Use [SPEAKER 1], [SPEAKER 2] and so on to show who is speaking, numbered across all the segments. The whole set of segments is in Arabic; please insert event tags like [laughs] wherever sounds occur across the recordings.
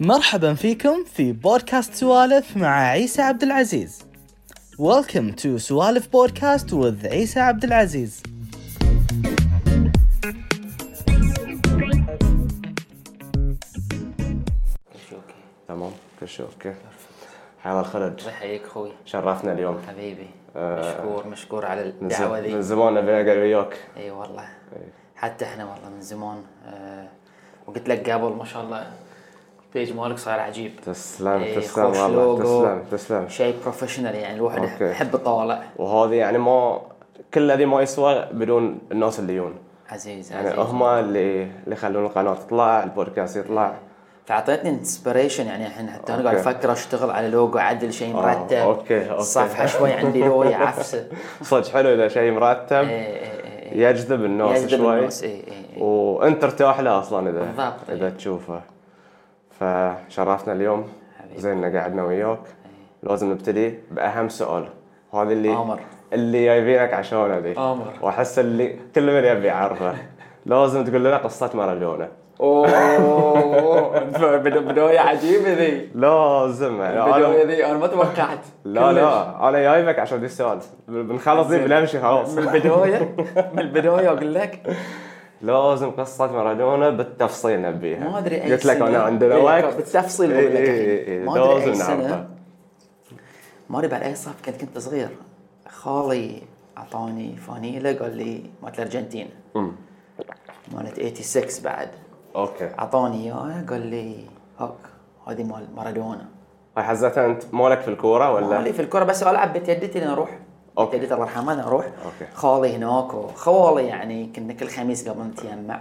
[SPEAKER 1] مرحبا فيكم في بودكاست سوالف مع عيسى عبد العزيز. Welcome to سوالف بودكاست with عيسى عبد العزيز.
[SPEAKER 2] شوكي
[SPEAKER 3] تمام كل شيء اوكي حيا الخرج
[SPEAKER 2] الله يحييك اخوي
[SPEAKER 3] شرفنا اليوم
[SPEAKER 2] حبيبي
[SPEAKER 3] آه.
[SPEAKER 2] مشكور مشكور على
[SPEAKER 3] من ز-
[SPEAKER 2] الدعوه
[SPEAKER 3] من
[SPEAKER 2] ذي
[SPEAKER 3] زمان ابي اقعد وياك
[SPEAKER 2] اي والله حتى احنا والله من زمان آه، وقلت لك قبل ما شاء الله بيج مالك صاير عجيب
[SPEAKER 3] تسلم
[SPEAKER 2] إيه،
[SPEAKER 3] تسلم
[SPEAKER 2] خوش
[SPEAKER 3] والله
[SPEAKER 2] لوجو.
[SPEAKER 3] تسلم تسلم
[SPEAKER 2] شيء بروفيشنال يعني الواحد
[SPEAKER 3] أوكي.
[SPEAKER 2] يحب الطوالع
[SPEAKER 3] وهذه يعني ما كل هذه ما يسوى بدون الناس اللي يجون
[SPEAKER 2] عزيز
[SPEAKER 3] يعني
[SPEAKER 2] عزيز
[SPEAKER 3] هم اللي اللي يخلون القناه تطلع البودكاست يطلع
[SPEAKER 2] فاعطيتني انسبريشن يعني الحين حتى انا قاعد
[SPEAKER 3] أوكي.
[SPEAKER 2] افكر اشتغل على لوجو عدل شيء
[SPEAKER 3] آه،
[SPEAKER 2] مرتب
[SPEAKER 3] أوكي، أوكي.
[SPEAKER 2] الصفحه شوي عندي لوية
[SPEAKER 3] [laughs]
[SPEAKER 2] عفسه
[SPEAKER 3] صدق حلو اذا شيء مرتب
[SPEAKER 2] إيه، إيه، إيه، إيه.
[SPEAKER 3] يجذب الناس
[SPEAKER 2] يجذب
[SPEAKER 3] شوي
[SPEAKER 2] الناس إيه، إيه، إيه.
[SPEAKER 3] وانت ترتاح له اصلا اذا
[SPEAKER 2] بالضبط،
[SPEAKER 3] اذا
[SPEAKER 2] إيه.
[SPEAKER 3] تشوفه فشرفنا اليوم
[SPEAKER 2] حبيبي. إيه.
[SPEAKER 3] زين قعدنا وياك لازم نبتدي باهم سؤال هذا اللي
[SPEAKER 2] آمر.
[SPEAKER 3] اللي جايبينك عشانه ذي
[SPEAKER 2] آمر.
[SPEAKER 3] واحس اللي كل من يبي يعرفه لازم تقول لنا قصه مارادونا
[SPEAKER 2] اوه [laughs] بدايه عجيبه ذي
[SPEAKER 3] لازم يعني
[SPEAKER 2] البدايه
[SPEAKER 3] أنا
[SPEAKER 2] ذي انا ما توقعت
[SPEAKER 3] لا لا انا جايبك عشان ذي السؤال بنخلص ذي بنمشي خلاص
[SPEAKER 2] [laughs] من البدايه من البدايه اقول لك
[SPEAKER 3] لازم قصه مارادونا بالتفصيل نبيها
[SPEAKER 2] ما ادري اي
[SPEAKER 3] قلت لك
[SPEAKER 2] سنة.
[SPEAKER 3] انا عندنا
[SPEAKER 2] إيه،
[SPEAKER 3] وقت
[SPEAKER 2] بالتفصيل
[SPEAKER 3] إيه،
[SPEAKER 2] بقول لك
[SPEAKER 3] إيه،
[SPEAKER 2] الحين.
[SPEAKER 3] إيه،
[SPEAKER 2] ما ادري
[SPEAKER 3] لازم
[SPEAKER 2] اي
[SPEAKER 3] نعرفها.
[SPEAKER 2] سنه ما ادري بعد اي صف كنت كنت صغير خالي اعطاني فانيله قال لي مالت الارجنتين مالت 86 بعد
[SPEAKER 3] اوكي
[SPEAKER 2] اعطاني اياها قال لي هاك هذه مال مارادونا
[SPEAKER 3] هاي حزتها انت مالك في الكوره ولا؟
[SPEAKER 2] خالي في الكره بس العب بيت يدتي لين اروح
[SPEAKER 3] أوكي.
[SPEAKER 2] بيت يدتي الله يرحمه لين اروح
[SPEAKER 3] أوكي.
[SPEAKER 2] خالي هناك وخوالي يعني كنا كل خميس قبل نتيمع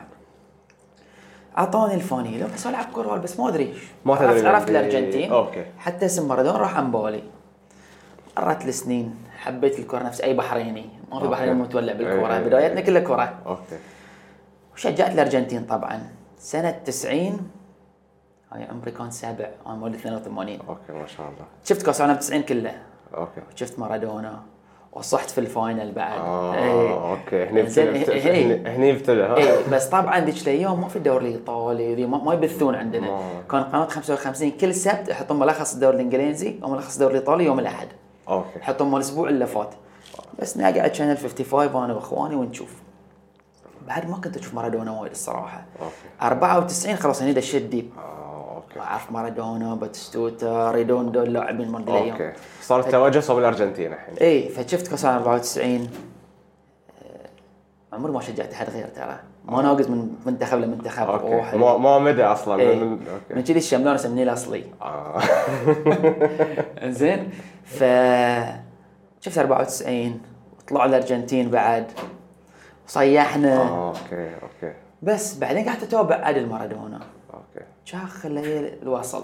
[SPEAKER 2] اعطوني الفانيله بس العب كره بس ما ادري إيش.
[SPEAKER 3] ما تدري
[SPEAKER 2] عرفت,
[SPEAKER 3] من
[SPEAKER 2] عرفت
[SPEAKER 3] اللي-
[SPEAKER 2] الارجنتين
[SPEAKER 3] أوكي.
[SPEAKER 2] حتى اسم مارادونا راح عن بالي مرت السنين حبيت الكره نفس اي بحريني ما في
[SPEAKER 3] أوكي.
[SPEAKER 2] بحريني متولع بالكره
[SPEAKER 3] إيه، إيه،
[SPEAKER 2] بدايتنا
[SPEAKER 3] إيه.
[SPEAKER 2] كلها كره
[SPEAKER 3] اوكي
[SPEAKER 2] وشجعت الارجنتين طبعا سنه 90 هاي عمري كان سبع انا مولد 82
[SPEAKER 3] اوكي ما شاء الله
[SPEAKER 2] شفت كاس العالم 90 كله
[SPEAKER 3] اوكي
[SPEAKER 2] شفت مارادونا وصحت في الفاينل بعد
[SPEAKER 3] اه اوكي هني
[SPEAKER 2] زين،
[SPEAKER 3] ابتدى
[SPEAKER 2] إيه، إيه.
[SPEAKER 3] هني- هني ابتدى ها؟
[SPEAKER 2] اي إيه، بس طبعا ذيك الايام ما في الدوري الايطالي ذي ما ما يبثون عندنا
[SPEAKER 3] آه.
[SPEAKER 2] كان قناه 55 كل سبت يحطون ملخص الدوري الانجليزي وملخص الدوري الايطالي يوم الاحد
[SPEAKER 3] اوكي
[SPEAKER 2] يحطون مال الاسبوع اللي فات بس نقعد شانل 55 انا واخواني ونشوف بعد ما كنت اشوف مارادونا وايد الصراحه
[SPEAKER 3] اوكي
[SPEAKER 2] 94 خلاص يعني هني دشيت ديب
[SPEAKER 3] اه اوكي
[SPEAKER 2] اعرف مارادونا باتستوتا ريدوندو اللاعبين مال ذي الايام
[SPEAKER 3] اوكي صار التوجه صوب الارجنتين الحين
[SPEAKER 2] اي فشفت كاس العالم 94 آه، عمري ما شجعت احد غير ترى ما ناقص من منتخب لمنتخب
[SPEAKER 3] اوكي
[SPEAKER 2] أوه،
[SPEAKER 3] آه. ما ما مدى اصلا
[SPEAKER 2] إيه.
[SPEAKER 3] من- اوكي
[SPEAKER 2] من كذي الشملان يسميني الاصلي
[SPEAKER 3] آه.
[SPEAKER 2] [laughs] زين ف شفت 94 وطلعوا الارجنتين بعد وصيحنا
[SPEAKER 3] آه. اوكي اوكي
[SPEAKER 2] بس بعدين قعدت اتابع عدل مارادونا
[SPEAKER 3] اوكي
[SPEAKER 2] شاخ الليل الوصل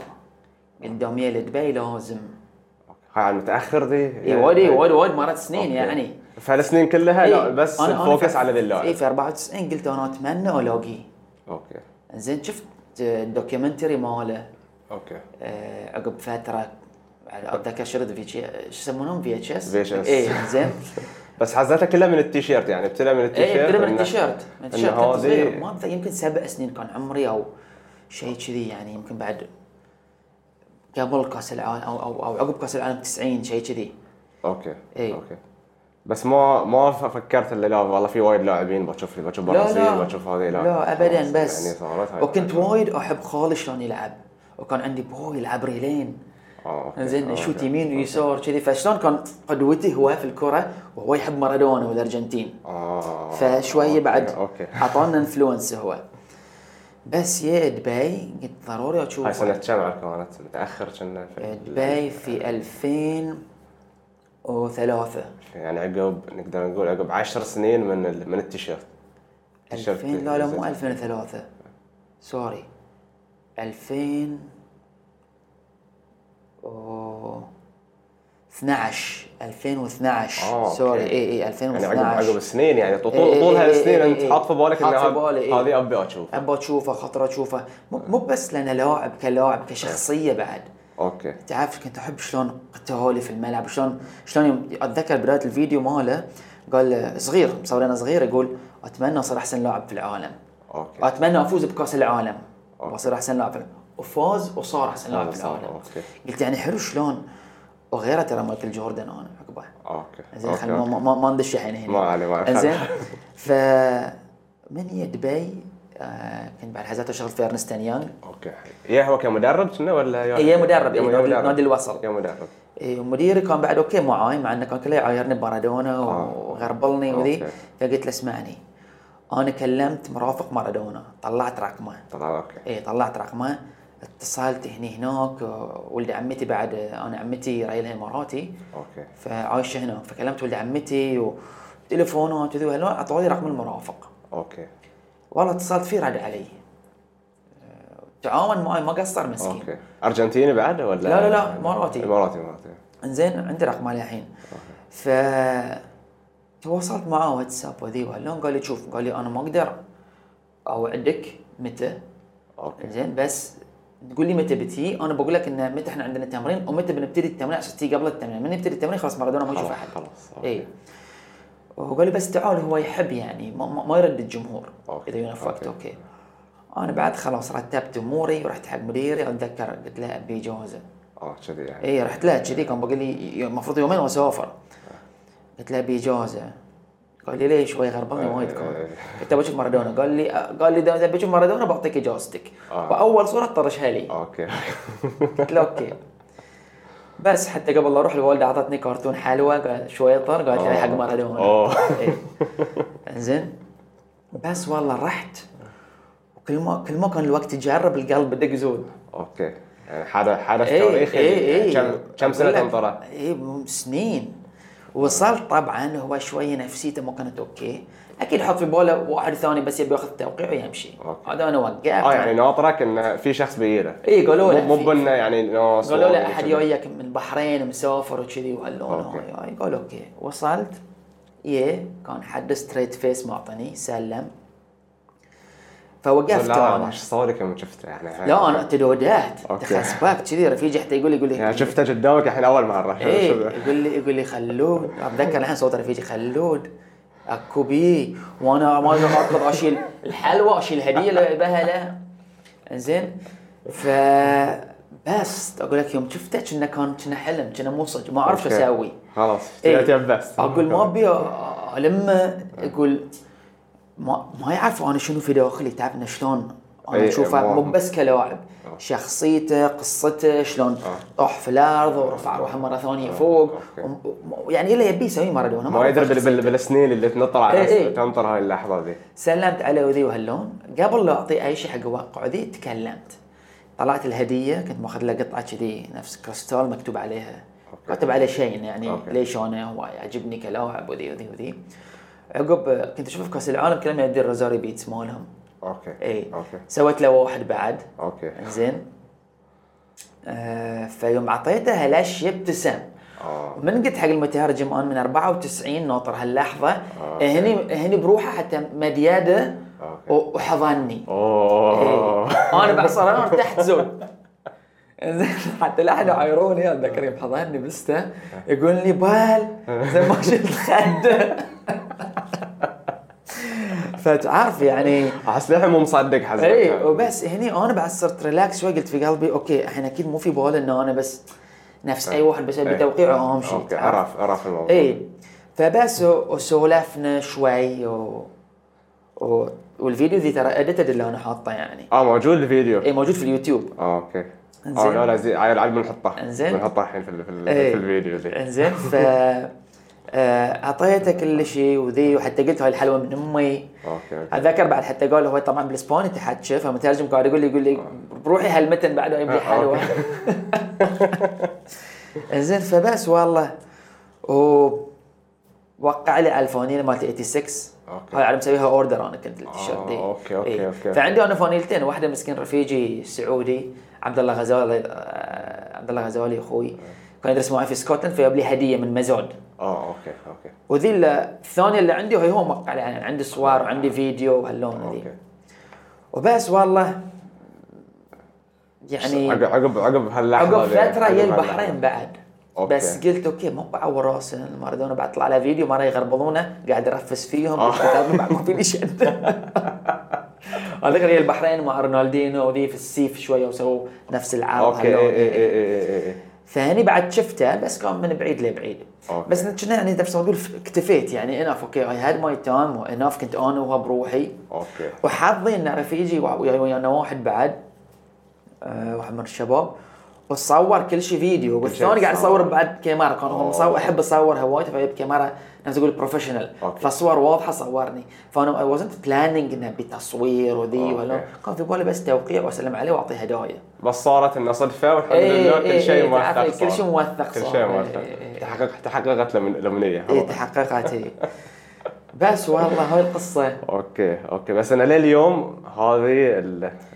[SPEAKER 2] قدام يا لدبي لازم
[SPEAKER 3] أوكي. هاي على المتاخر ذي
[SPEAKER 2] اي وايد إي وايد وايد مرات سنين
[SPEAKER 3] أوكي.
[SPEAKER 2] إيه، يعني
[SPEAKER 3] فالسنين كلها لا
[SPEAKER 2] إي،
[SPEAKER 3] بس
[SPEAKER 2] إيه، أنا- أنا إيه.
[SPEAKER 3] فوكس
[SPEAKER 2] في-
[SPEAKER 3] على ذي
[SPEAKER 2] اي
[SPEAKER 3] اللاعب
[SPEAKER 2] في 94 قلت انا اتمنى الاقيه
[SPEAKER 3] اوكي
[SPEAKER 2] زين شفت الدوكيومنتري ماله
[SPEAKER 3] اوكي
[SPEAKER 2] آه، عقب فتره اتذكر شرد في شو يسمونهم في اتش اس
[SPEAKER 3] VHS.
[SPEAKER 2] اي إيه،
[SPEAKER 3] [laughs]
[SPEAKER 2] زين
[SPEAKER 3] بس حزتها كلها من التيشيرت يعني ابتدى من
[SPEAKER 2] اي
[SPEAKER 3] التيشيرت
[SPEAKER 2] ابتدى إيه، من
[SPEAKER 3] إنه-
[SPEAKER 2] التيشيرت من
[SPEAKER 3] إن
[SPEAKER 2] التيشيرت كنت
[SPEAKER 3] هذه-
[SPEAKER 2] صغير ما أتذكر، يمكن سبع سنين كان عمري او شيء كذي يعني يمكن بعد قبل كاس العالم او او, أو عقب كاس العالم 90 شيء كذي
[SPEAKER 3] اوكي
[SPEAKER 2] إي.
[SPEAKER 3] اوكي بس ما ما فكرت الا لا والله في وايد لاعبين بشوف بشوف برازيل بشوف هذه
[SPEAKER 2] لا, لا
[SPEAKER 3] خلاص،
[SPEAKER 2] ابدا بس
[SPEAKER 3] يعني صارت هاي
[SPEAKER 2] وكنت
[SPEAKER 3] الحاجة.
[SPEAKER 2] وايد احب خالي شلون يلعب وكان عندي بوي يلعب ريلين
[SPEAKER 3] آه، أوكي،
[SPEAKER 2] زين
[SPEAKER 3] آه،
[SPEAKER 2] شوت
[SPEAKER 3] أوكي.
[SPEAKER 2] يمين ويسار كذي فشلون كان قدوتي هو في الكره وهو يحب مارادونا والارجنتين
[SPEAKER 3] آه،
[SPEAKER 2] فشويه
[SPEAKER 3] أوكي،
[SPEAKER 2] بعد
[SPEAKER 3] اوكي
[SPEAKER 2] اعطانا انفلونس هو بس يا دبي قلت ضروري
[SPEAKER 3] هاي
[SPEAKER 2] اشوف
[SPEAKER 3] سنة كم عاد كانت متأخر كنا
[SPEAKER 2] إيه،
[SPEAKER 3] في
[SPEAKER 2] دبي في 2003
[SPEAKER 3] يعني عقب نقدر نقول عقب 10 سنين من ال... من التيشيرت
[SPEAKER 2] 2000 لا لا مو 2003 سوري 2000 و 12 2012
[SPEAKER 3] آه،
[SPEAKER 2] سوري إيه،
[SPEAKER 3] أوكي.
[SPEAKER 2] اي اي
[SPEAKER 3] يعني
[SPEAKER 2] 2012
[SPEAKER 3] عقب عقب سنين يعني طول
[SPEAKER 2] إي، إي،
[SPEAKER 3] طول
[SPEAKER 2] إي، إي،
[SPEAKER 3] هالسنين
[SPEAKER 2] إي، إي،
[SPEAKER 3] انت حاط في بالك
[SPEAKER 2] إيه، حاط
[SPEAKER 3] ان
[SPEAKER 2] في
[SPEAKER 3] هذا-
[SPEAKER 2] بالي، إيه. إي.
[SPEAKER 3] هذه ابي اشوفها
[SPEAKER 2] ابى اشوفه خطره اشوفه مو مو بس لانه لاعب كلاعب كشخصيه بعد
[SPEAKER 3] اوكي
[SPEAKER 2] تعرف كنت احب شلون قتالي في الملعب شلون شلون يوم اتذكر بدايه الفيديو ماله قال صغير مصورنا صغير يقول اتمنى اصير احسن لاعب في العالم
[SPEAKER 3] اوكي
[SPEAKER 2] اتمنى افوز بكاس العالم
[SPEAKER 3] أوكي.
[SPEAKER 2] واصير احسن لاعب في العالم وفاز وصار احسن لاعب في
[SPEAKER 3] صار،
[SPEAKER 2] العالم
[SPEAKER 3] أوكي.
[SPEAKER 2] قلت يعني حلو شلون وغيره ترى مايكل جوردن انا عقبه
[SPEAKER 3] اوكي
[SPEAKER 2] زين
[SPEAKER 3] أوكي،
[SPEAKER 2] خلينا ما-
[SPEAKER 3] أوكي.
[SPEAKER 2] ما, ما, ما ندش الحين هنا
[SPEAKER 3] ما عليه، ما عليه.
[SPEAKER 2] زين [laughs] ف من هي دبي آه كنت بعد حزاتها شغل في ارنستن يانغ
[SPEAKER 3] اوكي يا هو كمدرب كنا ولا يا
[SPEAKER 2] إيه، مدرب، إيه،
[SPEAKER 3] يا
[SPEAKER 2] نادي- نادي الوصل.
[SPEAKER 3] يا مدرب
[SPEAKER 2] إيه، ومديري كان بعد اوكي معاي مع انه كان كله يعايرني بمارادونا وغربلني وذي
[SPEAKER 3] آه. أوكي.
[SPEAKER 2] فقلت له اسمعني انا كلمت مرافق مارادونا طلعت رقمه
[SPEAKER 3] طبعا اوكي
[SPEAKER 2] اي إيه، طلعت رقمه اتصلت هني هناك آه، ولد عمتي بعد آه، انا عمتي رايلها اماراتي
[SPEAKER 3] اوكي
[SPEAKER 2] فعايشه هناك فكلمت ولد عمتي وتليفونات وذي وهالنوع اعطوني رقم المرافق
[SPEAKER 3] اوكي
[SPEAKER 2] والله اتصلت فيه رد علي آه، تعاون معي ما قصر مسكين
[SPEAKER 3] اوكي ارجنتيني بعد ولا
[SPEAKER 2] لا، لا، لا، إماراتي.
[SPEAKER 3] اماراتي اماراتي
[SPEAKER 2] انزين عندي رقمه الحين ف تواصلت معه واتساب وذي وهاللون قال لي شوف قال لي انا ما اقدر اوعدك متى
[SPEAKER 3] اوكي
[SPEAKER 2] زين بس تقول لي متى بتي انا بقول لك انه متى احنا عندنا تمرين ومتى بنبتدي التمرين عشان تي قبل التمرين من نبتدي التمرين خلاص مارادونا ما يشوف
[SPEAKER 3] خلاص
[SPEAKER 2] احد
[SPEAKER 3] خلاص
[SPEAKER 2] اي وقال لي بس تعال هو يحب يعني ما, ما, ما يرد الجمهور
[SPEAKER 3] أوكي.
[SPEAKER 2] اذا ينفقت
[SPEAKER 3] أوكي.
[SPEAKER 2] اوكي انا بعد خلاص رتبت اموري ورحت حق مديري اتذكر قلت له ابي جوازه
[SPEAKER 3] اه كذي يعني
[SPEAKER 2] اي إيه، رحت له كذي كان باقي لي المفروض يومين واسافر قلت له ابي اجازه قال لي ليش شوي غرباني وايد كان قلت له بشوف مارادونا قال لي قال لي اذا بشوف مارادونا بعطيك اجازتك
[SPEAKER 3] آه.
[SPEAKER 2] واول صوره طرشها لي
[SPEAKER 3] [laughs] اوكي
[SPEAKER 2] قلت له اوكي بس حتى قبل لا اروح الوالده اعطتني كرتون حلوه قا- شويطر قالت لي
[SPEAKER 3] أوه.
[SPEAKER 2] حق مارادونا
[SPEAKER 3] اوه
[SPEAKER 2] إيه. انزين بس والله رحت وكل ما كل ما كان الوقت يجرب القلب بدق زود
[SPEAKER 3] اوكي يعني حدا حدا
[SPEAKER 2] إيه،
[SPEAKER 3] تاريخي يعني كم كم سنه تنطره؟
[SPEAKER 2] اي إيه، سنين وصلت طبعا هو شويه نفسيته ما كانت اوكي اكيد حط في باله واحد ثاني بس يبي ياخذ توقيع ويمشي
[SPEAKER 3] أوكي.
[SPEAKER 2] هذا انا وقعت
[SPEAKER 3] اه يعني ناطرك ان في شخص بيجيله
[SPEAKER 2] اي قالوا له
[SPEAKER 3] مو
[SPEAKER 2] في-
[SPEAKER 3] بنا يعني ناس
[SPEAKER 2] قالوا
[SPEAKER 3] و-
[SPEAKER 2] له احد جايك من البحرين مسافر وكذي وهاللون
[SPEAKER 3] أوكي.
[SPEAKER 2] هاي هاي قال اوكي وصلت يه كان حد ستريت فيس معطيني سلم فوقفت
[SPEAKER 3] لا
[SPEAKER 2] انا
[SPEAKER 3] انا صورك يوم شفته يعني
[SPEAKER 2] لا آه، انا تدودات
[SPEAKER 3] أوكي.
[SPEAKER 2] تخسبك كذي رفيجي حتى يقول يقول لي
[SPEAKER 3] يعني شفته قدامك الحين اول مره
[SPEAKER 2] ايه
[SPEAKER 3] شو-
[SPEAKER 2] يقول لي يقول لي خلود اتذكر الحين صوت رفيجي خلود اكو بي وانا ما أقدر اركض اشيل الحلوى اشيل هديه اللي بها له انزين ف بس اقول لك يوم شفته كنا كان كنا حلم كنا مو صدق ما اعرف شو
[SPEAKER 3] أوكي.
[SPEAKER 2] اسوي
[SPEAKER 3] خلاص
[SPEAKER 2] إيه.
[SPEAKER 3] تبي بس
[SPEAKER 2] اقول ما ابي المه اقول ما ما يعرف انا شنو في داخلي تعرف إنه شلون انا
[SPEAKER 3] إيه، آه.
[SPEAKER 2] اشوفه
[SPEAKER 3] ما-
[SPEAKER 2] مو بس كلاعب شخصيته قصته شلون طاح في الارض ورفع روحه مره ثانيه فوق
[SPEAKER 3] آه. أوكي.
[SPEAKER 2] وم- وم- يعني الا يبي يسوي مارادونا
[SPEAKER 3] ما
[SPEAKER 2] أعرف
[SPEAKER 3] يدري بال-
[SPEAKER 2] شخصيته.
[SPEAKER 3] بال- بالسنين اللي تنطر على
[SPEAKER 2] إيه،
[SPEAKER 3] نفسه،
[SPEAKER 2] إيه.
[SPEAKER 3] تنطر هاي اللحظه ذي
[SPEAKER 2] سلمت عليه وذي وهاللون قبل لا اعطيه اي شيء حق واقع ذي تكلمت طلعت الهديه كنت ماخذ له قطعه كذي نفس كريستال مكتوب عليها
[SPEAKER 3] أوكي.
[SPEAKER 2] كاتب عليه شيء يعني
[SPEAKER 3] أوكي.
[SPEAKER 2] ليش انا هو يعجبني كلاعب وذي وذي وذي عقب كنت اشوف في كاس العالم كلهم يدير روزاري بيتس مالهم
[SPEAKER 3] اوكي
[SPEAKER 2] اي
[SPEAKER 3] اوكي
[SPEAKER 2] سويت له واحد بعد
[SPEAKER 3] اوكي
[SPEAKER 2] زين آه فيوم اعطيته هالاشي ابتسم
[SPEAKER 3] اه
[SPEAKER 2] من قلت حق المترجم انا من 94 ناطر هاللحظه
[SPEAKER 3] آه،
[SPEAKER 2] هني هني بروحه حتى مدياده
[SPEAKER 3] أوكي.
[SPEAKER 2] و- وحضني
[SPEAKER 3] اوه
[SPEAKER 2] إيه. انا بعد صار انا ارتحت [laughs] زود زين حتى لحن عايروني اتذكر يوم حضني بسته يقول لي بال زي ما شلت خده [laughs] فتعرف يعني
[SPEAKER 3] احس للحين مو مصدق حزتك
[SPEAKER 2] اي إيه، وبس هني انا بعد صرت ريلاكس شوي قلت في قلبي اوكي الحين اكيد مو في بالي انه انا بس نفس اي واحد بس ابي
[SPEAKER 3] إيه.
[SPEAKER 2] توقيعه وامشي
[SPEAKER 3] اوكي
[SPEAKER 2] تعرف؟
[SPEAKER 3] عرف عرف الموضوع
[SPEAKER 2] اي إيه. فبس و- وسولفنا شوي و... و... والفيديو ذي ترى اديتد اللي انا حاطه يعني
[SPEAKER 3] اه موجود الفيديو
[SPEAKER 2] اي موجود في اليوتيوب
[SPEAKER 3] اه اوكي اه
[SPEAKER 2] إنزين.
[SPEAKER 3] لا لا زين عيل عيل بنحطه
[SPEAKER 2] إنزين.
[SPEAKER 3] بنحطه الحين في ال- في ال-
[SPEAKER 2] إيه.
[SPEAKER 3] في الفيديو ذي
[SPEAKER 2] انزين ف [laughs] آه، اعطيته كل شيء وذي وحتى قلت هاي الحلوه من امي
[SPEAKER 3] اوكي اوكي
[SPEAKER 2] اتذكر بعد حتى قال هو طبعا بالاسباني تحكي فمترجم قاعد يقول لي يقول لي بروحي هالمتن بعد يبي لي
[SPEAKER 3] آه،
[SPEAKER 2] حلوه [laughs] زين فبس والله و وقع لي على الفانيله مالت 86
[SPEAKER 3] أوكي.
[SPEAKER 2] هاي على مسويها اوردر انا كنت التيشيرت دي
[SPEAKER 3] آه، أوكي، أوكي،
[SPEAKER 2] إيه.
[SPEAKER 3] أوكي.
[SPEAKER 2] فعندي انا فانيلتين واحده مسكين رفيجي سعودي عبد الله غزالي آه، عبد الله غزالي اخوي
[SPEAKER 3] آه.
[SPEAKER 2] كان يدرس معي في اسكتلند فجاب لي هديه من مازون
[SPEAKER 3] اه اوكي اوكي
[SPEAKER 2] وذي اللي- الثانيه اللي عندي وهي هو مقطع يعني عندي
[SPEAKER 3] آه.
[SPEAKER 2] صور وعندي فيديو وهاللون ذي
[SPEAKER 3] اوكي
[SPEAKER 2] وبس والله
[SPEAKER 3] عقب
[SPEAKER 2] يعني
[SPEAKER 3] عقب عقب هاللحظه
[SPEAKER 2] عقب
[SPEAKER 3] ذي،
[SPEAKER 2] فتره
[SPEAKER 3] عقب
[SPEAKER 2] يا
[SPEAKER 3] هاللحظة.
[SPEAKER 2] البحرين بعد
[SPEAKER 3] أوكي.
[SPEAKER 2] بس قلت اوكي ما بعور راسي أنا مارادونا بطلع على فيديو مره يغربلونه قاعد ارفس فيهم
[SPEAKER 3] آه.
[SPEAKER 2] قلت بعد ما فيني شد على فكره هي البحرين مع رونالدينو وذي في السيف شويه وسووا نفس العرض
[SPEAKER 3] اوكي إيه،
[SPEAKER 2] هذول.
[SPEAKER 3] اي اي اي اي اي
[SPEAKER 2] ثاني بعد شفته بس كان من بعيد لبعيد
[SPEAKER 3] أوكي.
[SPEAKER 2] بس كنا يعني نفس ما اقول اكتفيت يعني انف اوكي اي هاد ماي تايم وانف كنت انا وهو بروحي
[SPEAKER 3] اوكي
[SPEAKER 2] وحظي ان رفيجي وع- يعني ويا- ويانا واحد بعد آه، واحد من الشباب وصور كل شيء فيديو والثاني قاعد يصور بعد كاميرا كان هو مصور احب اصور هوايت فجايب كاميرا نفس تقول بروفيشنال
[SPEAKER 3] أوكي.
[SPEAKER 2] فصور واضحه صورني فانا اي wasn't planning انه بتصوير وذي ولا
[SPEAKER 3] أوكي.
[SPEAKER 2] كان في بالي بس توقيع واسلم عليه واعطيه هدايا
[SPEAKER 3] بس صارت انه صدفه والحمد
[SPEAKER 2] إيه،
[SPEAKER 3] لله
[SPEAKER 2] إيه،
[SPEAKER 3] كل شيء
[SPEAKER 2] إيه، تعرف
[SPEAKER 3] موثق
[SPEAKER 2] إيه، كل شيء
[SPEAKER 3] صار.
[SPEAKER 2] موثق
[SPEAKER 3] كل
[SPEAKER 2] صار.
[SPEAKER 3] شيء
[SPEAKER 2] إيه،
[SPEAKER 3] موثق
[SPEAKER 2] إيه، إيه.
[SPEAKER 3] تحقق تحققت الأمن- الامنيه
[SPEAKER 2] اي
[SPEAKER 3] خلاص.
[SPEAKER 2] تحققت هي إيه، بس والله هاي
[SPEAKER 3] [laughs]
[SPEAKER 2] القصه
[SPEAKER 3] اوكي اوكي بس انا لليوم هذه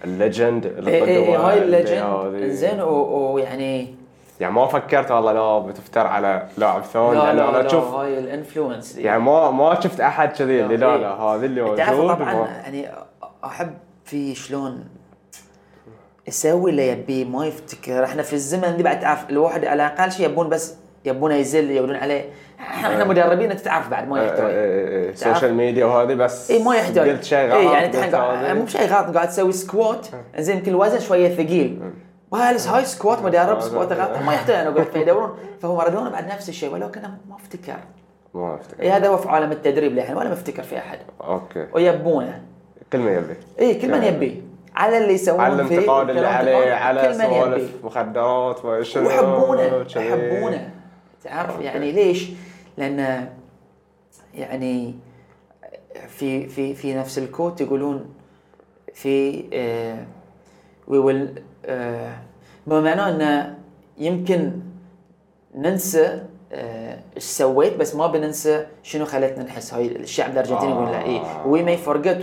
[SPEAKER 3] الليجند
[SPEAKER 2] اي اي إي، إيه، هاي الليجند زين ويعني
[SPEAKER 3] يعني ما فكرت والله لا بتفتر على لاعب ثاني
[SPEAKER 2] لا
[SPEAKER 3] يعني
[SPEAKER 2] لا
[SPEAKER 3] انا
[SPEAKER 2] لا
[SPEAKER 3] شوف
[SPEAKER 2] هاي الانفلونس
[SPEAKER 3] يعني ما ما شفت احد كذي اللي لا
[SPEAKER 2] إيه.
[SPEAKER 3] لا هذا اللي موجود
[SPEAKER 2] تعرف طبعا
[SPEAKER 3] وما-
[SPEAKER 2] يعني احب في شلون يسوي اللي يبيه ما يفتكر احنا في الزمن دي بعد تعرف الواحد على الاقل شيء يبون بس يبون يزل يبون عليه
[SPEAKER 3] آه.
[SPEAKER 2] احنا مدربين انت تعرف بعد
[SPEAKER 3] إيه،
[SPEAKER 2] ما يحتاج تعرف؟
[SPEAKER 3] السوشيال ميديا إيه، وهذه بس
[SPEAKER 2] اي ما يحتاج
[SPEAKER 3] آه، قلت شيء غلط
[SPEAKER 2] اي يعني انت
[SPEAKER 3] قلت آه.
[SPEAKER 2] الحين قاعد-
[SPEAKER 3] هذه.
[SPEAKER 2] مو شيء غلط قاعد تسوي سكوات زين يمكن الوزن شويه ثقيل
[SPEAKER 3] آه.
[SPEAKER 2] وهالس هاي سكوات مدرب سكوات غلط ما يحتاج انا قلت فيدورون فهو مارادونا بعد نفس الشيء ولكن ما افتكر
[SPEAKER 3] ما افتكر
[SPEAKER 2] إي هذا هو في عالم التدريب للحين ولا مفتكر في احد
[SPEAKER 3] اوكي
[SPEAKER 2] ويبونه
[SPEAKER 3] كل ما يبي
[SPEAKER 2] اي إيه، كل من يبيه على اللي يسوون
[SPEAKER 3] يعني على
[SPEAKER 2] فيه،
[SPEAKER 3] الانتقاد اللي
[SPEAKER 2] والكلام
[SPEAKER 3] عليه
[SPEAKER 2] الانتقاد،
[SPEAKER 3] على
[SPEAKER 2] كل من يبيه.
[SPEAKER 3] سوالف مخدرات ما شنو
[SPEAKER 2] ويحبونه
[SPEAKER 3] كذي.
[SPEAKER 2] يحبونه تعرف
[SPEAKER 3] أوكي.
[SPEAKER 2] يعني ليش؟ لان يعني في في في نفس الكوت يقولون في آه وي ويل آه ما معناه انه يمكن ننسى آه، ايش سويت بس ما بننسى شنو خلتنا نحس هاي الشعب الارجنتيني يقول إيه، لا اي
[SPEAKER 3] آه.
[SPEAKER 2] وي ماي فورجيت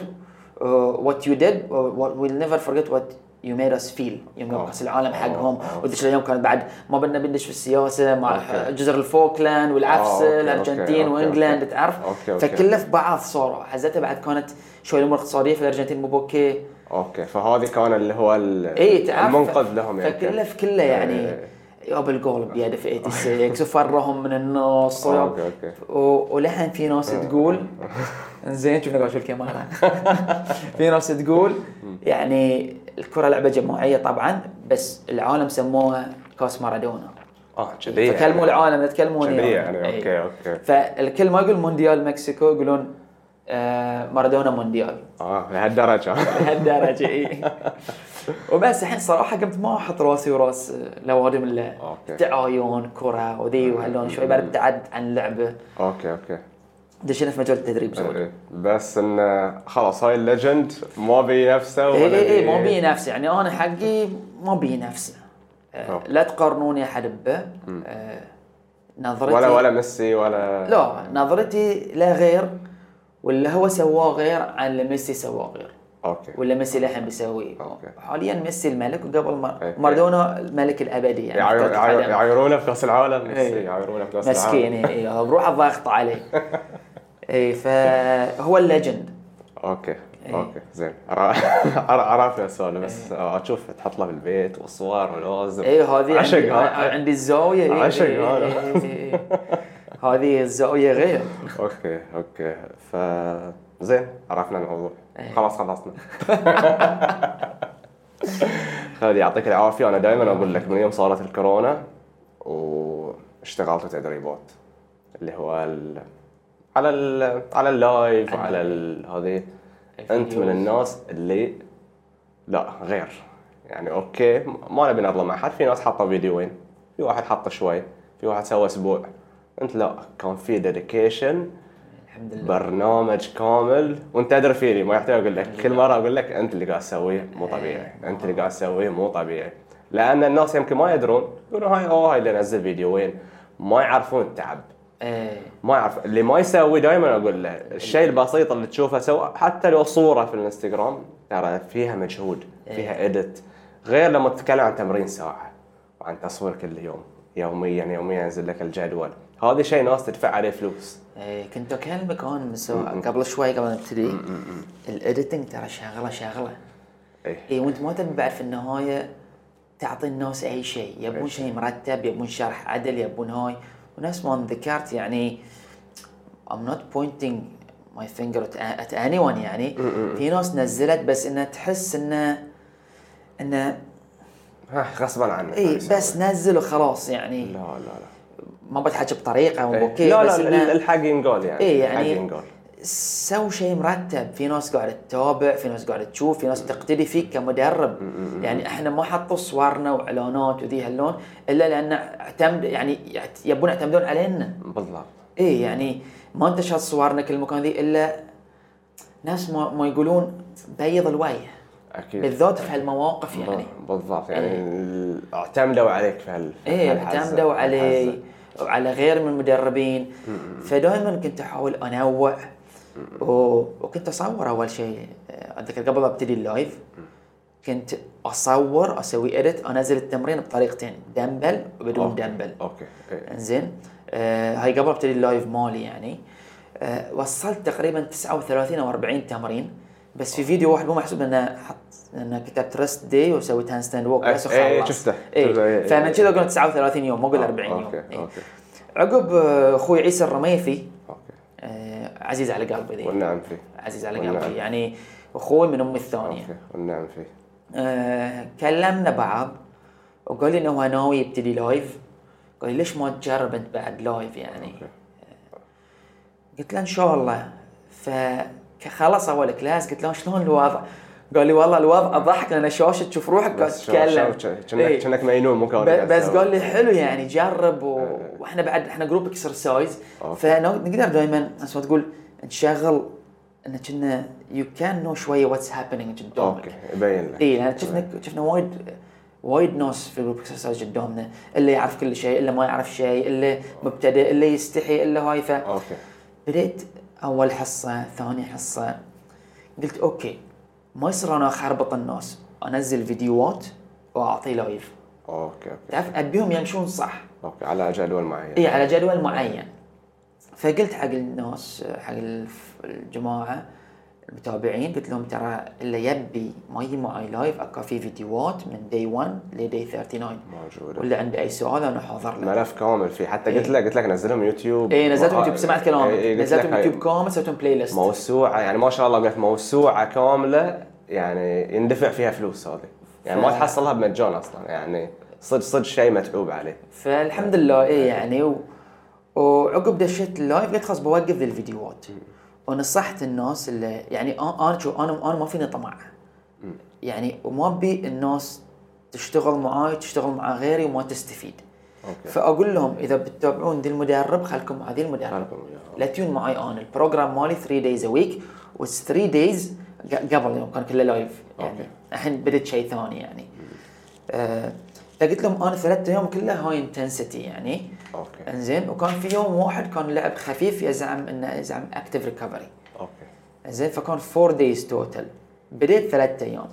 [SPEAKER 2] وات يو ديد ويل نيفر فورجيت وات يو ميد اس فيل يوم يوم
[SPEAKER 3] آه.
[SPEAKER 2] كاس العالم حقهم
[SPEAKER 3] آه.
[SPEAKER 2] ودش اليوم كانت بعد ما بدنا بندش في السياسه مع
[SPEAKER 3] أوكي. آه،
[SPEAKER 2] جزر الفوكلاند والعفسه
[SPEAKER 3] أوكي، أوكي،
[SPEAKER 2] الارجنتين
[SPEAKER 3] أوكي،
[SPEAKER 2] وانجلاند
[SPEAKER 3] أوكي.
[SPEAKER 2] تعرف
[SPEAKER 3] أوكي، أوكي.
[SPEAKER 2] فكله في بعض صاروا حزتها بعد كانت شوي الامور اقتصاديه في الارجنتين مو بوكي
[SPEAKER 3] اوكي فهذه كان اللي هو ال-
[SPEAKER 2] اي إيه، تعرف
[SPEAKER 3] إيه، المنقذ لهم يعني
[SPEAKER 2] فكله في كله يعني
[SPEAKER 3] إيه.
[SPEAKER 2] يابا الجول بيده
[SPEAKER 3] [laughs]
[SPEAKER 2] في 86 وفرهم من النص
[SPEAKER 3] اوكي اوكي
[SPEAKER 2] و- ولحن في ناس
[SPEAKER 3] آه. [laughs]
[SPEAKER 2] تقول زين شفنا قاعد شو الكاميرا [laughs] في ناس تقول يعني الكره لعبه جماعيه طبعا بس العالم سموها كاس مارادونا
[SPEAKER 3] اه كذي يعني.
[SPEAKER 2] فكلموا العالم لا تكلموني
[SPEAKER 3] كذي
[SPEAKER 2] أنا.
[SPEAKER 3] يعني
[SPEAKER 2] إي.
[SPEAKER 3] اوكي اوكي
[SPEAKER 2] فالكل ما يقول مونديال مكسيكو يقولون آه، مارادونا مونديال
[SPEAKER 3] اه لهالدرجه [laughs]
[SPEAKER 2] لهالدرجه اي وبس الحين صراحه قمت ما احط راسي وراس آه، لوادم الا
[SPEAKER 3] أوكي.
[SPEAKER 2] تعاين كره وذي وهاللون شوي بعد ابتعدت عن اللعبه
[SPEAKER 3] اوكي اوكي
[SPEAKER 2] دشينا في مجال التدريب زود
[SPEAKER 3] إيه. بس انه خلاص هاي الليجند ما بي نفسه ولا
[SPEAKER 2] اي اي اي
[SPEAKER 3] بي-
[SPEAKER 2] ما بي نفسه يعني انا حقي ما بي نفسه آه،
[SPEAKER 3] أوكي.
[SPEAKER 2] لا تقارنوني احد به آه، نظرتي
[SPEAKER 3] ولا ولا ميسي ولا
[SPEAKER 2] لا نظرتي لا غير واللي هو سواه غير عن اللي ميسي سواه غير
[SPEAKER 3] اوكي
[SPEAKER 2] ولا ميسي للحين بيسويه
[SPEAKER 3] أوكي.
[SPEAKER 2] حاليا ميسي الملك وقبل مار...
[SPEAKER 3] إيه.
[SPEAKER 2] ماردونا الملك الابدي يعني
[SPEAKER 3] يعاير-
[SPEAKER 2] فترة
[SPEAKER 3] يعاير-
[SPEAKER 2] عدم.
[SPEAKER 3] يعايرونه في كاس العالم ميسي
[SPEAKER 2] إيه.
[SPEAKER 3] يعايرونه في كاس العالم
[SPEAKER 2] مسكين إيه، إيه، هو بروحه ضاغط عليه
[SPEAKER 3] [laughs]
[SPEAKER 2] اي فهو الليجند
[SPEAKER 3] اوكي
[SPEAKER 2] إيه.
[SPEAKER 3] اوكي زين عرفنا السؤال بس آه، اشوف تحط له بالبيت وصور ولوز
[SPEAKER 2] اي إيه، هذه
[SPEAKER 3] عشق
[SPEAKER 2] عندي,
[SPEAKER 3] ها؟
[SPEAKER 2] عندي الزاويه إيه،
[SPEAKER 3] عشق
[SPEAKER 2] إيه،
[SPEAKER 3] هذا.
[SPEAKER 2] إيه، إيه، إيه. هذه الزاويه غير
[SPEAKER 3] اوكي اوكي ف زين عرفنا الموضوع خلاص خلصنا [laughs] خالد يعطيك العافيه انا دائما اقول لك من يوم صارت الكورونا واشتغلت تدريبات اللي هو ال... على ال... على اللايف وعلى ال... هذه انت من الناس اللي لا غير يعني اوكي ما نبي نظلم احد في ناس حطوا فيديوين في واحد حط شوي في واحد سوى اسبوع انت لا كان في ديديكيشن
[SPEAKER 2] الحمد لله
[SPEAKER 3] برنامج كامل وانت ادري فيني ما يحتاج اقول لك كل مره اقول لك انت اللي قاعد تسويه مو طبيعي انت اللي قاعد تسويه مو طبيعي لان الناس يمكن ما يدرون يقولون هاي اوه هاي اللي نزل فيديوين ما يعرفون التعب
[SPEAKER 2] ايه
[SPEAKER 3] ما يعرف اللي ما يسوي دائما اقول له الشيء البسيط اللي تشوفه سواء حتى لو صوره في الانستغرام ترى فيها مجهود فيها ادت غير لما تتكلم عن تمرين ساعه وعن تصوير كل يوم يوميا يوميا ينزل لك الجدول هذا شيء ناس تدفع عليه فلوس
[SPEAKER 2] إيه، كنت اكلمك هون من سو- قبل شوي قبل ما نبتدي الايديتنج ترى شغله شغله
[SPEAKER 3] ايه
[SPEAKER 2] اي وانت ما تبي بعد في النهايه تعطي الناس اي شيء يبون شيء مرتب يبون شرح عدل يبون هاي ونفس ما ذكرت يعني I'm not pointing ماي فينجر ات اني ون يعني في ناس نزلت بس انها تحس انه انه
[SPEAKER 3] ها غصبا عنك
[SPEAKER 2] اي إيه، بس نزل وخلاص يعني
[SPEAKER 3] لا لا لا
[SPEAKER 2] ما بتحكي بطريقه مو
[SPEAKER 3] إيه.
[SPEAKER 2] اوكي
[SPEAKER 3] لا
[SPEAKER 2] بس
[SPEAKER 3] لا ال-
[SPEAKER 2] إنه
[SPEAKER 3] الحق ينقال يعني
[SPEAKER 2] إيه،
[SPEAKER 3] الحق
[SPEAKER 2] يعني-
[SPEAKER 3] ينقال
[SPEAKER 2] سو شيء مرتب في ناس قاعده تتابع في ناس قاعده تشوف في ناس تقتدي فيك كمدرب يعني احنا ما حطوا صورنا واعلانات وذي هاللون الا لان اعتمد يعني يعت- يبون يعتمدون علينا
[SPEAKER 3] بالضبط
[SPEAKER 2] ايه يعني ما انتشر صورنا كل مكان ذي الا ناس ما, ما يقولون بيض الوجه
[SPEAKER 3] اكيد
[SPEAKER 2] بالذات في هالمواقف يعني
[SPEAKER 3] ب- بالضبط يعني ال- اعتمدوا عليك في هال في
[SPEAKER 2] ايه
[SPEAKER 3] هالحزة.
[SPEAKER 2] اعتمدوا علي
[SPEAKER 3] هالحزة.
[SPEAKER 2] وعلى غير من المدربين فدائما كنت احاول انوع و... وكنت اصور اول شيء اتذكر قبل لا ابتدي اللايف كنت اصور اسوي اديت انزل التمرين بطريقتين دمبل وبدون
[SPEAKER 3] أوكي.
[SPEAKER 2] دمبل
[SPEAKER 3] اوكي إيه.
[SPEAKER 2] انزين آه هاي قبل ابتدي اللايف مالي يعني آه وصلت تقريبا 39 او 40 تمرين بس في فيديو واحد مو محسوب انه حط انه كتبت ريست داي وسويت هاند ستاند ووك
[SPEAKER 3] إيه،
[SPEAKER 2] بس
[SPEAKER 3] إيه،
[SPEAKER 2] وخلاص.
[SPEAKER 3] شفته.
[SPEAKER 2] اي
[SPEAKER 3] شفته، إيه،
[SPEAKER 2] فمن
[SPEAKER 3] إيه. آه،
[SPEAKER 2] كذا قلت 39 يوم مو قلت 40 يوم
[SPEAKER 3] اوكي
[SPEAKER 2] إيه.
[SPEAKER 3] اوكي
[SPEAKER 2] عقب آه، اخوي عيسى الرميثي
[SPEAKER 3] اوكي
[SPEAKER 2] آه عزيز على قلبي ذي
[SPEAKER 3] والنعم فيه
[SPEAKER 2] عزيز على
[SPEAKER 3] والنعم.
[SPEAKER 2] قلبي يعني اخوي من امي الثانيه
[SPEAKER 3] اوكي والنعم فيه
[SPEAKER 2] آه، كلمنا بعض وقال لي انه هو ناوي يبتدي لايف قال لي ليش ما تجرب انت بعد لايف يعني قلت له ان شاء الله فخلص اول كلاس قلت له شلون الوضع قال لي والله الوضع ضحك لان شاشه تشوف روحك قاعد
[SPEAKER 3] بس شو-
[SPEAKER 2] تتكلم
[SPEAKER 3] شو-
[SPEAKER 2] إيه.
[SPEAKER 3] كأنك كأنك مجنون مو كونك
[SPEAKER 2] ب-
[SPEAKER 3] قاعد
[SPEAKER 2] بس
[SPEAKER 3] تسوي.
[SPEAKER 2] قال لي حلو يعني جرب و... واحنا بعد احنا جروب اكسرسايز
[SPEAKER 3] أوكي.
[SPEAKER 2] فنقدر دائما نفس ما تقول نشغل ان كنا يو كان نو شويه واتس هابينج قدامك
[SPEAKER 3] اوكي يبين لك
[SPEAKER 2] اي يعني شفنا شفنا وايد وايد ناس في الويب اكسرسايز قدامنا اللي يعرف كل شيء اللي ما يعرف شيء اللي مبتدئ اللي يستحي اللي هاي
[SPEAKER 3] اوكي
[SPEAKER 2] فبديت اول حصه ثاني حصه قلت اوكي ما يصير انا اخربط الناس انزل فيديوهات واعطي لايف
[SPEAKER 3] اوكي اوكي
[SPEAKER 2] تعرف إيه. ابيهم يمشون صح
[SPEAKER 3] اوكي على جدول معين
[SPEAKER 2] اي على جدول معين فقلت حق الناس حق الف- الجماعه المتابعين قلت لهم ترى اللي يبي ما يجي معي لايف اكو في فيديوهات من دي 1 لدي 39
[SPEAKER 3] موجوده
[SPEAKER 2] واللي عنده اي سؤال انا حاضر له
[SPEAKER 3] ملف كامل فيه حتى قلت لك قلت لك نزلهم يوتيوب
[SPEAKER 2] اي إيه. نزلتهم
[SPEAKER 3] آه،
[SPEAKER 2] يوتيوب سمعت كلامك
[SPEAKER 3] إيه، قلت
[SPEAKER 2] نزلتهم
[SPEAKER 3] لك هاي
[SPEAKER 2] يوتيوب كامل سويتهم بلاي ليست
[SPEAKER 3] موسوعه يعني ما شاء الله قلت موسوعه كامله يعني يندفع فيها فلوس هذه يعني ما
[SPEAKER 2] ف-
[SPEAKER 3] تحصلها بمجان اصلا يعني صدق صدق شيء متعوب عليه
[SPEAKER 2] فالحمد لله اي يعني و... وعقب دشيت اللايف قلت خلاص بوقف ذي الفيديوهات ونصحت الناس اللي يعني أ- انا شو انا انا ما فيني طمع يعني وما ابي الناس تشتغل معاي تشتغل مع غيري وما تستفيد
[SPEAKER 3] اوكي
[SPEAKER 2] فاقول لهم اذا بتتابعون ذي المدرب خلكم مع ذي المدرب
[SPEAKER 3] خلكم وياها.
[SPEAKER 2] لا تيون معي انا البروجرام مالي 3 دايز ا ويك واتس 3 دايز قبل يوم كان كله لايف يعني
[SPEAKER 3] أوكي.
[SPEAKER 2] الحين بدت شيء ثاني يعني آه، فقلت لهم انا ثلاثة يوم كله هاي انتنسيتي يعني
[SPEAKER 3] اوكي
[SPEAKER 2] انزين وكان في يوم واحد كان لعب خفيف يزعم انه يزعم اكتف ريكفري
[SPEAKER 3] اوكي
[SPEAKER 2] زين فكان فور دايز توتال بديت ثلاثة ايام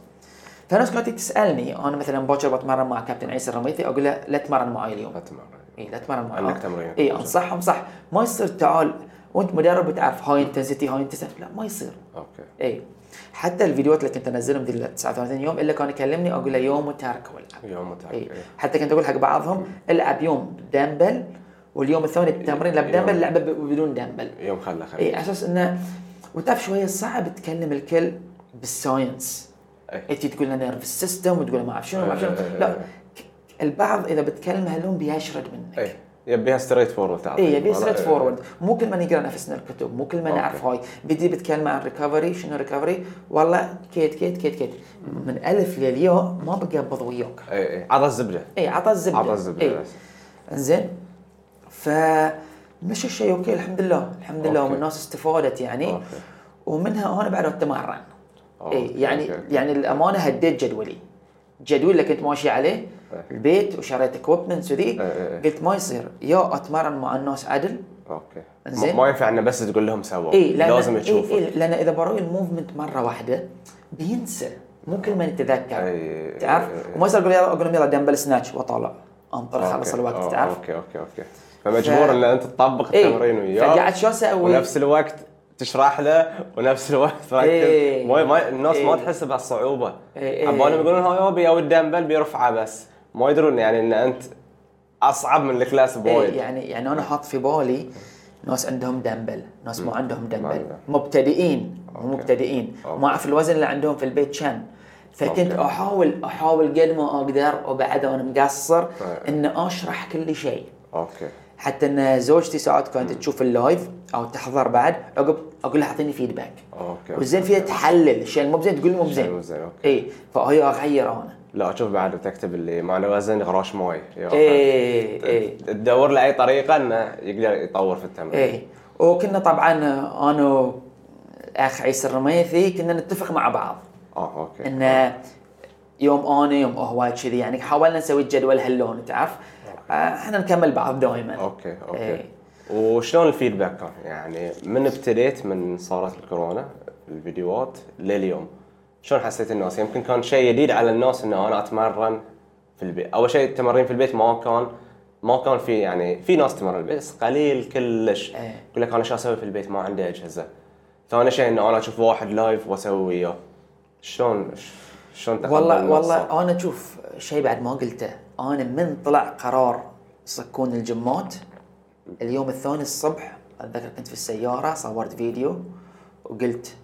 [SPEAKER 2] فالناس كانت تسالني انا مثلا باكر بتمرن مع كابتن عيسى الرميثي اقول له لا تمرن معي اليوم
[SPEAKER 3] اتمرن
[SPEAKER 2] اي إيه، لا تمرن معاه
[SPEAKER 3] عندك تمرين.
[SPEAKER 2] اي انصحهم صح ما يصير تعال وانت مدرب وتعرف هاي انتنسيتي هاي انتنسيتي لا ما يصير
[SPEAKER 3] اوكي
[SPEAKER 2] اي حتى الفيديوهات اللي كنت انزلهم ذي ال 39 يوم الا كان يكلمني اقول له يوم وترك والعب
[SPEAKER 3] يوم متعب
[SPEAKER 2] اي
[SPEAKER 3] إيه.
[SPEAKER 2] حتى كنت اقول حق بعضهم العب يوم دمبل واليوم الثاني التمرين لا بدمبل لعبه ب- بدون دمبل
[SPEAKER 3] يوم خله خله
[SPEAKER 2] اي على اساس انه وتعرف شويه صعب تكلم الكل بالساينس
[SPEAKER 3] إيه.
[SPEAKER 2] انت تقول له نيرف سيستم وتقول له ما اعرف شنو ما اعرف شنو
[SPEAKER 3] إيه.
[SPEAKER 2] لا البعض اذا بتكلم هلوم بيشرد منك
[SPEAKER 3] اي إيه. يبيها ستريت فورورد تعطي
[SPEAKER 2] اي يبي ستريت
[SPEAKER 3] إيه.
[SPEAKER 2] فورورد يعني مو كل ما نقرا نفسنا الكتب مو كل ما نعرف هاي بدي بتكلم عن ريكفري شنو ريكفري والله كيت كيت كيت كيت من الف للياء ما بقبض وياك
[SPEAKER 3] اي اي عطى الزبده
[SPEAKER 2] اي عطى إيه. الزبده
[SPEAKER 3] عطى الزبده
[SPEAKER 2] إي.
[SPEAKER 3] بس
[SPEAKER 2] انزين فمشى الشيء اوكي الحمد لله الحمد لله
[SPEAKER 3] أوكي.
[SPEAKER 2] والناس استفادت يعني
[SPEAKER 3] أوكي.
[SPEAKER 2] ومنها انا بعد اتمرن
[SPEAKER 3] أوكي،
[SPEAKER 2] اي يعني
[SPEAKER 3] أوكي.
[SPEAKER 2] يعني الامانه هديت جدولي الجدول اللي كنت ماشي عليه
[SPEAKER 3] إيه.
[SPEAKER 2] البيت وشريت اكوبمنتس وذي
[SPEAKER 3] إيه، إيه.
[SPEAKER 2] قلت ما يصير يا اتمرن مع الناس عدل
[SPEAKER 3] اوكي
[SPEAKER 2] زين. إيه،
[SPEAKER 3] م- ما ينفع انه بس تقول لهم سووا
[SPEAKER 2] اي لان
[SPEAKER 3] إيه، لازم تشوفوا
[SPEAKER 2] اي إي لان اذا بروي الموفمنت مره واحده بينسى مو كل ما يتذكر
[SPEAKER 3] إي-
[SPEAKER 2] تعرف وما يصير اقول يلا اقول لهم يلا دمبل سناتش واطالع انطر خلص
[SPEAKER 3] إيه. أوكي. آه،
[SPEAKER 2] الوقت
[SPEAKER 3] أو-
[SPEAKER 2] تعرف
[SPEAKER 3] اوكي اوكي اوكي فمجبور
[SPEAKER 2] ف- إيه،
[SPEAKER 3] ان انت تطبق
[SPEAKER 2] إي.
[SPEAKER 3] التمرين وياه
[SPEAKER 2] فقعدت شو أسوي؟
[SPEAKER 3] ونفس الوقت تشرح له ونفس الوقت [laughs] تركز
[SPEAKER 2] إي.
[SPEAKER 3] ما ما الناس ما
[SPEAKER 2] إي.
[SPEAKER 3] تحس بهالصعوبه
[SPEAKER 2] إي- إي.
[SPEAKER 3] عبالهم يقولون هاي يوبي او الدمبل بيرفعه بس ما يدرون يعني ان انت اصعب من الكلاس
[SPEAKER 2] إيه
[SPEAKER 3] بوايد
[SPEAKER 2] يعني يعني انا حاط في بالي ناس عندهم دمبل ناس ما عندهم دمبل
[SPEAKER 3] عندهم.
[SPEAKER 2] مبتدئين
[SPEAKER 3] أوكي.
[SPEAKER 2] هم مبتدئين
[SPEAKER 3] أوكي.
[SPEAKER 2] ما اعرف الوزن اللي عندهم في البيت كم فكنت
[SPEAKER 3] أوكي.
[SPEAKER 2] احاول احاول قد ما اقدر وبعد وانا مقصر
[SPEAKER 3] طيب.
[SPEAKER 2] ان اشرح كل شيء
[SPEAKER 3] اوكي
[SPEAKER 2] حتى ان زوجتي ساعات كانت تشوف اللايف او تحضر بعد عقب اقول لها اعطيني فيدباك
[SPEAKER 3] اوكي
[SPEAKER 2] والزين فيها تحلل الشيء اللي مو بزين تقول مو
[SPEAKER 3] زين
[SPEAKER 2] بزين
[SPEAKER 3] زين اوكي
[SPEAKER 2] اي فهي اغير انا
[SPEAKER 3] لا اشوف بعد تكتب اللي معنى وزن غراش موي يا
[SPEAKER 2] إيه.
[SPEAKER 3] أخي.
[SPEAKER 2] اي اي
[SPEAKER 3] تدور له اي طريقه انه يقدر يطور في التمرين
[SPEAKER 2] اي إيه. وكنا طبعا انا الاخ عيسى الرميثي كنا نتفق مع بعض
[SPEAKER 3] اه اوكي
[SPEAKER 2] ان يوم انا يوم هو كذي يعني حاولنا نسوي الجدول هاللون تعرف آه، احنا نكمل بعض دائما
[SPEAKER 3] اوكي
[SPEAKER 2] إيه.
[SPEAKER 3] اوكي وشلون الفيدباك كان؟ يعني من ابتديت من صارت الكورونا الفيديوهات لليوم شلون حسيت الناس؟ يمكن كان شيء جديد على الناس انه انا اتمرن في البيت، اول شيء التمارين في البيت ما كان ما كان في يعني في ناس تمرن في البيت بس قليل كلش
[SPEAKER 2] إيه.
[SPEAKER 3] يقول لك انا شو اسوي في البيت ما عندي اجهزه. ثاني شيء انه انا اشوف واحد لايف واسوي وياه. شلون شلون تقبل
[SPEAKER 2] والله
[SPEAKER 3] الناس صار؟
[SPEAKER 2] والله انا شوف شيء بعد ما قلته انا من طلع قرار يسكون الجمات اليوم الثاني الصبح اتذكر كنت في السياره صورت فيديو وقلت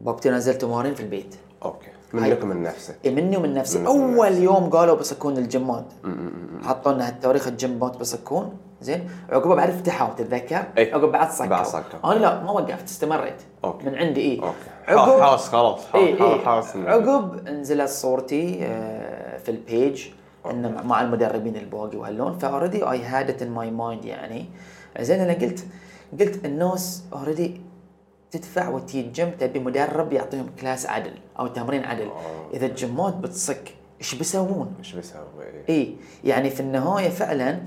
[SPEAKER 2] بوقتي نزلت تمارين في البيت
[SPEAKER 3] اوكي منك من نفسك.
[SPEAKER 2] إي مني ومن نفسي
[SPEAKER 3] من
[SPEAKER 2] اول يوم قالوا بسكون الجمات حطوا لنا هالتاريخ الجمات بسكون زين عقبه بعد فتحوا تتذكر
[SPEAKER 3] إي.
[SPEAKER 2] عقب بعد سكروا
[SPEAKER 3] بعد سكروا.
[SPEAKER 2] انا لا ما وقفت استمريت
[SPEAKER 3] أوكي.
[SPEAKER 2] من عندي إيه، اي
[SPEAKER 3] اوكي حاس حاس خلاص حاس
[SPEAKER 2] اي اي
[SPEAKER 3] حاس
[SPEAKER 2] إيه، عقب نزلت صورتي آه، في البيج انه مع المدربين الباقي وهاللون فاوريدي اي هاد ات ان ماي مايند يعني زين انا قلت قلت الناس اوريدي تدفع وتي الجيم تبي مدرب يعطيهم كلاس عدل او تمرين عدل
[SPEAKER 3] آه.
[SPEAKER 2] اذا الجمات بتصك ايش بيسوون؟
[SPEAKER 3] ايش بسوي؟
[SPEAKER 2] اي يعني في النهايه فعلا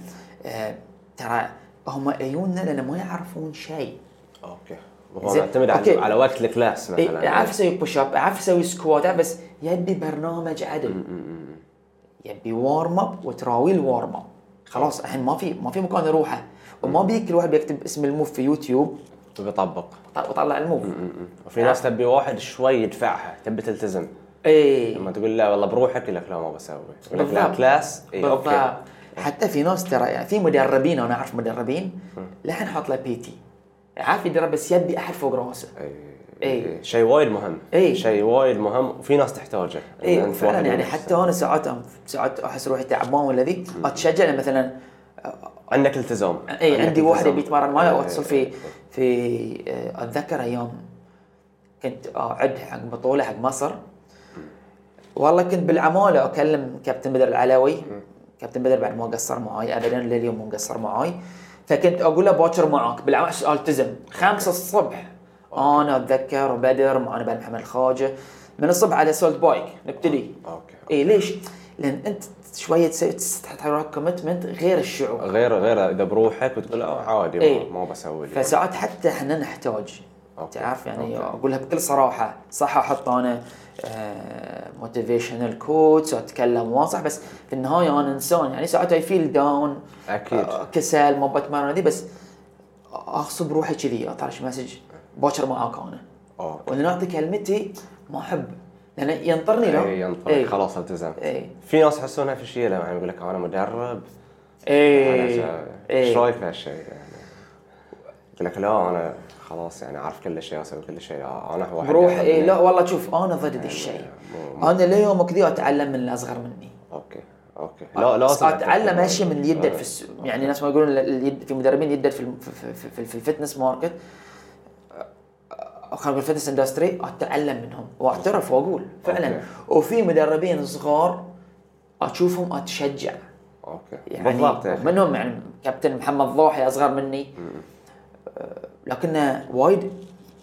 [SPEAKER 2] آه، ترى هم عيوننا لان ما يعرفون شيء
[SPEAKER 3] اوكي هو
[SPEAKER 2] زين،
[SPEAKER 3] معتمد على,
[SPEAKER 2] أوكي.
[SPEAKER 3] على وقت الكلاس مثلا
[SPEAKER 2] إيه اعرف اسوي بوش اب اعرف اسوي سكوات أعرف بس يبي برنامج عدل يبي وارم اب وتراوي الوارم اب خلاص الحين ما في ما في مكان يروحه وما بيك الواحد بيكتب اسم الموف في يوتيوب
[SPEAKER 3] بيطبق
[SPEAKER 2] وط- وطلع الموف
[SPEAKER 3] وفي ناس تبي واحد شوي يدفعها تبي تلتزم
[SPEAKER 2] اي
[SPEAKER 3] لما تقول لا والله بروحك يقول لك لا ما بسوي يقول لك لا
[SPEAKER 2] إيه. بالضبط.
[SPEAKER 3] كلاس إيه، اي
[SPEAKER 2] بالضبط
[SPEAKER 3] اوكي
[SPEAKER 2] حتى في ناس ترى يعني في مدربين انا اعرف مدربين لحن حاط له بي تي عارف يدرب بس يبي احد فوق راسه اي
[SPEAKER 3] إيه، شيء وايد مهم
[SPEAKER 2] إي.
[SPEAKER 3] شيء وايد مهم وفي ناس تحتاجه إن
[SPEAKER 2] اي
[SPEAKER 3] أنت
[SPEAKER 2] فعلا
[SPEAKER 3] واحد
[SPEAKER 2] إيه. يعني
[SPEAKER 3] من-
[SPEAKER 2] حتى انا ساعات ساعات احس روحي تعبان ولا ذي يعني اتشجع لما مثلا
[SPEAKER 3] عندك التزام
[SPEAKER 2] اي إيه، عندي واحد يبي يتمرن معي
[SPEAKER 3] إيه،
[SPEAKER 2] واتصل في في آه، اتذكر ايام كنت اعد حق بطوله حق مصر والله كنت بالعماله اكلم كابتن بدر العلوي كابتن بدر بعد ما قصر معاي ابدا لليوم مو قصر معاي فكنت اقول له باكر معاك بالعمل التزم خمسة الصبح انا اتذكر بدر معنا بعد محمد الخواجه من الصبح على سولت بايك نبتدي
[SPEAKER 3] اوكي
[SPEAKER 2] اي ليش؟ لان انت شويه تسوي تحط وراك كومتمنت غير الشعور
[SPEAKER 3] غير غير اذا بروحك وتقول لا عادي ما-
[SPEAKER 2] إيه.
[SPEAKER 3] ما بسوي اليوم.
[SPEAKER 2] فساعات حتى احنا نحتاج
[SPEAKER 3] أوكي.
[SPEAKER 2] تعرف يعني
[SPEAKER 3] أوكي.
[SPEAKER 2] اقولها بكل صراحه صح آه، احط انا موتيفيشنال كوتس واتكلم وانصح بس في النهايه انا انسان يعني ساعات اي فيل داون
[SPEAKER 3] اكيد
[SPEAKER 2] آه، كسل ما بتمرن ذي بس اغصب روحي كذي اطرش مسج باكر معاك انا
[SPEAKER 3] أوكي.
[SPEAKER 2] وانا اعطي كلمتي ما احب لان ينطرني إيه، لو
[SPEAKER 3] اي ينطلق إيه، خلاص التزمت
[SPEAKER 2] إي.
[SPEAKER 3] في ناس يحسونها في شيء لما يقول لك انا مدرب
[SPEAKER 2] اي
[SPEAKER 3] أنا ش- ايش
[SPEAKER 2] اي
[SPEAKER 3] رايك في هالشيء يعني يقول لك لا انا خلاص يعني اعرف كل شيء اسوي كل شيء انا واحد
[SPEAKER 2] بروح
[SPEAKER 3] يعني-
[SPEAKER 2] اي إيه، لا والله شوف انا ضد ذي الشيء
[SPEAKER 3] مو-
[SPEAKER 2] انا ليومك ذي اتعلم من الاصغر مني
[SPEAKER 3] اوكي اوكي لا لازم
[SPEAKER 2] اتعلم اشياء من اللي يبدا
[SPEAKER 3] آه.
[SPEAKER 2] في السوق يعني ناس ما يقولون ال- اليد في مدربين يبدا في الم- في, في, في, في, في الفتنس ماركت أو خلينا نقول الفتنس اندستري اتعلم منهم واعترف واقول فعلا
[SPEAKER 3] أوكي.
[SPEAKER 2] وفي مدربين صغار اشوفهم اتشجع
[SPEAKER 3] اوكي
[SPEAKER 2] يعني
[SPEAKER 3] بالضبط يا أخي.
[SPEAKER 2] منهم يعني كابتن محمد ضوحي اصغر مني آه، لكنه وايد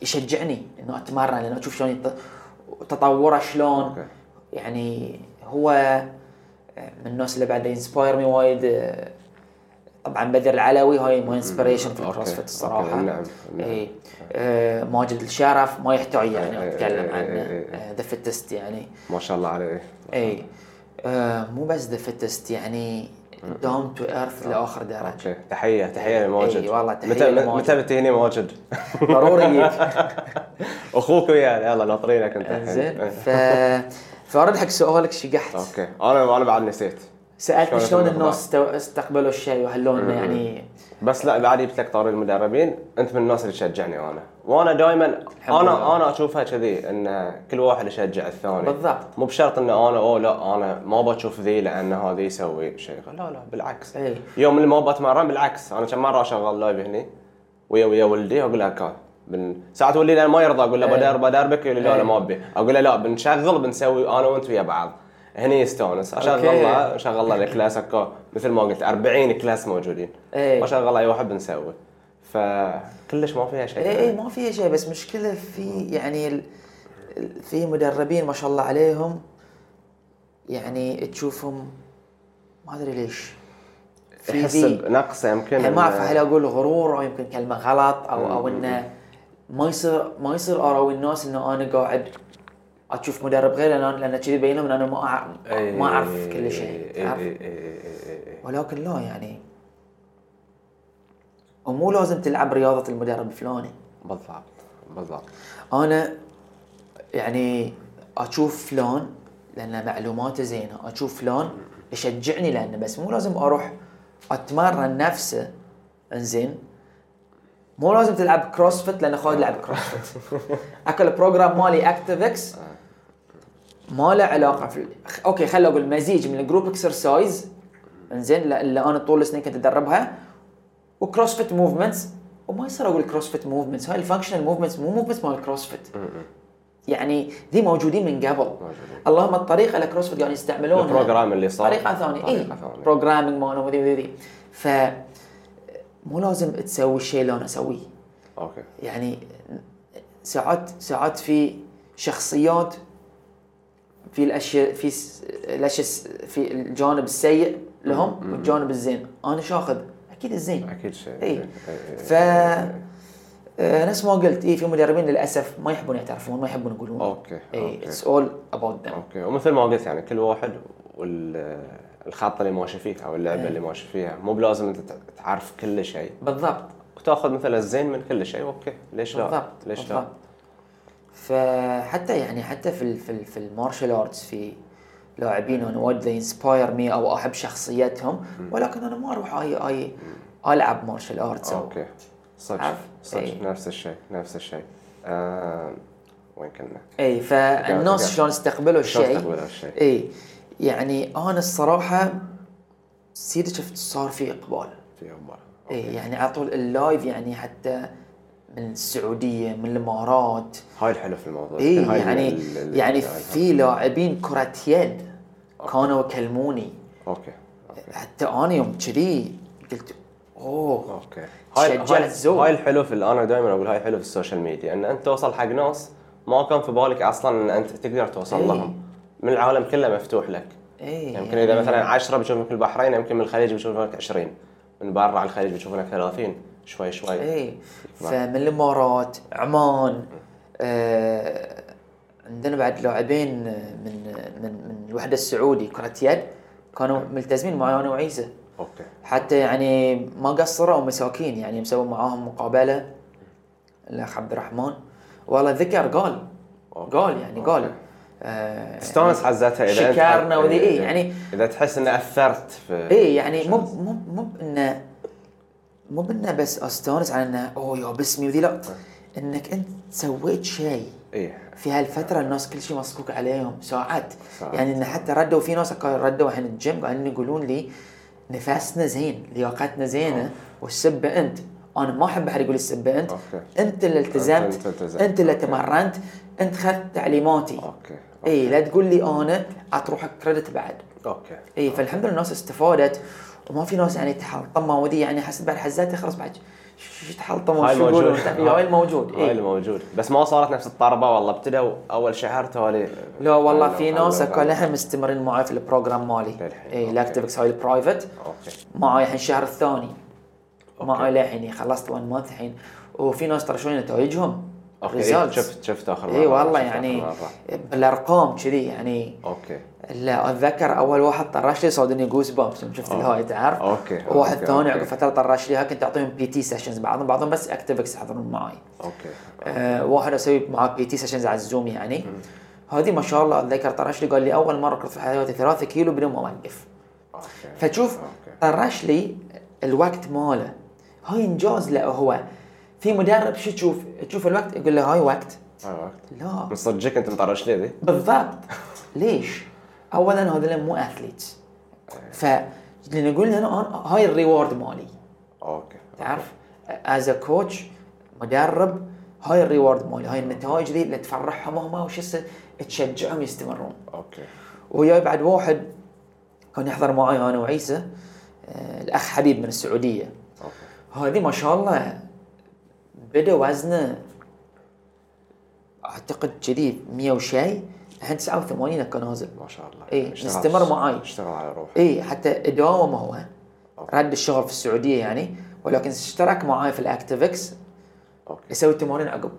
[SPEAKER 2] يشجعني انه اتمرن لانه اشوف شلون يت- تطوره شلون
[SPEAKER 3] أوكي.
[SPEAKER 2] يعني هو آه، من الناس اللي بعد ينسباير مي وايد آه، طبعا بدر العلوي هاي مو انسبريشن في إيه.
[SPEAKER 3] أوكي.
[SPEAKER 2] الكروسفيت
[SPEAKER 3] أوكي.
[SPEAKER 2] الصراحه
[SPEAKER 3] نعم. نعم.
[SPEAKER 2] اي آه، ماجد الشرف ما يحتاج
[SPEAKER 3] إيه،
[SPEAKER 2] يعني
[SPEAKER 3] إيه،
[SPEAKER 2] اتكلم
[SPEAKER 3] إيه،
[SPEAKER 2] عنه
[SPEAKER 3] إيه، إيه.
[SPEAKER 2] ذا فيتست يعني
[SPEAKER 3] ما شاء الله عليه
[SPEAKER 2] اي إيه. آه مو بس ذا فيتست يعني داون تو
[SPEAKER 3] آه،
[SPEAKER 2] ايرث لاخر درجه
[SPEAKER 3] اوكي تحيه تحيه لماجد
[SPEAKER 2] إي إيه، والله، تحية
[SPEAKER 3] متى
[SPEAKER 2] لماجد.
[SPEAKER 3] متى بتهني [laughs] ماجد
[SPEAKER 2] ضروري
[SPEAKER 3] [laughs]
[SPEAKER 2] ليك
[SPEAKER 3] اخوك ويانا يلا ناطرينك انت الحين
[SPEAKER 2] انزين
[SPEAKER 3] إيه.
[SPEAKER 2] ف فارد حق سؤالك شقحت
[SPEAKER 3] اوكي انا انا بعد نسيت
[SPEAKER 2] سالت
[SPEAKER 3] شلون
[SPEAKER 2] شلون
[SPEAKER 3] الوضع؟
[SPEAKER 2] الناس استو- استقبلوا الشيء وهل لهم
[SPEAKER 3] مم.
[SPEAKER 2] يعني
[SPEAKER 3] بس لا بعد جبت لك طار المدربين انت من الناس اللي تشجعني وانا وانا دائما
[SPEAKER 2] لله.
[SPEAKER 3] انا انا اشوفها كذي ان كل واحد يشجع الثاني
[SPEAKER 2] بالضبط
[SPEAKER 3] مو بشرط ان انا اوه لا انا ما بشوف ذي لان هذه يسوي شيء لا لا بالعكس
[SPEAKER 2] اي
[SPEAKER 3] يوم اللي ما بتمرن بالعكس انا كم مره اشغل لايف هني ويا ويا ولدي اقول له كان بن... ساعات ولدي لأن ما يرضى اقول له
[SPEAKER 2] إيه.
[SPEAKER 3] بدار بدربك يقول لي لا
[SPEAKER 2] إيه.
[SPEAKER 3] انا ما ابي اقول له لا بنشغل بنسوي انا وانت ويا بعض هني يستانس اشغل
[SPEAKER 2] أوكي.
[SPEAKER 3] له اشغل له الكلاس أكو مثل ما قلت 40 كلاس موجودين
[SPEAKER 2] اي
[SPEAKER 3] اشغل اي واحد بنسوي فكلش ما فيها شيء
[SPEAKER 2] اي اي إيه، ما فيها شيء بس مشكله في يعني ال- ال- في مدربين ما شاء الله عليهم يعني تشوفهم ما ادري ليش في
[SPEAKER 3] يحس
[SPEAKER 2] ذي
[SPEAKER 3] بنقصه يمكن
[SPEAKER 2] يعني ما
[SPEAKER 3] إن-
[SPEAKER 2] اعرف هل اقول غرور او يمكن كلمه غلط او او انه ما يصير ما يصير اراوي الناس انه انا قاعد اشوف مدرب غير لان لان كذي بينهم ان انا ما أع-
[SPEAKER 3] إي-
[SPEAKER 2] ما اعرف
[SPEAKER 3] إيه،
[SPEAKER 2] كل شيء
[SPEAKER 3] إي- إي-
[SPEAKER 2] تعرف؟
[SPEAKER 3] إي- إي- إي- إي.
[SPEAKER 2] ولكن لا يعني ومو لازم تلعب رياضه المدرب الفلاني
[SPEAKER 3] بالضبط بالضبط
[SPEAKER 2] انا يعني اشوف فلان لان معلوماته زينه اشوف فلان يشجعني لانه بس مو لازم اروح اتمرن نفسه انزين مو لازم تلعب كروسفيت لان خالد لعب كروسفيت اكل بروجرام مالي اكتيفكس ما له علاقه في خ- اوكي خليني اقول مزيج من الجروب اكسرسايز انزين لا- اللي انا طول السنين كنت ادربها وكروسفيت موفمنتس وما يصير اقول كروسفيت موفمنتس هاي الفانكشنال موفمنتس مو موفمنتس مال الكروسفيت يعني ذي موجودين من قبل
[SPEAKER 3] موجودين.
[SPEAKER 2] اللهم الطريقه اللي كروسفيت قاعدين يستعملونها
[SPEAKER 3] البروجرام اللي صار
[SPEAKER 2] طريقه ثانيه اي
[SPEAKER 3] طريقه ثانيه
[SPEAKER 2] بروجرامينج مالهم وذي وذي وذي. ف مو لازم تسوي الشيء اللي انا اسويه
[SPEAKER 3] اوكي
[SPEAKER 2] يعني ساعات ساعات في شخصيات في الاشياء في س- الاشياء الس- في الجانب السيء لهم والجانب الزين انا شاخذ اكيد الزين
[SPEAKER 3] اكيد شيء
[SPEAKER 2] إي.
[SPEAKER 3] إي- إي-
[SPEAKER 2] ف آه، نفس ما قلت اي في مدربين للاسف ما يحبون يعترفون ما يحبون يقولون إيه،
[SPEAKER 3] أوكي،
[SPEAKER 2] اي
[SPEAKER 3] أوكي.
[SPEAKER 2] اتس اول اباوت ذم
[SPEAKER 3] اوكي ومثل ما قلت يعني كل واحد والخطه اللي ماشي فيها او
[SPEAKER 2] إيه.
[SPEAKER 3] اللعبه اللي ماشي فيها مو بلازم انت تع- تعرف كل شيء
[SPEAKER 2] بالضبط
[SPEAKER 3] وتاخذ مثلا الزين من كل شيء اوكي ليش لا
[SPEAKER 2] بالضبط
[SPEAKER 3] ليش
[SPEAKER 2] بالضبط.
[SPEAKER 3] لا
[SPEAKER 2] فحتى يعني حتى في ال في ال في المارشال ارتس في لاعبين انا وايد انسباير مي او احب شخصيتهم ولكن انا ما اروح اي اي العب مارشال ارتس
[SPEAKER 3] اوكي صدق
[SPEAKER 2] عارف؟ إي.
[SPEAKER 3] صدق نفس الشيء نفس الشيء آه، وين كنا؟
[SPEAKER 2] اي فالناس
[SPEAKER 3] أوكي.
[SPEAKER 2] شلون استقبلوا
[SPEAKER 3] شلون
[SPEAKER 2] الشيء
[SPEAKER 3] تقبل هالشيء؟
[SPEAKER 2] اي يعني انا الصراحه سيدي شفت صار في اقبال
[SPEAKER 3] في اخبار
[SPEAKER 2] اي يعني على طول اللايف يعني حتى من السعوديه من الامارات
[SPEAKER 3] هاي الحلو في الموضوع
[SPEAKER 2] اي
[SPEAKER 3] هاي
[SPEAKER 2] يعني
[SPEAKER 3] ال- ال-
[SPEAKER 2] يعني
[SPEAKER 3] ال-
[SPEAKER 2] في لاعبين كرة يد كانوا يكلموني
[SPEAKER 3] اوكي اوكي
[SPEAKER 2] حتى انا يوم كذي قلت اوه
[SPEAKER 3] اوكي
[SPEAKER 2] تشجعت
[SPEAKER 3] هاي
[SPEAKER 2] زود.
[SPEAKER 3] هاي الحلو في انا دائما اقول هاي حلو في السوشيال ميديا ان انت توصل حق ناس ما كان في بالك اصلا ان انت تقدر توصل
[SPEAKER 2] إي.
[SPEAKER 3] لهم من العالم كله مفتوح لك
[SPEAKER 2] اي
[SPEAKER 3] يمكن اذا مثلا 10 بيشوفونك البحرين يمكن من الخليج بيشوفونك 20 من برا على الخليج بيشوفونك 30 شوي شوي
[SPEAKER 2] اي إيه،
[SPEAKER 3] نعم.
[SPEAKER 2] فمن الامارات عمان آه عندنا بعد لاعبين من من من الوحده السعودي كرة يد كانوا
[SPEAKER 3] نعم.
[SPEAKER 2] ملتزمين معي انا وعيسى
[SPEAKER 3] اوكي
[SPEAKER 2] حتى يعني ما قصروا مساكين يعني مسوي معاهم مقابله الاخ عبد الرحمن والله ذكر قال
[SPEAKER 3] أوكي.
[SPEAKER 2] قال يعني قال
[SPEAKER 3] أوكي.
[SPEAKER 2] آه،
[SPEAKER 3] تستانس حزتها اذا أنت-
[SPEAKER 2] شكرنا وذي، إي،
[SPEAKER 3] إي، إي.
[SPEAKER 2] يعني-
[SPEAKER 3] اذا تحس ان اثرت في
[SPEAKER 2] اي يعني مو مو مو بانه مو بانه بس استانس على انه اوه يا باسمي وذي لا انك انت سويت شيء
[SPEAKER 3] اي
[SPEAKER 2] في هالفترة الناس كل شيء مصكوك عليهم ساعات
[SPEAKER 3] ساعات.
[SPEAKER 2] يعني إن حتى ردوا في ناس قا- ردوا عن الجيم قاعدين يقولون لي نفسنا زين لياقتنا زينة والسبة أنت أنا ما أحب أحد يقول السبة أنت
[SPEAKER 3] أوكي.
[SPEAKER 2] أنت اللي
[SPEAKER 3] أنت- أنت
[SPEAKER 2] التزمت
[SPEAKER 3] التزمت.
[SPEAKER 2] أنت اللي
[SPEAKER 3] أوكي.
[SPEAKER 2] تمرنت أنت خذت تعليماتي
[SPEAKER 3] اوكي
[SPEAKER 2] إي لا تقول لي أنا أطروحك كريدت بعد
[SPEAKER 3] اوكي
[SPEAKER 2] إي فالحمد لله الناس استفادت وما في ناس يعني تحلطمة وذي يعني حسب بعد حزاتي خلاص بعد شو شو تحلطمة
[SPEAKER 3] هاي
[SPEAKER 2] وشو يقولون
[SPEAKER 3] الموجود
[SPEAKER 2] هاي الموجود إيه.
[SPEAKER 3] هاي
[SPEAKER 2] إي
[SPEAKER 3] الموجود بس ما صارت نفس الطربه والله ابتدوا اول شهر تولي
[SPEAKER 2] لا والله في ناس
[SPEAKER 3] كان
[SPEAKER 2] كان لهم مستمرين معي في البروجرام مالي إيه،
[SPEAKER 3] للحين،
[SPEAKER 2] اي
[SPEAKER 3] أوكي.
[SPEAKER 2] الاكتيفكس هاي البرايفت
[SPEAKER 3] اوكي
[SPEAKER 2] معي الحين الشهر الثاني معي
[SPEAKER 3] أوكي.
[SPEAKER 2] للحين خلصت 1 مانث الحين وفي ناس ترى شنو نتائجهم
[SPEAKER 3] اوكي
[SPEAKER 2] results.
[SPEAKER 3] إيه، شفت شفت اخر مره
[SPEAKER 2] اي والله
[SPEAKER 3] شفت آخر
[SPEAKER 2] يعني
[SPEAKER 3] مرة.
[SPEAKER 2] بالارقام كذي يعني
[SPEAKER 3] اوكي
[SPEAKER 2] لا اتذكر اول واحد طرش لي صادني جوز بامبس يوم شفت الهاي تعرف
[SPEAKER 3] أوكي،
[SPEAKER 2] واحد
[SPEAKER 3] أوكي،
[SPEAKER 2] ثاني
[SPEAKER 3] أوكي.
[SPEAKER 2] عقب فتره طرش لي ها كنت اعطيهم بي تي سيشنز بعضهم بعضهم بس اكتيفكس يحضرون معي
[SPEAKER 3] اوكي
[SPEAKER 2] آه، واحد اسوي معاه بي تي سيشنز على الزوم يعني هذه ما شاء الله اتذكر طرش لي قال لي اول مره كنت في حياتي 3 كيلو بدون ما اوقف
[SPEAKER 3] أوكي.
[SPEAKER 2] فتشوف
[SPEAKER 3] أوكي.
[SPEAKER 2] طرش لي الوقت ماله هاي انجاز له هو في مدرب شو تشوف تشوف الوقت يقول له هاي وقت
[SPEAKER 3] هاي وقت
[SPEAKER 2] لا
[SPEAKER 3] من صدقك انت مطرش ليه دي؟
[SPEAKER 2] بالضبط ليش؟ اولا هذول مو اثليتس ف نقول هنا أنا- هاي الريورد مالي
[SPEAKER 3] اوكي
[SPEAKER 2] تعرف از كوتش مدرب هاي الريورد مالي هاي النتائج دي اللي تفرحهم هم وش يصير؟ تشجعهم يستمرون
[SPEAKER 3] اوكي
[SPEAKER 2] وياي بعد واحد كان يحضر معي انا وعيسى آه، الاخ حبيب من السعوديه
[SPEAKER 3] اوكي
[SPEAKER 2] هذه ما شاء الله بدا وزنه اعتقد كذي 100 وشي الحين 89 كان نازل
[SPEAKER 3] ما شاء الله
[SPEAKER 2] إيه،
[SPEAKER 3] اشتغل-
[SPEAKER 2] نستمر معاي. إيه.
[SPEAKER 3] اشتغل على روحه
[SPEAKER 2] اي حتى داوم هو رد الشغل في السعوديه يعني ولكن اشترك معاي في الاكتيفكس
[SPEAKER 3] اوكي
[SPEAKER 2] يسوي تمارين عقب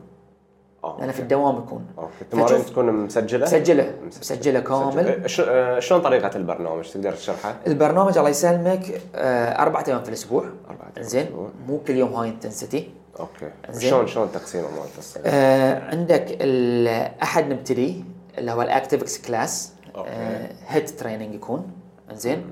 [SPEAKER 3] اوكي
[SPEAKER 2] لان في الدوام يكون
[SPEAKER 3] اوكي التمارين
[SPEAKER 2] فتشوف-
[SPEAKER 3] تكون مسجله؟
[SPEAKER 2] مسجله مسجله كامل
[SPEAKER 3] مسجلة. اه، شو- اه، شلون طريقه البرنامج تقدر تشرحها؟
[SPEAKER 2] البرنامج الله يسلمك آه، اربع ايام في الاسبوع
[SPEAKER 3] أربعة أيام في
[SPEAKER 2] زين
[SPEAKER 3] الأسبوع.
[SPEAKER 2] مو كل يوم هاي انتنسيتي
[SPEAKER 3] اوكي
[SPEAKER 2] زين.
[SPEAKER 3] شلون شلون تقسيمه مالته؟
[SPEAKER 2] آه، عندك ال- احد نبتدي اللي هو الاكتيفكس كلاس
[SPEAKER 3] أوكي.
[SPEAKER 2] هيد تريننج يكون زين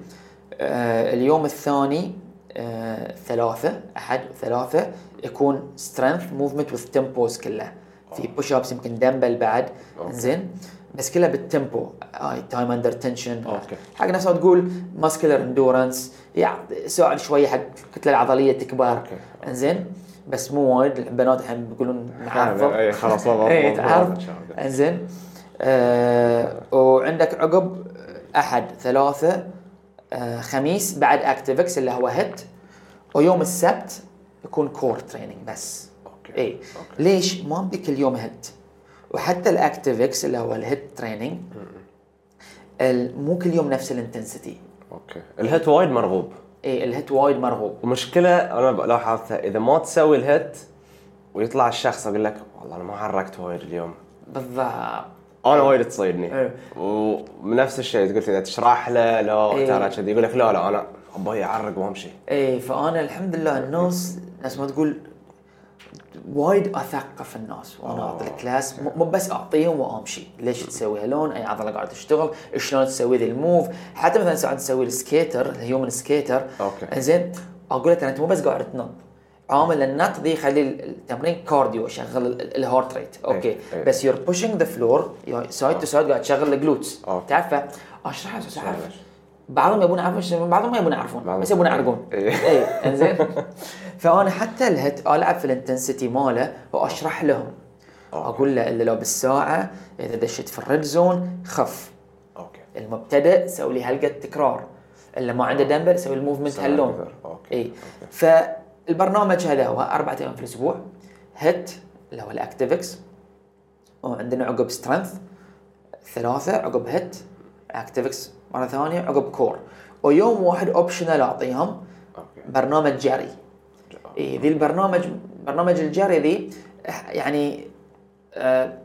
[SPEAKER 2] آه، اليوم الثاني آه، ثلاثة أحد وثلاثة يكون سترينث موفمنت وذ تمبوز كله في بوش ابس يمكن دمبل بعد
[SPEAKER 3] أوكي.
[SPEAKER 2] زين بس آه، كلها بالتمبو هاي تايم اندر تنشن
[SPEAKER 3] أوكي.
[SPEAKER 2] حق نفس ما تقول ماسكلر اندورنس يعطي يساعد شويه حق الكتله العضليه تكبر
[SPEAKER 3] أوكي.
[SPEAKER 2] زين بس مو وايد البنات الحين بيقولون
[SPEAKER 3] آه، إيه، خلاص، ما بقى-
[SPEAKER 2] اي
[SPEAKER 3] ما بقى إن
[SPEAKER 2] تعرف
[SPEAKER 3] شاء الله.
[SPEAKER 2] انزين آه وعندك عقب احد ثلاثة آه خميس بعد اكتيفكس اللي هو هيت ويوم السبت يكون كور تريننج بس
[SPEAKER 3] اوكي
[SPEAKER 2] اي ليش ما بدك اليوم هيت وحتى الاكتيفكس اللي هو الهيت تريننج ال- مو كل يوم نفس الانتنسيتي
[SPEAKER 3] اوكي الهيت وايد مرغوب
[SPEAKER 2] اي الهيت وايد مرغوب
[SPEAKER 3] المشكله انا ب- لاحظتها اذا ما تسوي الهيت ويطلع الشخص يقول لك والله انا ما حركت وايد اليوم
[SPEAKER 2] بالضبط
[SPEAKER 3] انا وايد تصيدني
[SPEAKER 2] إيه.
[SPEAKER 3] ونفس الشيء قلت اذا تشرح له لا
[SPEAKER 2] إيه.
[SPEAKER 3] ترى كذي يقول لك لا لا انا ابي اعرق وامشي
[SPEAKER 2] ايه فانا الحمد لله الناس ناس ما تقول وايد اثقف الناس وانا
[SPEAKER 3] آه.
[SPEAKER 2] اعطي الكلاس مو مو بس اعطيهم وامشي ليش تسوي هالون اي عضله قاعده تشتغل شلون تسوي ذي الموف حتى مثلا ساعات تسوي السكيتر الهيومن سكيتر
[SPEAKER 3] أوكي.
[SPEAKER 2] زين اقول لك انت مو بس قاعد تنط عامل النط دي خلي التمرين كارديو شغل الهارت ريت اوكي
[SPEAKER 3] إيه.
[SPEAKER 2] بس يور بوشينج ذا فلور سايد تو سايد قاعد تشغل الجلوتس
[SPEAKER 3] أوكي.
[SPEAKER 2] تعرف اشرح تعرف
[SPEAKER 3] شغل.
[SPEAKER 2] بعضهم يبون يعرفون شنو- بعضهم ما يبون يعرفون
[SPEAKER 3] بعضهم.
[SPEAKER 2] بس يبون يعرقون
[SPEAKER 3] إيه.
[SPEAKER 2] اي
[SPEAKER 3] [laughs]
[SPEAKER 2] انزين فانا حتى الهيت العب في الانتنسيتي ماله واشرح لهم اقول له الا لو بالساعه اذا دشيت في الريد زون خف
[SPEAKER 3] اوكي
[SPEAKER 2] المبتدئ سوي لي هلقه تكرار اللي ما عنده دمبل سوي الموفمنت
[SPEAKER 3] سوي
[SPEAKER 2] هاللون
[SPEAKER 3] أكثر. أوكي.
[SPEAKER 2] اي إيه. فالبرنامج هذا هو اربع ايام في الاسبوع هيت اللي هو الاكتيفكس وعندنا عقب سترينث ثلاثة عقب هيت اكتيفكس مرة ثانية عقب كور ويوم واحد اوبشنال اعطيهم
[SPEAKER 3] اوكي
[SPEAKER 2] برنامج جري اي إيه، ذي البرنامج برنامج الجري ذي أح- يعني آه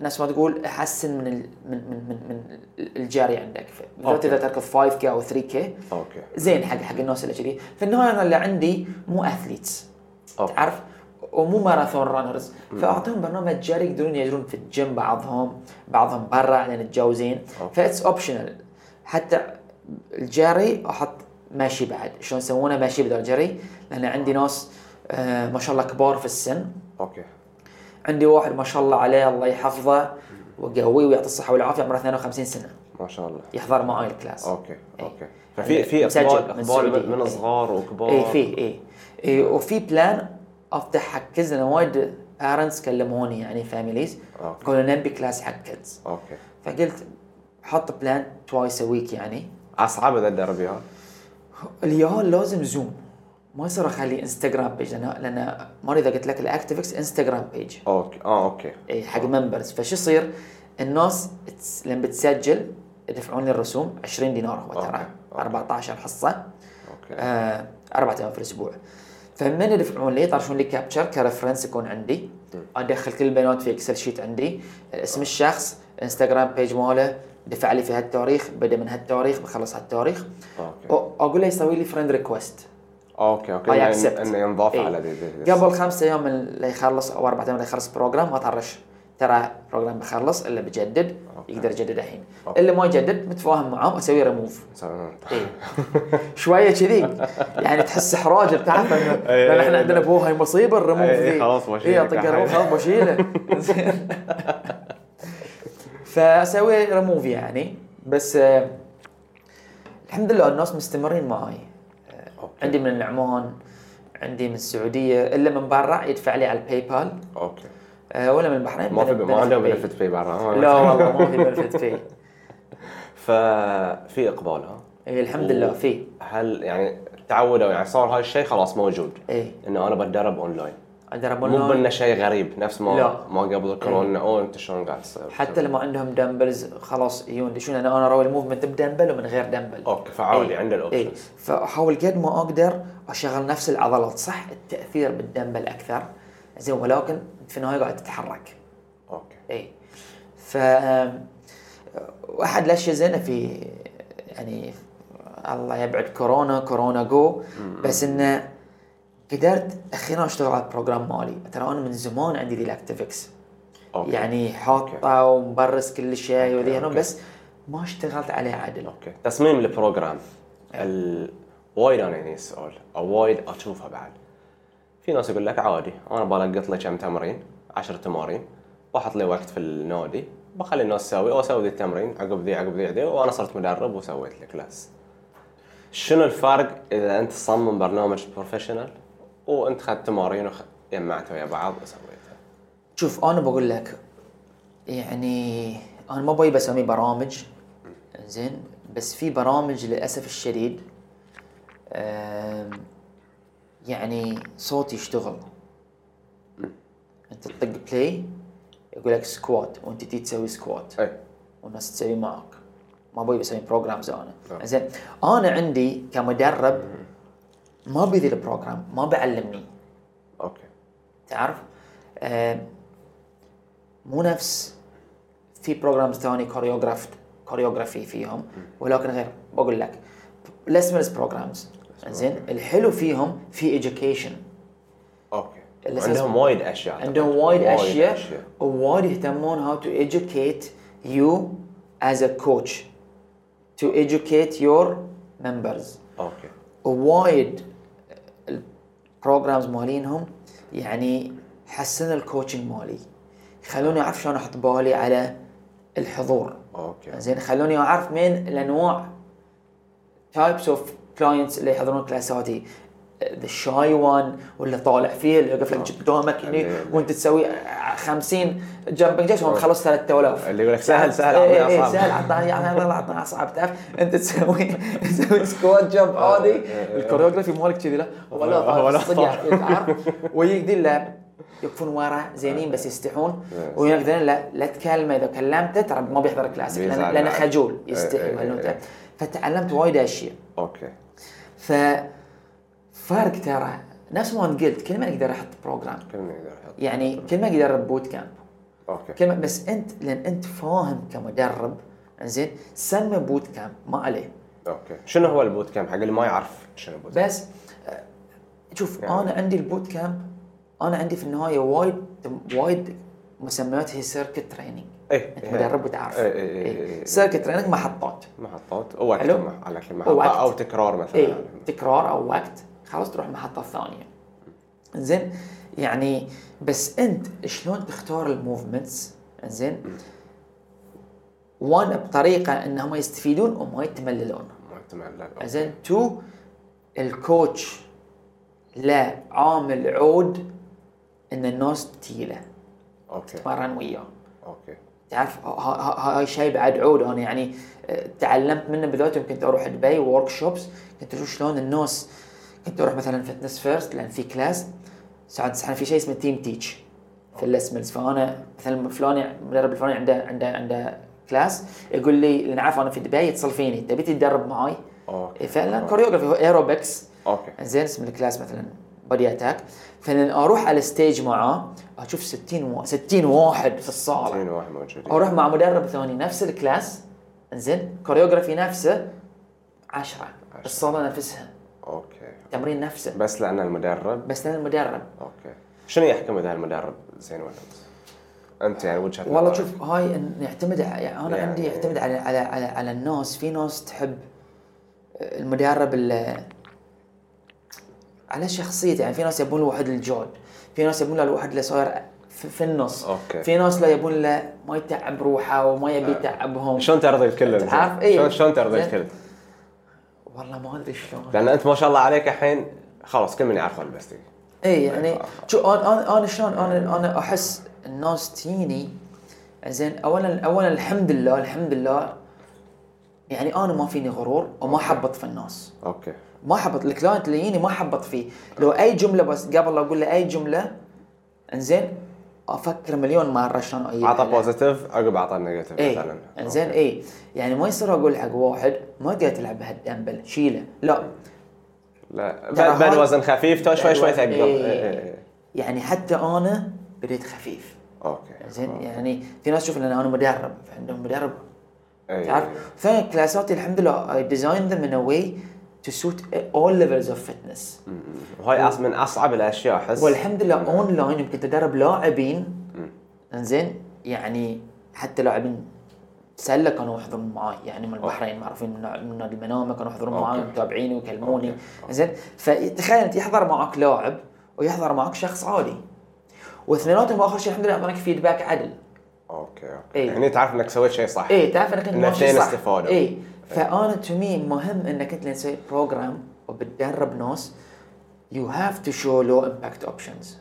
[SPEAKER 2] نفس ما تقول احسن من ال- من من من, من الجري عندك بالذات
[SPEAKER 3] أوكي.
[SPEAKER 2] اذا تركض 5 كي او 3 كي
[SPEAKER 3] اوكي
[SPEAKER 2] زين حق حق الناس اللي كذي في النهايه انا اللي عندي مو اثليتس
[SPEAKER 3] أوكي.
[SPEAKER 2] تعرف ومو ماراثون رانرز فاعطيهم برنامج جري يقدرون يجرون في الجيم بعضهم بعضهم برا لان متجوزين
[SPEAKER 3] أوكي.
[SPEAKER 2] فاتس اوبشنال حتى الجري احط ماشي بعد شلون يسوونه ماشي بدل جري لان عندي ناس آه ما شاء الله كبار في السن
[SPEAKER 3] اوكي
[SPEAKER 2] عندي واحد ما شاء الله عليه الله يحفظه وقويه ويعطي الصحه والعافيه عمره 52 سنه
[SPEAKER 3] ما شاء الله
[SPEAKER 2] يحضر معاي الكلاس
[SPEAKER 3] اوكي
[SPEAKER 2] إيه.
[SPEAKER 3] اوكي ففي في
[SPEAKER 2] مسجل
[SPEAKER 3] اقبال
[SPEAKER 2] من
[SPEAKER 3] اقبال
[SPEAKER 2] السعودية.
[SPEAKER 3] من- من صغار وكبار
[SPEAKER 2] اي إيه، في اي إي، وفي بلان افتح حق كيدز انا وايد بارنتس كلموني يعني فاميليز
[SPEAKER 3] أوكي.
[SPEAKER 2] قالوا نبي كلاس حق كيدز
[SPEAKER 3] اوكي
[SPEAKER 2] فقلت حط بلان توايس ويك يعني
[SPEAKER 3] اصعب اذا تدرب اياها
[SPEAKER 2] اليوم لازم زوم ما يصير اخلي انستغرام بيج لان لان ماني اذا قلت لك الاكتيفكس انستغرام بيج
[SPEAKER 3] اوكي اه اوكي
[SPEAKER 2] اي إيه، حق ممبرز فشو يصير؟ الناس تس- لما بتسجل يدفعون لي الرسوم 20 دينار هو
[SPEAKER 3] أوكي.
[SPEAKER 2] ترى
[SPEAKER 3] أوكي.
[SPEAKER 2] 14 حصه
[SPEAKER 3] اوكي
[SPEAKER 2] آه، أربعة أيام في الأسبوع فمن يدفعون لي يطرشون لي كابتشر كرفرنس يكون عندي أدخل كل البيانات في إكسل شيت عندي
[SPEAKER 3] آه.
[SPEAKER 2] اسم الشخص انستغرام بيج ماله دفع لي في هالتاريخ بدا من هالتاريخ بخلص هالتاريخ
[SPEAKER 3] أوكي.
[SPEAKER 2] اقول له يسوي لي فريند ريكوست
[SPEAKER 3] اوكي اوكي
[SPEAKER 2] اي
[SPEAKER 3] إنه-
[SPEAKER 2] اكسبت
[SPEAKER 3] انه ينضاف على ذي ذي- ذي-
[SPEAKER 2] قبل خمسة ايام من اللي يخلص او اربع ايام اللي يخلص بروجرام اطرش ترى بروجرام بخلص الا بجدد
[SPEAKER 3] أوكي.
[SPEAKER 2] يقدر يجدد الحين
[SPEAKER 3] أوكي.
[SPEAKER 2] اللي ما يجدد متفاهم معاه اسوي ريموف إيه. [laughs] شويه كذي يعني تحس احراج تعرف انه
[SPEAKER 3] [laughs] إيه،
[SPEAKER 2] لان احنا
[SPEAKER 3] إيه،
[SPEAKER 2] عندنا
[SPEAKER 3] لا.
[SPEAKER 2] بوها هاي مصيبه الريموف
[SPEAKER 3] إيه،
[SPEAKER 2] ذي
[SPEAKER 3] خلاص بشيلك
[SPEAKER 2] اي اعطيك
[SPEAKER 3] الحين.
[SPEAKER 2] الريموف خلاص بشيله زين.
[SPEAKER 3] [laughs]
[SPEAKER 2] فاسوي ريموف يعني بس آه، الحمد لله الناس مستمرين معاي عندي من العمان عندي من السعوديه الا من برا يدفع لي على الباي بال
[SPEAKER 3] اوكي
[SPEAKER 2] آه، ولا من البحرين
[SPEAKER 3] ما في
[SPEAKER 2] بن-
[SPEAKER 3] ما عندهم
[SPEAKER 2] pay.
[SPEAKER 3] بنفت في برا
[SPEAKER 2] لا والله ما في بنفت فيه
[SPEAKER 3] [laughs] ففي اقبال ها
[SPEAKER 2] إيه الحمد لله فيه
[SPEAKER 3] هل يعني تعودوا يعني صار هاي الشيء خلاص موجود
[SPEAKER 2] ايه
[SPEAKER 3] انه انا بتدرب اونلاين
[SPEAKER 2] عندنا
[SPEAKER 3] مو
[SPEAKER 2] بنون
[SPEAKER 3] بانه شيء غريب نفس ما
[SPEAKER 2] لا. إيه.
[SPEAKER 3] ما قبل الكورونا او انت شلون قاعد تصير
[SPEAKER 2] حتى لما عندهم دمبلز خلاص يجون يدشون انا انا راوي الموفمنت بدمبل ومن غير دمبل
[SPEAKER 3] اوكي فعادي
[SPEAKER 2] إيه.
[SPEAKER 3] عند
[SPEAKER 2] اي
[SPEAKER 3] الاوبشنز
[SPEAKER 2] فاحاول قد ما اقدر اشغل نفس العضلات صح التاثير بالدمبل اكثر زين ولكن في النهايه قاعد تتحرك
[SPEAKER 3] اوكي
[SPEAKER 2] اي ف واحد الاشياء زينه في يعني الله يبعد كورونا كورونا جو بس انه قدرت اخيرا اشتغل على البروجرام مالي ترى انا من زمان عندي ذي الاكتيفكس
[SPEAKER 3] اوكي
[SPEAKER 2] يعني حاطه ومبرس كل شيء وذي هنا، بس ما اشتغلت عليه عدل
[SPEAKER 3] اوكي تصميم البروجرام ال... وايد انا يعني السؤال او وايد اشوفها بعد في ناس يقول لك عادي انا بلقط لي كم تمرين 10 تمارين واحط لي وقت في النادي بخلي الناس تسوي او اسوي ذي التمرين عقب ذي عقب ذي ذي وانا صرت مدرب وسويت لي كلاس شنو الفرق اذا انت تصمم برنامج بروفيشنال وانت خدت تمارين وخ... جمعتها ويا بعض وسويتها
[SPEAKER 2] شوف انا بقول لك يعني انا ما ابي بسمي برامج زين بس في برامج للاسف الشديد آم، يعني صوت يشتغل انت تطق بلاي يقول لك سكوات وانت تي تسوي سكوات
[SPEAKER 3] اي
[SPEAKER 2] والناس تسوي معك ما ابي بسوي بروجرامز انا
[SPEAKER 3] نعم.
[SPEAKER 2] زين انا عندي كمدرب ما ابي ذي البروجرام ما بعلمني
[SPEAKER 3] اوكي
[SPEAKER 2] تعرف آه مو نفس في بروجرامز ثاني كوريوغرافد كوريوغرافي فيهم ولكن غير بقول لك ليسمنز بروجرامز زين الحلو فيهم في education
[SPEAKER 3] اوكي
[SPEAKER 2] الأساس-
[SPEAKER 3] عندهم وايد اشياء
[SPEAKER 2] عندهم
[SPEAKER 3] أعتقد.
[SPEAKER 2] وايد اشياء ووايد يهتمون how to educate you as a coach to educate your members uh,
[SPEAKER 3] اوكي
[SPEAKER 2] وايد البروجرامز مالينهم يعني حسن الكوتشنج مالي خلوني اعرف شلون احط بالي على الحضور
[SPEAKER 3] اوكي
[SPEAKER 2] زين خلوني اعرف من الانواع تايبس اوف كلاينتس اللي يحضرون كلاساتي ذا شاي وان واللي طالع فيه اللي يوقف
[SPEAKER 3] آه.
[SPEAKER 2] لك قدامك هني
[SPEAKER 3] اللي-
[SPEAKER 2] وانت تسوي 50 جامبنج جاكس وهم خلص 3000
[SPEAKER 3] اللي يقول لك سهل سهل
[SPEAKER 2] إيه،
[SPEAKER 3] عطني
[SPEAKER 2] إيه،
[SPEAKER 3] أصعب.
[SPEAKER 2] سهل عطني عطني يلا، عطني اصعب تعرف انت تسوي تسوي سكواد جمب
[SPEAKER 3] آه،
[SPEAKER 2] عادي الكوريوغرافي مالك كذي لا ولا
[SPEAKER 3] ولا
[SPEAKER 2] طالع صدق يعني،
[SPEAKER 3] طالع.
[SPEAKER 2] تعرف ويقدر لا يقفون ورا
[SPEAKER 3] آه.
[SPEAKER 2] زينين بس يستحون
[SPEAKER 3] Yes.
[SPEAKER 2] ويقدرون لا لا تكلمه اذا كلمته ترى ما بيحضر كلاسيك لانه
[SPEAKER 3] بيزعل
[SPEAKER 2] لأنه
[SPEAKER 3] بعد.
[SPEAKER 2] خجول
[SPEAKER 3] إيه،
[SPEAKER 2] يستحي
[SPEAKER 3] إيه،
[SPEAKER 2] مالته.
[SPEAKER 3] إيه.
[SPEAKER 2] فتعلمت وايد اشياء
[SPEAKER 3] اوكي
[SPEAKER 2] ف فرق ترى نفس ما انت قلت كل ما اقدر احط بروجرام
[SPEAKER 3] كلمة يقدر يحط
[SPEAKER 2] يعني كل ما اقدر بوت كامب
[SPEAKER 3] اوكي
[SPEAKER 2] كلمة بس انت لان انت فاهم كمدرب زين سمى بوت كامب ما عليه
[SPEAKER 3] اوكي شنو هو البوت كامب حق اللي ما يعرف شنو بوت
[SPEAKER 2] بس آه، شوف يعني. انا عندي البوت كامب انا عندي في النهايه وايد وايد مسميات هي سيركت تريننج
[SPEAKER 3] ايه
[SPEAKER 2] انت مدرب وتعرف
[SPEAKER 3] إيه، إيه، إيه، إيه.
[SPEAKER 2] سيركت تريننج محطات
[SPEAKER 3] محطات وقت
[SPEAKER 2] حلو.
[SPEAKER 3] مع- على كل
[SPEAKER 2] وقت.
[SPEAKER 3] محطة او تكرار مثلا
[SPEAKER 2] اي إيه، تكرار او وقت خلاص تروح المحطه الثانيه زين يعني بس انت شلون تختار الموفمنتس زين وان بطريقه انهم يستفيدون وما يتمللون
[SPEAKER 3] ما تملل
[SPEAKER 2] زين تو الكوتش لا عامل عود ان الناس تيله
[SPEAKER 3] اوكي
[SPEAKER 2] تتمرن وياه
[SPEAKER 3] اوكي
[SPEAKER 2] تعرف ه- ه- ه- هاي شيء بعد عود انا يعني آه، تعلمت منه بذاتي يمكن اروح دبي وورك شوبس كنت اشوف شلون الناس كنت اروح مثلا فتنس فيرست لان في كلاس ساعات احنا في شيء اسمه تيم تيتش في اللسمنز فانا مثلا فلان المدرب الفلاني عنده عنده عنده كلاس يقول لي لان عارف انا في دبي يتصل فيني تبي تتدرب معاي؟ إيه،
[SPEAKER 3] اوكي
[SPEAKER 2] فعلا كوريوغرافي ايروبكس
[SPEAKER 3] اوكي
[SPEAKER 2] زين اسم الكلاس مثلا بودي اتاك فلان اروح على الستيج معاه اشوف 60 و... 60 واحد في الصاله
[SPEAKER 3] اثنين واحد موجودين
[SPEAKER 2] اروح مع مدرب ثاني نفس الكلاس زين كوريوغرافي نفسه عشرة الصاله نفسها
[SPEAKER 3] اوكي
[SPEAKER 2] التمرين نفسه
[SPEAKER 3] بس لان المدرب
[SPEAKER 2] بس انا المدرب
[SPEAKER 3] اوكي شنو يحكم اذا المدرب زين ولا مو زين؟ انت يعني وجهه
[SPEAKER 2] والله
[SPEAKER 3] نظرك.
[SPEAKER 2] شوف هاي إن- يعتمد ع- يعني انا
[SPEAKER 3] يعني-
[SPEAKER 2] عندي يعتمد على على على, على الناس في ناس تحب آه، المدرب ال- على شخصيته يعني في ناس يبون له واحد الجاد في ناس يبون له الواحد اللي صاير في, في النص
[SPEAKER 3] أوكي. آه.
[SPEAKER 2] في ناس لا يبون له ما يتعب روحه وما يبي يتعبهم
[SPEAKER 3] شلون ترضي الكل انت؟
[SPEAKER 2] تعرف؟ إيه.
[SPEAKER 3] شلون شلون ترضي
[SPEAKER 2] زين.
[SPEAKER 3] الكل؟
[SPEAKER 2] والله ما ادري شلون
[SPEAKER 3] لان انت ما شاء الله عليك الحين خلاص كل من يعرف البستي
[SPEAKER 2] اي يعني شو انا انا انا شلون انا انا احس الناس تجيني زين اولا اولا الحمد لله الحمد لله يعني انا ما فيني غرور وما حبط في الناس
[SPEAKER 3] اوكي
[SPEAKER 2] ما حبط الكلاينت اللي يجيني ما حبط فيه لو اي جمله بس قبل لا اقول له اي جمله انزين افكر مليون مره شلون اجيبها
[SPEAKER 3] عطى
[SPEAKER 2] له.
[SPEAKER 3] بوزيتيف عقب عطى نيجاتيف
[SPEAKER 2] اي
[SPEAKER 3] مثلا
[SPEAKER 2] انزين اي يعني ما يصير اقول حق واحد ما تقدر تلعب بهالدمبل شيله لا
[SPEAKER 3] لا
[SPEAKER 2] ترى
[SPEAKER 3] بعد بعد
[SPEAKER 2] هاي-
[SPEAKER 3] وزن خفيف تو شوي شوي
[SPEAKER 2] الوزن-
[SPEAKER 3] تقدر
[SPEAKER 2] إيه.
[SPEAKER 3] إيه، إيه، إيه.
[SPEAKER 2] يعني حتى انا بديت خفيف
[SPEAKER 3] اوكي
[SPEAKER 2] زين يعني في ناس تشوف ان انا مدرب عندهم مدرب
[SPEAKER 3] إيه.
[SPEAKER 2] تعرف فكلاساتي الحمد لله I designed them in a way to suit all levels of fitness
[SPEAKER 3] وهاي أص- من اصعب الاشياء احس
[SPEAKER 2] والحمد لله اونلاين يمكن تدرب لاعبين انزين يعني حتى لاعبين سله كانوا يحضرون معي يعني من البحرين معروفين من نوع- من نادي المنامه كانوا يحضرون معي
[SPEAKER 3] أوكي.
[SPEAKER 2] ومتابعيني ويكلموني
[SPEAKER 3] أوكي.
[SPEAKER 2] زين فتخيل انت يحضر معك لاعب ويحضر معك شخص عادي واثنيناتهم اخر شيء الحمد لله اعطونك فيدباك عدل
[SPEAKER 3] اوكي اوكي
[SPEAKER 2] إيه.
[SPEAKER 3] يعني تعرف انك سويت شيء صح
[SPEAKER 2] اي إيه، تعرف انك انت
[SPEAKER 3] إن
[SPEAKER 2] ماشي
[SPEAKER 3] اثنين
[SPEAKER 2] صح
[SPEAKER 3] استفادوا.
[SPEAKER 2] اي فانا تو مي مهم انك انت تسوي بروجرام وبتدرب ناس يو هاف تو شو لو امباكت اوبشنز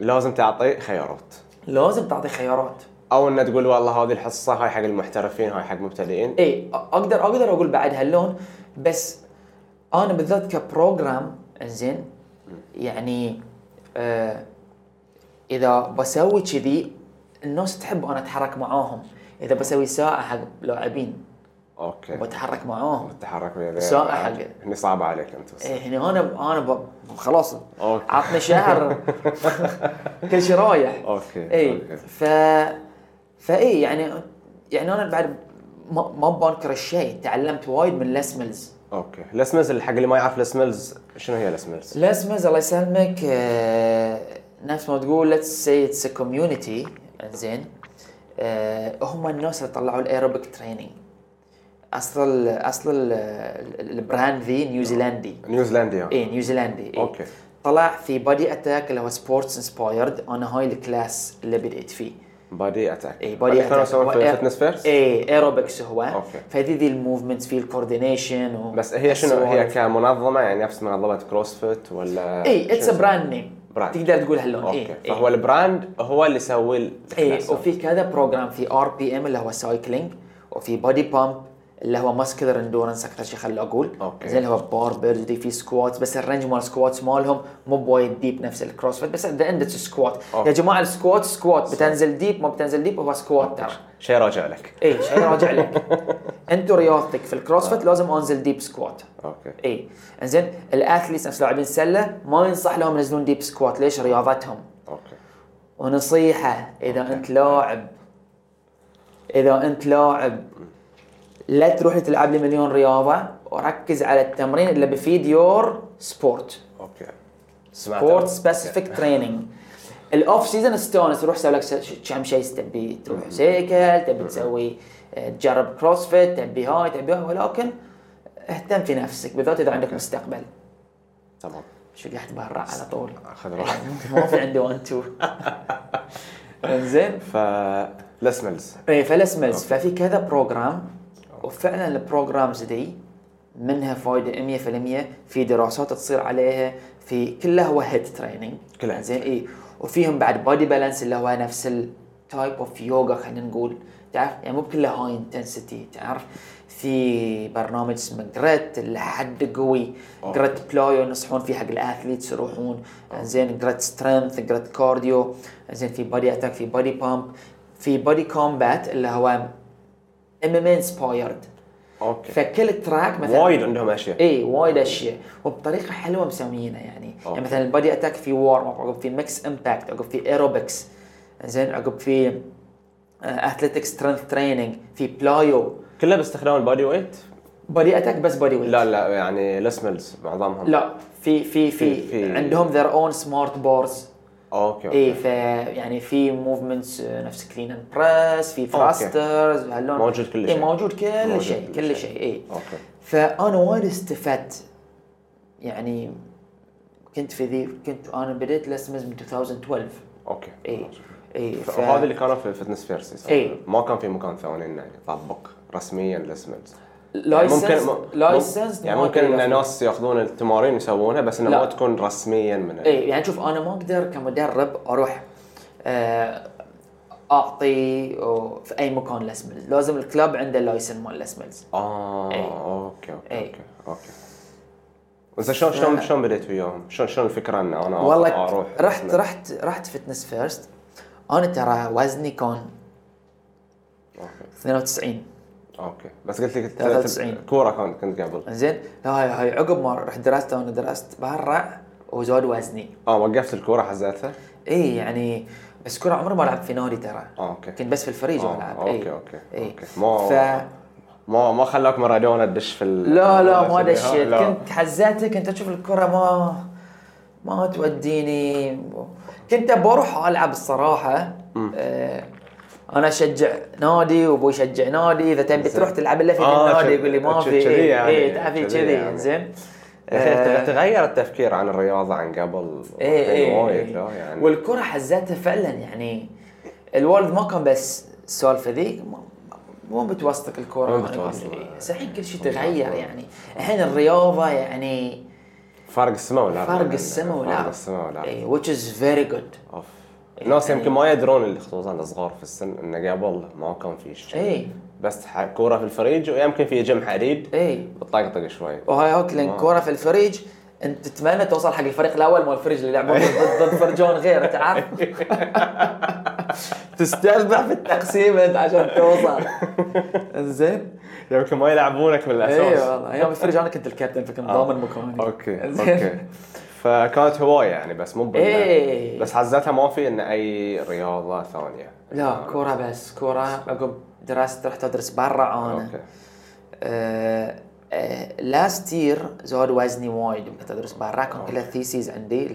[SPEAKER 3] لازم تعطي خيارات
[SPEAKER 2] لازم تعطي خيارات
[SPEAKER 3] او انه تقول والله هذه الحصه هاي حق المحترفين هاي حق مبتدئين
[SPEAKER 2] اي أ- اقدر اقدر اقول بعد هاللون بس انا بالذات كبروجرام انزين يعني آه اذا بسوي كذي الناس تحب انا اتحرك معاهم اذا بسوي ساعه حق لاعبين
[SPEAKER 3] اوكي
[SPEAKER 2] بتحرك معاهم
[SPEAKER 3] التحرك ويا ذي
[SPEAKER 2] سواء
[SPEAKER 3] بعد.
[SPEAKER 2] حق-
[SPEAKER 3] هني صعبه عليك انت بس.
[SPEAKER 2] ايه هنا انا انا ب... خلاص
[SPEAKER 3] أوكي.
[SPEAKER 2] عطني
[SPEAKER 3] [laughs]
[SPEAKER 2] شهر كل شيء رايح
[SPEAKER 3] أوكي،
[SPEAKER 2] اي
[SPEAKER 3] أوكي.
[SPEAKER 2] ف فاي يعني يعني انا بعد ما ما بنكر الشيء تعلمت وايد من لسملز
[SPEAKER 3] اوكي الاسملز اللي حق اللي ما يعرف الاسملز شنو هي الاسملز؟
[SPEAKER 2] لسملز الله يسلمك آه، نفس ما تقول ليتس سي اتس كوميونتي زين آه، هم الناس اللي طلعوا الايروبيك تريننج اصل ال- اصل ال- ال- البراند ذي نيوزيلندي
[SPEAKER 3] نيوزيلنديا
[SPEAKER 2] اي نيوزيلندي إيه.
[SPEAKER 3] أوكي.
[SPEAKER 2] طلع في بادي اتاك اللي هو سبورتس انسبايرد انا هاي الكلاس اللي بديت فيه
[SPEAKER 3] بادي اتاك
[SPEAKER 2] اي بادي
[SPEAKER 3] كانوا يسوون في
[SPEAKER 2] وإير-
[SPEAKER 3] فتنس فيرست
[SPEAKER 2] اي ايروبكس إيه، هو
[SPEAKER 3] أوكي.
[SPEAKER 2] فهذي ذي الموفمنتس في الكوردينيشن و...
[SPEAKER 3] بس هي شنو هي
[SPEAKER 2] السوالف.
[SPEAKER 3] كمنظمه يعني نفس منظمه كروسفيت ولا
[SPEAKER 2] اي اتس
[SPEAKER 3] شنو؟
[SPEAKER 2] براند نيم
[SPEAKER 3] براند.
[SPEAKER 2] تقدر تقول إيه، هاللون
[SPEAKER 3] اوكي
[SPEAKER 2] اي
[SPEAKER 3] فهو البراند هو اللي يسوي
[SPEAKER 2] اي
[SPEAKER 3] الكلاس.
[SPEAKER 2] إيه، وفي كذا بروجرام في ار بي ام اللي هو سايكلينج وفي بودي بامب اللي هو ماسكلر اندورنس اكثر شيء خليني اقول
[SPEAKER 3] أوكي.
[SPEAKER 2] زين اللي هو باربل دي في سكوات بس الرينج مال سكوات مالهم مو بوايد ديب نفس الكروسفيت بس ذا اند سكوات
[SPEAKER 3] أوكي.
[SPEAKER 2] يا جماعه السكوات سكوات بتنزل ديب ما بتنزل ديب هو سكوات ترى
[SPEAKER 3] شيء راجع لك
[SPEAKER 2] اي شيء راجع لك
[SPEAKER 3] [laughs]
[SPEAKER 2] انتوا رياضتك في
[SPEAKER 3] آه.
[SPEAKER 2] الكروسفيت لازم انزل ديب سكوات
[SPEAKER 3] اوكي
[SPEAKER 2] اي انزين الاثليتس نفس لاعبين السله ما ينصح لهم ينزلون ديب سكوات ليش رياضتهم
[SPEAKER 3] اوكي
[SPEAKER 2] ونصيحة إذا أنت لاعب إذا أنت لاعب لا تروح تلعب لي مليون رياضة وركز على التمرين اللي بفيد يور سبورت
[SPEAKER 3] اوكي
[SPEAKER 2] سبورت سبيسيفيك تريننج الاوف سيزون استانس تروح تسوي لك س- ش- كم شيء تبي تروح سيكل تبي تسوي آه، تجرب كروسفيت تبي هاي تبي هاي ولكن اهتم في نفسك بالذات اذا عندك مستقبل
[SPEAKER 3] تمام
[SPEAKER 2] شو قاعد تبرع على طول
[SPEAKER 3] خذ راحتك
[SPEAKER 2] [laughs] ما في عندي 1 2 انزين
[SPEAKER 3] ف الاسملز
[SPEAKER 2] ايه فالاسملز ففي كذا بروجرام وفعلا البروجرامز دي منها فايده 100% في دراسات تصير عليها في كلها هو هيد تريننج
[SPEAKER 3] كلها head
[SPEAKER 2] زين اي إيه. وفيهم بعد بادي بالانس اللي هو نفس التايب اوف يوغا خلينا نقول تعرف يعني مو كلها هاي انتنسيتي تعرف في برنامج اسمه جريت اللي حد قوي
[SPEAKER 3] أوكي.
[SPEAKER 2] جريت بلايو ينصحون فيه حق الاثليتس يروحون زين جريت سترينث جريت كارديو زين في بادي اتاك في بادي بامب في بادي كومبات اللي هو ام ام انسبايرد
[SPEAKER 3] اوكي
[SPEAKER 2] فكل تراك مثلا
[SPEAKER 3] وايد عندهم اشياء
[SPEAKER 2] اي إيه، وايد اشياء وبطريقه حلوه مسويينها يعني
[SPEAKER 3] أوكي.
[SPEAKER 2] يعني مثلا البادي اتاك في وارم اب عقب في ميكس امباكت عقب في ايروبكس زين عقب في آه، اثليتيك سترينث تريننج في بلايو
[SPEAKER 3] كلها باستخدام البادي ويت
[SPEAKER 2] بادي اتاك بس بادي ويت
[SPEAKER 3] لا لا يعني الاسملز معظمهم
[SPEAKER 2] لا في في في,
[SPEAKER 3] في- في-
[SPEAKER 2] عندهم ذير اون سمارت بارز
[SPEAKER 3] اوكي
[SPEAKER 2] ايه
[SPEAKER 3] اوكي
[SPEAKER 2] ف يعني في موفمنتس نفس كلين اند بريس في ثراسترز هاللون
[SPEAKER 3] موجود كل
[SPEAKER 2] ايه
[SPEAKER 3] شيء.
[SPEAKER 2] موجود كل
[SPEAKER 3] موجود
[SPEAKER 2] شيء
[SPEAKER 3] كل
[SPEAKER 2] كل
[SPEAKER 3] شيء.
[SPEAKER 2] شيء ايه
[SPEAKER 3] اوكي
[SPEAKER 2] فانا وايد استفدت يعني كنت في ذي كنت انا بديت لسمز من 2012
[SPEAKER 3] اوكي
[SPEAKER 2] اي اي إيه، ف...
[SPEAKER 3] وهذا اللي كانوا في الفتنس فيرسي
[SPEAKER 2] إيه.
[SPEAKER 3] ما كان في مكان ثاني يعني، انه يطبق رسميا الاسمنت
[SPEAKER 2] لايسنس لايسنس
[SPEAKER 3] يعني ممكن إن ناس ياخذون التمارين ويسوونها بس انه
[SPEAKER 2] لا.
[SPEAKER 3] ما تكون رسميا من ال-
[SPEAKER 2] اي يعني شوف انا ما اقدر كمدرب اروح آه، اعطي أو في اي مكان لسملز لازم الكلاب عنده اللايسن مال لسملز
[SPEAKER 3] اه
[SPEAKER 2] إيه.
[SPEAKER 3] اوكي اوكي
[SPEAKER 2] إيه.
[SPEAKER 3] اوكي اوكي زين شلون شلون شلون بديت وياهم؟ شلون شلون الفكره ان انا
[SPEAKER 2] والله
[SPEAKER 3] اروح
[SPEAKER 2] رحت
[SPEAKER 3] رحت
[SPEAKER 2] رحت رحت فتنس فيرست انا ترى وزني كان 92
[SPEAKER 3] اوكي بس قلت لي كنت
[SPEAKER 2] 93.
[SPEAKER 3] كوره كنت كنت قبل
[SPEAKER 2] زين لا هاي هاي عقب ما رحت درست انا درست برا وزاد وزني
[SPEAKER 3] اه وقفت الكوره حزتها
[SPEAKER 2] اي يعني بس كره عمري ما لعبت في نادي ترى
[SPEAKER 3] اه اوكي
[SPEAKER 2] كنت بس في الفريج
[SPEAKER 3] آه،
[SPEAKER 2] والعب
[SPEAKER 3] اوكي
[SPEAKER 2] إي.
[SPEAKER 3] اوكي
[SPEAKER 2] إي.
[SPEAKER 3] اوكي ما
[SPEAKER 2] إيه. ف...
[SPEAKER 3] ما ما خلاك مارادونا تدش في ال...
[SPEAKER 2] لا لا ما
[SPEAKER 3] في
[SPEAKER 2] دشيت
[SPEAKER 3] آه، لا.
[SPEAKER 2] كنت حزتها كنت اشوف الكره ما ما توديني كنت بروح العب الصراحه آه، انا اشجع نادي وابوي يشجع نادي اذا تبي تروح تلعب الا في
[SPEAKER 3] آه،
[SPEAKER 2] النادي
[SPEAKER 3] شذ-
[SPEAKER 2] يقول لي ما
[SPEAKER 3] شذ-
[SPEAKER 2] في
[SPEAKER 3] شذي يعني،
[SPEAKER 2] اي تعرفي
[SPEAKER 3] شذي
[SPEAKER 2] كذي
[SPEAKER 3] يعني. [laughs]
[SPEAKER 2] زين
[SPEAKER 3] يا اخي
[SPEAKER 2] آه،
[SPEAKER 3] تغ- تغير التفكير عن الرياضه عن قبل
[SPEAKER 2] ايه
[SPEAKER 3] الحين
[SPEAKER 2] ايه
[SPEAKER 3] وايد
[SPEAKER 2] إيه.
[SPEAKER 3] لا يعني
[SPEAKER 2] والكره حزتها فعلا يعني الوالد ما كان بس السالفه ذي ما- مو بتوسطك الكره
[SPEAKER 3] مو
[SPEAKER 2] أنا كنت-
[SPEAKER 3] بتوسطك.
[SPEAKER 2] إيه. بس الحين كل شيء تغير يعني الحين الرياضه يعني
[SPEAKER 3] فرق السماء والارض
[SPEAKER 2] فرق إيه. السما والارض
[SPEAKER 3] فرق السماء والارض
[SPEAKER 2] اي which is very good
[SPEAKER 3] اوف الناس
[SPEAKER 2] إيه.
[SPEAKER 3] يمكن ما يدرون اللي خصوصا الصغار في السن انه قبل ما كان في شيء
[SPEAKER 2] اي
[SPEAKER 3] بس ح- كوره في الفريج ويمكن في جيم حديد
[SPEAKER 2] اي
[SPEAKER 3] بتطقطق شوي
[SPEAKER 2] إيه. وهاي هوك لان كوره في الفريج انت تتمنى توصل حق الفريق الاول مال الفريج اللي يلعبون ضد ضد فرجون غيره
[SPEAKER 3] [laughs]
[SPEAKER 2] تعرف تستذبح في التقسيم انت عشان توصل
[SPEAKER 3] [laughs]
[SPEAKER 2] زين
[SPEAKER 3] يمكن ما يلعبونك من
[SPEAKER 2] اي
[SPEAKER 3] الاساس
[SPEAKER 2] إيه، والله ايام الفريج انا كنت الكابتن فكنت
[SPEAKER 3] آه.
[SPEAKER 2] ضامن مكاني
[SPEAKER 3] اوكي
[SPEAKER 2] إنزين.
[SPEAKER 3] اوكي فكانت هوايه يعني بس مو بال-
[SPEAKER 2] إيه.
[SPEAKER 3] بس حزتها ما في ان اي رياضه ثانيه
[SPEAKER 2] لا كوره بس كوره عقب درست رحت ادرس برا آه، انا
[SPEAKER 3] اوكي
[SPEAKER 2] لاست يير زاد وزني وايد كنت ادرس برا كان كلها ثيسيز عندي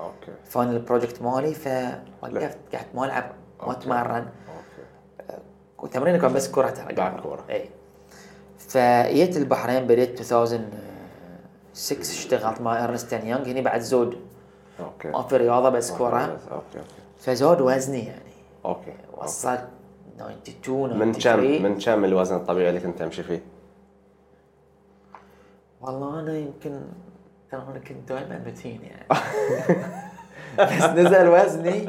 [SPEAKER 3] اوكي
[SPEAKER 2] الفاينل بروجكت مالي فوقفت قعدت ما العب ما اتمرن
[SPEAKER 3] اوكي
[SPEAKER 2] وتمريني كان بس كره ترى
[SPEAKER 3] بعد كرة.
[SPEAKER 2] اي فجيت البحرين بديت 2006 اشتغلت مع ارنست أند يونغ هني بعد زود
[SPEAKER 3] اوكي
[SPEAKER 2] ما في رياضه بس كره
[SPEAKER 3] اوكي اوكي
[SPEAKER 2] فزود وزني يعني
[SPEAKER 3] اوكي
[SPEAKER 2] وصلت 92
[SPEAKER 3] من كم
[SPEAKER 2] 93.
[SPEAKER 3] من كم الوزن الطبيعي اللي كنت تمشي فيه؟
[SPEAKER 2] والله انا يمكن ترى انا كنت دائما متين يعني
[SPEAKER 3] [laughs]
[SPEAKER 2] بس نزل وزني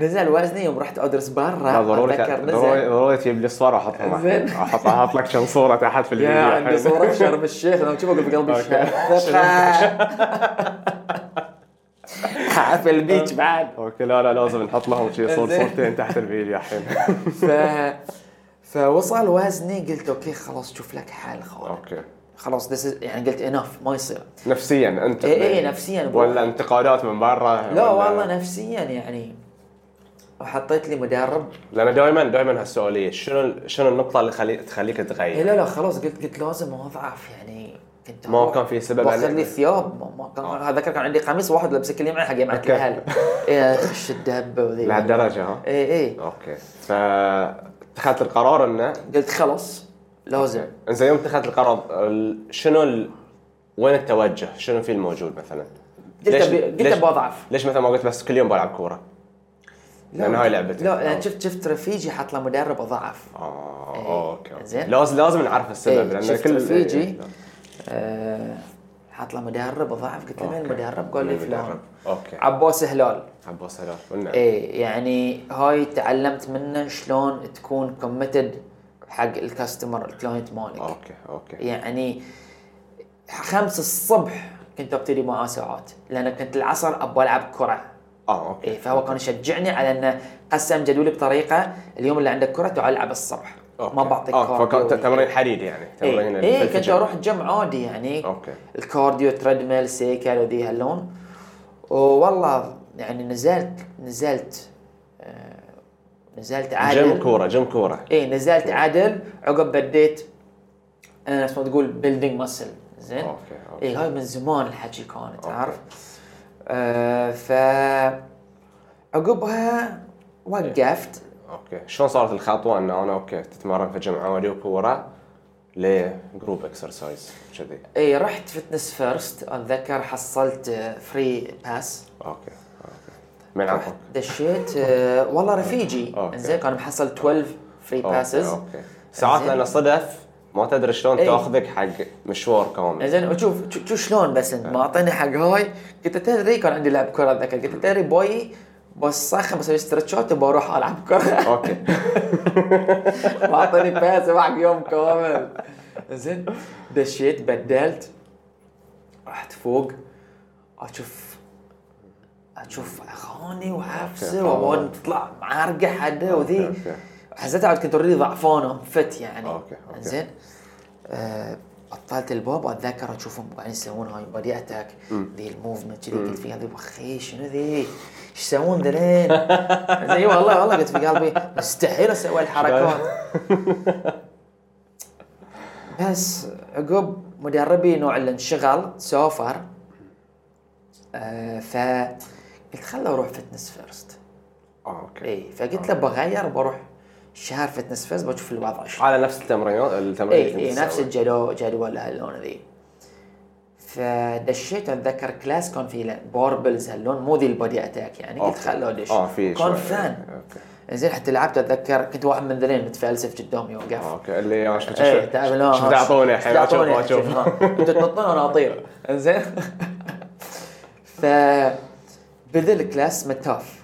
[SPEAKER 2] نزل وزني يوم رحت ادرس برا
[SPEAKER 3] لا ضروري
[SPEAKER 2] اتذكر
[SPEAKER 3] ضروري
[SPEAKER 2] نزل
[SPEAKER 3] ضروري تجيب لي الصور واحطها
[SPEAKER 2] زين.
[SPEAKER 3] معك. احط احط لك كم صوره تحت في
[SPEAKER 2] [laughs]
[SPEAKER 3] [laughs]
[SPEAKER 2] يا
[SPEAKER 3] الفيديو
[SPEAKER 2] عندي صورة في شرم الشيخ لما اشوفه اقول بقلبي
[SPEAKER 3] أوكي.
[SPEAKER 2] شيخ.
[SPEAKER 3] [laughs]
[SPEAKER 2] ثقة. في
[SPEAKER 3] [laughs]
[SPEAKER 2] البيتش بعد
[SPEAKER 3] اوكي لا لا لازم نحط لهم شي صور
[SPEAKER 2] زين.
[SPEAKER 3] صورتين تحت الفيديو الحين [laughs]
[SPEAKER 2] ف فوصل وزني قلت اوكي خلاص شوف لك حل خالد
[SPEAKER 3] اوكي
[SPEAKER 2] خلاص this is- يعني قلت انف ما يصير
[SPEAKER 3] نفسيا انت
[SPEAKER 2] إيه، إيه، نفسياً بروح.
[SPEAKER 3] ولا انتقادات من برا
[SPEAKER 2] لا
[SPEAKER 3] ولا-
[SPEAKER 2] والله نفسيا يعني وحطيت لي مدرب
[SPEAKER 3] لان دائما دائما هالسؤاليه شنو شنو النقطه اللي خلي تخليك
[SPEAKER 2] إيه
[SPEAKER 3] تغير؟
[SPEAKER 2] لا لا خلاص قلت قلت لازم اضعف يعني كنت
[SPEAKER 3] ما كان في سبب آه.
[SPEAKER 2] باخذ
[SPEAKER 3] عليك.
[SPEAKER 2] لي ثياب ما, ما كان اتذكر كان عندي قميص واحد لابسه كل يوم حق جماعه الاهل اي إيه، خش الدبه وذي إيه،
[SPEAKER 3] لهالدرجه ها؟
[SPEAKER 2] اي اي
[SPEAKER 3] اوكي فاتخذت القرار انه
[SPEAKER 2] قلت خلاص لازم
[SPEAKER 3] انزين يوم اتخذت القرار ال- شنو ال... وين التوجه؟ شنو في الموجود مثلا؟
[SPEAKER 2] قلت
[SPEAKER 3] ليش-
[SPEAKER 2] أبي- قلت
[SPEAKER 3] ليش-
[SPEAKER 2] ابى اضعف
[SPEAKER 3] ليش مثلا ما قلت بس كل يوم بلعب كوره؟ لان هاي آه. لعبتي
[SPEAKER 2] لا يعني شفت شفت رفيجي حط له مدرب اضعف
[SPEAKER 3] اه اوكي أوكي.
[SPEAKER 2] إيه. زين.
[SPEAKER 3] لازم لازم نعرف
[SPEAKER 2] إيه،
[SPEAKER 3] السبب لان
[SPEAKER 2] شفت
[SPEAKER 3] كل
[SPEAKER 2] رفيجي
[SPEAKER 3] إيه،
[SPEAKER 2] آه، حط له مدرب اضعف قلت له مين
[SPEAKER 3] أوكي.
[SPEAKER 2] المدرب؟ قال لي
[SPEAKER 3] مين
[SPEAKER 2] فلان
[SPEAKER 3] المدرب؟ اوكي
[SPEAKER 2] عباس هلال
[SPEAKER 3] عباس هلال قلنا
[SPEAKER 2] ايه يعني هاي تعلمت منه شلون تكون كوميتد حق الكاستمر الكلاينت مالك
[SPEAKER 3] اوكي اوكي
[SPEAKER 2] يعني خمس الصبح كنت ابتدي معاه ساعات لان كنت العصر ابغى العب كره
[SPEAKER 3] اه اوكي
[SPEAKER 2] إيه فهو كان يشجعني على انه قسم جدولي بطريقه اليوم اللي عندك كره تعال العب الصبح
[SPEAKER 3] أوكي.
[SPEAKER 2] ما بعطيك
[SPEAKER 3] آه، فكان ت-
[SPEAKER 2] كارديو.
[SPEAKER 3] تمرين حديد يعني
[SPEAKER 2] ايه,
[SPEAKER 3] تمرين
[SPEAKER 2] إيه كنت
[SPEAKER 3] الفجر.
[SPEAKER 2] اروح الجيم عادي يعني
[SPEAKER 3] اوكي
[SPEAKER 2] الكارديو تريدميل سيكل وذي هاللون والله يعني نزلت نزلت آه، نزلت
[SPEAKER 3] جيم
[SPEAKER 2] عادل
[SPEAKER 3] كوره جيم كوره
[SPEAKER 2] اي نزلت عادل عقب بديت انا نفس ما تقول بيلدينج مسل زين إيه،
[SPEAKER 3] أوكي، أوكي.
[SPEAKER 2] اي هاي من زمان الحكي كان تعرف آه ف عقبها وقفت
[SPEAKER 3] اوكي شلون صارت الخطوه انه انا اوكي تتمرن في جمعه واجيب ورا لجروب اكسرسايز كذي
[SPEAKER 2] اي إيه، رحت فتنس فيرست اتذكر حصلت فري باس
[SPEAKER 3] اوكي اوكي من عمرك؟
[SPEAKER 2] دشيت آه، والله رفيجي
[SPEAKER 3] أوكي.
[SPEAKER 2] زين كان محصل 12 فري
[SPEAKER 3] اوكي
[SPEAKER 2] باسز
[SPEAKER 3] اوكي ساعات
[SPEAKER 2] زين.
[SPEAKER 3] لان صدف ما تدري شلون
[SPEAKER 2] إيه.
[SPEAKER 3] تاخذك حق مشوار كامل
[SPEAKER 2] زين وشوف شو- شو شلون بس انت معطيني حق هاي قلت تدري كان عندي لعب كره ذاك قلت تدري بوي بوسخ بسوي ستريتشات وبروح العب كره
[SPEAKER 3] اوكي
[SPEAKER 2] [laughs] معطيني باس معك يوم كامل زين دشيت بدلت رحت فوق اشوف اشوف اخواني وحفصه
[SPEAKER 3] أوكي.
[SPEAKER 2] وابون تطلع معرقه حدا وذي
[SPEAKER 3] أوكي.
[SPEAKER 2] حسيت عاد كنت اوريدي ضعفانه فت يعني
[SPEAKER 3] أوكي، أوكي.
[SPEAKER 2] زين آه، بطلت الباب اتذكر اشوفهم قاعدين يسوون هاي بادي اتاك ذي الموفمنت كذي قلت في هذي بخي شنو ذي؟ ايش يسوون
[SPEAKER 3] [laughs]
[SPEAKER 2] ذلين؟ زين اي والله والله قلت في قلبي مستحيل اسوي الحركات [laughs] بس عقب مدربي نوع اللي انشغل سافر آه ف قلت خله اروح فتنس فيرست
[SPEAKER 3] اوكي
[SPEAKER 2] اي فقلت له بغير بروح شهر فتنس فيرست بشوف الوضع شلون
[SPEAKER 3] على نفس التمرينات التمرين
[SPEAKER 2] اي اي إيه، نفس الجدول جدول هاللون ذي فدشيت اتذكر كلاس كان فيه باربلز هاللون مو ذي البودي اتاك يعني قلت خله ادش
[SPEAKER 3] اه في
[SPEAKER 2] كان
[SPEAKER 3] شوي.
[SPEAKER 2] فان
[SPEAKER 3] اوكي
[SPEAKER 2] زين حتى لعبت اتذكر كنت واحد من ذلين متفلسف قدامي يوقف
[SPEAKER 3] اوكي اللي انا شفت
[SPEAKER 2] ايه تعال لا،
[SPEAKER 3] شفت
[SPEAKER 2] ها،
[SPEAKER 3] اعطوني الحين
[SPEAKER 2] تعطوني
[SPEAKER 3] اشوف
[SPEAKER 2] الحين،
[SPEAKER 3] اشوف
[SPEAKER 2] ها. انتوا تنطون وانا اطير انزين ف بدا الكلاس متاف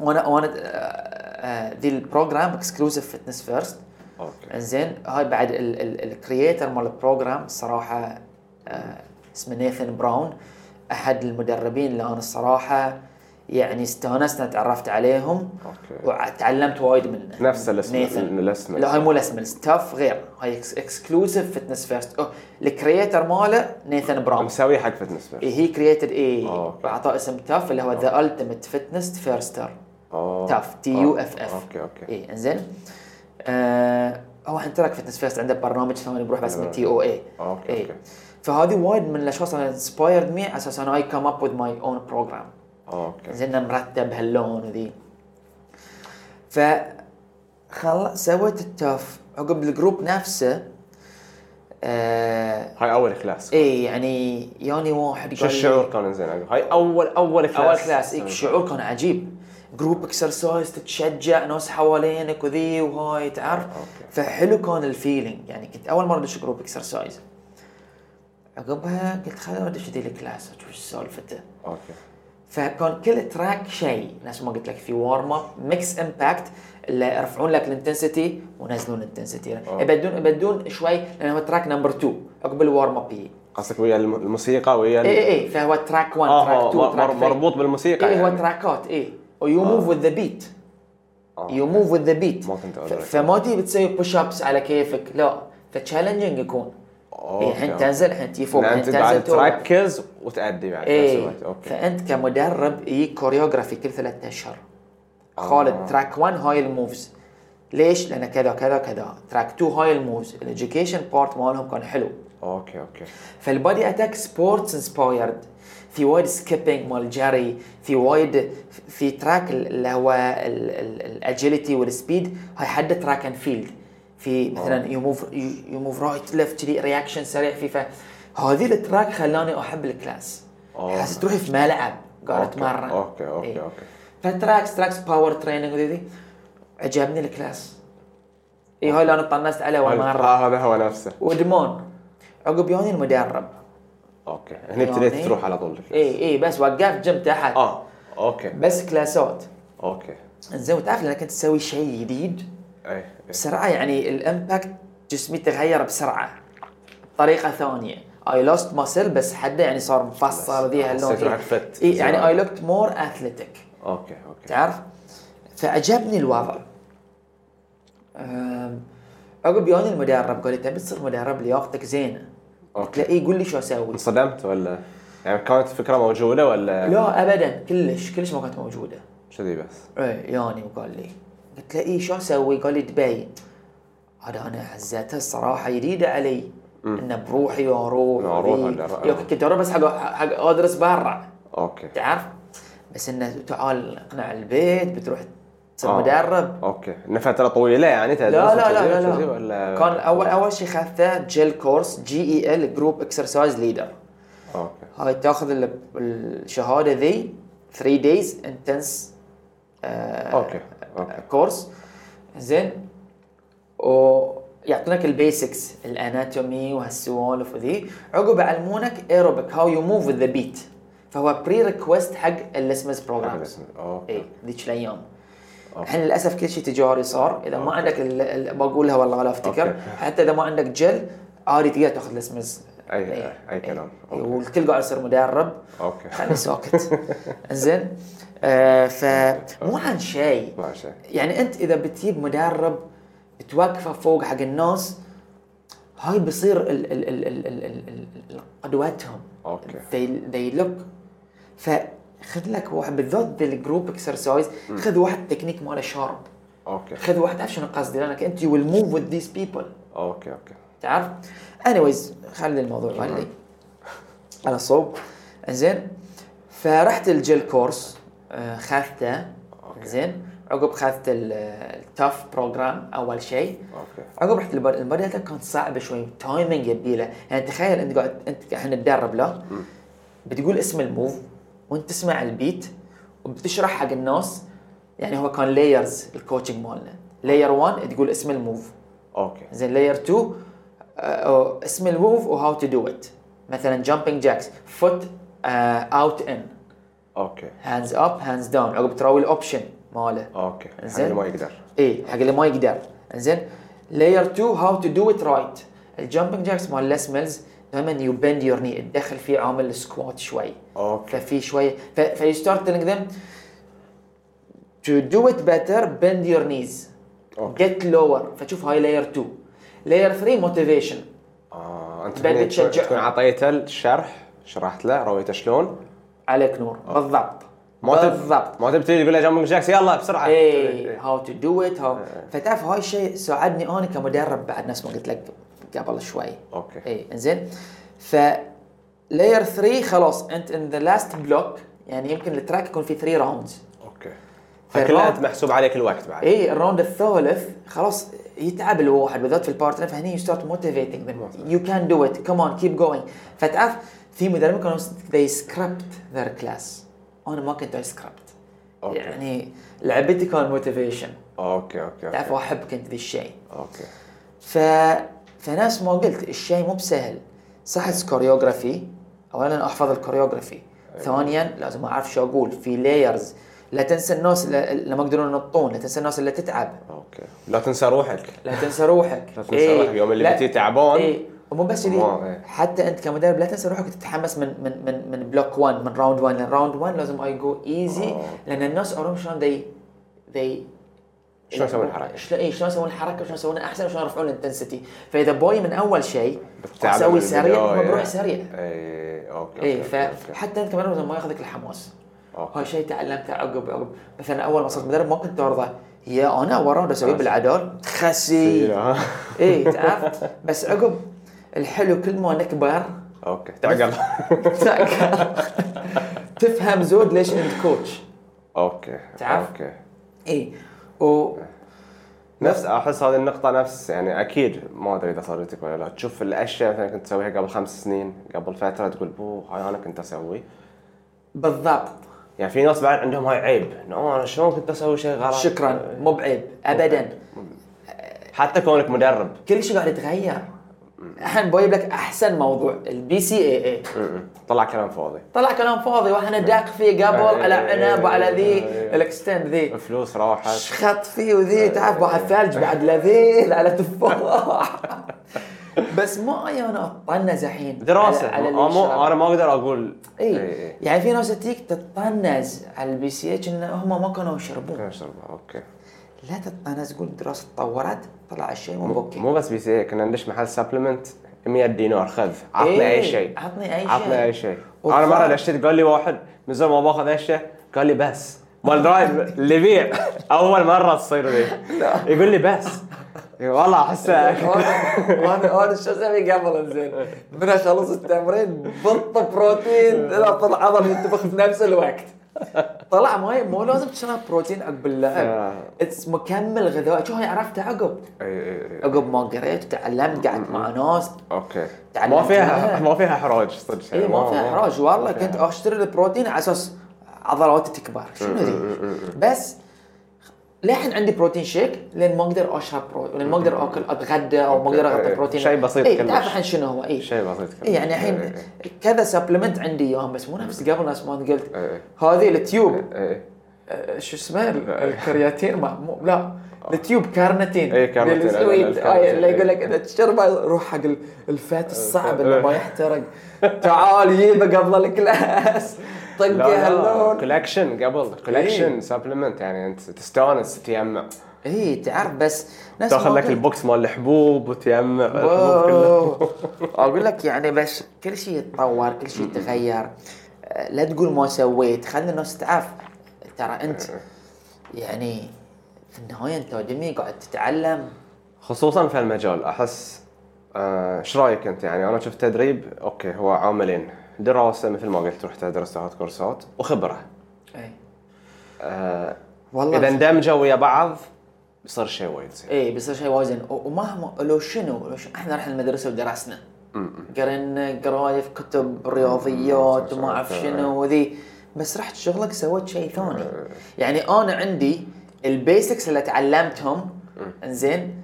[SPEAKER 2] وانا وانا آه، آه، ذي البروجرام اكسكلوسيف فتنس فيرست
[SPEAKER 3] اوكي
[SPEAKER 2] انزين هاي بعد الكرييتر مال البروجرام الصراحه آه، اسمه نيثن براون احد المدربين اللي انا الصراحه يعني استانست أنا تعرفت عليهم
[SPEAKER 3] أوكي.
[SPEAKER 2] وتعلمت وايد منه
[SPEAKER 3] نفس الاسم
[SPEAKER 2] نيثن
[SPEAKER 3] الاسم
[SPEAKER 2] لا هاي مو الاسم الستاف غير هاي اكسكلوسيف فتنس فيرست أوه، الكرييتر ماله نيثن براون إيه،
[SPEAKER 3] مسوي حق فتنس بس
[SPEAKER 2] هي كرييتد اي
[SPEAKER 3] آه، أوكي.
[SPEAKER 2] اعطاه اسم تاف اللي هو ذا التيمت فتنس فيرستر
[SPEAKER 3] اه
[SPEAKER 2] تاف تي يو اف اف
[SPEAKER 3] اوكي اوكي
[SPEAKER 2] اي انزين إيه، آه هو الحين ترك فتنس فيرست عنده برنامج ثاني بروح بس من تي او اي
[SPEAKER 3] أوكي،
[SPEAKER 2] اي
[SPEAKER 3] أوكي.
[SPEAKER 2] إيه. فهذه وايد من الاشخاص اللي انسبايرد مي على اساس انا اي كم اب وذ ماي اون بروجرام
[SPEAKER 3] اوكي
[SPEAKER 2] زين مرتب هاللون وذي ف خل سويت التاف عقب الجروب نفسه آه
[SPEAKER 3] هاي اول كلاس
[SPEAKER 2] اي يعني يوني واحد قال
[SPEAKER 3] شو
[SPEAKER 2] لي-
[SPEAKER 3] الشعور كان زين هاي اول اول كلاس
[SPEAKER 2] اول كلاس إيه الشعور كان عجيب جروب اكسرسايز تتشجع ناس حوالينك وذي وهاي تعرف
[SPEAKER 3] أوكي.
[SPEAKER 2] فحلو كان الفيلينج يعني كنت اول مره ادش جروب اكسرسايز عقبها قلت خليني ادش ذي الكلاس اشوف سالفته
[SPEAKER 3] اوكي
[SPEAKER 2] فكان كل تراك شيء نفس ما قلت لك في وارم اب ميكس امباكت اللي يرفعون لك الانتنسيتي وينزلون الانتنسيتي
[SPEAKER 3] آه.
[SPEAKER 2] يبدون يبدون شوي لان هو تراك نمبر 2 عقب الوارم اب اي
[SPEAKER 3] قصدك ويا الم- الموسيقى ويا ال-
[SPEAKER 2] اي اي إيه، فهو تراك 1
[SPEAKER 3] اه
[SPEAKER 2] تراك 2
[SPEAKER 3] هو
[SPEAKER 2] تراك
[SPEAKER 3] مر-
[SPEAKER 2] 3
[SPEAKER 3] مربوط بالموسيقى
[SPEAKER 2] ايه هو
[SPEAKER 3] يعني. آه.
[SPEAKER 2] تراكات ايه ويو موف وذ ذا بيت يو موف وذ ذا بيت
[SPEAKER 3] ما
[SPEAKER 2] ف-
[SPEAKER 3] كنت أدرك.
[SPEAKER 2] فما تي بتسوي بوش ابس على كيفك لا فتشالنجينج يكون
[SPEAKER 3] آه، أوكي،
[SPEAKER 2] إيه، الحين
[SPEAKER 3] أوكي.
[SPEAKER 2] تنزل الحين تي فوق يعني
[SPEAKER 3] إن
[SPEAKER 2] الحين
[SPEAKER 3] انت بعد
[SPEAKER 2] تنزل توقف.
[SPEAKER 3] تركز وتأدي بعد في نفس
[SPEAKER 2] ايه
[SPEAKER 3] الوقت اوكي
[SPEAKER 2] فانت كمدرب يجيك كوريوغرافي كل ثلاثة اشهر
[SPEAKER 3] آه.
[SPEAKER 2] خالد تراك 1 هاي الموفز ليش؟ لان كذا كذا كذا تراك 2 هاي الموفز الاديوكيشن بارت مالهم كان حلو
[SPEAKER 3] اوكي اوكي
[SPEAKER 2] فالبادي اتاك سبورتس انسبايرد في وايد سكيبنج مال جري في وايد في تراك اللي هو الاجيلتي والسبيد هاي حد تراك اند فيلد في مثلا يو موف يو موف رايت ليفت كذي رياكشن سريع في فهذه التراك خلاني احب الكلاس
[SPEAKER 3] أوه.
[SPEAKER 2] حسيت روحي في ملعب قاعد
[SPEAKER 3] آه. أوكي،
[SPEAKER 2] اتمرن
[SPEAKER 3] أوكي، أوكي،
[SPEAKER 2] إيه.
[SPEAKER 3] أوكي.
[SPEAKER 2] فتراكس تراكس باور تريننج وذي ذي. عجبني الكلاس اي هاي اللي انا طنست عليه اول مره
[SPEAKER 3] آه، هذا هو نفسه
[SPEAKER 2] ودمون عقب يوني المدرب
[SPEAKER 3] اوكي هني ابتديت
[SPEAKER 2] يعني-
[SPEAKER 3] تروح على طول الكلاس.
[SPEAKER 2] اي اي إيه، بس وقفت جيم تحت
[SPEAKER 3] اه اوكي
[SPEAKER 2] بس كلاسات
[SPEAKER 3] اوكي
[SPEAKER 2] زين وتعرف لانك كنت تسوي شيء جديد
[SPEAKER 3] اي
[SPEAKER 2] بسرعه يعني الامباكت جسمي تغير بسرعه بطريقه ثانيه اي لوست ماسل بس حده يعني صار مفصل ذي هاللون
[SPEAKER 3] حسيت روحك فت.
[SPEAKER 2] اي يعني اي لوكت مور اثليتيك
[SPEAKER 3] اوكي اوكي
[SPEAKER 2] تعرف فعجبني الوضع أم، عقب يوني المدرب قال لي تبي تصير مدرب لياقتك زينه قلت له
[SPEAKER 3] اوكي
[SPEAKER 2] اي قول لي شو اسوي
[SPEAKER 3] انصدمت ولا يعني كانت فكره موجوده ولا
[SPEAKER 2] لا ابدا كلش كلش ما كانت موجوده
[SPEAKER 3] كذي بس
[SPEAKER 2] ايه يوني وقال لي قلت له ايه شو اسوي؟ قال لي دبي هذا انا حزتها الصراحه جديده علي انه بروحي واروح
[SPEAKER 3] أنا أروح
[SPEAKER 2] وذي.
[SPEAKER 3] أدرس.
[SPEAKER 2] يا كنت اروح بس حق حق ادرس برا
[SPEAKER 3] اوكي
[SPEAKER 2] تعرف بس انه تعال اقنع البيت بتروح تصير
[SPEAKER 3] آه.
[SPEAKER 2] مدرب
[SPEAKER 3] اوكي انه فتره طويله يعني تدرس
[SPEAKER 2] لا لا
[SPEAKER 3] وتدرس
[SPEAKER 2] لا لا,
[SPEAKER 3] وتدرس
[SPEAKER 2] لا.
[SPEAKER 3] ولا
[SPEAKER 2] كان اول اول شيء اخذته جيل كورس جي اي ال جروب اكسرسايز ليدر
[SPEAKER 3] اوكي
[SPEAKER 2] هاي تاخذ ال- الشهاده ذي 3 دايز انتنس آه،
[SPEAKER 3] اوكي اوكي
[SPEAKER 2] كورس زين يعني ويعطونك البيسكس الاناتومي وهالسوالف وذي عقب يعلمونك ايروبيك هاو يو موف ذا بيت فهو بري ريكوست حق اللسمز بروجرامز
[SPEAKER 3] اوكي
[SPEAKER 2] اي إيه، ذيك الايام
[SPEAKER 3] أوكي.
[SPEAKER 2] الحين للاسف كل شيء تجاري صار اذا ما عندك ال- ال- بقولها والله لا افتكر
[SPEAKER 3] أوكي.
[SPEAKER 2] حتى اذا ما عندك جل عادي تقدر تاخذ لسمز
[SPEAKER 3] أي- أي كلام.
[SPEAKER 2] إيه.
[SPEAKER 3] أوكي.
[SPEAKER 2] والكل قاعد يصير مدرب
[SPEAKER 3] اوكي
[SPEAKER 2] خلي ساكت
[SPEAKER 3] [laughs]
[SPEAKER 2] زين آه فمو عن شيء
[SPEAKER 3] ما شيء
[SPEAKER 2] يعني انت اذا بتجيب مدرب بتوقفه فوق حق الناس هاي بيصير ال ال ال ال ال ال ال ال قدوتهم
[SPEAKER 3] أوكي.
[SPEAKER 2] they, they look فخذ لك واحد بالذات الجروب اكسرسايز خذ واحد تكنيك ماله شارب
[SPEAKER 3] اوكي
[SPEAKER 2] خذ واحد تعرف شنو قصدي لانك انت يو ويل موف وذ ذيس بيبل
[SPEAKER 3] اوكي اوكي
[SPEAKER 2] تعرف anyways خلي الموضوع غلي على صوب زين فرحت الجيل كورس آه، خذته زين عقب خذت التاف بروجرام اول شيء
[SPEAKER 3] اوكي
[SPEAKER 2] عقب رحت البر البر كان صعب شوي تايمنج يبيله يعني تخيل انت قاعد انت احنا نتدرب له بتقول اسم الموف وانت تسمع البيت وبتشرح حق الناس يعني هو كان لايرز الكوتشنج مالنا لاير 1 تقول اسم الموف
[SPEAKER 3] اوكي
[SPEAKER 2] زين لاير 2 آه، اسم الموف وهاو تو دو ات مثلا جامبينج جاكس فوت اوت ان
[SPEAKER 3] اوكي
[SPEAKER 2] هاندز اب هاندز داون عقب تراوي الاوبشن ماله
[SPEAKER 3] اوكي حق
[SPEAKER 2] زين.
[SPEAKER 3] اللي ما يقدر
[SPEAKER 2] اي حق اللي ما يقدر زين لاير 2 هاو تو دو ات رايت الجامبينج جاكس مال لاسملز دائما يو بند يور ني تدخل فيه عامل السكوات شوي
[SPEAKER 3] اوكي
[SPEAKER 2] ففي شوي فيو ستارت تيلينج ذم تو دو ات بيتر بند يور نيز
[SPEAKER 3] اوكي
[SPEAKER 2] جيت لور فتشوف هاي لاير 2 لاير 3 موتيفيشن
[SPEAKER 3] اه انت
[SPEAKER 2] بعد
[SPEAKER 3] هني تكون-
[SPEAKER 2] تشجعهم.
[SPEAKER 3] تكون عطيته الشرح شرحت له رويته شلون
[SPEAKER 2] عليك نور بالضبط
[SPEAKER 3] ما تب-
[SPEAKER 2] بالضبط إيه،
[SPEAKER 3] ما تبتدي بلا جنب جاكس يلا بسرعه إيه.
[SPEAKER 2] اي هاو تو دو ات هاو فتعرف هاي الشيء ساعدني انا كمدرب بعد نفس ما قلت لك قبل شوي
[SPEAKER 3] اوكي
[SPEAKER 2] اي انزين ف لاير 3 خلاص انت ان ذا لاست بلوك يعني يمكن التراك يكون فيه 3 راوندز
[SPEAKER 3] اوكي
[SPEAKER 2] فالراوند-
[SPEAKER 3] فكلها أنت محسوب عليك الوقت بعد
[SPEAKER 2] اي الراوند إيه، الثالث خلاص يتعب الواحد بالذات في البارتنر فهني يو ستارت موتيفيتنج يو كان دو ات كمان كيب جوينج فتعرف في مدربين كانوا ذي سكريبت ذير كلاس انا ما كنت سكريبت
[SPEAKER 3] أوكي.
[SPEAKER 2] يعني لعبتي كان موتيفيشن
[SPEAKER 3] اوكي اوكي اوكي
[SPEAKER 2] تعرف احب كنت ذي الشيء
[SPEAKER 3] اوكي
[SPEAKER 2] ف فنفس ما قلت الشيء مو بسهل صحة كوريوغرافي اولا احفظ الكوريوغرافي ثانيا لازم اعرف شو اقول في لايرز لا تنسى الناس اللي ما يقدرون ينطون لا تنسى الناس اللي تتعب
[SPEAKER 3] اوكي لا تنسى روحك
[SPEAKER 2] لا تنسى روحك إيه.
[SPEAKER 3] لا تنسى روحك. يوم اللي
[SPEAKER 2] لا-
[SPEAKER 3] بتي تعبان.
[SPEAKER 2] اي ومو بس كذي
[SPEAKER 3] ما- إيه.
[SPEAKER 2] حتى انت كمدرب لا تنسى روحك تتحمس من من من من بلوك 1 من راوند 1 لان راوند 1 لازم اي جو ايزي
[SPEAKER 3] آه.
[SPEAKER 2] لان الناس اوريهم شلون دي دي إيه.
[SPEAKER 3] شلون يسوون الحركة.
[SPEAKER 2] شلون اي شلون يسوون الحركه وشلون يسوون احسن وشلون يرفعون الانتنسيتي فاذا بوي من اول شيء
[SPEAKER 3] بتتعب
[SPEAKER 2] اسوي
[SPEAKER 3] من
[SPEAKER 2] سريع هو
[SPEAKER 3] البداية.
[SPEAKER 2] بروح سريع إيه،
[SPEAKER 3] اي اوكي
[SPEAKER 2] اي
[SPEAKER 3] إيه، أوكي، أوكي،
[SPEAKER 2] فحتى انت كمان لازم ما ياخذك الحماس
[SPEAKER 3] أوكي.
[SPEAKER 2] هاي شيء تعلمته عقب عقب مثلا اول ما صرت مدرب ما كنت ارضى يا انا ورا اسويه بالعدال
[SPEAKER 3] إي،
[SPEAKER 2] خسي
[SPEAKER 3] [laughs] آه.
[SPEAKER 2] اي إيه، تعرف بس عقب الحلو كل ما نكبر طيب.
[SPEAKER 3] اوكي تعقل [laughs]
[SPEAKER 2] تفهم زود ليش انت كوتش
[SPEAKER 3] اوكي
[SPEAKER 2] تعرف؟
[SPEAKER 3] اوكي
[SPEAKER 2] اي و
[SPEAKER 3] نفس احس هذه النقطة نفس يعني اكيد ما ادري اذا صارت لك ولا لا تشوف الاشياء مثلا كنت تسويها قبل خمس سنين قبل فترة تقول بو هاي انا كنت اسوي
[SPEAKER 2] بالضبط
[SPEAKER 3] يعني في ناس بعد عندهم هاي عيب انه "أوه، انا شلون كنت اسوي شيء غلط
[SPEAKER 2] شكرا مو بعيب ابدا
[SPEAKER 3] حتى كونك مدرب
[SPEAKER 2] كل شيء قاعد يتغير الحين بجيب لك احسن موضوع البي سي اي اي
[SPEAKER 3] م-م. طلع كلام فاضي
[SPEAKER 2] طلع كلام فاضي واحنا داق فيه قبل على عنب وعلى ذي
[SPEAKER 3] آه، إيه.
[SPEAKER 2] الاكستند ذي
[SPEAKER 3] فلوس راحت
[SPEAKER 2] شخط فيه
[SPEAKER 3] إيه،
[SPEAKER 2] وذي تعرف بعد ثلج بعد لذيذ على
[SPEAKER 3] [laughs]
[SPEAKER 2] تفاح بس ما انا اطنز الحين
[SPEAKER 3] دراسة
[SPEAKER 2] على- على اللي
[SPEAKER 3] آه، مو- إيه،
[SPEAKER 2] يشرب.
[SPEAKER 3] انا ما اقدر اقول
[SPEAKER 2] اي يعني في ناس تجيك تطنز على البي سي اتش ان هم ما كانوا يشربون
[SPEAKER 3] اشرب اوكي
[SPEAKER 2] لا تطنز قول الدراسه تطورت طلع الشيء مو
[SPEAKER 3] مو-
[SPEAKER 2] اوكي
[SPEAKER 3] مو بس بي سي إيه، كنا ندش محل سبلمنت 100 دينار خذ عطني
[SPEAKER 2] إيه،
[SPEAKER 3] اي شيء
[SPEAKER 2] عطني أي شيء.
[SPEAKER 3] عطني اي شيء
[SPEAKER 2] وفعلاً.
[SPEAKER 3] انا مره دشيت قال لي واحد من زمان ما باخذ اي شيء قال لي بس مال [laughs] درايف اللي يبيع اول مره تصير لي يقول لي بس إيه، والله احسه
[SPEAKER 2] انا انا انا شو اسوي قبل انزين من اخلص التمرين بط بروتين لا طلع عضل ينتفخ في نفس الوقت طلع ماي مو لازم تشرب بروتين عقب اللعب
[SPEAKER 3] آه.
[SPEAKER 2] اتس مكمل غذائي شو هاي عرفتها عقب
[SPEAKER 3] اي اي اي
[SPEAKER 2] عقب ما قريت وتعلمت قعدت مع ناس
[SPEAKER 3] اوكي
[SPEAKER 2] تعلمت
[SPEAKER 3] ما فيها
[SPEAKER 2] منها.
[SPEAKER 3] ما فيها احراج صدق
[SPEAKER 2] اي إيه، ما فيها احراج والله
[SPEAKER 3] ما إيه. فيها.
[SPEAKER 2] كنت اشتري البروتين على اساس عضلاتي تكبر شنو ذي بس للحين عندي بروتين شيك لان ما اقدر اشرب بروتين لان ما اقدر اكل اتغدى او ما اقدر
[SPEAKER 3] أوكي.
[SPEAKER 2] اغطي
[SPEAKER 3] إيه.
[SPEAKER 2] بروتين
[SPEAKER 3] شيء بسيط
[SPEAKER 2] اي
[SPEAKER 3] كلش.
[SPEAKER 2] تعرف الحين شنو هو اي
[SPEAKER 3] شيء بسيط كلش.
[SPEAKER 2] إيه يعني
[SPEAKER 3] إيه
[SPEAKER 2] الحين
[SPEAKER 3] إيه.
[SPEAKER 2] كذا سبلمنت عندي اياهم بس مو نفس قبل نفس ما أنا قلت
[SPEAKER 3] إيه إيه.
[SPEAKER 2] هذه التيوب
[SPEAKER 3] اي
[SPEAKER 2] آه، شو اسمه ال- الكرياتين ما مو لا التيوب كارنتين
[SPEAKER 3] إيه، كارنتين،
[SPEAKER 2] اللي-
[SPEAKER 3] أنا- أنا
[SPEAKER 2] إيه،
[SPEAKER 3] الكارنتين،
[SPEAKER 2] اللي يقول لك
[SPEAKER 3] إيه.
[SPEAKER 2] اذا تشربه روح حق ال- الفات الصعب اللي ما يحترق تعال جيبه قبل
[SPEAKER 3] [laughs]
[SPEAKER 2] الكلاس طقه هاللون
[SPEAKER 3] كولكشن قبل
[SPEAKER 2] إيه.
[SPEAKER 3] كولكشن سبلمنت يعني انت تستانس تجمع
[SPEAKER 2] اي إيه، تعرف بس نفس ما
[SPEAKER 3] تاخذ لك
[SPEAKER 2] قلت.
[SPEAKER 3] البوكس مال الحبوب وتجمع الحبوب كلها [laughs]
[SPEAKER 2] واو. اقول لك يعني بس كل شيء يتطور كل شيء يتغير أه، لا تقول ما سويت خلي الناس تعرف ترى
[SPEAKER 3] [laughs]
[SPEAKER 2] انت يعني في النهايه انت ودمي قاعد تتعلم
[SPEAKER 3] خصوصا في المجال احس ايش رايك انت يعني انا شفت تدريب اوكي هو عاملين دراسه مثل ما قلت تروح تدرس تاخذ كورسات وخبره
[SPEAKER 2] اي
[SPEAKER 3] آه،
[SPEAKER 2] إيه. والله إيه،
[SPEAKER 3] اذا
[SPEAKER 2] بس-
[SPEAKER 3] اندمجوا ويا بعض بيصير شيء وايد زين
[SPEAKER 2] اي بيصير شيء وازن و- ومهما لو شنو لو شنو احنا رحنا المدرسه ودرسنا قرينا قرايف كتب رياضيات
[SPEAKER 3] صح،
[SPEAKER 2] وما
[SPEAKER 3] صح،
[SPEAKER 2] اعرف
[SPEAKER 3] صح.
[SPEAKER 2] شنو وذي بس رحت شغلك سويت شيء ثاني
[SPEAKER 3] آه.
[SPEAKER 2] يعني انا عندي البيسكس اللي تعلمتهم انزين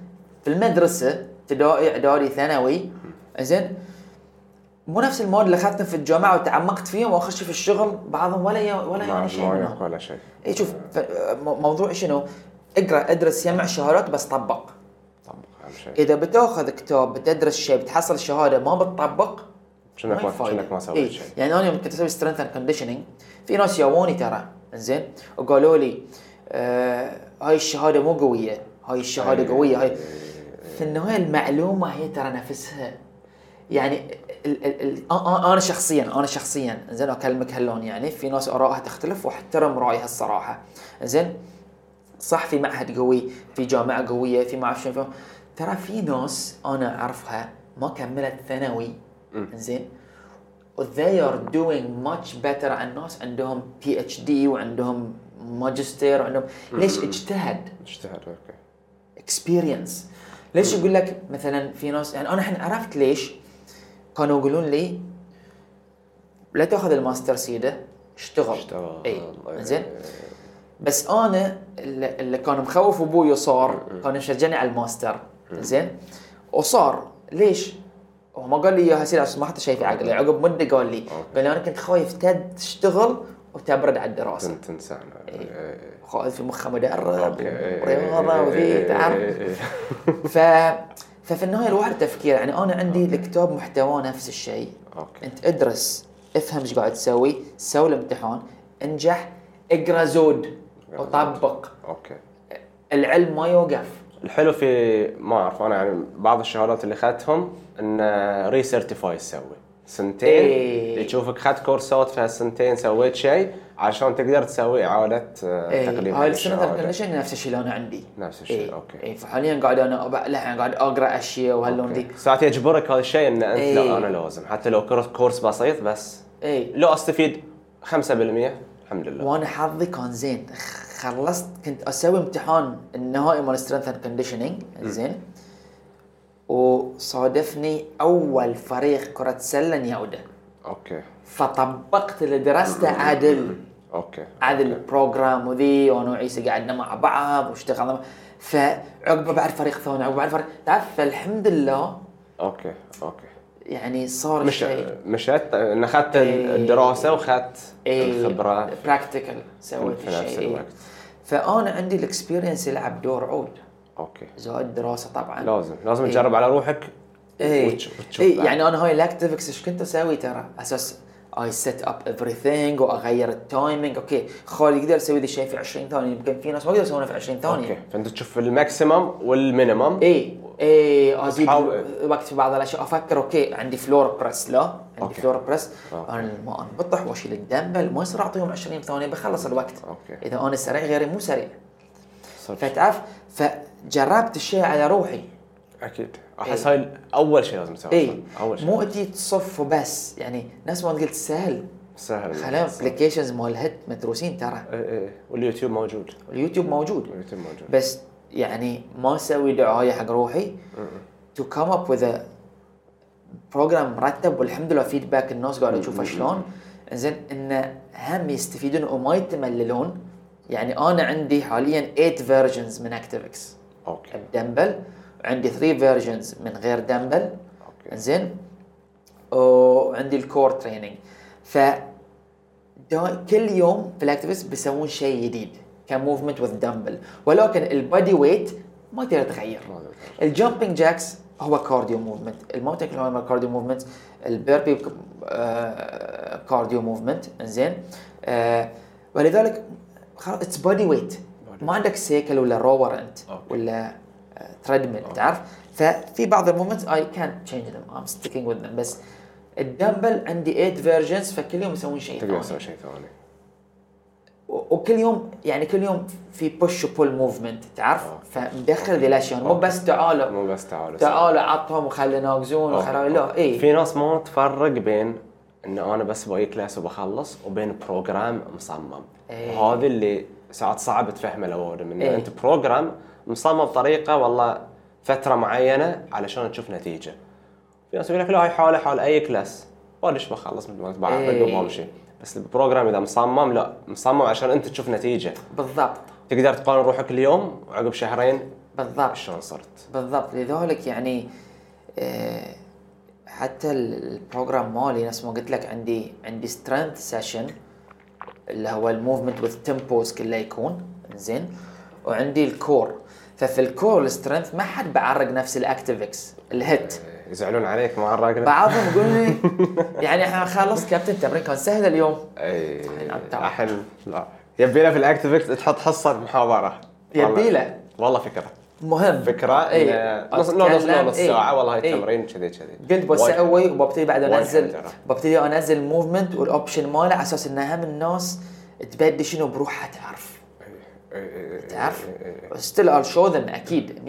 [SPEAKER 2] في المدرسه ابتدائي اعدادي ثانوي انزين مو نفس المواد اللي اخذتهم في الجامعه وتعمقت فيهم واخش في الشغل بعضهم ولا يا ولا
[SPEAKER 3] ما
[SPEAKER 2] يعني شيء
[SPEAKER 3] ما
[SPEAKER 2] منهم.
[SPEAKER 3] يعرف ولا شيء
[SPEAKER 2] اي إيه، شوف ف- مو- موضوع شنو؟ اقرا ادرس جمع شهادات بس طبق
[SPEAKER 3] طبق اهم شيء
[SPEAKER 2] اذا بتاخذ كتاب بتدرس شيء بتحصل شهاده ما بتطبق ما
[SPEAKER 3] شنك
[SPEAKER 2] هي
[SPEAKER 3] ما
[SPEAKER 2] فايدة.
[SPEAKER 3] شنك ما
[SPEAKER 2] إيه.
[SPEAKER 3] سويت شيء
[SPEAKER 2] يعني انا يوم كنت اسوي سترينث اند كونديشننج في ناس ياوني ترى انزين وقالوا لي آه هاي الشهاده مو قويه هاي الشهاده
[SPEAKER 3] أي-
[SPEAKER 2] قويه هاي
[SPEAKER 3] إيه،
[SPEAKER 2] في النهايه المعلومه هي ترى نفسها يعني ال ال ال أ- أ- انا شخصيا انا شخصيا زين اكلمك هاللون يعني في ناس ارائها تختلف واحترم رايها الصراحه زين صح في معهد قوي في جامعه قويه في ما اعرف شنو في- ترى في ناس انا اعرفها ما كملت ثانوي زين they are doing much better عن ناس عندهم بي اتش دي وعندهم ماجستير وعندهم ليش اجتهد؟
[SPEAKER 3] اجتهد اوكي
[SPEAKER 2] اكسبيرينس ليش يقول لك مثلا في ناس يعني انا الحين عرفت ليش كانوا يقولون لي لا تاخذ الماستر سيده اشتغل
[SPEAKER 3] اشتغل.
[SPEAKER 2] اي
[SPEAKER 3] إيه.
[SPEAKER 2] زين بس انا اللي اللي كان مخوف ابوي وصار كان مشجعني على الماستر زين وصار ليش؟ هو ما قال لي اياها سيدي عشان ما حط شيء في عقلي عقب مده قال لي قال لي انا كنت خايف تد تشتغل وتبرد على الدراسه
[SPEAKER 3] تن- تنسانا إيه.
[SPEAKER 2] خايف في مخه مدرب
[SPEAKER 3] أوكي. إيه.
[SPEAKER 2] ورياضه وذي
[SPEAKER 3] إيه.
[SPEAKER 2] تعرف
[SPEAKER 3] إيه.
[SPEAKER 2] ف ففي النهايه الواحد تفكير يعني انا عندي الكتاب محتواه نفس الشيء
[SPEAKER 3] اوكي
[SPEAKER 2] انت ادرس افهم ايش قاعد تسوي سوي الامتحان انجح اقرا زود وطبق
[SPEAKER 3] اوكي
[SPEAKER 2] العلم ما يوقف
[SPEAKER 3] الحلو في ما اعرف انا يعني بعض الشهادات اللي اخذتهم انه ريسيرتيفاي تسوي سنتين
[SPEAKER 2] إيه.
[SPEAKER 3] يشوفك خدت كورسات في هالسنتين سويت شيء عشان تقدر تسوي اعاده آه،
[SPEAKER 2] إيه،
[SPEAKER 3] تقليد
[SPEAKER 2] هاي السنه
[SPEAKER 3] للشهادة.
[SPEAKER 2] الكونديشن نفس الشيء اللي انا عندي
[SPEAKER 3] نفس الشيء،
[SPEAKER 2] إيه،
[SPEAKER 3] أوكي.
[SPEAKER 2] إيه فحاليا قاعد انا أبع- لا قاعد اقرا اشياء وهاللون ذي
[SPEAKER 3] أوكي. ساعات يجبرك هذا الشيء ان انت
[SPEAKER 2] إيه.
[SPEAKER 3] لا انا لازم حتى لو كورس- كورس بسيط بس
[SPEAKER 2] اي
[SPEAKER 3] لو استفيد 5% الحمد لله
[SPEAKER 2] وانا حظي كان زين خلصت كنت اسوي امتحان النهائي مال سترينث اند كونديشننج زين وصادفني اول فريق كره سله يعوده
[SPEAKER 3] اوكي
[SPEAKER 2] فطبقت اللي درسته عدل
[SPEAKER 3] اوكي
[SPEAKER 2] عدل بروجرام وذي وانا وعيسى قعدنا مع بعض واشتغلنا مع- فعقبه بعد فريق ثاني عقبه بعد فريق تعرف فالحمد لله
[SPEAKER 3] اوكي اوكي
[SPEAKER 2] يعني صار
[SPEAKER 3] مش
[SPEAKER 2] شيء
[SPEAKER 3] مشت ان اخذت
[SPEAKER 2] إيه.
[SPEAKER 3] الدراسه واخذت الخبره
[SPEAKER 2] براكتيكال إيه، سويت
[SPEAKER 3] في نفس
[SPEAKER 2] الشيء إيه.
[SPEAKER 3] الوقت.
[SPEAKER 2] فانا عندي الاكسبيرينس يلعب دور عود
[SPEAKER 3] اوكي
[SPEAKER 2] زائد دراسه طبعا
[SPEAKER 3] لازم لازم
[SPEAKER 2] إيه.
[SPEAKER 3] تجرب على روحك
[SPEAKER 2] اي
[SPEAKER 3] وتش- وتشوف
[SPEAKER 2] اي
[SPEAKER 3] بعد.
[SPEAKER 2] يعني انا هاي الاكتيفكس ايش كنت اسوي ترى اساس اي سيت اب everything واغير التايمينج اوكي خالي يقدر يسوي ذا الشيء في 20 ثانيه يمكن في ناس ما يقدروا يسوونه في 20 ثانيه
[SPEAKER 3] اوكي فانت تشوف الماكسيمم والمينيمم
[SPEAKER 2] اي اي ازيد
[SPEAKER 3] تحاول-
[SPEAKER 2] إيه، وقت في بعض الاشياء افكر اوكي عندي فلور بريس لا عندي
[SPEAKER 3] أوكي. آه.
[SPEAKER 2] فلور بريس
[SPEAKER 3] أوكي.
[SPEAKER 2] انا ما انبطح واشيل الدمبل ما يصير اعطيهم 20 ثانيه بخلص الوقت
[SPEAKER 3] أوكي.
[SPEAKER 2] اذا انا سريع غيري مو سريع
[SPEAKER 3] صدق.
[SPEAKER 2] فتعرف فجربت الشيء على روحي
[SPEAKER 3] اكيد
[SPEAKER 2] إيه.
[SPEAKER 3] احس هاي اول شيء لازم تسويه
[SPEAKER 2] اي
[SPEAKER 3] اول شيء
[SPEAKER 2] مو اجي تصف وبس يعني نفس ما قلت سهل
[SPEAKER 3] سهل
[SPEAKER 2] خلاهم ابلكيشنز مال هيد مدروسين ترى
[SPEAKER 3] إيه إيه. واليوتيوب موجود
[SPEAKER 2] اليوتيوب موجود
[SPEAKER 3] اليوتيوب موجود
[SPEAKER 2] بس يعني ما اسوي دعايه حق روحي تو كم اب وذ بروجرام مرتب والحمد لله فيدباك الناس قاعده تشوفه شلون زين ان هم يستفيدون وما يتمللون يعني انا عندي حاليا 8 فيرجنز من اكتيفكس
[SPEAKER 3] اوكي
[SPEAKER 2] الدمبل عندي 3 فيرجنز من غير دمبل
[SPEAKER 3] اوكي
[SPEAKER 2] زين وعندي الكور تريننج ف دا- كل يوم في الاكتيفست بيسوون شيء جديد كموفمنت وذ دمبل ولكن البادي ويت ما تقدر تغير
[SPEAKER 3] ما أدري.
[SPEAKER 2] الجامبنج جاكس هو كارديو موفمنت الماونتن كلايمر كارديو موفمنت البيربي آه، كارديو موفمنت زين آه، ولذلك خلاص اتس بادي ويت ما عندك سيكل ولا رور انت
[SPEAKER 3] أوكي.
[SPEAKER 2] ولا تريدميل تعرف ففي بعض الموفمنتس اي كان تشينج ذم ام ستيكينج وذ ذم بس الدمبل عندي 8 فيرجنز فكل يوم يسوون شيء
[SPEAKER 3] تقدر
[SPEAKER 2] ثاني.
[SPEAKER 3] تسوي شيء ثاني
[SPEAKER 2] و- وكل يوم يعني كل يوم في بوش وبول موفمنت تعرف
[SPEAKER 3] أوكي.
[SPEAKER 2] فمدخل ذي الاشياء مو
[SPEAKER 3] أوكي.
[SPEAKER 2] بس تعالوا
[SPEAKER 3] آه. مو بس تعالوا
[SPEAKER 2] تعالوا عطهم وخلوا ناقزون وخلوا لا إيه. اي
[SPEAKER 3] في ناس ما تفرق بين ان انا بس باي كلاس وبخلص وبين بروجرام مصمم
[SPEAKER 2] إيه.
[SPEAKER 3] هذا اللي ساعات صعب تفهمه الاوادم ان
[SPEAKER 2] إيه.
[SPEAKER 3] انت بروجرام مصمم بطريقه والله فتره معينه علشان تشوف نتيجه في ناس يقول لك لا هاي حاله حال اي كلاس بلش بخلص مثل ما تبع
[SPEAKER 2] إيه.
[SPEAKER 3] بمشي بس البروجرام اذا مصمم لا مصمم عشان انت تشوف نتيجه
[SPEAKER 2] بالضبط
[SPEAKER 3] تقدر تقارن روحك اليوم وعقب شهرين
[SPEAKER 2] بالضبط
[SPEAKER 3] شلون صرت
[SPEAKER 2] بالضبط لذلك يعني آه، حتى ال- البروجرام مالي نفس ما قلت لك عندي عندي سترينث سيشن اللي هو الموفمنت والتمبوز كله يكون زين وعندي الكور ففي الكور السترينث ما حد بعرق نفس الاكتيفكس الهيت
[SPEAKER 3] إيه، يزعلون عليك ما عرقنا
[SPEAKER 2] بعضهم يقول لي يعني احنا خلص كابتن التمرين كان سهل اليوم
[SPEAKER 3] اي
[SPEAKER 2] أتعب.
[SPEAKER 3] الحين لا يبيله في الاكتيفكت تحط حصه محاضره
[SPEAKER 2] يبيله.
[SPEAKER 3] والله فكره
[SPEAKER 2] مهم
[SPEAKER 3] فكره
[SPEAKER 2] إيه.
[SPEAKER 3] إن نص نص نص,
[SPEAKER 2] أتكلم،
[SPEAKER 3] نص
[SPEAKER 2] إيه.
[SPEAKER 3] ساعه والله هاي
[SPEAKER 2] إيه.
[SPEAKER 3] التمرين كذي كذي
[SPEAKER 2] قلت بسوي وببتدي بعد
[SPEAKER 3] وايد
[SPEAKER 2] انزل
[SPEAKER 3] حلو ترى.
[SPEAKER 2] ببتدي انزل موفمنت والاوبشن ماله على اساس ان هم الناس تبدي شنو بروحها تعرف
[SPEAKER 3] إيه،
[SPEAKER 2] تعرف ستيل ار شو ذم اكيد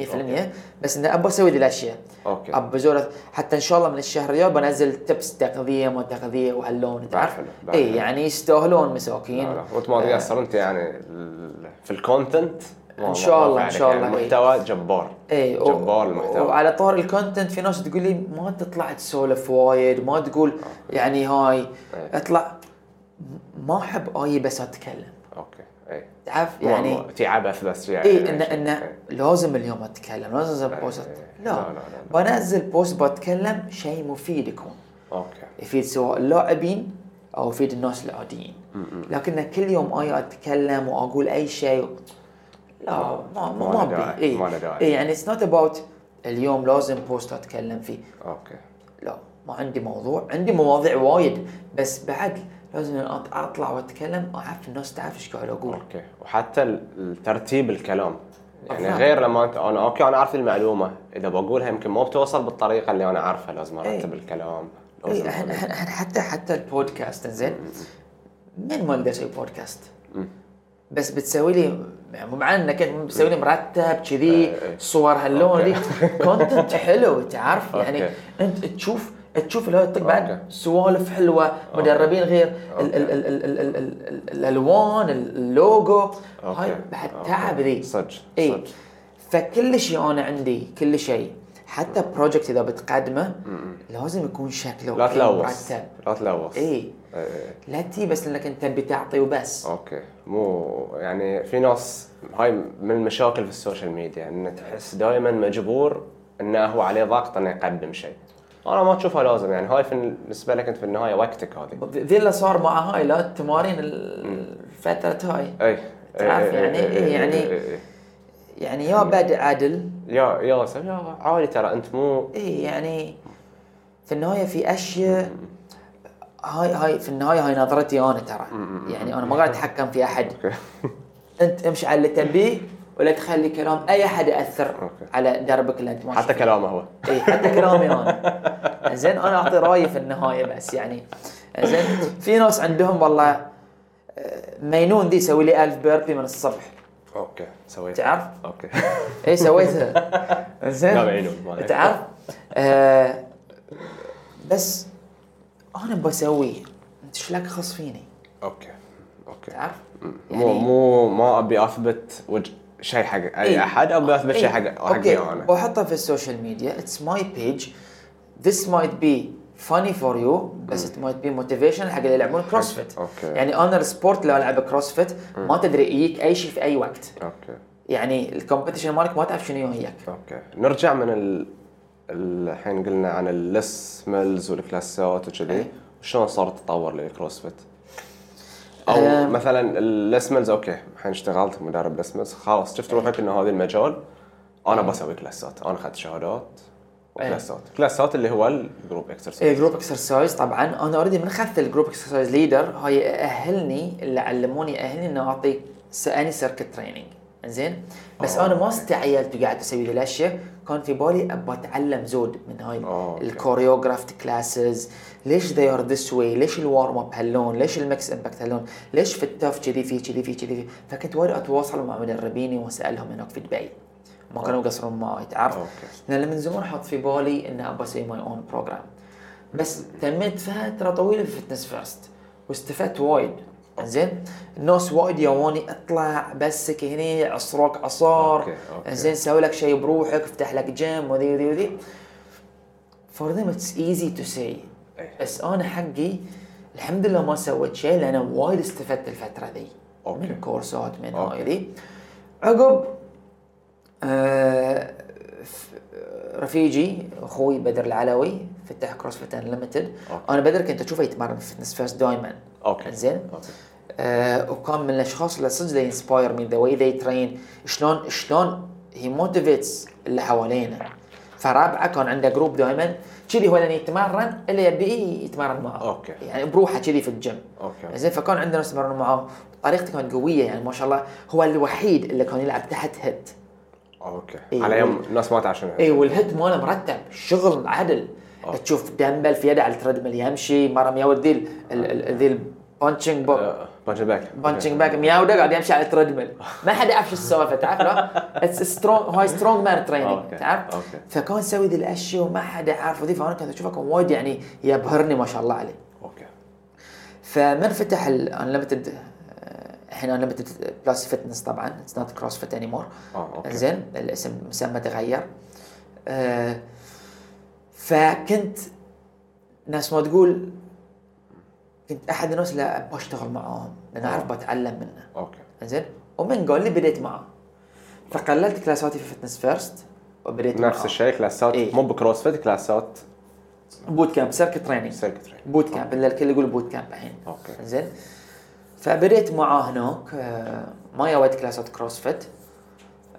[SPEAKER 2] 100% بس انه ابى اسوي ذي الاشياء
[SPEAKER 3] أوكي.
[SPEAKER 2] ابى زور حتى ان شاء الله من الشهر الجاي بنزل تبس تغذيه ما تغذيه وهاللون تعرف
[SPEAKER 3] حلو، بعد
[SPEAKER 2] اي
[SPEAKER 3] حلو.
[SPEAKER 2] يعني يستاهلون مساكين
[SPEAKER 3] إيه. لا، لا، وانت ما تقصر انت يعني ال- في الكونتنت ما-
[SPEAKER 2] إن شاء
[SPEAKER 3] ما- ما
[SPEAKER 2] الله،
[SPEAKER 3] في
[SPEAKER 2] إن
[SPEAKER 3] عليك.
[SPEAKER 2] شاء
[SPEAKER 3] يعني
[SPEAKER 2] الله، إيه.
[SPEAKER 3] المحتوى جبار
[SPEAKER 2] اي و-
[SPEAKER 3] جبار المحتوى
[SPEAKER 2] وعلى طار الكونتنت في ناس تقول لي ما تطلع تسولف وايد ما تقول يعني هاي
[SPEAKER 3] آه. إيه.
[SPEAKER 2] اطلع ما احب اي بس اتكلم
[SPEAKER 3] اوكي اي
[SPEAKER 2] تعرف يعني
[SPEAKER 3] يعني في عبث بس يعني
[SPEAKER 2] اي انه
[SPEAKER 3] إيه.
[SPEAKER 2] انه لازم اليوم اتكلم لازم انزل
[SPEAKER 3] إيه.
[SPEAKER 2] بوست
[SPEAKER 3] لا،
[SPEAKER 2] لا
[SPEAKER 3] لا، لا،
[SPEAKER 2] بنزل بوست بتكلم شيء مفيد يكون
[SPEAKER 3] اوكي
[SPEAKER 2] يفيد سواء اللاعبين او يفيد الناس العاديين لكن كل يوم اي اتكلم واقول اي شيء لا ما ما
[SPEAKER 3] ما له
[SPEAKER 2] ما
[SPEAKER 3] داعي،
[SPEAKER 2] ابي
[SPEAKER 3] ما له داعي.
[SPEAKER 2] اي يعني اتس نوت اباوت اليوم لازم بوست اتكلم فيه
[SPEAKER 3] اوكي
[SPEAKER 2] لا ما عندي موضوع عندي مواضيع وايد بس بعد لازم أط- اطلع واتكلم اعرف الناس تعرف ايش قاعد اقول
[SPEAKER 3] اوكي وحتى ال- الترتيب الكلام يعني
[SPEAKER 2] أفهم.
[SPEAKER 3] غير لما انت انا اوكي انا عارف المعلومه اذا بقولها يمكن ما بتوصل بالطريقه اللي انا عارفها لازم
[SPEAKER 2] إيه.
[SPEAKER 3] ارتب الكلام
[SPEAKER 2] اي
[SPEAKER 3] لازم
[SPEAKER 2] احنا احنا احنا حتى حتى البودكاست زين من ما اقدر اسوي بودكاست بس بتسوي لي يعني مع انك أنت بتسوي لي مرتب كذي
[SPEAKER 3] إيه، إيه.
[SPEAKER 2] صور هاللون
[SPEAKER 3] أوكي.
[SPEAKER 2] ذي كونتنت حلو تعرف يعني
[SPEAKER 3] أوكي.
[SPEAKER 2] انت تشوف تشوف اللي هو يطق بعد
[SPEAKER 3] أوكي.
[SPEAKER 2] سوالف حلوه مدربين غير ال- ال- ال- ال- ال- ال- ال- الالوان اللوجو
[SPEAKER 3] أوكي.
[SPEAKER 2] هاي بعد إيه.
[SPEAKER 3] أوكي.
[SPEAKER 2] تعب ذي
[SPEAKER 3] صدق
[SPEAKER 2] اي
[SPEAKER 3] صدق
[SPEAKER 2] فكل شيء انا عندي كل شيء حتى بروجكت اذا بتقدمه لازم يكون شكله كله
[SPEAKER 3] لا تلوث
[SPEAKER 2] إيه، مرتب
[SPEAKER 3] لا تلوث
[SPEAKER 2] اي
[SPEAKER 3] إيه.
[SPEAKER 2] لا تي بس انك انت بتعطي وبس
[SPEAKER 3] اوكي مو يعني في ناس هاي من المشاكل في السوشيال ميديا انه تحس دائما مجبور انه هو عليه ضغط انه يقدم شيء انا ما اشوفها لازم يعني هاي في بالنسبه لك انت في النهايه وقتك هذه
[SPEAKER 2] ذي اللي صار مع هاي لا التمارين الفترة هاي
[SPEAKER 3] اي
[SPEAKER 2] تعرف
[SPEAKER 3] إي- إي-
[SPEAKER 2] يعني-
[SPEAKER 3] إي- إي- إي-
[SPEAKER 2] يعني-
[SPEAKER 3] إي- إي.
[SPEAKER 2] يعني يا بد عدل
[SPEAKER 3] يا يا سلام يا عالي ترى انت مو
[SPEAKER 2] اي يعني في النهايه في اشياء هاي هاي في النهايه هاي نظرتي انا ترى يعني انا ما قاعد اتحكم في احد [laughs] انت امشي على اللي تبيه ولا تخلي كلام اي احد ياثر
[SPEAKER 3] أوكي.
[SPEAKER 2] على دربك اللي انت ماشي
[SPEAKER 3] حتى
[SPEAKER 2] فيه.
[SPEAKER 3] كلامه هو
[SPEAKER 2] اي حتى كلامي انا زين انا اعطي رايي في النهايه بس يعني زين في ناس عندهم والله آه، مينون دي يسوي لي ألف بيربي من الصبح
[SPEAKER 3] اوكي سويت
[SPEAKER 2] تعرف
[SPEAKER 3] اوكي
[SPEAKER 2] اي سويتها [laughs] زين
[SPEAKER 3] لا معلوم، ما عليك.
[SPEAKER 2] تعرف آه بس انا بسوي تشلاك خاص فيني
[SPEAKER 3] اوكي اوكي
[SPEAKER 2] تعرف؟
[SPEAKER 3] مو مو ما ابي اثبت وجه شيء حق اي
[SPEAKER 2] إيه.
[SPEAKER 3] احد ابي اثبت شيء
[SPEAKER 2] إيه.
[SPEAKER 3] حق حقي انا
[SPEAKER 2] بحطها في السوشيال ميديا اتس ماي بيج this might be funny for you بس it might be motivation حق اللي يلعبون كروسفيت
[SPEAKER 3] أوكي.
[SPEAKER 2] يعني انا السبورت لو العب كروسفيت ما تدري يجيك اي شيء في اي وقت
[SPEAKER 3] اوكي
[SPEAKER 2] يعني الكومبيتيشن مالك ما تعرف شنو وياك
[SPEAKER 3] اوكي نرجع من ال... الحين قلنا عن اللس ميلز والكلاسات وكذي
[SPEAKER 2] إيه.
[SPEAKER 3] شلون صار التطور للكروسفيت؟ او
[SPEAKER 2] أم.
[SPEAKER 3] مثلا اللس ميلز اوكي الحين اشتغلت مدرب لس ميلز خلاص شفت روحك انه هذا المجال
[SPEAKER 2] إيه.
[SPEAKER 3] انا بسوي كلاسات انا اخذت شهادات وكلاسات كلاسات اللي هو الجروب
[SPEAKER 2] إيه
[SPEAKER 3] اكسرسايز
[SPEAKER 2] جروب اكسرسايز طبعا انا اوريدي من اخذت الجروب اكسرسايز ليدر هاي اهلني اللي علموني اهلني انه اعطي س- اني سيركت تريننج زين بس
[SPEAKER 3] آه،
[SPEAKER 2] انا ما
[SPEAKER 3] أوكي.
[SPEAKER 2] استعيلت وقعدت اسوي ذي الاشياء كان في بالي ابى اتعلم زود من هاي
[SPEAKER 3] آه، أوكي.
[SPEAKER 2] الكوريوغرافت كلاسز ليش ذي ار ذس واي ليش الوارم اب هاللون ليش المكس امباكت هاللون ليش في التف كذي في كذي في كذي في فكنت وايد اتواصل مع مدربيني واسالهم هناك في دبي ما كانوا يقصرون معي تعرف
[SPEAKER 3] آه. أوكي.
[SPEAKER 2] لان من زمان حاط في بالي ان ابى اسوي ماي اون بروجرام بس تميت فتره طويله في فتنس فيرست واستفدت وايد زين الناس وايد يواني اطلع بسك هني عصروك عصار
[SPEAKER 3] أوكي، أوكي.
[SPEAKER 2] زين سوي لك شيء بروحك افتح لك جيم وذي وذي وذي فور ذيم اتس ايزي تو سي
[SPEAKER 3] أي.
[SPEAKER 2] بس انا حقي الحمد لله ما سويت شيء لان وايد استفدت الفتره ذي
[SPEAKER 3] أوكي.
[SPEAKER 2] من كورسات من
[SPEAKER 3] أوكي.
[SPEAKER 2] هاي ذي عقب آه، ف- رفيجي اخوي بدر العلوي فتح كروسفيت انليمتد
[SPEAKER 3] أوكي.
[SPEAKER 2] انا بدر كنت اشوفه يتمرن في فتنس فيرست دائما
[SPEAKER 3] اوكي
[SPEAKER 2] زين
[SPEAKER 3] اوكي
[SPEAKER 2] آه وكان من الاشخاص اللي صدق they inspire me the way they train شلون شلون he motivates اللي حوالينا فرابعه كان عنده جروب دائما كذي هو لان يتمرن اللي يبي يتمرن معه
[SPEAKER 3] أوكي.
[SPEAKER 2] يعني بروحه كذي في الجيم
[SPEAKER 3] أوكي.
[SPEAKER 2] إيه. يعني زين فكان عندنا ناس يتمرنوا معاه طريقته كانت قويه يعني ما شاء الله هو الوحيد اللي كان يلعب تحت هيت
[SPEAKER 3] اوكي
[SPEAKER 2] إيه.
[SPEAKER 3] على يوم الناس ما تعرف شنو
[SPEAKER 2] اي والهيت ماله مرتب شغل عدل
[SPEAKER 3] آه.
[SPEAKER 2] تشوف دمبل في يده على التريدميل يمشي مره مياود ذي ال- ال- ال- ذي البانشنج بوك
[SPEAKER 3] بانش باك
[SPEAKER 2] بانشنج باك مياوده قاعد يمشي على التريدميل ما حد يعرف شو السالفه تعرف لا اتس سترونج هاي سترونج مان
[SPEAKER 3] أوكي،
[SPEAKER 2] تريننج تعرف
[SPEAKER 3] أوكي.
[SPEAKER 2] فكان يسوي ذي الاشياء وما حد يعرف وذي فانا كنت اشوفه كان وايد يعني يبهرني ما شاء الله عليه
[SPEAKER 3] اوكي
[SPEAKER 2] فمن فتح الانليمتد الحين انليمتد بلس فتنس طبعا اتس نوت كروس فيت اني مور
[SPEAKER 3] آه، أوكي.
[SPEAKER 2] زين الاسم مسمى تغير آه، فكنت ناس ما تقول كنت احد الناس اللي ابغى اشتغل معاهم لان اعرف بتعلم منه
[SPEAKER 3] اوكي
[SPEAKER 2] زين ومن قال لي بديت معاه فقللت كلاساتي في فتنس فيرست وبديت
[SPEAKER 3] نفس
[SPEAKER 2] معاه.
[SPEAKER 3] الشيء كلاسات
[SPEAKER 2] إيه.
[SPEAKER 3] مو بكروسفيت كلاسات
[SPEAKER 2] بوت كامب سيركت تريننج
[SPEAKER 3] سيركتري
[SPEAKER 2] بوت كامب اللي الكل يقول بوت كامب الحين
[SPEAKER 3] أوكي.
[SPEAKER 2] زين فبديت معاه هناك آه، ما يويت كلاسات كروسفيت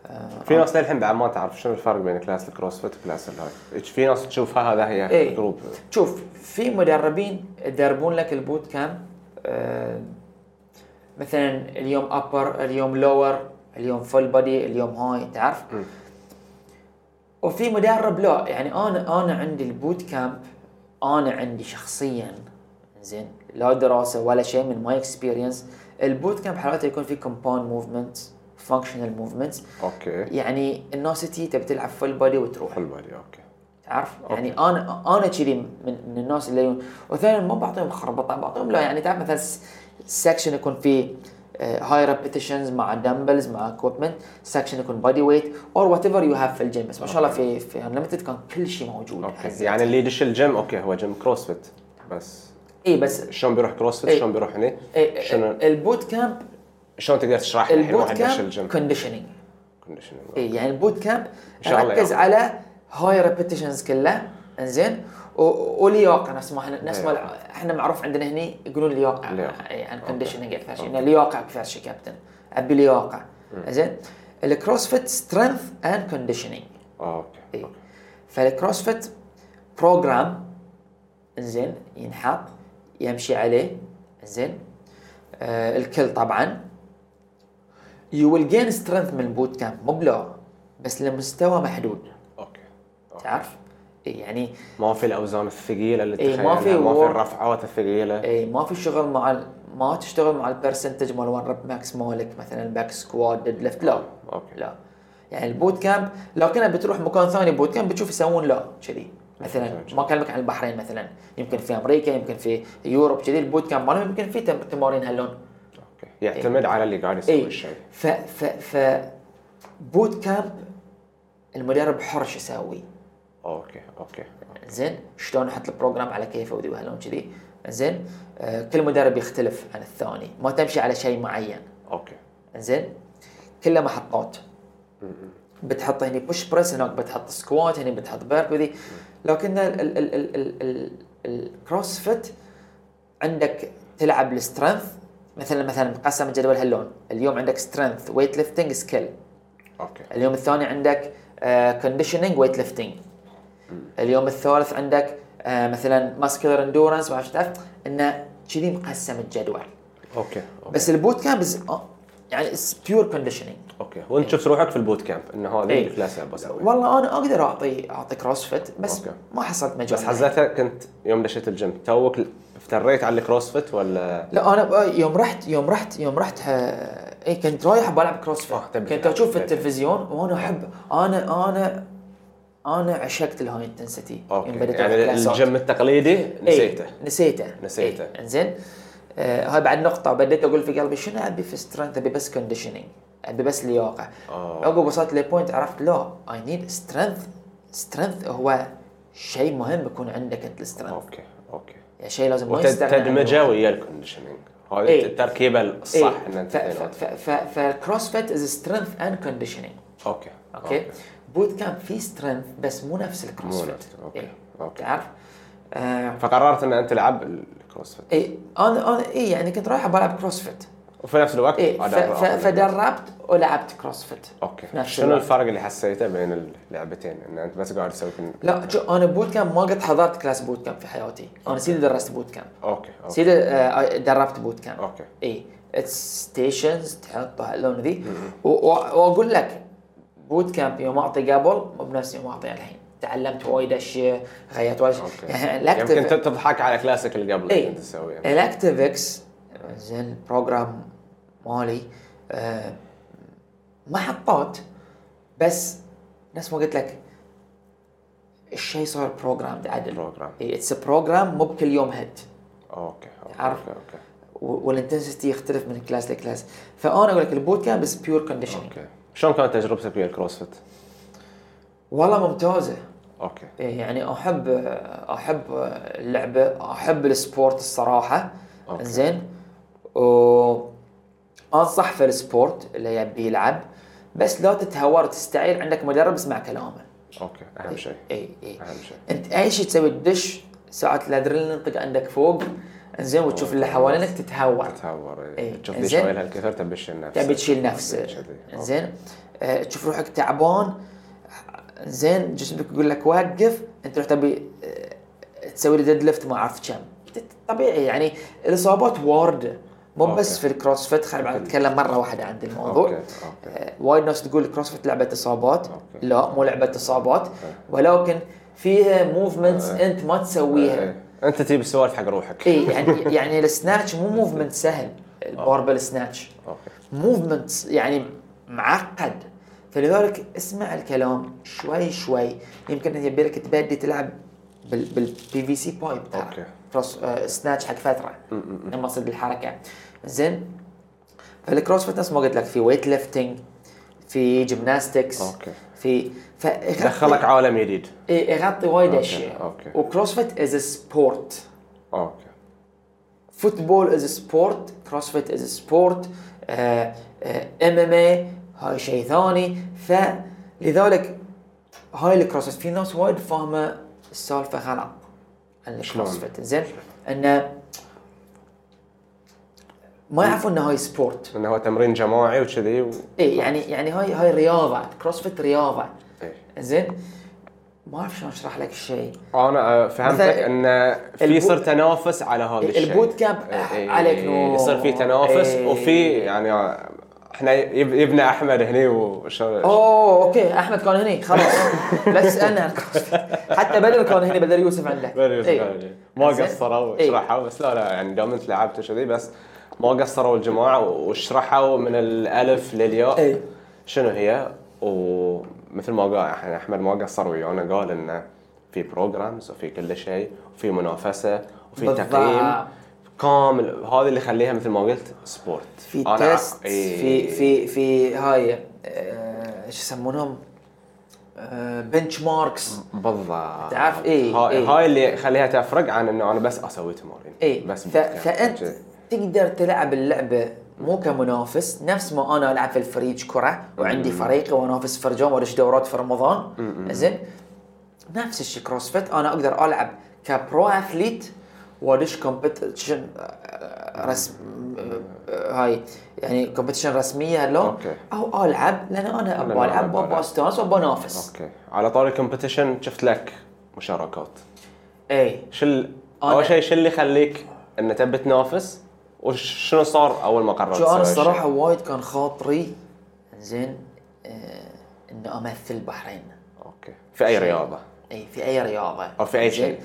[SPEAKER 2] نعم.
[SPEAKER 3] في ناس للحين بعد ما تعرف شنو الفرق بين كلاس الكروسفيت وكلاس الهاي في ناس تشوفها هذا هي
[SPEAKER 2] إيه.
[SPEAKER 3] جروب
[SPEAKER 2] شوف في مدربين يدربون لك البوت كامب آه، مثلا اليوم ابر اليوم لور اليوم فول بودي اليوم هاي تعرف وفي مدرب لا يعني انا انا عندي البوت كامب انا عندي شخصيا زين لا دراسه ولا شيء من ماي اكسبيرينس البوت كامب حالاته يكون في كومباوند موفمنت فانكشنال موفمنت
[SPEAKER 3] اوكي
[SPEAKER 2] يعني الناس تي تبي تلعب فول بودي وتروح
[SPEAKER 3] حلو بالي اوكي
[SPEAKER 2] تعرف يعني انا انا كذي من, من الناس اللي يجون. وثانيا ما بعطيهم خربطه بعطيهم لا يعني تعرف مثلا سكشن يكون فيه هاي ريبيتيشنز مع دمبلز مع اكويبمنت سكشن يكون بودي ويت اور وات ايفر يو هاف في الجيم بس ما شاء الله في في انليمتد كان كل شيء موجود
[SPEAKER 3] اوكي يعني اللي يدش الجيم اوكي هو جيم كروسفيت بس
[SPEAKER 2] اي إيه، بس
[SPEAKER 3] شلون بيروح كروسفيت
[SPEAKER 2] إيه.
[SPEAKER 3] شلون بيروح هني
[SPEAKER 2] إيه،
[SPEAKER 3] شنو
[SPEAKER 2] البوت كامب
[SPEAKER 3] شلون تقدر تشرح لي الحين
[SPEAKER 2] البوت
[SPEAKER 3] واحد دش
[SPEAKER 2] كامب
[SPEAKER 3] الجيم
[SPEAKER 2] كونديشننج
[SPEAKER 3] conditioning.
[SPEAKER 2] اي يعني البوت كامب
[SPEAKER 3] شغلة
[SPEAKER 2] ركز
[SPEAKER 3] يعني.
[SPEAKER 2] على هاي ريبيتيشنز كله انزين و- ولياقه نفس ما احنا نفس ما الع- احنا معروف عندنا هني يقولون إيه، يعني لياقه
[SPEAKER 3] لياقة.
[SPEAKER 2] اي عن كونديشننج اكثر شيء إنه لياقه اكثر شيء كابتن ابي لياقه زين الكروسفيت سترينث اند كونديشننج
[SPEAKER 3] آه، اوكي
[SPEAKER 2] إي. فالكروسفيت بروجرام زين ينحط يمشي عليه زين آه الكل طبعا يو ويل جين سترينث من البوت كامب مو بلو بس لمستوى محدود
[SPEAKER 3] اوكي أوكي.
[SPEAKER 2] تعرف؟ إي يعني
[SPEAKER 3] ما في الاوزان الثقيله اللي
[SPEAKER 2] إيه،
[SPEAKER 3] تخيلها
[SPEAKER 2] ما
[SPEAKER 3] ما
[SPEAKER 2] في إيه.
[SPEAKER 3] في ما
[SPEAKER 2] وور-
[SPEAKER 3] في الرفعات الثقيله
[SPEAKER 2] إي ما في شغل مع ال- ما تشتغل مع البرسنتج مال ون رب ماكس مالك مثلا باك سكواد ديد ليفت لا
[SPEAKER 3] اوكي
[SPEAKER 2] لا يعني البوت كامب لو كنا بتروح مكان ثاني بوت كامب بتشوف يسوون لا كذي مثلا ما اكلمك عن البحرين مثلا يمكن في امريكا يمكن في يوروب كذي البوت كامب مالهم يمكن في تم- تمارين هاللون
[SPEAKER 3] أوكي.
[SPEAKER 2] إيه.
[SPEAKER 3] يعتمد على اللي قاعد يسوي
[SPEAKER 2] اي
[SPEAKER 3] الشيء
[SPEAKER 2] ف ف ف بوت كامب المدرب حر شو يسوي
[SPEAKER 3] اوكي اوكي
[SPEAKER 2] زين شلون يحط البروجرام على كيفه ودي وهالون كذي زين آه كل مدرب يختلف عن الثاني ما تمشي على شيء معين
[SPEAKER 3] اوكي
[SPEAKER 2] زين كلها محطات بتحط هني بوش بريس هناك بتحط سكوات هني بتحط بيرب وذي لكن ال- ال- ال- ال- ال- ال- الكروسفيت عندك تلعب السترينث مثلا مثلا مقسم الجدول هاللون اليوم عندك سترينث ويت ليفتنج سكيل
[SPEAKER 3] اوكي
[SPEAKER 2] اليوم الثاني عندك كونديشننج ويت ليفتنج اليوم الثالث عندك آه، مثلا ماسكولار اندورنس ما أعرف شو تعرف انه كذي مقسم الجدول
[SPEAKER 3] اوكي
[SPEAKER 2] بس البوت كامب is- آه، يعني بيور كونديشننج
[SPEAKER 3] اوكي وانت شفت روحك في البوت كامب ان هذا
[SPEAKER 2] إي.
[SPEAKER 3] اللي كلاس ابى اسويه
[SPEAKER 2] والله انا اقدر اعطي اعطي كروسفيت بس
[SPEAKER 3] أوكي.
[SPEAKER 2] ما حصلت مجال
[SPEAKER 3] بس حزتها كنت يوم دشيت الجيم توك افتريت على الكروسفيت ولا
[SPEAKER 2] لا انا بقى يوم رحت يوم رحت يوم رحت ها... اي كنت رايح بلعب كروسفيت
[SPEAKER 3] آه، تبي
[SPEAKER 2] كنت
[SPEAKER 3] تلعب.
[SPEAKER 2] اشوف في التلفزيون وانا احب انا انا انا عشقت الهاي انتنسيتي
[SPEAKER 3] اوكي يعني الجيم التقليدي
[SPEAKER 2] إيه.
[SPEAKER 3] نسيته
[SPEAKER 2] نسيته نسيته
[SPEAKER 3] نسيته.
[SPEAKER 2] إيه، انزين آه هاي بعد نقطة بديت اقول في قلبي شنو ابي في سترينث ابي بس كونديشننج ابي بس لياقة
[SPEAKER 3] آه.
[SPEAKER 2] عقب وصلت لبوينت عرفت لا اي نيد سترينث سترينث هو شيء مهم يكون عندك انت السترينث
[SPEAKER 3] اوكي اوكي
[SPEAKER 2] يعني شيء لازم ما يستغنى عنه. إيه.
[SPEAKER 3] وتدمجه ويا الكونديشننج هذه
[SPEAKER 2] إي.
[SPEAKER 3] التركيبه الصح
[SPEAKER 2] إيه.
[SPEAKER 3] ان انت بينهم.
[SPEAKER 2] فالكروسفيت از سترينث اند كونديشننج
[SPEAKER 3] اوكي
[SPEAKER 2] اوكي بوت كامب فيه سترينث بس مو نفس الكروسفيت
[SPEAKER 3] نفس- أوكي.
[SPEAKER 2] إيه.
[SPEAKER 3] أوكي.
[SPEAKER 2] تعرف آه إيه،
[SPEAKER 3] فقررت ان انت تلعب الكروسفيت
[SPEAKER 2] اي انا انا اي يعني كنت رايح بلعب كروسفيت
[SPEAKER 3] وفي نفس الوقت
[SPEAKER 2] اي ف-
[SPEAKER 3] أدرب
[SPEAKER 2] إيه، ف-
[SPEAKER 3] آخر لعبة.
[SPEAKER 2] فدربت ولعبت كروسفيت في
[SPEAKER 3] اوكي
[SPEAKER 2] نفس
[SPEAKER 3] شنو
[SPEAKER 2] الوقت.
[SPEAKER 3] الفرق اللي حسيته بين اللعبتين ان انت بس قاعد تسوي كن-
[SPEAKER 2] لا شو انا بوت كامب ما قد حضرت كلاس بوت كامب في حياتي انا سيدي درست بوت كامب
[SPEAKER 3] اوكي اوكي
[SPEAKER 2] سيدي آه، دربت بوت كامب
[SPEAKER 3] اوكي
[SPEAKER 2] اي ستيشنز تحط هاللون ذي و- و- واقول لك بوت كامب يوم اعطي قبل مو بنفس يوم اعطي الحين تعلمت وايد اشياء غيرت وايد اشياء يعني [laughs] إيه.
[SPEAKER 3] اوكي يمكن
[SPEAKER 2] الاكتف
[SPEAKER 3] ت- تضحك على كلاسيك اللي قبل
[SPEAKER 2] إي.
[SPEAKER 3] اللي كنت تسويه
[SPEAKER 2] الاكتفكس زين بروجرام مالي آه، محطات بس نفس ما قلت لك الشيء صار بروجرام تعدل
[SPEAKER 3] بروجرام
[SPEAKER 2] اتس بروجرام مو بكل يوم هد
[SPEAKER 3] اوكي اوكي
[SPEAKER 2] عارف.
[SPEAKER 3] اوكي اوكي
[SPEAKER 2] و- والانتنسيتي يختلف من كلاس لكلاس فانا اقول لك البوت كامب از بيور كونديشنينج
[SPEAKER 3] اوكي شلون كانت تجربتك ويا الكروسفيت؟
[SPEAKER 2] والله ممتازه
[SPEAKER 3] اوكي
[SPEAKER 2] إيه يعني احب احب اللعبه احب السبورت الصراحه
[SPEAKER 3] أوكي.
[SPEAKER 2] زين و انصح في السبورت اللي يبي يلعب بس لا تتهور تستعير عندك مدرب اسمع كلامه إيه،
[SPEAKER 3] اوكي اهم شيء
[SPEAKER 2] اي اي
[SPEAKER 3] اهم شيء
[SPEAKER 2] انت اي شيء تسوي تدش ساعات الادرينالين ينطق عندك فوق زين وتشوف اللي حوالينك تتهور
[SPEAKER 3] تتهور
[SPEAKER 2] إي.
[SPEAKER 3] تشوف لي
[SPEAKER 2] إيه. زين.
[SPEAKER 3] شوي هالكثر تبي تشيل نفسك
[SPEAKER 2] تبي تشيل نفسك إيه.
[SPEAKER 3] تبي تشيل ذي. أوكي.
[SPEAKER 2] زين آه، تشوف روحك تعبان زين جسمك يقول لك وقف انت روح تبي آه، تسوي لي ديد ليفت ما اعرف كم طبيعي يعني الاصابات وارده مو
[SPEAKER 3] أوكي.
[SPEAKER 2] بس في الكروسفيت خلينا بعد نتكلم مره واحده عن الموضوع
[SPEAKER 3] اوكي اوكي
[SPEAKER 2] آه، وايد ناس تقول الكروسفيت لعبه اصابات
[SPEAKER 3] أوكي.
[SPEAKER 2] لا مو لعبه اصابات ولكن فيها موفمنتس
[SPEAKER 3] آه.
[SPEAKER 2] انت ما تسويها
[SPEAKER 3] إي. انت إيه. تجيب السوالف حق روحك
[SPEAKER 2] اي يعني يعني السناتش مو موفمنت سهل الباربل سناتش
[SPEAKER 3] اوكي
[SPEAKER 2] موفمنت يعني معقد فلذلك اسمع الكلام شوي شوي يمكن إن يبي لك تبدي تلعب بال بالبي في سي بايب
[SPEAKER 3] أوكي.
[SPEAKER 2] كروس آه، سناتش حق فتره لما تصير بالحركه زين فالكروس فيت نفس ما قلت لك في ويت ليفتنج في جيمناستكس
[SPEAKER 3] أوكي.
[SPEAKER 2] في ف
[SPEAKER 3] دخلك عالم جديد
[SPEAKER 2] يغطي وايد
[SPEAKER 3] أوكي،
[SPEAKER 2] اشياء
[SPEAKER 3] أوكي.
[SPEAKER 2] وكروسفيت از سبورت
[SPEAKER 3] اوكي
[SPEAKER 2] فوتبول از سبورت كروسفيت از سبورت آه، ام ام اي هاي شيء ثاني فلذلك هاي الكروسفيت في ناس وايد فاهمه السالفه غلط عن الكروسفيت زين انه ما يعرفون انه هاي سبورت
[SPEAKER 3] انه هو تمرين جماعي وكذي و...
[SPEAKER 2] اي يعني يعني هاي هاي رياضه كروسفيت رياضه
[SPEAKER 3] إيه.
[SPEAKER 2] زين ما اعرف شلون اشرح لك الشيء
[SPEAKER 3] انا آه، فهمتك
[SPEAKER 2] مثلا
[SPEAKER 3] ان في
[SPEAKER 2] البو-
[SPEAKER 3] صار تنافس على هذا الشيء
[SPEAKER 2] البوت كامب،
[SPEAKER 3] إيه، إيه،
[SPEAKER 2] عليك
[SPEAKER 3] إيه،
[SPEAKER 2] نور.
[SPEAKER 3] يصير في تنافس
[SPEAKER 2] إيه.
[SPEAKER 3] وفي يعني آه، احنا يب- يبنى احمد هني وشو
[SPEAKER 2] اوه اوكي احمد كان هني
[SPEAKER 3] [laughs]
[SPEAKER 2] خلاص لا تسالني عن كروسفيت حتى بدر كان هني بدر يوسف إيه. عنده
[SPEAKER 3] بدري
[SPEAKER 2] إي.
[SPEAKER 3] بدري. ما
[SPEAKER 2] زين. إيه.
[SPEAKER 3] قصروا
[SPEAKER 2] إي.
[SPEAKER 3] شرحوا بس لا لا يعني دام انت لعبت وكذي بس ما قصروا الجماعه وشرحوا من الالف للياء
[SPEAKER 2] إي.
[SPEAKER 3] شنو هي ومثل ما قال يعني احمد ما قصر ويانا قال انه في بروجرامز وفي كل شيء وفي منافسه وفي
[SPEAKER 2] بالضبط.
[SPEAKER 3] تقييم كامل هذا اللي يخليها مثل ما قلت سبورت
[SPEAKER 2] في
[SPEAKER 3] أنا أع-
[SPEAKER 2] تيست
[SPEAKER 3] إيه.
[SPEAKER 2] في في في هاي آه، ايش يسمونهم آه، بنش ماركس
[SPEAKER 3] بالضبط
[SPEAKER 2] تعرف إيه،
[SPEAKER 3] هاي,
[SPEAKER 2] إيه.
[SPEAKER 3] هاي اللي يخليها تفرق عن انه انا بس اسوي تمارين
[SPEAKER 2] اي
[SPEAKER 3] بس
[SPEAKER 2] إيه،
[SPEAKER 3] يعني
[SPEAKER 2] ف... فانت تقدر تلعب اللعبه مو كمنافس نفس ما انا العب في الفريج كره وعندي فريقي وانافس فرجان وادش دورات في رمضان زين نفس الشيء كروسفيت انا اقدر العب كبرو اثليت وادش كومبتيشن رسم آه، هاي يعني كومبتيشن رسميه لو
[SPEAKER 3] أوكي.
[SPEAKER 2] او العب لان انا ابغى
[SPEAKER 3] لأن أنا
[SPEAKER 2] العب
[SPEAKER 3] أبغى
[SPEAKER 2] وابغى
[SPEAKER 3] ألعب.
[SPEAKER 2] استانس وابغى انافس
[SPEAKER 3] اوكي على طاري الكومبetition شفت لك مشاركات
[SPEAKER 2] اي
[SPEAKER 3] شو ال-
[SPEAKER 2] أنا-
[SPEAKER 3] اول شيء شو اللي يخليك ان تبي تنافس وشنو صار اول ما قررت
[SPEAKER 2] شو انا
[SPEAKER 3] تسوي هالشيء؟
[SPEAKER 2] الصراحه وايد كان خاطري زين آه اني امثل البحرين
[SPEAKER 3] اوكي في اي
[SPEAKER 2] شيء.
[SPEAKER 3] رياضه
[SPEAKER 2] اي في اي رياضه
[SPEAKER 3] او في اي
[SPEAKER 2] زين؟
[SPEAKER 3] شيء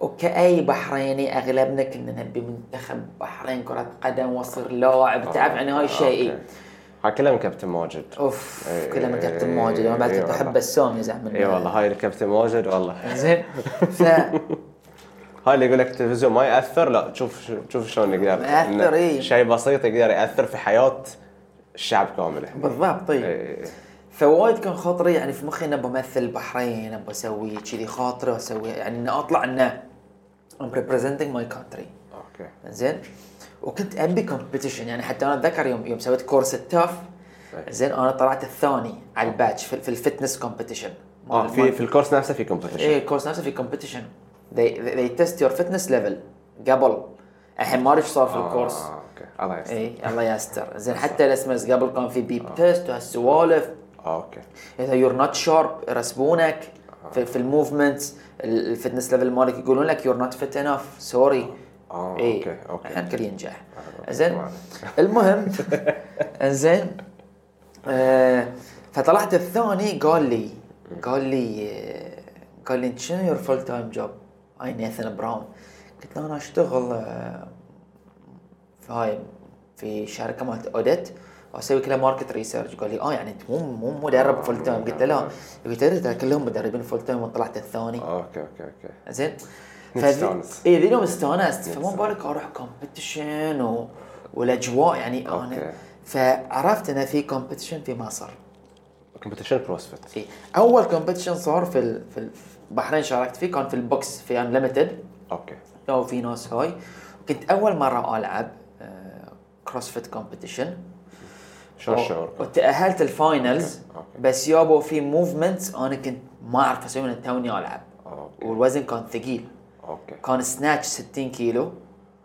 [SPEAKER 2] وكأي بحريني اغلبنا كنا نبي منتخب بحرين كرة قدم واصير لاعب تعرف يعني هاي الشيء إي.
[SPEAKER 3] آه، أوكي. هاي كلها من كابتن ماجد
[SPEAKER 2] اوف
[SPEAKER 3] إي-
[SPEAKER 2] كلها من كابتن ماجد انا
[SPEAKER 3] إي
[SPEAKER 2] بعد كنت
[SPEAKER 3] والله.
[SPEAKER 2] احب السوم يزعم
[SPEAKER 3] اي والله هاي الكابتن ماجد والله [laughs]
[SPEAKER 2] زين ف
[SPEAKER 3] هاي اللي يقول لك التلفزيون ما ياثر لا تشوف شو- شوف شلون يقدر
[SPEAKER 2] يأثر، إيه.
[SPEAKER 3] إنه
[SPEAKER 2] إي.
[SPEAKER 3] شيء بسيط يقدر ياثر في حياه الشعب كامله
[SPEAKER 2] بالضبط
[SPEAKER 3] إي-
[SPEAKER 2] إي.
[SPEAKER 3] إي- إي.
[SPEAKER 2] فوايد كان خاطري يعني في مخي انه بمثل البحرين ابغى اسوي كذي خاطري واسوي يعني اني اطلع انه I'm representing my country
[SPEAKER 3] اوكي
[SPEAKER 2] زين وكنت ابي كومبيتيشن يعني حتى انا اتذكر يوم يوم سويت كورس التاف
[SPEAKER 3] أي.
[SPEAKER 2] زين انا طلعت الثاني على الباتش في, في الفتنس كومبيتيشن
[SPEAKER 3] اه في في الكورس نفسه في كومبتيشن
[SPEAKER 2] ايه الكورس نفسه في كومبيتيشن they, they test your fitness level قبل الحين ما اعرف إيش صار في إيه. الكورس
[SPEAKER 3] آه، اوكي الله يستر
[SPEAKER 2] اي الله يستر زين حتى الاسمس قبل كان في بيب تيست وهالسوالف
[SPEAKER 3] آه، اوكي
[SPEAKER 2] اذا يور نوت شارب يرسبونك
[SPEAKER 3] آه.
[SPEAKER 2] في, في الموفمنت الفتنس ليفل مالك يقولون لك يور نوت فيت انف سوري
[SPEAKER 3] آه، أوكي، أوكي. آه،
[SPEAKER 2] الحين الكل إيه، ينجح
[SPEAKER 3] أوكي،
[SPEAKER 2] زين
[SPEAKER 3] ما [laughs]
[SPEAKER 2] المهم زين آه فطلعت الثاني قال لي قال لي آه، قال لي "أنت شنو يور فول تايم جوب؟ اي نيثن براون قلت له انا اشتغل آه، في هاي في شركه مالت اوديت واسوي كلها ماركت ريسيرش قال لي اه يعني انت مو مو مدرب فول تايم قلت له لا قلت له ترى كلهم مدربين فول تايم وطلعت الثاني
[SPEAKER 3] اوكي اوكي اوكي
[SPEAKER 2] زين
[SPEAKER 3] نستانس.
[SPEAKER 2] اي ذي اليوم استانست فما بالك اروح كومبتيشن و... والاجواء يعني
[SPEAKER 3] أوكي.
[SPEAKER 2] انا فعرفت ان في كومبتيشن في مصر
[SPEAKER 3] كومبتيشن كروسفيت
[SPEAKER 2] اي اول كومبتيشن صار في ال... في البحرين شاركت فيه كان في البوكس في انليمتد
[SPEAKER 3] اوكي
[SPEAKER 2] لو في ناس هاي كنت اول مره العب آه، كروسفيت كومبتيشن
[SPEAKER 3] شو الشعور؟
[SPEAKER 2] وتاهلت الفاينلز
[SPEAKER 3] أوكي، أوكي.
[SPEAKER 2] بس يابا في موفمنتس انا كنت ما اعرف اسوي من توني العب
[SPEAKER 3] اوكي
[SPEAKER 2] والوزن كان ثقيل
[SPEAKER 3] اوكي
[SPEAKER 2] كان سناتش 60 كيلو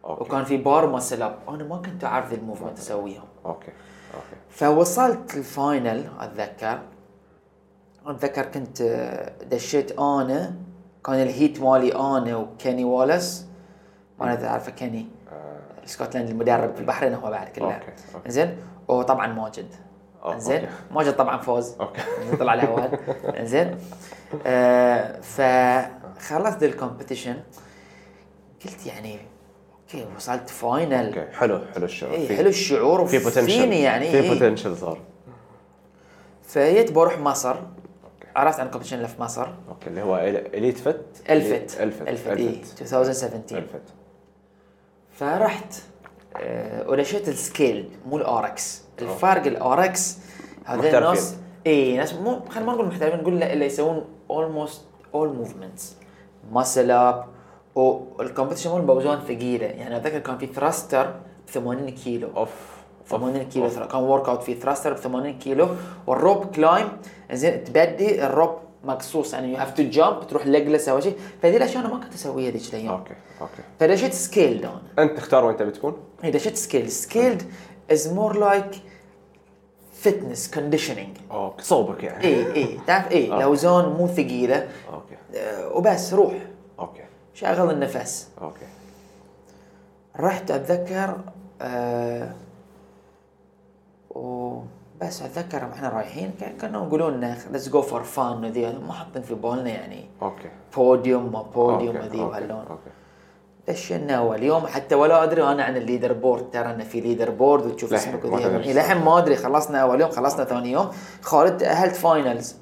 [SPEAKER 3] أوكي.
[SPEAKER 2] وكان في بار ماسل اب انا ما كنت اعرف ذي الموفمنت اسويهم
[SPEAKER 3] اوكي اوكي
[SPEAKER 2] فوصلت الفاينل اتذكر اتذكر كنت آه، دشيت انا كان الهيت مالي انا وكيني والاس ما انا اعرفه كيني سكوتلاند المدرب في البحرين هو بعد كله
[SPEAKER 3] آه. أوكي، أوكي.
[SPEAKER 2] زين وطبعا ماجد
[SPEAKER 3] أوه،
[SPEAKER 2] زين
[SPEAKER 3] أوكي.
[SPEAKER 2] ماجد طبعا فوز
[SPEAKER 3] أوكي.
[SPEAKER 2] إنزين، [laughs] طلع الاول زين آه فخلصت الكومبيتيشن قلت يعني اوكي وصلت فاينل
[SPEAKER 3] اوكي حلو حلو الشعور
[SPEAKER 2] اي
[SPEAKER 3] في-
[SPEAKER 2] إيه، حلو الشعور
[SPEAKER 3] في
[SPEAKER 2] وفيني
[SPEAKER 3] بوتنشل
[SPEAKER 2] يعني
[SPEAKER 3] في
[SPEAKER 2] إيه.
[SPEAKER 3] بوتنشل صار
[SPEAKER 2] فجيت بروح مصر عرفت عن كومبيتيشن اللي في مصر
[SPEAKER 3] اوكي اللي هو اليت فت
[SPEAKER 2] الفت
[SPEAKER 3] الفت
[SPEAKER 2] الفت اي 2017
[SPEAKER 3] الفت
[SPEAKER 2] فرحت آه، ودشيت السكيل مو الاركس الفرق الاركس هذول
[SPEAKER 3] محترفين.
[SPEAKER 2] الناس اي ناس مو خلينا ما نقول محترفين نقول لا- اللي يسوون اولموست اول موفمنتس ماسل اب والكومبيتيشن مال باوزان ثقيله يعني اتذكر كان في ثراستر ب 80 كيلو
[SPEAKER 3] اوف أوف.
[SPEAKER 2] 80 كيلو ثر- كان ورك اوت فيه ثراستر ب 80 كيلو والروب كلايم زين تبدي الروب مقصوص يعني يو هاف تو جامب تروح لجلس او شيء فهذه الاشياء انا ما كنت اسويها ذيك الايام
[SPEAKER 3] اوكي اوكي
[SPEAKER 2] فدشيت سكيل انا
[SPEAKER 3] انت تختار وين تبي تكون
[SPEAKER 2] اذا شفت سكيل سكيلد از مور لايك فتنس كونديشننج
[SPEAKER 3] اوكي صوبك يعني
[SPEAKER 2] اي اي إيه، تعرف اي الاوزان مو ثقيله
[SPEAKER 3] اوكي
[SPEAKER 2] آه، وبس روح
[SPEAKER 3] اوكي
[SPEAKER 2] شغل النفس
[SPEAKER 3] اوكي
[SPEAKER 2] رحت اتذكر آه وبس اتذكر احنا رايحين كان- كانوا يقولون ليتس جو فور فان وذي ما حاطين في بالنا يعني
[SPEAKER 3] اوكي
[SPEAKER 2] بوديوم ما بوديوم
[SPEAKER 3] اوكي
[SPEAKER 2] وذي وهاللون
[SPEAKER 3] اوكي
[SPEAKER 2] دشنا اول يوم حتى ولا ادري انا عن الليدر بورد ترى انه في ليدر بورد وتشوف
[SPEAKER 3] لحن،
[SPEAKER 2] اسمك
[SPEAKER 3] ما
[SPEAKER 2] وذي.
[SPEAKER 3] تدري.
[SPEAKER 2] إيه، لحن ما ادري خلصنا اول يوم خلصنا
[SPEAKER 3] آه.
[SPEAKER 2] ثاني يوم خالد تاهلت فاينلز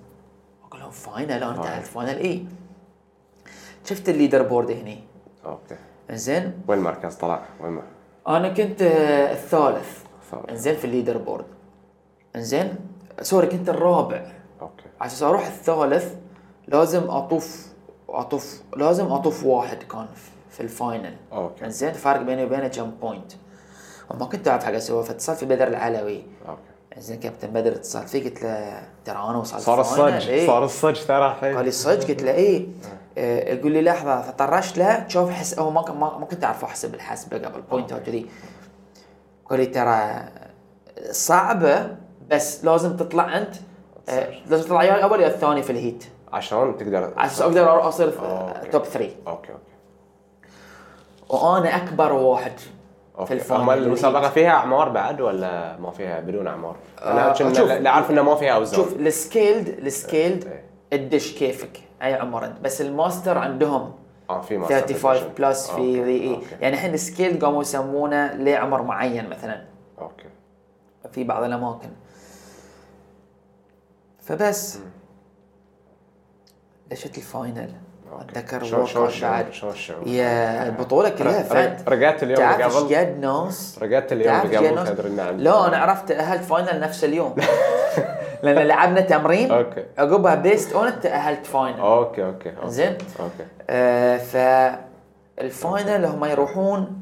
[SPEAKER 2] اقول لهم فاينل انا تاهلت فاينل اي إيه. شفت الليدر بورد هني
[SPEAKER 3] اوكي
[SPEAKER 2] انزين
[SPEAKER 3] وين المركز طلع؟ وين ما-
[SPEAKER 2] انا كنت آه، الثالث
[SPEAKER 3] الثالث.
[SPEAKER 2] انزين في الليدر بورد انزين سوري كنت الرابع
[SPEAKER 3] اوكي
[SPEAKER 2] على اساس اروح الثالث لازم اطوف اطوف لازم اطوف واحد كان في- في الفاينل
[SPEAKER 3] أوكي.
[SPEAKER 2] انزين الفرق بيني وبينه كم بوينت وما كنت اعرف حق اسوي فاتصلت في بدر العلوي
[SPEAKER 3] اوكي
[SPEAKER 2] زين كابتن بدر اتصل فيه قلت له ترى انا وصلت
[SPEAKER 3] صار
[SPEAKER 2] فاينل،
[SPEAKER 3] الصج
[SPEAKER 2] إيه.
[SPEAKER 3] صار الصج ترى
[SPEAKER 2] قال لي
[SPEAKER 3] الحين
[SPEAKER 2] صدق قلت له ايه آه، يقول لي لحظه فطرشت له شوف حس هو ما ك- ما ما كنت اعرف احسب الحسبه قبل بوينت او كذي قال لي ترى صعبه بس لازم تطلع انت آه، لازم تطلع يا الاول يا الثاني في الهيت
[SPEAKER 3] عشان تقدر
[SPEAKER 2] على اساس اقدر اصير
[SPEAKER 3] آه، أوكي.
[SPEAKER 2] توب 3
[SPEAKER 3] اوكي اوكي
[SPEAKER 2] وانا اكبر واحد في
[SPEAKER 3] اوكي
[SPEAKER 2] الفاينل
[SPEAKER 3] هم المسابقه
[SPEAKER 2] بالهيت.
[SPEAKER 3] فيها اعمار بعد ولا ما فيها بدون اعمار؟ انا
[SPEAKER 2] آه، شوف.
[SPEAKER 3] كنا اللي عارف انه ما فيها اوزان
[SPEAKER 2] شوف السكيلد السكيلد
[SPEAKER 3] إيه.
[SPEAKER 2] الدش كيفك اي عمر انت بس الماستر عندهم
[SPEAKER 3] اه في ماستر
[SPEAKER 2] 35
[SPEAKER 3] ديفيجن.
[SPEAKER 2] بلس في
[SPEAKER 3] آه، أوكي،
[SPEAKER 2] ذي اي
[SPEAKER 3] أوكي،
[SPEAKER 2] يعني الحين السكيل قاموا يسمونه لعمر معين مثلا
[SPEAKER 3] اوكي
[SPEAKER 2] في بعض الاماكن فبس دشت الفاينل اتذكر
[SPEAKER 3] شلون- شلون
[SPEAKER 2] وقع
[SPEAKER 3] الشعور؟
[SPEAKER 2] بعد
[SPEAKER 3] شلون الشعور؟
[SPEAKER 2] يا البطوله كلها
[SPEAKER 3] رج- رج-
[SPEAKER 2] فات
[SPEAKER 3] رجعت اليوم
[SPEAKER 2] تعرف
[SPEAKER 3] اللي
[SPEAKER 2] ايش
[SPEAKER 3] قبل؟
[SPEAKER 2] قد ناس
[SPEAKER 3] رجعت اليوم
[SPEAKER 2] تعرف
[SPEAKER 3] اللي
[SPEAKER 2] إيش قد
[SPEAKER 3] قبل
[SPEAKER 2] ناس؟
[SPEAKER 3] تدري إن عندي-
[SPEAKER 2] لا انا عرفت تاهلت فاينل نفس
[SPEAKER 3] [laughs]
[SPEAKER 2] اليوم لان لعبنا تمرين
[SPEAKER 3] أوكي.
[SPEAKER 2] عقبها بيست اون تاهلت فاينل
[SPEAKER 3] اوكي اوكي أوكي.
[SPEAKER 2] زين.
[SPEAKER 3] اوكي
[SPEAKER 2] آه، فالفاينل هم يروحون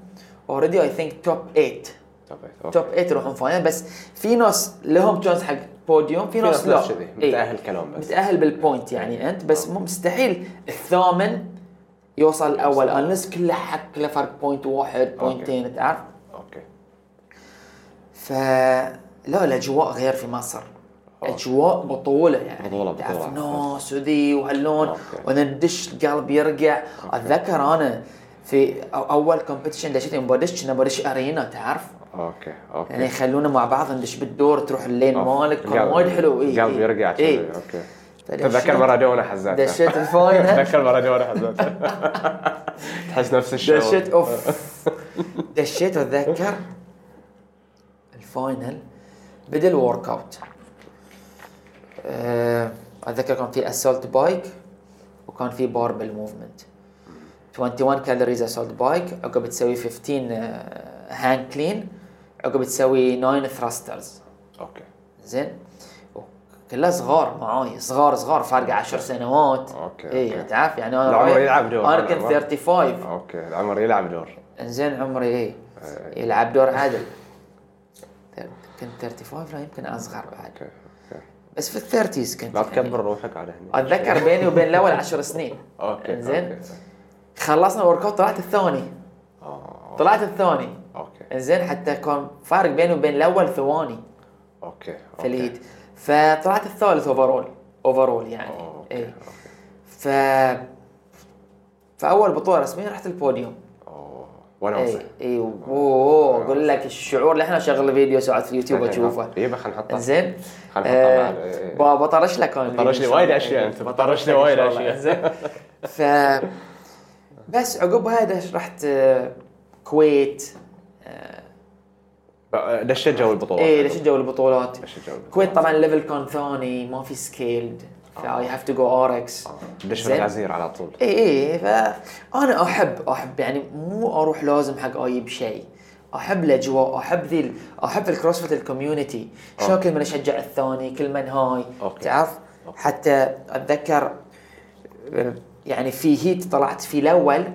[SPEAKER 2] اوريدي اي ثينك توب 8
[SPEAKER 3] طب أوكي.
[SPEAKER 2] توب 8 يروحون فاينل بس في ناس لهم تشانس حق بوديوم في ناس
[SPEAKER 3] ناس
[SPEAKER 2] لا
[SPEAKER 3] نفس كذي،
[SPEAKER 2] إيه.
[SPEAKER 3] متأهل كلام بس. إيه. آه.
[SPEAKER 2] متاهل بالبوينت يعني انت بس مو مستحيل الثامن يوصل الاول انلس كله حق كله فرق بوينت واحد بوينتين تعرف
[SPEAKER 3] اوكي
[SPEAKER 2] ف لا الاجواء غير في مصر اجواء بطوله يعني
[SPEAKER 3] بطولة-
[SPEAKER 2] تعرف
[SPEAKER 3] بطولة.
[SPEAKER 2] ناس وذي وهاللون
[SPEAKER 3] أوكي.
[SPEAKER 2] وندش القلب يرقع اتذكر انا في أو- اول كومبetition دشيت يوم بدش كنا بدش ارينا تعرف
[SPEAKER 3] اوكي
[SPEAKER 2] يعني
[SPEAKER 3] اوكي
[SPEAKER 2] يخلونا مع بعض ندش بالدور تروح اللين مالك كان
[SPEAKER 3] القلب-
[SPEAKER 2] وايد حلو إيه، اي
[SPEAKER 3] القلب يرجع
[SPEAKER 2] اي
[SPEAKER 3] كذي، اوكي
[SPEAKER 2] فدشيت-
[SPEAKER 3] تذكر مارادونا حزتها [laughs]
[SPEAKER 2] دشيت الفاينل
[SPEAKER 3] تذكر مارادونا
[SPEAKER 2] [laughs]
[SPEAKER 3] حزتها تحس نفس الشعور
[SPEAKER 2] دشيت
[SPEAKER 3] [laughs]
[SPEAKER 2] اوف دشيت واتذكر الفاينل بدا الورك اوت أه، اتذكر كان في اسولت بايك وكان في باربل موفمنت 21 كالوريز اسولت بايك عقب تسوي 15 هاند كلين عقب تسوي 9 ثراسترز
[SPEAKER 3] اوكي
[SPEAKER 2] زين كلها صغار معاي صغار صغار فارقه 10 سنوات
[SPEAKER 3] أوكي،
[SPEAKER 2] اي
[SPEAKER 3] أوكي.
[SPEAKER 2] تعرف يعني انا
[SPEAKER 3] العمر يلعب دور.
[SPEAKER 2] انا
[SPEAKER 3] [laughs]
[SPEAKER 2] كنت 35
[SPEAKER 3] اوكي العمر يلعب دور
[SPEAKER 2] انزين عمري ايه
[SPEAKER 3] آه.
[SPEAKER 2] يلعب دور عادل طيب، كنت 35 لا يمكن اصغر بعد
[SPEAKER 3] اوكي اوكي
[SPEAKER 2] بس في الثيرتيز كنت
[SPEAKER 3] لا
[SPEAKER 2] يعني.
[SPEAKER 3] تكبر روحك على هنا
[SPEAKER 2] اتذكر بيني وبين الاول 10 سنين
[SPEAKER 3] اوكي
[SPEAKER 2] زين
[SPEAKER 3] أوكي.
[SPEAKER 2] خلصنا الورك أوت، طلعت الثاني
[SPEAKER 3] آه،
[SPEAKER 2] طلعت الثاني
[SPEAKER 3] اوكي
[SPEAKER 2] انزين حتى كان فارق بيني وبين الاول ثواني
[SPEAKER 3] اوكي أوكي.
[SPEAKER 2] في الهيت فطلعت الثالث اوفرول اوفرول يعني
[SPEAKER 3] أوكي،
[SPEAKER 2] اي ف فاول بطوله رسميه رحت البوديوم
[SPEAKER 3] أوه، وانا
[SPEAKER 2] اي
[SPEAKER 3] وصل
[SPEAKER 2] اي اوه اقول إيه، لك الشعور اللي احنا شغل فيديو ساعات في اليوتيوب اشوفه
[SPEAKER 3] اي بقى إيه، نحطه
[SPEAKER 2] زين
[SPEAKER 3] خلنا
[SPEAKER 2] آه،
[SPEAKER 3] نحطها نعم. بعد، إيه، إيه.
[SPEAKER 2] ب- بطرش لك انا
[SPEAKER 3] طرش لي وايد اشياء انت طرش لي وايد [laughs] اشياء
[SPEAKER 2] ف بس عقب هذا رحت آه، كويت
[SPEAKER 3] دشيت
[SPEAKER 2] إيه،
[SPEAKER 3] جو البطوله
[SPEAKER 2] اي ليش جو البطولات
[SPEAKER 3] دشيت جو البطولة.
[SPEAKER 2] كويت طبعا ليفل كان ثاني ما في سكيلد فاي هاف تو جو
[SPEAKER 3] آه.
[SPEAKER 2] اركس
[SPEAKER 3] دش بالعزير على طول
[SPEAKER 2] اي اي فانا احب احب يعني مو اروح لازم حق اجيب شيء احب الاجواء احب ذي ال- احب الكروسفيت الكوميونتي شلون كل من اشجع الثاني كل من هاي
[SPEAKER 3] أوكي.
[SPEAKER 2] تعرف
[SPEAKER 3] أوكي.
[SPEAKER 2] حتى اتذكر آه، يعني في هيت طلعت في الاول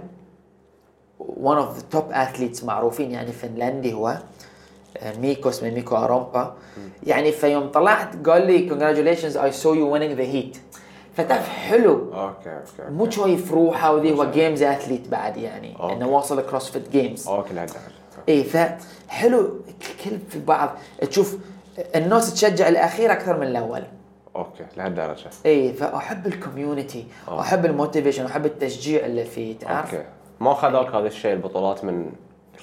[SPEAKER 2] ون اوف ذا توب اثليتس معروفين يعني فنلندي هو آه، ميكو اسمه ميكو ارومبا يعني فيوم طلعت قال لي congratulations I saw you winning the heat فتعرف حلو
[SPEAKER 3] اوكي اوكي
[SPEAKER 2] مو شايف روحه وذي هو جيمز اثليت بعد يعني
[SPEAKER 3] أوكي.
[SPEAKER 2] انه واصل كروسفيت جيمز
[SPEAKER 3] اوكي لا دخل
[SPEAKER 2] اي فحلو كل في بعض تشوف الناس تشجع الاخير اكثر من إيه، الاول
[SPEAKER 3] اوكي لهالدرجه
[SPEAKER 2] اي فاحب الكوميونتي احب الموتيفيشن احب التشجيع اللي فيه تعرف
[SPEAKER 3] اوكي ما خذوك هذا الشيء البطولات من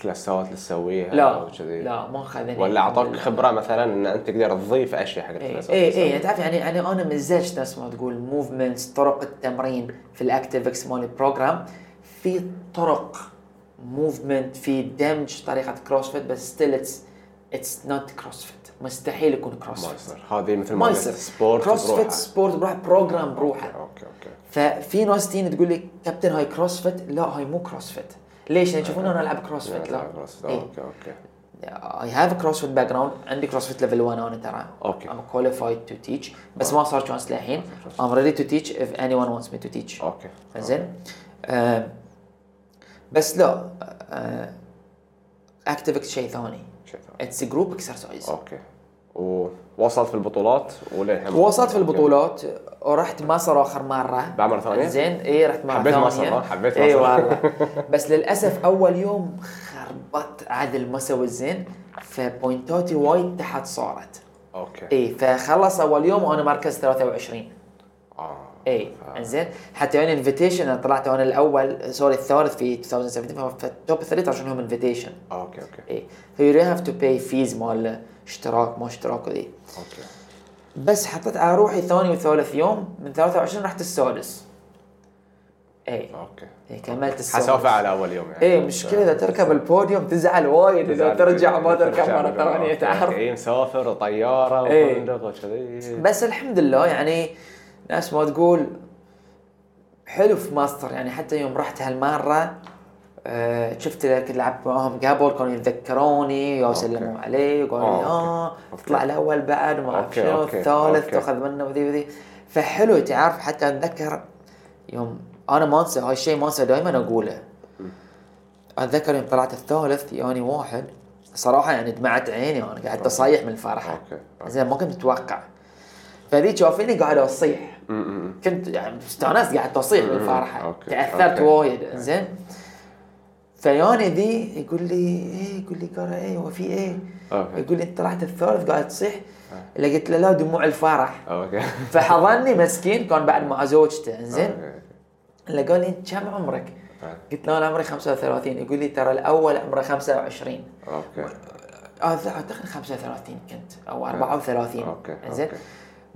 [SPEAKER 3] كلاسات اللي تسويها
[SPEAKER 2] لا
[SPEAKER 3] أو كذي؟
[SPEAKER 2] لا ما خذني
[SPEAKER 3] ولا اعطوك خبره مثلا ان انت تقدر تضيف اشياء حق
[SPEAKER 2] اي
[SPEAKER 3] الكلاسات
[SPEAKER 2] اي اي يعني تعرف يعني يعني انا مزجت نفس ما تقول موفمنتس طرق التمرين في الاكتيفكس مالي بروجرام في طرق موفمنت في دمج طريقه كروسفيت بس ستيل اتس اتس نوت كروسفيت مستحيل يكون كروس
[SPEAKER 3] ما
[SPEAKER 2] فيت
[SPEAKER 3] يصير هذه مثل ما
[SPEAKER 2] ما
[SPEAKER 3] قلت،
[SPEAKER 2] يصير
[SPEAKER 3] سبورت
[SPEAKER 2] كروس
[SPEAKER 3] بروحه.
[SPEAKER 2] فيت سبورت بروحه بروجرام بروحه
[SPEAKER 3] اوكي اوكي
[SPEAKER 2] ففي ناس تين تقول لي كابتن هاي كروس فيت لا هاي مو كروس فيت ليش؟ لان يشوفون انا العب كروس فيت آه. لا إيه. آه.
[SPEAKER 3] خلاص. اوكي اوكي
[SPEAKER 2] اي هاف كروس فيت باك جراوند عندي كروس فيت ليفل 1 انا ترى
[SPEAKER 3] أوكي.
[SPEAKER 2] ام كواليفايد تو تيتش بس ما صار تشانس للحين ام ريدي تو تيتش اف اني ون wants مي تو تيتش
[SPEAKER 3] اوكي
[SPEAKER 2] زين آم، بس لا اكتيفكت شيء ثاني
[SPEAKER 3] شيء ثاني.
[SPEAKER 2] اتس جروب اكسرسايز
[SPEAKER 3] اوكي ووصلت في البطولات وللحين
[SPEAKER 2] وصلت في البطولات ورحت مصر اخر مره
[SPEAKER 3] بعمل ثانية؟
[SPEAKER 2] زين اي رحت مره
[SPEAKER 3] حبيت
[SPEAKER 2] ثانيه
[SPEAKER 3] مصر، ها؟ حبيت
[SPEAKER 2] اي
[SPEAKER 3] مصر.
[SPEAKER 2] والله
[SPEAKER 3] [laughs]
[SPEAKER 2] بس للاسف اول يوم خربت عدل مسوي الزين فبوينتاتي وايد تحت صارت
[SPEAKER 3] اوكي
[SPEAKER 2] اي فخلص اول يوم وانا مركز 23
[SPEAKER 3] اه
[SPEAKER 2] اي انزين حتى انا انفيتيشن انا طلعت انا الاول سوري الثالث في 2017 فالتوب ثلاث عشان إيه، هم انفيتيشن
[SPEAKER 3] اوكي اوكي
[SPEAKER 2] اي فيو هاف تو باي فيز مال اشتراك ما اشتراك وذي
[SPEAKER 3] اوكي
[SPEAKER 2] بس حطيت على روحي ثاني وثالث يوم من 23 رحت السادس اي
[SPEAKER 3] اوكي
[SPEAKER 2] اي كملت السادس إيه،
[SPEAKER 3] حسافه على اول يوم يعني
[SPEAKER 2] اي مشكله اذا تركب البوديوم تزعل وايد اذا ترجع ما تركب مره ثانيه تعرف
[SPEAKER 3] اي إيه، مسافر وطياره
[SPEAKER 2] إيه.
[SPEAKER 3] وفندق وكذي
[SPEAKER 2] بس الحمد لله يعني ناس ما تقول حلو في ماستر يعني حتى يوم رحت هالمره آه شفت اللي كنت لعبت معاهم قبل كانوا يتذكروني يا سلموا
[SPEAKER 3] أوكي.
[SPEAKER 2] علي وقالوا لي
[SPEAKER 3] آه،
[SPEAKER 2] اه
[SPEAKER 3] أوكي.
[SPEAKER 2] تطلع الاول بعد وما اعرف
[SPEAKER 3] أوكي،
[SPEAKER 2] شنو
[SPEAKER 3] أوكي،
[SPEAKER 2] الثالث
[SPEAKER 3] أوكي.
[SPEAKER 2] تاخذ منه وذي وذي فحلو تعرف حتى اتذكر يوم انا ما انسى هاي الشيء ما انسى دائما اقوله اتذكر يوم طلعت الثالث يعني واحد صراحه يعني دمعت عيني وانا قاعد اصيح من الفرحه
[SPEAKER 3] أوكي، أوكي.
[SPEAKER 2] زين ما كنت متوقع فذي شافيني قاعد اصيح
[SPEAKER 3] م- م- م.
[SPEAKER 2] كنت يعني استانست قاعد تصيح من الفرحه
[SPEAKER 3] أوكي،
[SPEAKER 2] تاثرت
[SPEAKER 3] أوكي.
[SPEAKER 2] وايد زين فياني ذي يقول لي ايه يقول لي قرا ايه هو في ايه
[SPEAKER 3] أوكي.
[SPEAKER 2] يقول لي انت طلعت الثالث قاعد تصيح لقيت له لا دموع الفرح
[SPEAKER 3] اوكي
[SPEAKER 2] فحضني مسكين كان بعد مع زوجته زين
[SPEAKER 3] أوكي.
[SPEAKER 2] اللي قال لي انت كم عمرك؟
[SPEAKER 3] طيب.
[SPEAKER 2] قلت له انا عمري 35 يقول لي ترى الاول عمره 25
[SPEAKER 3] اوكي
[SPEAKER 2] اه لا، اعتقد 35 كنت او 34
[SPEAKER 3] طيب. أوكي، أوكي.
[SPEAKER 2] زين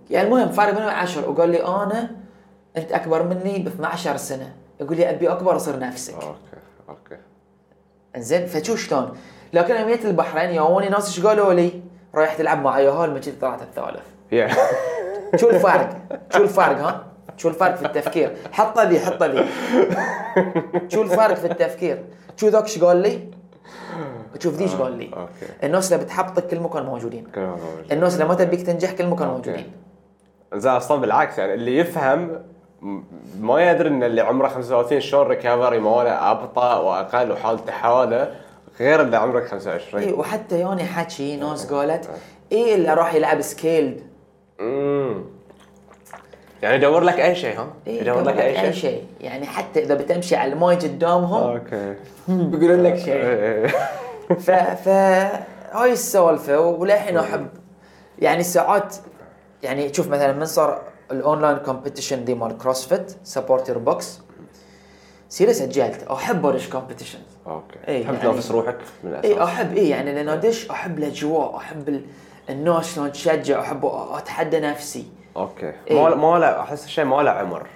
[SPEAKER 2] يعني المهم فارق بينهم 10 وقال لي انا انت اكبر مني ب 12 سنه يقول لي ابي اكبر اصير نفسك
[SPEAKER 3] اوكي اوكي
[SPEAKER 2] زين فشو شلون لكن يوم جيت البحرين يوني ناس ايش قالوا لي؟ رايح تلعب مع ياهال ما جيت طلعت الثالث
[SPEAKER 3] يا [laughs]
[SPEAKER 2] شو الفرق؟ شو الفرق ها؟ شو الفرق في التفكير؟ حطه لي حطه لي شو الفرق في التفكير؟ شو ذاك ايش قال لي؟ وشوف ذي ايش قال لي؟
[SPEAKER 3] آه، أوكي.
[SPEAKER 2] الناس اللي بتحبطك كل مكان موجودين
[SPEAKER 3] كل ما هو موجود.
[SPEAKER 2] الناس اللي ما تبيك تنجح كل مكان موجودين
[SPEAKER 3] زين اصلا بالعكس يعني اللي يفهم م- ما يدري ان اللي عمره 35 شلون ريكفري ماله ابطا واقل وحالته حاله غير اللي عمرك 25
[SPEAKER 2] اي إيه، وحتى يوني حكي ناس
[SPEAKER 3] آه،
[SPEAKER 2] قالت اي اللي راح يلعب سكيلد
[SPEAKER 3] امم يعني يدور لك اي شيء ها؟
[SPEAKER 2] إيه
[SPEAKER 3] يدور لك اي شيء
[SPEAKER 2] شيء يعني حتى اذا بتمشي على الماي قدامهم
[SPEAKER 3] اوكي
[SPEAKER 2] بيقولون لك شيء
[SPEAKER 3] إيه.
[SPEAKER 2] ف ف هاي السالفه وللحين احب يعني ساعات يعني شوف مثلا من صار الاونلاين كومبetition دي مال كروسفيت سبورت يور بوكس سيريس اجلت احب ادش كومبيتيشن
[SPEAKER 3] اوكي
[SPEAKER 2] إيه،
[SPEAKER 3] تحب
[SPEAKER 2] يعني-
[SPEAKER 3] تنافس روحك من
[SPEAKER 2] اي
[SPEAKER 3] الاساس
[SPEAKER 2] احب اي يعني لان ادش احب الاجواء احب ال- الناس شلون تشجع احب أ- اتحدى نفسي
[SPEAKER 3] اوكي
[SPEAKER 2] إيه.
[SPEAKER 3] ما ما له احس الشيء ما له عمر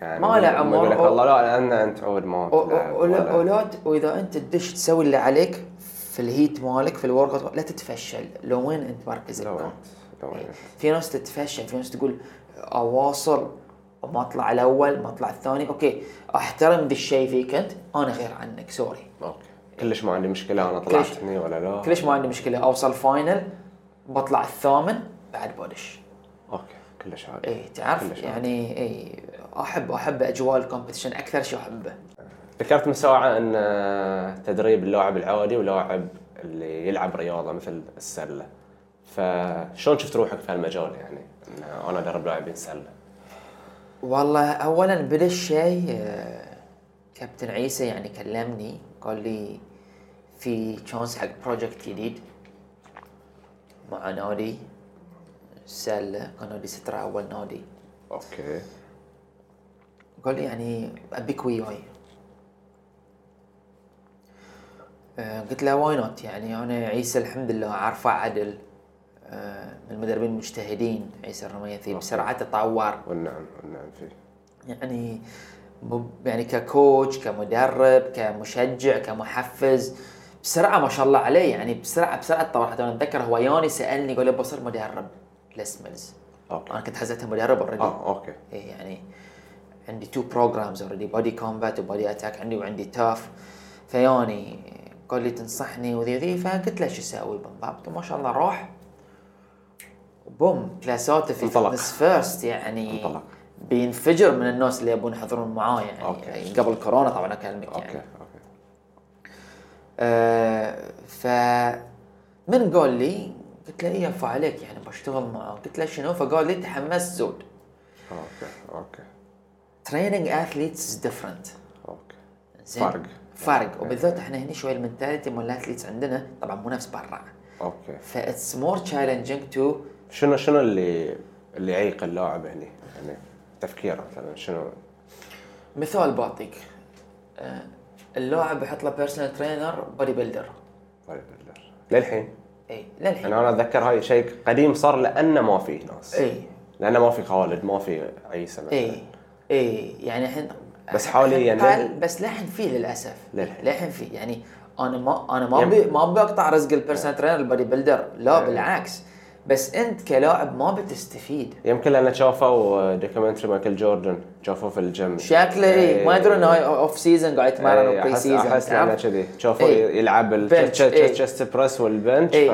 [SPEAKER 3] يعني
[SPEAKER 2] ما له
[SPEAKER 3] لما
[SPEAKER 2] عمر.
[SPEAKER 3] يقول لك
[SPEAKER 2] أو-
[SPEAKER 3] والله لا لان انت عود ما
[SPEAKER 2] و-
[SPEAKER 3] تلعب
[SPEAKER 2] و- ولا-
[SPEAKER 3] ولا-
[SPEAKER 2] ولا ت- واذا انت تدش تسوي اللي عليك في الهيت مالك في الورك أوت، لا تتفشل لو وين انت مركز
[SPEAKER 3] لو
[SPEAKER 2] الكون.
[SPEAKER 3] انت لو انت
[SPEAKER 2] في ناس تتفشل في ناس تقول اواصل ما اطلع الاول ما اطلع الثاني اوكي احترم ذا الشيء فيك انت انا غير عنك سوري
[SPEAKER 3] اوكي كلش ما عندي مشكله انا طلعت
[SPEAKER 2] كلش-
[SPEAKER 3] هني ولا لا
[SPEAKER 2] كلش ما عندي مشكله اوصل فاينل بطلع الثامن بعد بدش
[SPEAKER 3] اوكي كلش عادي
[SPEAKER 2] اي تعرف
[SPEAKER 3] كلش عادي.
[SPEAKER 2] يعني اي احب احب اجواء الكومبيتيشن اكثر شيء احبه
[SPEAKER 3] ذكرت من ساعه ان آه، تدريب اللاعب العادي ولاعب اللي يلعب رياضه مثل السله فشلون شفت روحك في هالمجال يعني إن انا ادرب لاعبين سله
[SPEAKER 2] والله اولا بدا الشيء آه، كابتن عيسى يعني كلمني قال لي في تشانس حق بروجكت جديد مع نادي سله كان نادي سترة اول نادي
[SPEAKER 3] اوكي
[SPEAKER 2] قال لي يعني ابيك وياي آه، قلت له واي نوت يعني انا عيسى الحمد لله عارفه عدل آه، من المدربين المجتهدين عيسى الرميثي بسرعه تطور
[SPEAKER 3] والنعم والنعم فيه
[SPEAKER 2] يعني مب- يعني ككوتش كمدرب كمشجع كمحفز بسرعه ما شاء الله عليه يعني بسرعه بسرعه طبعا حتى انا اتذكر هو يوني سالني قال لي بصير مدرب لسملز
[SPEAKER 3] اوكي
[SPEAKER 2] انا كنت حزتها مدرب اوريدي
[SPEAKER 3] اه اوكي
[SPEAKER 2] إيه يعني عندي تو بروجرامز اوريدي بودي كومبات وبودي اتاك عندي وعندي تاف فيوني قال لي تنصحني وذي ذي فقلت له شو اسوي بالضبط وما شاء الله روح بوم كلاساته في
[SPEAKER 3] انطلق.
[SPEAKER 2] فيتنس فيرست يعني
[SPEAKER 3] انطلق.
[SPEAKER 2] بينفجر من الناس اللي يبون يحضرون معاه يعني
[SPEAKER 3] أوكي.
[SPEAKER 2] قبل كورونا طبعا اكلمك يعني
[SPEAKER 3] اوكي اوكي
[SPEAKER 2] آه، ف من قال لي قلت له ايه عفا عليك يعني بشتغل معه قلت له شنو فقال لي تحمست زود
[SPEAKER 3] اوكي اوكي
[SPEAKER 2] تريننج اثليتس از ديفرنت
[SPEAKER 3] اوكي
[SPEAKER 2] زين
[SPEAKER 3] فرق. إيه.
[SPEAKER 2] فرق وبالذات احنا هنا شوي المنتاليتي مال الاثليتس عندنا طبعا مو نفس برا
[SPEAKER 3] اوكي
[SPEAKER 2] فاتس مور تشالنجينج تو
[SPEAKER 3] شنو شنو اللي اللي يعيق اللاعب هني يعني تفكيره مثلا شنو
[SPEAKER 2] مثال بعطيك آه، اللاعب يحط له بيرسونال ترينر بودي بيلدر
[SPEAKER 3] ما يقدر. للحين
[SPEAKER 2] اي
[SPEAKER 3] يعني
[SPEAKER 2] إيه، للحين
[SPEAKER 3] انا اتذكر هاي شيء قديم صار لانه ما فيه ناس
[SPEAKER 2] اي
[SPEAKER 3] لانه ما في خالد ما في عيسى مثلا
[SPEAKER 2] اي اي إيه، يعني الحين
[SPEAKER 3] بس حاليا
[SPEAKER 2] الحين قل،
[SPEAKER 3] لل-
[SPEAKER 2] بس للحين فيه للاسف
[SPEAKER 3] للحين.
[SPEAKER 2] للحين فيه يعني انا ما انا ما
[SPEAKER 3] يعني-
[SPEAKER 2] ابي ما ابي اقطع رزق البيرسونال ترينر البودي بيلدر لا
[SPEAKER 3] إيه.
[SPEAKER 2] بالعكس بس انت كلاعب ما بتستفيد
[SPEAKER 3] يمكن لان شافوا دوكيومنتري مايكل جوردن شافوه في الجيم
[SPEAKER 2] شكله
[SPEAKER 3] إيه.
[SPEAKER 2] اي ما يدرون هاي اوف سيزون قاعد يتمرن
[SPEAKER 3] ايه،
[SPEAKER 2] وبري
[SPEAKER 3] احس
[SPEAKER 2] سيزون
[SPEAKER 3] احس لانه كذي شافوه
[SPEAKER 2] ايه.
[SPEAKER 3] يلعب
[SPEAKER 2] بنش، ايه.
[SPEAKER 3] التشست بريس والبنش
[SPEAKER 2] ايه.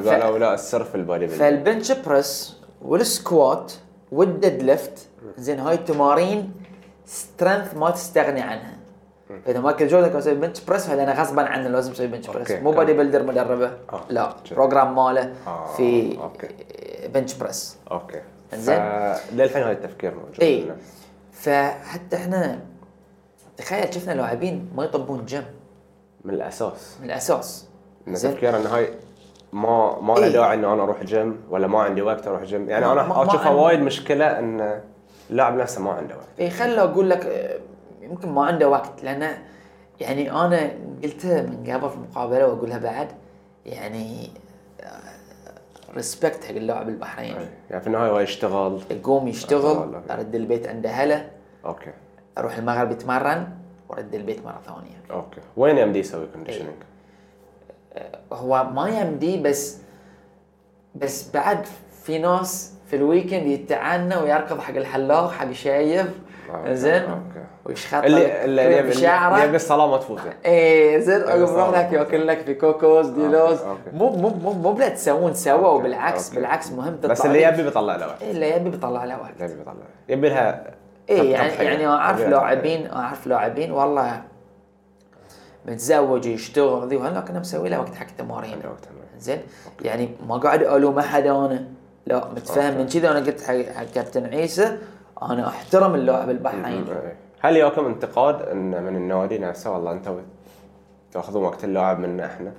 [SPEAKER 3] فقالوا لا السر في البودي بيلدينج.
[SPEAKER 2] فالبنش بريس والسكوات والديد ليفت زين هاي التمارين سترينث ما تستغني عنها فاذا مايكل جوردن كان يسوي بنش بريس فهذا انا غصبا عنه لازم اسوي بنش بريس
[SPEAKER 3] اوكي،
[SPEAKER 2] مو
[SPEAKER 3] كان-
[SPEAKER 2] بادي بيلدر مدربه
[SPEAKER 3] آه،
[SPEAKER 2] لا
[SPEAKER 3] جميل.
[SPEAKER 2] بروجرام ماله
[SPEAKER 3] آه،
[SPEAKER 2] في
[SPEAKER 3] اوكي.
[SPEAKER 2] بنش بريس
[SPEAKER 3] اوكي
[SPEAKER 2] انزين.
[SPEAKER 3] ف- للحين هاي التفكير موجود
[SPEAKER 2] اي
[SPEAKER 3] عندنا.
[SPEAKER 2] إيه. فحتى احنا تخيل شفنا لاعبين ما يطبون جيم
[SPEAKER 3] من الاساس
[SPEAKER 2] من الاساس
[SPEAKER 3] ان
[SPEAKER 2] زين.
[SPEAKER 3] تفكير ان هاي ما ما له
[SPEAKER 2] إيه.
[SPEAKER 3] داعي ان انا اروح جيم ولا ما عندي وقت اروح جيم يعني
[SPEAKER 2] ما- ما-
[SPEAKER 3] انا
[SPEAKER 2] ما
[SPEAKER 3] اشوفها
[SPEAKER 2] عندي-
[SPEAKER 3] وايد مشكله ان اللاعب نفسه ما عنده وقت
[SPEAKER 2] اي خله اقول إيه، لك آه، يمكن ما عنده وقت لان يعني انا قلتها من قبل في مقابله واقولها بعد يعني ريسبكت حق اللاعب البحريني
[SPEAKER 3] يعني في النهايه هو يشتغل
[SPEAKER 2] يقوم يشتغل
[SPEAKER 3] والله.
[SPEAKER 2] ارد البيت عنده هلا
[SPEAKER 3] اوكي
[SPEAKER 2] اروح المغرب يتمرن وارد البيت مره ثانيه
[SPEAKER 3] اوكي وين يمدي يسوي كونديشننج؟
[SPEAKER 2] هو ما يمدي بس بس بعد في ناس في الويكند يتعنى ويركض حق الحلاق حق شايف
[SPEAKER 3] أوكي،
[SPEAKER 2] إيه. زين
[SPEAKER 3] آه، أوكي.
[SPEAKER 2] ويشخط
[SPEAKER 3] اللي اللي يبي- اللي
[SPEAKER 2] شعره
[SPEAKER 3] يبي الصلاه ما تفوته
[SPEAKER 2] ايه زين
[SPEAKER 3] أيوة،
[SPEAKER 2] يروح
[SPEAKER 3] صح.
[SPEAKER 2] لك ياكل لك في كوكوز ديلوز
[SPEAKER 3] أوكي.
[SPEAKER 2] مو مو مو مو بلا تسوون سوا
[SPEAKER 3] أوكي،
[SPEAKER 2] وبالعكس
[SPEAKER 3] أوكي.
[SPEAKER 2] بالعكس مهم تطلع
[SPEAKER 3] بس اللي
[SPEAKER 2] لك-
[SPEAKER 3] يبي بيطلع له وقت
[SPEAKER 2] إيه، اللي يبي بيطلع له وقت
[SPEAKER 3] اللي يبي بيطلع له يبي لها
[SPEAKER 2] ايه
[SPEAKER 3] تضحية.
[SPEAKER 2] يعني يعني اعرف
[SPEAKER 3] يبي لها
[SPEAKER 2] لاعبين اعرف لاعبين والله متزوج يشتغل ذي وهلا كنا مسوي له وقت حق
[SPEAKER 3] تضحية.
[SPEAKER 2] تمارين
[SPEAKER 3] عنده وقت إنه-
[SPEAKER 2] زين يعني ما قاعد الوم احد انا لا متفاهم
[SPEAKER 3] أوكي.
[SPEAKER 2] من كذا انا قلت حق حق كابتن عيسى انا احترم اللاعب البحريني
[SPEAKER 3] إيه. هل ياكم انتقاد ان من النادي نفسه والله انتوا تاخذون وقت اللاعب منا احنا؟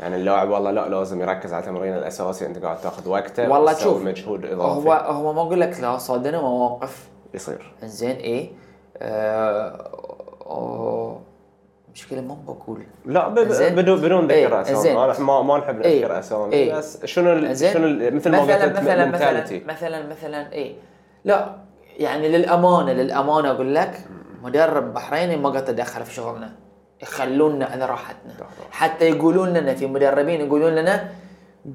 [SPEAKER 3] يعني اللاعب والله لا لازم يركز على تمرينه الاساسي انت قاعد تاخذ وقته
[SPEAKER 2] والله
[SPEAKER 3] وتسوي
[SPEAKER 2] شوف،
[SPEAKER 3] مجهود اضافي
[SPEAKER 2] هو هو ما اقول لك لا صادنا مواقف
[SPEAKER 3] يصير
[SPEAKER 2] انزين ايه آه، أوه، مشكلة ما بقول
[SPEAKER 3] لا ب- ب-
[SPEAKER 2] إنزين.
[SPEAKER 3] بدون بدون ذكر
[SPEAKER 2] إيه، إنزين.
[SPEAKER 3] اسامي أنا ما ما نحب نذكر
[SPEAKER 2] إيه،
[SPEAKER 3] اسامي
[SPEAKER 2] إيه.
[SPEAKER 3] بس شنو ال-
[SPEAKER 2] انزين
[SPEAKER 3] شنو ال- مثل ما قلت
[SPEAKER 2] مثلا مثلا مثلا
[SPEAKER 3] mentality.
[SPEAKER 2] مثلا مثلا ايه لا يعني للامانة للامانة اقول لك مدرب بحريني ما قد تدخل في شغلنا يخلونا على راحتنا
[SPEAKER 3] راحتنا.
[SPEAKER 2] حتى يقولون لنا في مدربين يقولون لنا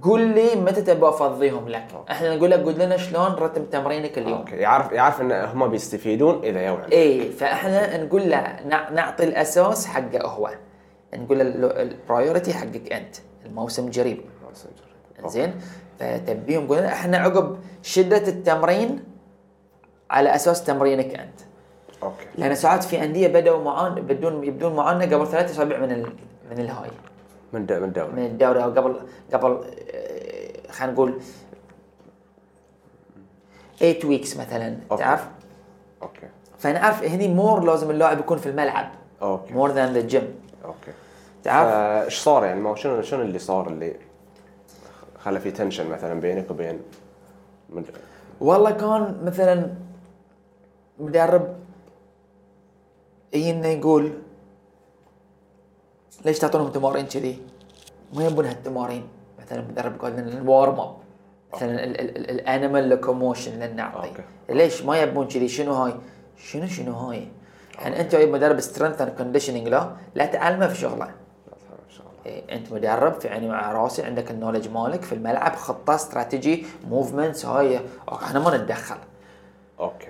[SPEAKER 2] قول لي متى تبغى افضيهم لك احنا نقول لك قول لنا شلون رتم تمرينك اليوم
[SPEAKER 3] اوكي يعرف يعرف ان هم بيستفيدون اذا يوعى
[SPEAKER 2] ايه فاحنا نقول له نع- نعطي الاساس حقه هو نقول له البرايورتي حقك انت الموسم قريب زين فتنبيهم قلنا احنا عقب شده التمرين على اساس تمرينك انت
[SPEAKER 3] اوكي
[SPEAKER 2] لان ساعات في انديه بدأوا معانا بدون يبدون معانا قبل ثلاثة اسابيع من ال... من الهاي
[SPEAKER 3] من دا- من الدوري
[SPEAKER 2] من الدوري او قبل قبل آه، خلينا نقول 8 ويكس مثلا
[SPEAKER 3] أوكي.
[SPEAKER 2] تعرف
[SPEAKER 3] اوكي
[SPEAKER 2] فنعرف هني مور لازم اللاعب يكون في الملعب
[SPEAKER 3] اوكي
[SPEAKER 2] مور ذان ذا جيم
[SPEAKER 3] اوكي
[SPEAKER 2] تعرف
[SPEAKER 3] ايش صار يعني ما شنو شنو اللي صار اللي خلى في تنشن مثلا بينك وبين من
[SPEAKER 2] والله كان مثلا مدرب يجينا يقول ليش تعطونهم تمارين كذي؟ ما يبون هالتمارين مثلا المدرب قال لنا الوارم اب مثلا الانيمال لوكوموشن اللي نعطي
[SPEAKER 3] أوكي.
[SPEAKER 2] ليش ما يبون كذي شنو هاي؟ شنو شنو هاي؟ يعني انت يا مدرب سترينث اند كونديشننج لا لا تعلمه في شغله إيه، انت مدرب في عيني مع راسي عندك النولج مالك في الملعب خطه استراتيجي موفمنتس هاي أوكي، احنا ما نتدخل
[SPEAKER 3] اوكي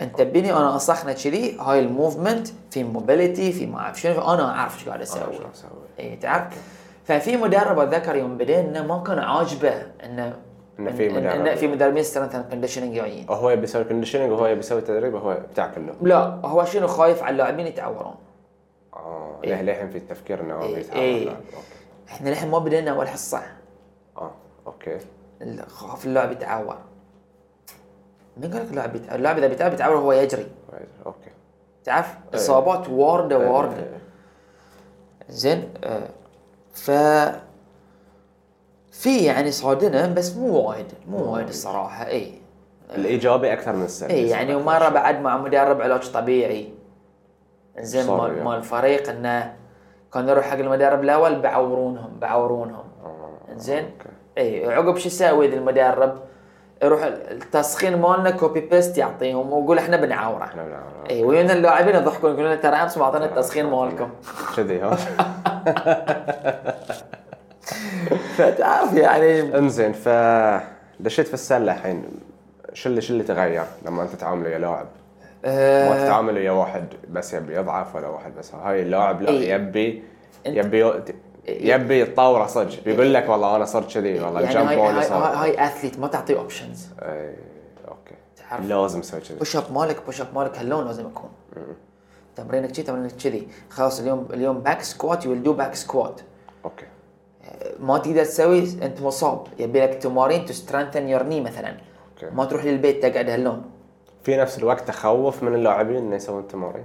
[SPEAKER 2] انت بني انا اصخنا كذي هاي الموفمنت في موبيليتي في ما اعرف شنو انا اعرف ايش قاعد
[SPEAKER 3] أنا
[SPEAKER 2] اسوي
[SPEAKER 3] شو اسوي
[SPEAKER 2] اي تعرف ففي مدرب اتذكر يوم بدينا ما كان عاجبه انه
[SPEAKER 3] إنه في
[SPEAKER 2] إن- إن-
[SPEAKER 3] مدرب.
[SPEAKER 2] إنه في مدربين سترينث اند كونديشننج جايين
[SPEAKER 3] هو يبي يسوي كونديشننج وهو يبي يسوي تدريب وهو بتاع كله
[SPEAKER 2] لا هو شنو خايف على اللاعبين يتعورون
[SPEAKER 3] اه ليه للحين في التفكير انه هو
[SPEAKER 2] إيه،
[SPEAKER 3] بيتعامل
[SPEAKER 2] إيه.
[SPEAKER 3] معه. اوكي
[SPEAKER 2] احنا للحين ما بدينا اول حصه
[SPEAKER 3] اه اوكي
[SPEAKER 2] ال- خاف اللاعب يتعور مين قال لك اللاعب يتعور اللاعب اذا بيتعور بيتعور وهو يجري
[SPEAKER 3] كويس. اوكي
[SPEAKER 2] تعرف اصابات وارده وارده
[SPEAKER 3] إيه.
[SPEAKER 2] زين آه، ف في يعني صادنا بس مو وايد مو وايد الصراحه
[SPEAKER 3] إيه،
[SPEAKER 2] اي
[SPEAKER 3] الايجابي اكثر من السلبي
[SPEAKER 2] اي يعني
[SPEAKER 3] صراحة.
[SPEAKER 2] ومره بعد مع مدرب علاج طبيعي زين
[SPEAKER 3] صار
[SPEAKER 2] مال
[SPEAKER 3] يعني.
[SPEAKER 2] مال الفريق انه كان يروح حق المدرب الاول بعورونهم بعورونهم زين
[SPEAKER 3] آه، أوكي.
[SPEAKER 2] اي إيه، عقب شو يسوي ذا المدرب يروح التسخين مالنا كوبي بيست يعطيهم ويقول احنا بنعوره
[SPEAKER 3] إحنا بنعرف.
[SPEAKER 2] اي ويونا اللاعبين يضحكون يقولون ترى امس ما اعطينا التسخين مالكم
[SPEAKER 3] كذي ها
[SPEAKER 2] [laughs] فتعرف يعني
[SPEAKER 3] انزين ف دشيت في السله الحين شو اللي شو اللي تغير لما انت تتعامل ويا لاعب؟
[SPEAKER 2] آه،
[SPEAKER 3] ما تتعامل ويا واحد بس يبي يضعف ولا واحد بس هاي اللاعب لا
[SPEAKER 2] إيه.
[SPEAKER 3] يبي
[SPEAKER 2] أنت-
[SPEAKER 3] يبي يبي يتطور صدق بيقول لك والله انا صرت كذي والله
[SPEAKER 2] يعني
[SPEAKER 3] الجمب
[SPEAKER 2] هاي
[SPEAKER 3] مالي
[SPEAKER 2] هاي,
[SPEAKER 3] صار
[SPEAKER 2] هاي, هاي اثليت ما تعطيه اوبشنز
[SPEAKER 3] إيه، اوكي
[SPEAKER 2] تعرف.
[SPEAKER 3] لازم اسوي كذي
[SPEAKER 2] بوش اب مالك بوش اب مالك هاللون لازم يكون تمرينك كذي تمرينك كذي خلاص اليوم اليوم باك سكوات يو دو باك سكوات
[SPEAKER 3] اوكي
[SPEAKER 2] ما تقدر تسوي انت مصاب يبي لك تمارين تو سترينثن يور ني مثلا
[SPEAKER 3] أوكي.
[SPEAKER 2] ما تروح للبيت تقعد هاللون
[SPEAKER 3] في نفس الوقت تخوف من اللاعبين انه يسوون تمارين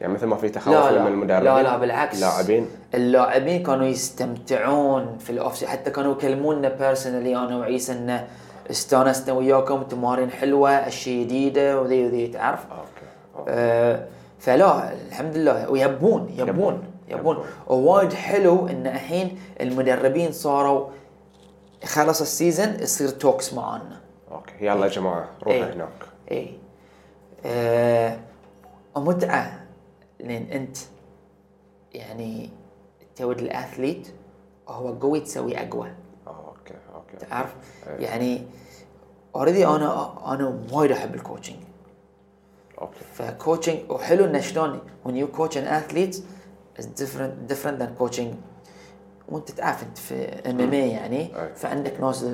[SPEAKER 3] يعني مثل ما في تخوف
[SPEAKER 2] لا لا
[SPEAKER 3] من المدربين
[SPEAKER 2] لا لا بالعكس
[SPEAKER 3] لاعبين
[SPEAKER 2] اللاعبين كانوا يستمتعون في الاوف سي- حتى كانوا يكلمونا بيرسونالي انا وعيسى انه استانسنا وياكم تمارين حلوه اشياء جديده وذي وذي تعرف
[SPEAKER 3] اوكي أوكي.
[SPEAKER 2] آه، فلا الحمد لله ويبون يبون
[SPEAKER 3] يبون.
[SPEAKER 2] يبون
[SPEAKER 3] يبون.
[SPEAKER 2] ووايد حلو ان الحين المدربين صاروا خلص السيزون يصير توكس معانا
[SPEAKER 3] اوكي يلا يا جماعه روحوا
[SPEAKER 2] إيه.
[SPEAKER 3] هناك
[SPEAKER 2] اي آه متعه لان انت يعني تود الاثليت وهو قوي تسوي اقوى
[SPEAKER 3] اوكي اوكي
[SPEAKER 2] تعرف يعني اوريدي انا انا وايد احب الكوتشنج
[SPEAKER 3] اوكي
[SPEAKER 2] فكوتشنج وحلو انه شلون when you coach an athlete is different different than coaching وانت تعرف انت في ام ام اي يعني
[SPEAKER 3] أي.
[SPEAKER 2] فعندك ناس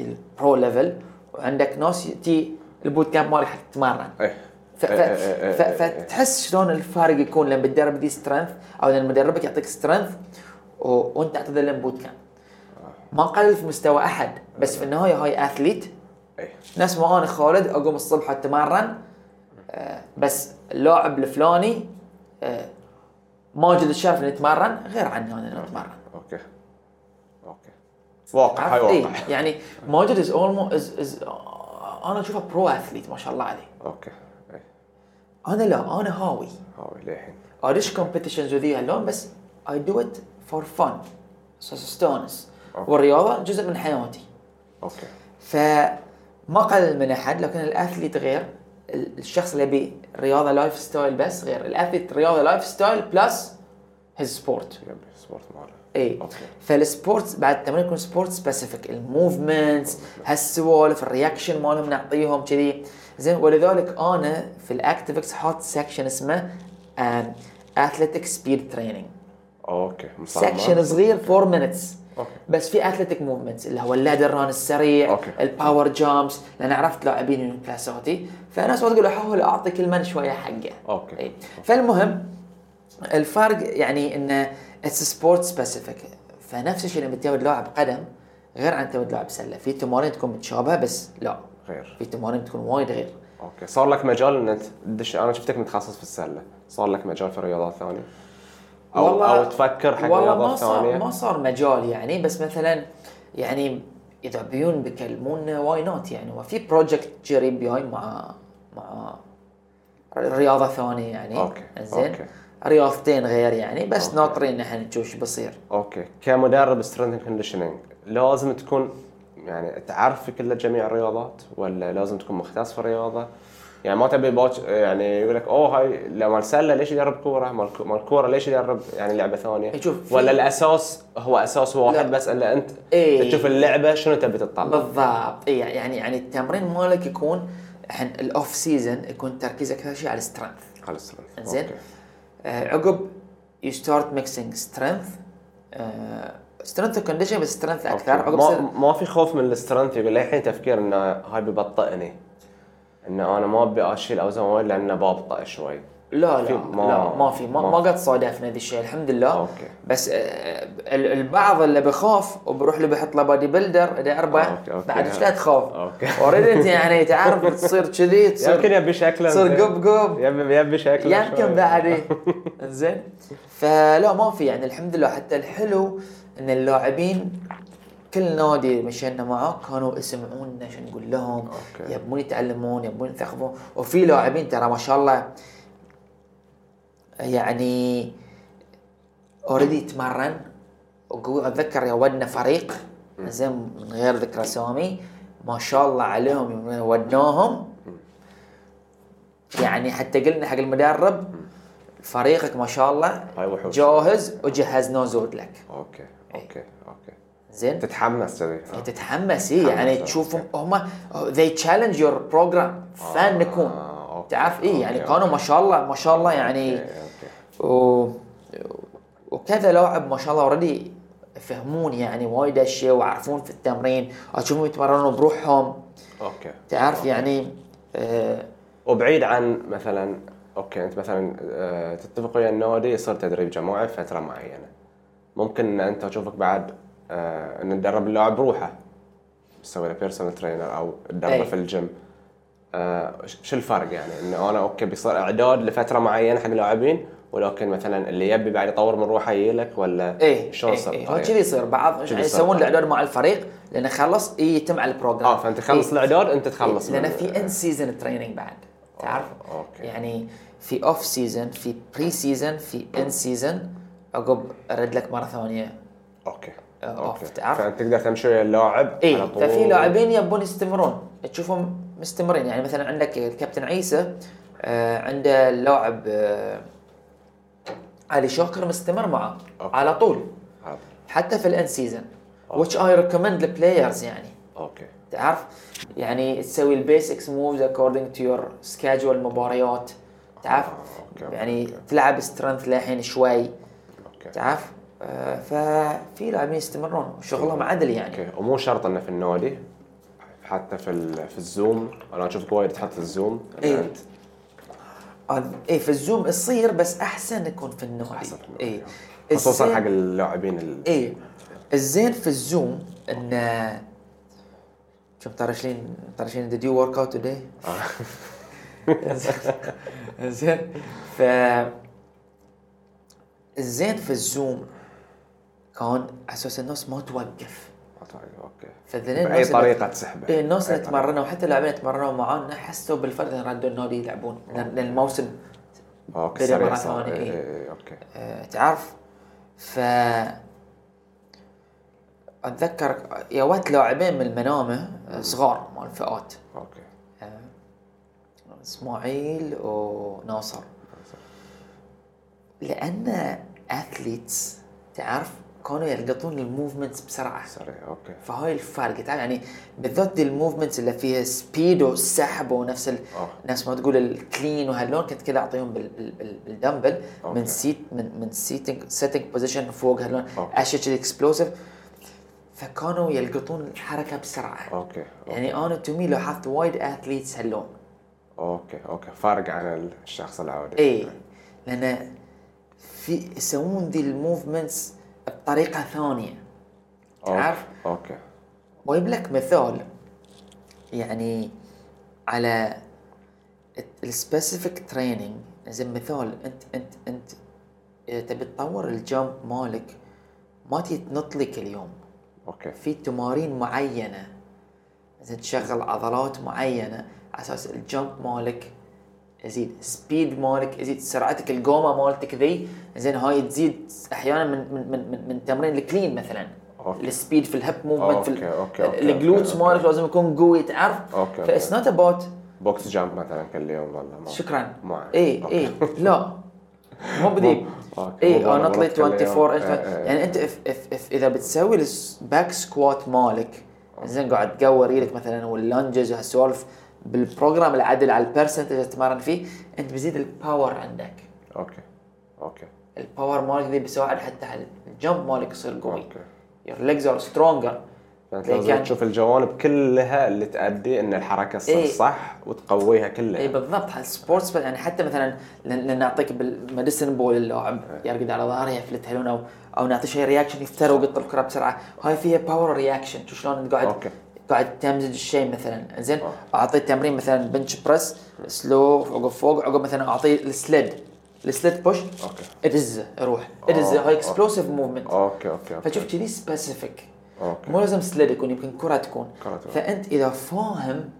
[SPEAKER 2] البرو ليفل وعندك ناس تي البوت كامب مالك حق تتمرن
[SPEAKER 3] ايه
[SPEAKER 2] ف-
[SPEAKER 3] إيه، إيه، إيه،
[SPEAKER 2] ف-
[SPEAKER 3] إيه،
[SPEAKER 2] ف- فتحس شلون الفارق يكون لما تدرب دي سترينث او لما مدربك يعطيك سترينث وانت تعتذر لهم بوت كامب ما قلل في مستوى احد بس في النهايه هاي اثليت
[SPEAKER 3] ايه
[SPEAKER 2] نفس ما انا خالد اقوم الصبح اتمرن آه، بس اللاعب الفلاني آه، ماجد الشرف اللي يتمرن غير عني انا اللي اتمرن
[SPEAKER 3] اوكي اوكي واقع هاي
[SPEAKER 2] عرفت؟ إيه،
[SPEAKER 3] واقع
[SPEAKER 2] يعني ماجد از اولمو از از انا اشوفه برو اثليت ما شاء الله عليه
[SPEAKER 3] اوكي ايه
[SPEAKER 2] انا لا انا هاوي
[SPEAKER 3] هاوي للحين
[SPEAKER 2] ادش كومبيتيشنز وذي هاللون بس اي دو ات فور فن استانس
[SPEAKER 3] أوكي.
[SPEAKER 2] والرياضه جزء من حياتي
[SPEAKER 3] اوكي
[SPEAKER 2] فما قلل من احد لكن الاثليت غير ال- الشخص اللي يبي رياضه لايف ستايل بس غير الاثليت رياضه لايف ستايل بلس هيز سبورت
[SPEAKER 3] يبي سبورت ماله
[SPEAKER 2] اي
[SPEAKER 3] اوكي
[SPEAKER 2] إيه. فالسبورتس بعد التمرين يكون سبورت سبيسيفيك الموفمنتس هالسوالف الرياكشن مالهم نعطيهم كذي زين ولذلك انا في الاكتيفكس حاط سكشن اسمه اثليتيك سبيد تريننج
[SPEAKER 3] اوكي مصمم
[SPEAKER 2] سكشن صغير 4 مينتس
[SPEAKER 3] اوكي
[SPEAKER 2] بس في اثلتيك موفمنتس اللي هو اللادر ران السريع
[SPEAKER 3] أوكي.
[SPEAKER 2] الباور جامبس لان عرفت لاعبين من كلاساتي فناس ما تقول احاول اعطي كل من شويه حقه
[SPEAKER 3] أوكي.
[SPEAKER 2] إي. إيه. فالمهم الفرق يعني انه اتس سبورت سبيسيفيك فنفس الشيء لما تود لاعب قدم غير عن تود لاعب سله في تمارين تكون متشابهه بس لا
[SPEAKER 3] غير
[SPEAKER 2] في تمارين تكون وايد غير
[SPEAKER 3] اوكي صار لك مجال ان أنت تدش انا شفتك متخصص في السله صار لك مجال في رياضات ثانيه او او تفكر حق
[SPEAKER 2] والله ما
[SPEAKER 3] رياضات
[SPEAKER 2] صار ما
[SPEAKER 3] ثانيه
[SPEAKER 2] صار مجال يعني بس مثلا يعني اذا بيون بيكلمونا واي نوت يعني وفي بروجكت جري بياي مع مع رياضه ثانيه يعني
[SPEAKER 3] أوكي،
[SPEAKER 2] زين
[SPEAKER 3] أوكي.
[SPEAKER 2] رياضتين غير يعني بس ناطرين احنا نشوف شو بيصير
[SPEAKER 3] اوكي كمدرب سترينث كونديشننج لازم تكون يعني تعرف في كل جميع الرياضات ولا لازم تكون مختص في الرياضه يعني ما تبي بوتش يعني يقول لك اوه هاي لما السله ليش يدرب كوره؟ ما الك- ما الكوره ليش يدرب يعني لعبه ثانيه؟
[SPEAKER 2] إيه، شوف، في-
[SPEAKER 3] ولا الاساس هو اساس واحد
[SPEAKER 2] لا.
[SPEAKER 3] بس الا انت
[SPEAKER 2] إيه.
[SPEAKER 3] تشوف اللعبه شنو تبي تطلع؟
[SPEAKER 2] بالضبط اي يعني يعني التمرين مالك يكون الحين الاوف سيزون يكون تركيز اكثر شيء على السترينث
[SPEAKER 3] خلاص
[SPEAKER 2] زين
[SPEAKER 3] أوكي.
[SPEAKER 2] آه عقب يو ستارت ميكسينج سترينث آه، سترينث وكونديشن بس سترينث اكثر
[SPEAKER 3] أوكي.
[SPEAKER 2] عقب
[SPEAKER 3] ما,
[SPEAKER 2] سنة-
[SPEAKER 3] ما في خوف من السترنث يقول الحين تفكير انه هاي ببطئني انه انا ما ابي اشيل اوزان وايد لانه ببطئ شوي
[SPEAKER 2] لا
[SPEAKER 3] في-
[SPEAKER 2] لا
[SPEAKER 3] ما-
[SPEAKER 2] لا ما في ما,
[SPEAKER 3] ما-
[SPEAKER 2] ما قد صادفنا ذا الشيء الحمد لله
[SPEAKER 3] أوكي.
[SPEAKER 2] بس آه، ال- البعض اللي بخاف وبروح له بيحط له بادي بيلدر تعرفه
[SPEAKER 3] أوكي، أوكي.
[SPEAKER 2] بعد ايش لا تخاف
[SPEAKER 3] أوكي. [laughs]
[SPEAKER 2] اوريدي انت يعني تعرف تصير كذي
[SPEAKER 3] يمكن
[SPEAKER 2] تصير
[SPEAKER 3] يبي شكله
[SPEAKER 2] تصير قب قب
[SPEAKER 3] يبي يبي شكله شوي.
[SPEAKER 2] يمكن بعد إيه. زين فلا ما في يعني الحمد لله حتى الحلو ان اللاعبين كل نادي مشينا معاه كانوا يسمعونا شو نقول لهم
[SPEAKER 3] أوكي.
[SPEAKER 2] يبون يتعلمون يبون ينتخبون وفي لاعبين ترى ما شاء الله يعني اوريدي يتمرن وقوي اتذكر يودنا فريق زين من غير ذكر اسامي ما شاء الله عليهم ودناهم يعني حتى قلنا حق المدرب فريقك ما شاء الله
[SPEAKER 3] هاي وحوش.
[SPEAKER 2] جاهز وجهزناه زود لك
[SPEAKER 3] اوكي
[SPEAKER 2] إيه.
[SPEAKER 3] اوكي اوكي
[SPEAKER 2] زين
[SPEAKER 3] تتحمس كذي
[SPEAKER 2] تتحمس إيه يعني
[SPEAKER 3] تتحمس،
[SPEAKER 2] تشوفهم هم they challenge your program فنكون
[SPEAKER 3] آه، أوكي،
[SPEAKER 2] تعرف ايه يعني
[SPEAKER 3] أوكي،
[SPEAKER 2] كانوا ما شاء الله ما شاء الله يعني
[SPEAKER 3] إيه، اوكي
[SPEAKER 2] و... وكذا لاعب ما شاء الله اوريدي يفهمون يعني وايد اشياء ويعرفون في التمرين اشوفهم يتمرنون بروحهم
[SPEAKER 3] اوكي
[SPEAKER 2] تعرف يعني آه
[SPEAKER 3] وبعيد عن مثلا اوكي انت مثلا آه، تتفق ويا النادي يصير تدريب جماعي فتره معينه ممكن ان انت اشوفك بعد آه، ان تدرب اللاعب بروحه تسوي له بيرسونال ترينر او تدربه
[SPEAKER 2] أي.
[SPEAKER 3] في الجيم آه، ش- شو الفرق يعني انه انا اوكي بيصير اعداد لفتره معينه حق لاعبين ولكن مثلا اللي يبي بعد يطور من روحه يجيلك ولا
[SPEAKER 2] ايه
[SPEAKER 3] شلون
[SPEAKER 2] ايه
[SPEAKER 3] يصير
[SPEAKER 2] ايه هو
[SPEAKER 3] الطريقة؟
[SPEAKER 2] كذي يصير بعض
[SPEAKER 3] يصير طيب.
[SPEAKER 2] يعني يسوون
[SPEAKER 3] الطريقة.
[SPEAKER 2] الاعداد مع الفريق لانه خلص إيه يتم على البروجرام
[SPEAKER 3] اه فانت تخلص الاعداد انت تخلص
[SPEAKER 2] لان
[SPEAKER 3] من-
[SPEAKER 2] إيه. في ان سيزون تريننج بعد تعرف
[SPEAKER 3] أوكي.
[SPEAKER 2] يعني في اوف سيزون في بري سيزون في ان سيزون عقب ارد لك مره ثانيه
[SPEAKER 3] اوكي
[SPEAKER 2] آه،
[SPEAKER 3] اوكي
[SPEAKER 2] أوف، تعرف؟
[SPEAKER 3] فانت تقدر تمشي ويا اللاعب
[SPEAKER 2] اي
[SPEAKER 3] على طول
[SPEAKER 2] إيه، ففي لاعبين يبون يستمرون تشوفهم مستمرين يعني مثلا عندك الكابتن عيسى آه عنده اللاعب آه علي شاكر مستمر معه
[SPEAKER 3] أوكي.
[SPEAKER 2] على طول
[SPEAKER 3] هذا.
[SPEAKER 2] حتى في الان سيزون which I recommend لبلايرز يعني
[SPEAKER 3] اوكي
[SPEAKER 2] تعرف يعني تسوي البيسكس موفز اكوردنج تو يور سكادجول مباريات تعرف
[SPEAKER 3] آه، أوكي، أوكي،
[SPEAKER 2] يعني تلعب سترينث للحين شوي
[SPEAKER 3] اوكي
[SPEAKER 2] تعرف آه، ففي لاعبين يستمرون شغلهم عدل يعني
[SPEAKER 3] اوكي ومو شرط انه في النادي حتى في ال... في الزوم انا اشوفك وايد تحط الزوم يعني إن
[SPEAKER 2] إيه.
[SPEAKER 3] انت
[SPEAKER 2] اي آه، إيه، في الزوم يصير بس احسن يكون في النادي
[SPEAKER 3] احسن في النادي.
[SPEAKER 2] اي
[SPEAKER 3] خصوصا
[SPEAKER 2] الزين-
[SPEAKER 3] حق اللاعبين ال...
[SPEAKER 2] اي إيه، الزين في الزوم انه شوف طرشين طرشين did you work out today؟
[SPEAKER 3] آه.
[SPEAKER 2] [laughs] زين ف الزين في الزوم كان على اساس الناس ما توقف
[SPEAKER 3] اوكي
[SPEAKER 2] فذلين
[SPEAKER 3] باي
[SPEAKER 2] الناس اللي-
[SPEAKER 3] طريقه تسحبه
[SPEAKER 2] اي الناس
[SPEAKER 3] بأي
[SPEAKER 2] اللي
[SPEAKER 3] طريقة.
[SPEAKER 2] تمرنوا حتى اللاعبين اللي تمرنوا معانا حسوا بالفرق ان ردوا النادي يلعبون
[SPEAKER 3] آه.
[SPEAKER 2] لان لأن الموسم
[SPEAKER 3] اوكي
[SPEAKER 2] بدأ
[SPEAKER 3] سريع
[SPEAKER 2] مرة
[SPEAKER 3] صار
[SPEAKER 2] ثانية، إيه.
[SPEAKER 3] إيه، إيه، إيه، اوكي
[SPEAKER 2] آه، تعرف ف اتذكر يا وقت لاعبين من المنامه آه، صغار مال فئات
[SPEAKER 3] اوكي
[SPEAKER 2] اسماعيل وناصر لان اثليتس تعرف كانوا يلقطون الموفمنتس بسرعه
[SPEAKER 3] سريع اوكي
[SPEAKER 2] فهاي الفرق تعرف يعني بالذات دي الموفمنتس اللي فيها سبيد وسحب ونفس ال...
[SPEAKER 3] آه.
[SPEAKER 2] نفس ما تقول الكلين وهاللون كنت كذا اعطيهم بال... بال... بال- بالدمبل
[SPEAKER 3] أوكي.
[SPEAKER 2] من سيت من من سيتنج سيتنج بوزيشن فوق هاللون
[SPEAKER 3] أوكي.
[SPEAKER 2] اشياء كذي اكسبلوسيف فكانوا يلقطون الحركه بسرعه
[SPEAKER 3] اوكي
[SPEAKER 2] يعني انا تومي لاحظت وايد اثليتس هاللون
[SPEAKER 3] اوكي اوكي فرق عن الشخص العادي
[SPEAKER 2] اي لان إيه. في يسوون ذي الموفمنتس بطريقه ثانيه
[SPEAKER 3] أوكي،
[SPEAKER 2] تعرف؟
[SPEAKER 3] اوكي
[SPEAKER 2] واجيب لك مثال يعني على السبيسيفيك تريننج زي مثال انت انت انت إذا تبي تطور الجامب مالك ما تجي تنط لك اليوم
[SPEAKER 3] اوكي
[SPEAKER 2] في تمارين معينه زي تشغل عضلات معينه على اساس الجمب مالك يزيد سبيد مالك يزيد سرعتك القومه مالتك ذي زين هاي تزيد احيانا من من من, من, من تمرين الكلين مثلا
[SPEAKER 3] أوكي.
[SPEAKER 2] السبيد في الهب موفمنت في
[SPEAKER 3] أوكي، أوكي، أوكي،
[SPEAKER 2] الجلوتس
[SPEAKER 3] أوكي،
[SPEAKER 2] مالك لازم يكون قوي تعرف
[SPEAKER 3] أوكي،
[SPEAKER 2] فاتس نوت اباوت
[SPEAKER 3] بوكس جامب مثلا كل يوم ولا ما
[SPEAKER 2] شكرا
[SPEAKER 3] ما أعرف.
[SPEAKER 2] اي
[SPEAKER 3] أوكي.
[SPEAKER 2] اي إيه، لا مو بديب إيه،
[SPEAKER 3] أوكي.
[SPEAKER 2] اي
[SPEAKER 3] والله
[SPEAKER 2] انا
[SPEAKER 3] مرة
[SPEAKER 2] طلعت
[SPEAKER 3] تكلم.
[SPEAKER 2] 24
[SPEAKER 3] إيه، إيه.
[SPEAKER 2] يعني انت if, if, if اذا بتسوي الباك سكوات مالك زين قاعد تقور ايدك مثلا واللانجز وهالسوالف بالبروجرام العدل على البرسنتج اللي تتمرن فيه انت بزيد الباور عندك
[SPEAKER 3] اوكي اوكي
[SPEAKER 2] الباور مالك ذي بيساعد حتى على الجمب مالك يصير قوي
[SPEAKER 3] اوكي
[SPEAKER 2] يور ليجز ار سترونجر
[SPEAKER 3] فانت
[SPEAKER 2] إيه،
[SPEAKER 3] لازم
[SPEAKER 2] كان-
[SPEAKER 3] يعني تشوف الجوانب كلها اللي تؤدي ان الحركه تصير
[SPEAKER 2] إيه.
[SPEAKER 3] صح وتقويها كلها
[SPEAKER 2] اي إيه، بالضبط هالسبورتس بل يعني حتى مثلا لن لن نعطيك بالمديسن بول اللاعب يرقد على ظهره يفلتها لون او او نعطي شيء رياكشن يفتر ويقط الكره بسرعه هاي فيها باور رياكشن شو شلون انت قاعد
[SPEAKER 3] أوكي.
[SPEAKER 2] قاعد تمزج الشيء مثلا زين
[SPEAKER 3] أوكي.
[SPEAKER 2] اعطيه تمرين مثلا بنش بريس سلو عقب فوق عقب مثلا اعطيه السليد السليد بوش
[SPEAKER 3] أوكي.
[SPEAKER 2] ادزه روح ادزه هاي اكسبلوسيف موفمنت
[SPEAKER 3] اوكي اوكي اوكي
[SPEAKER 2] فشوف كذي سبيسيفيك
[SPEAKER 3] اوكي
[SPEAKER 2] مو لازم سليد يكون يمكن كرة تكون
[SPEAKER 3] كرة تكون.
[SPEAKER 2] فأنت إذا فاهم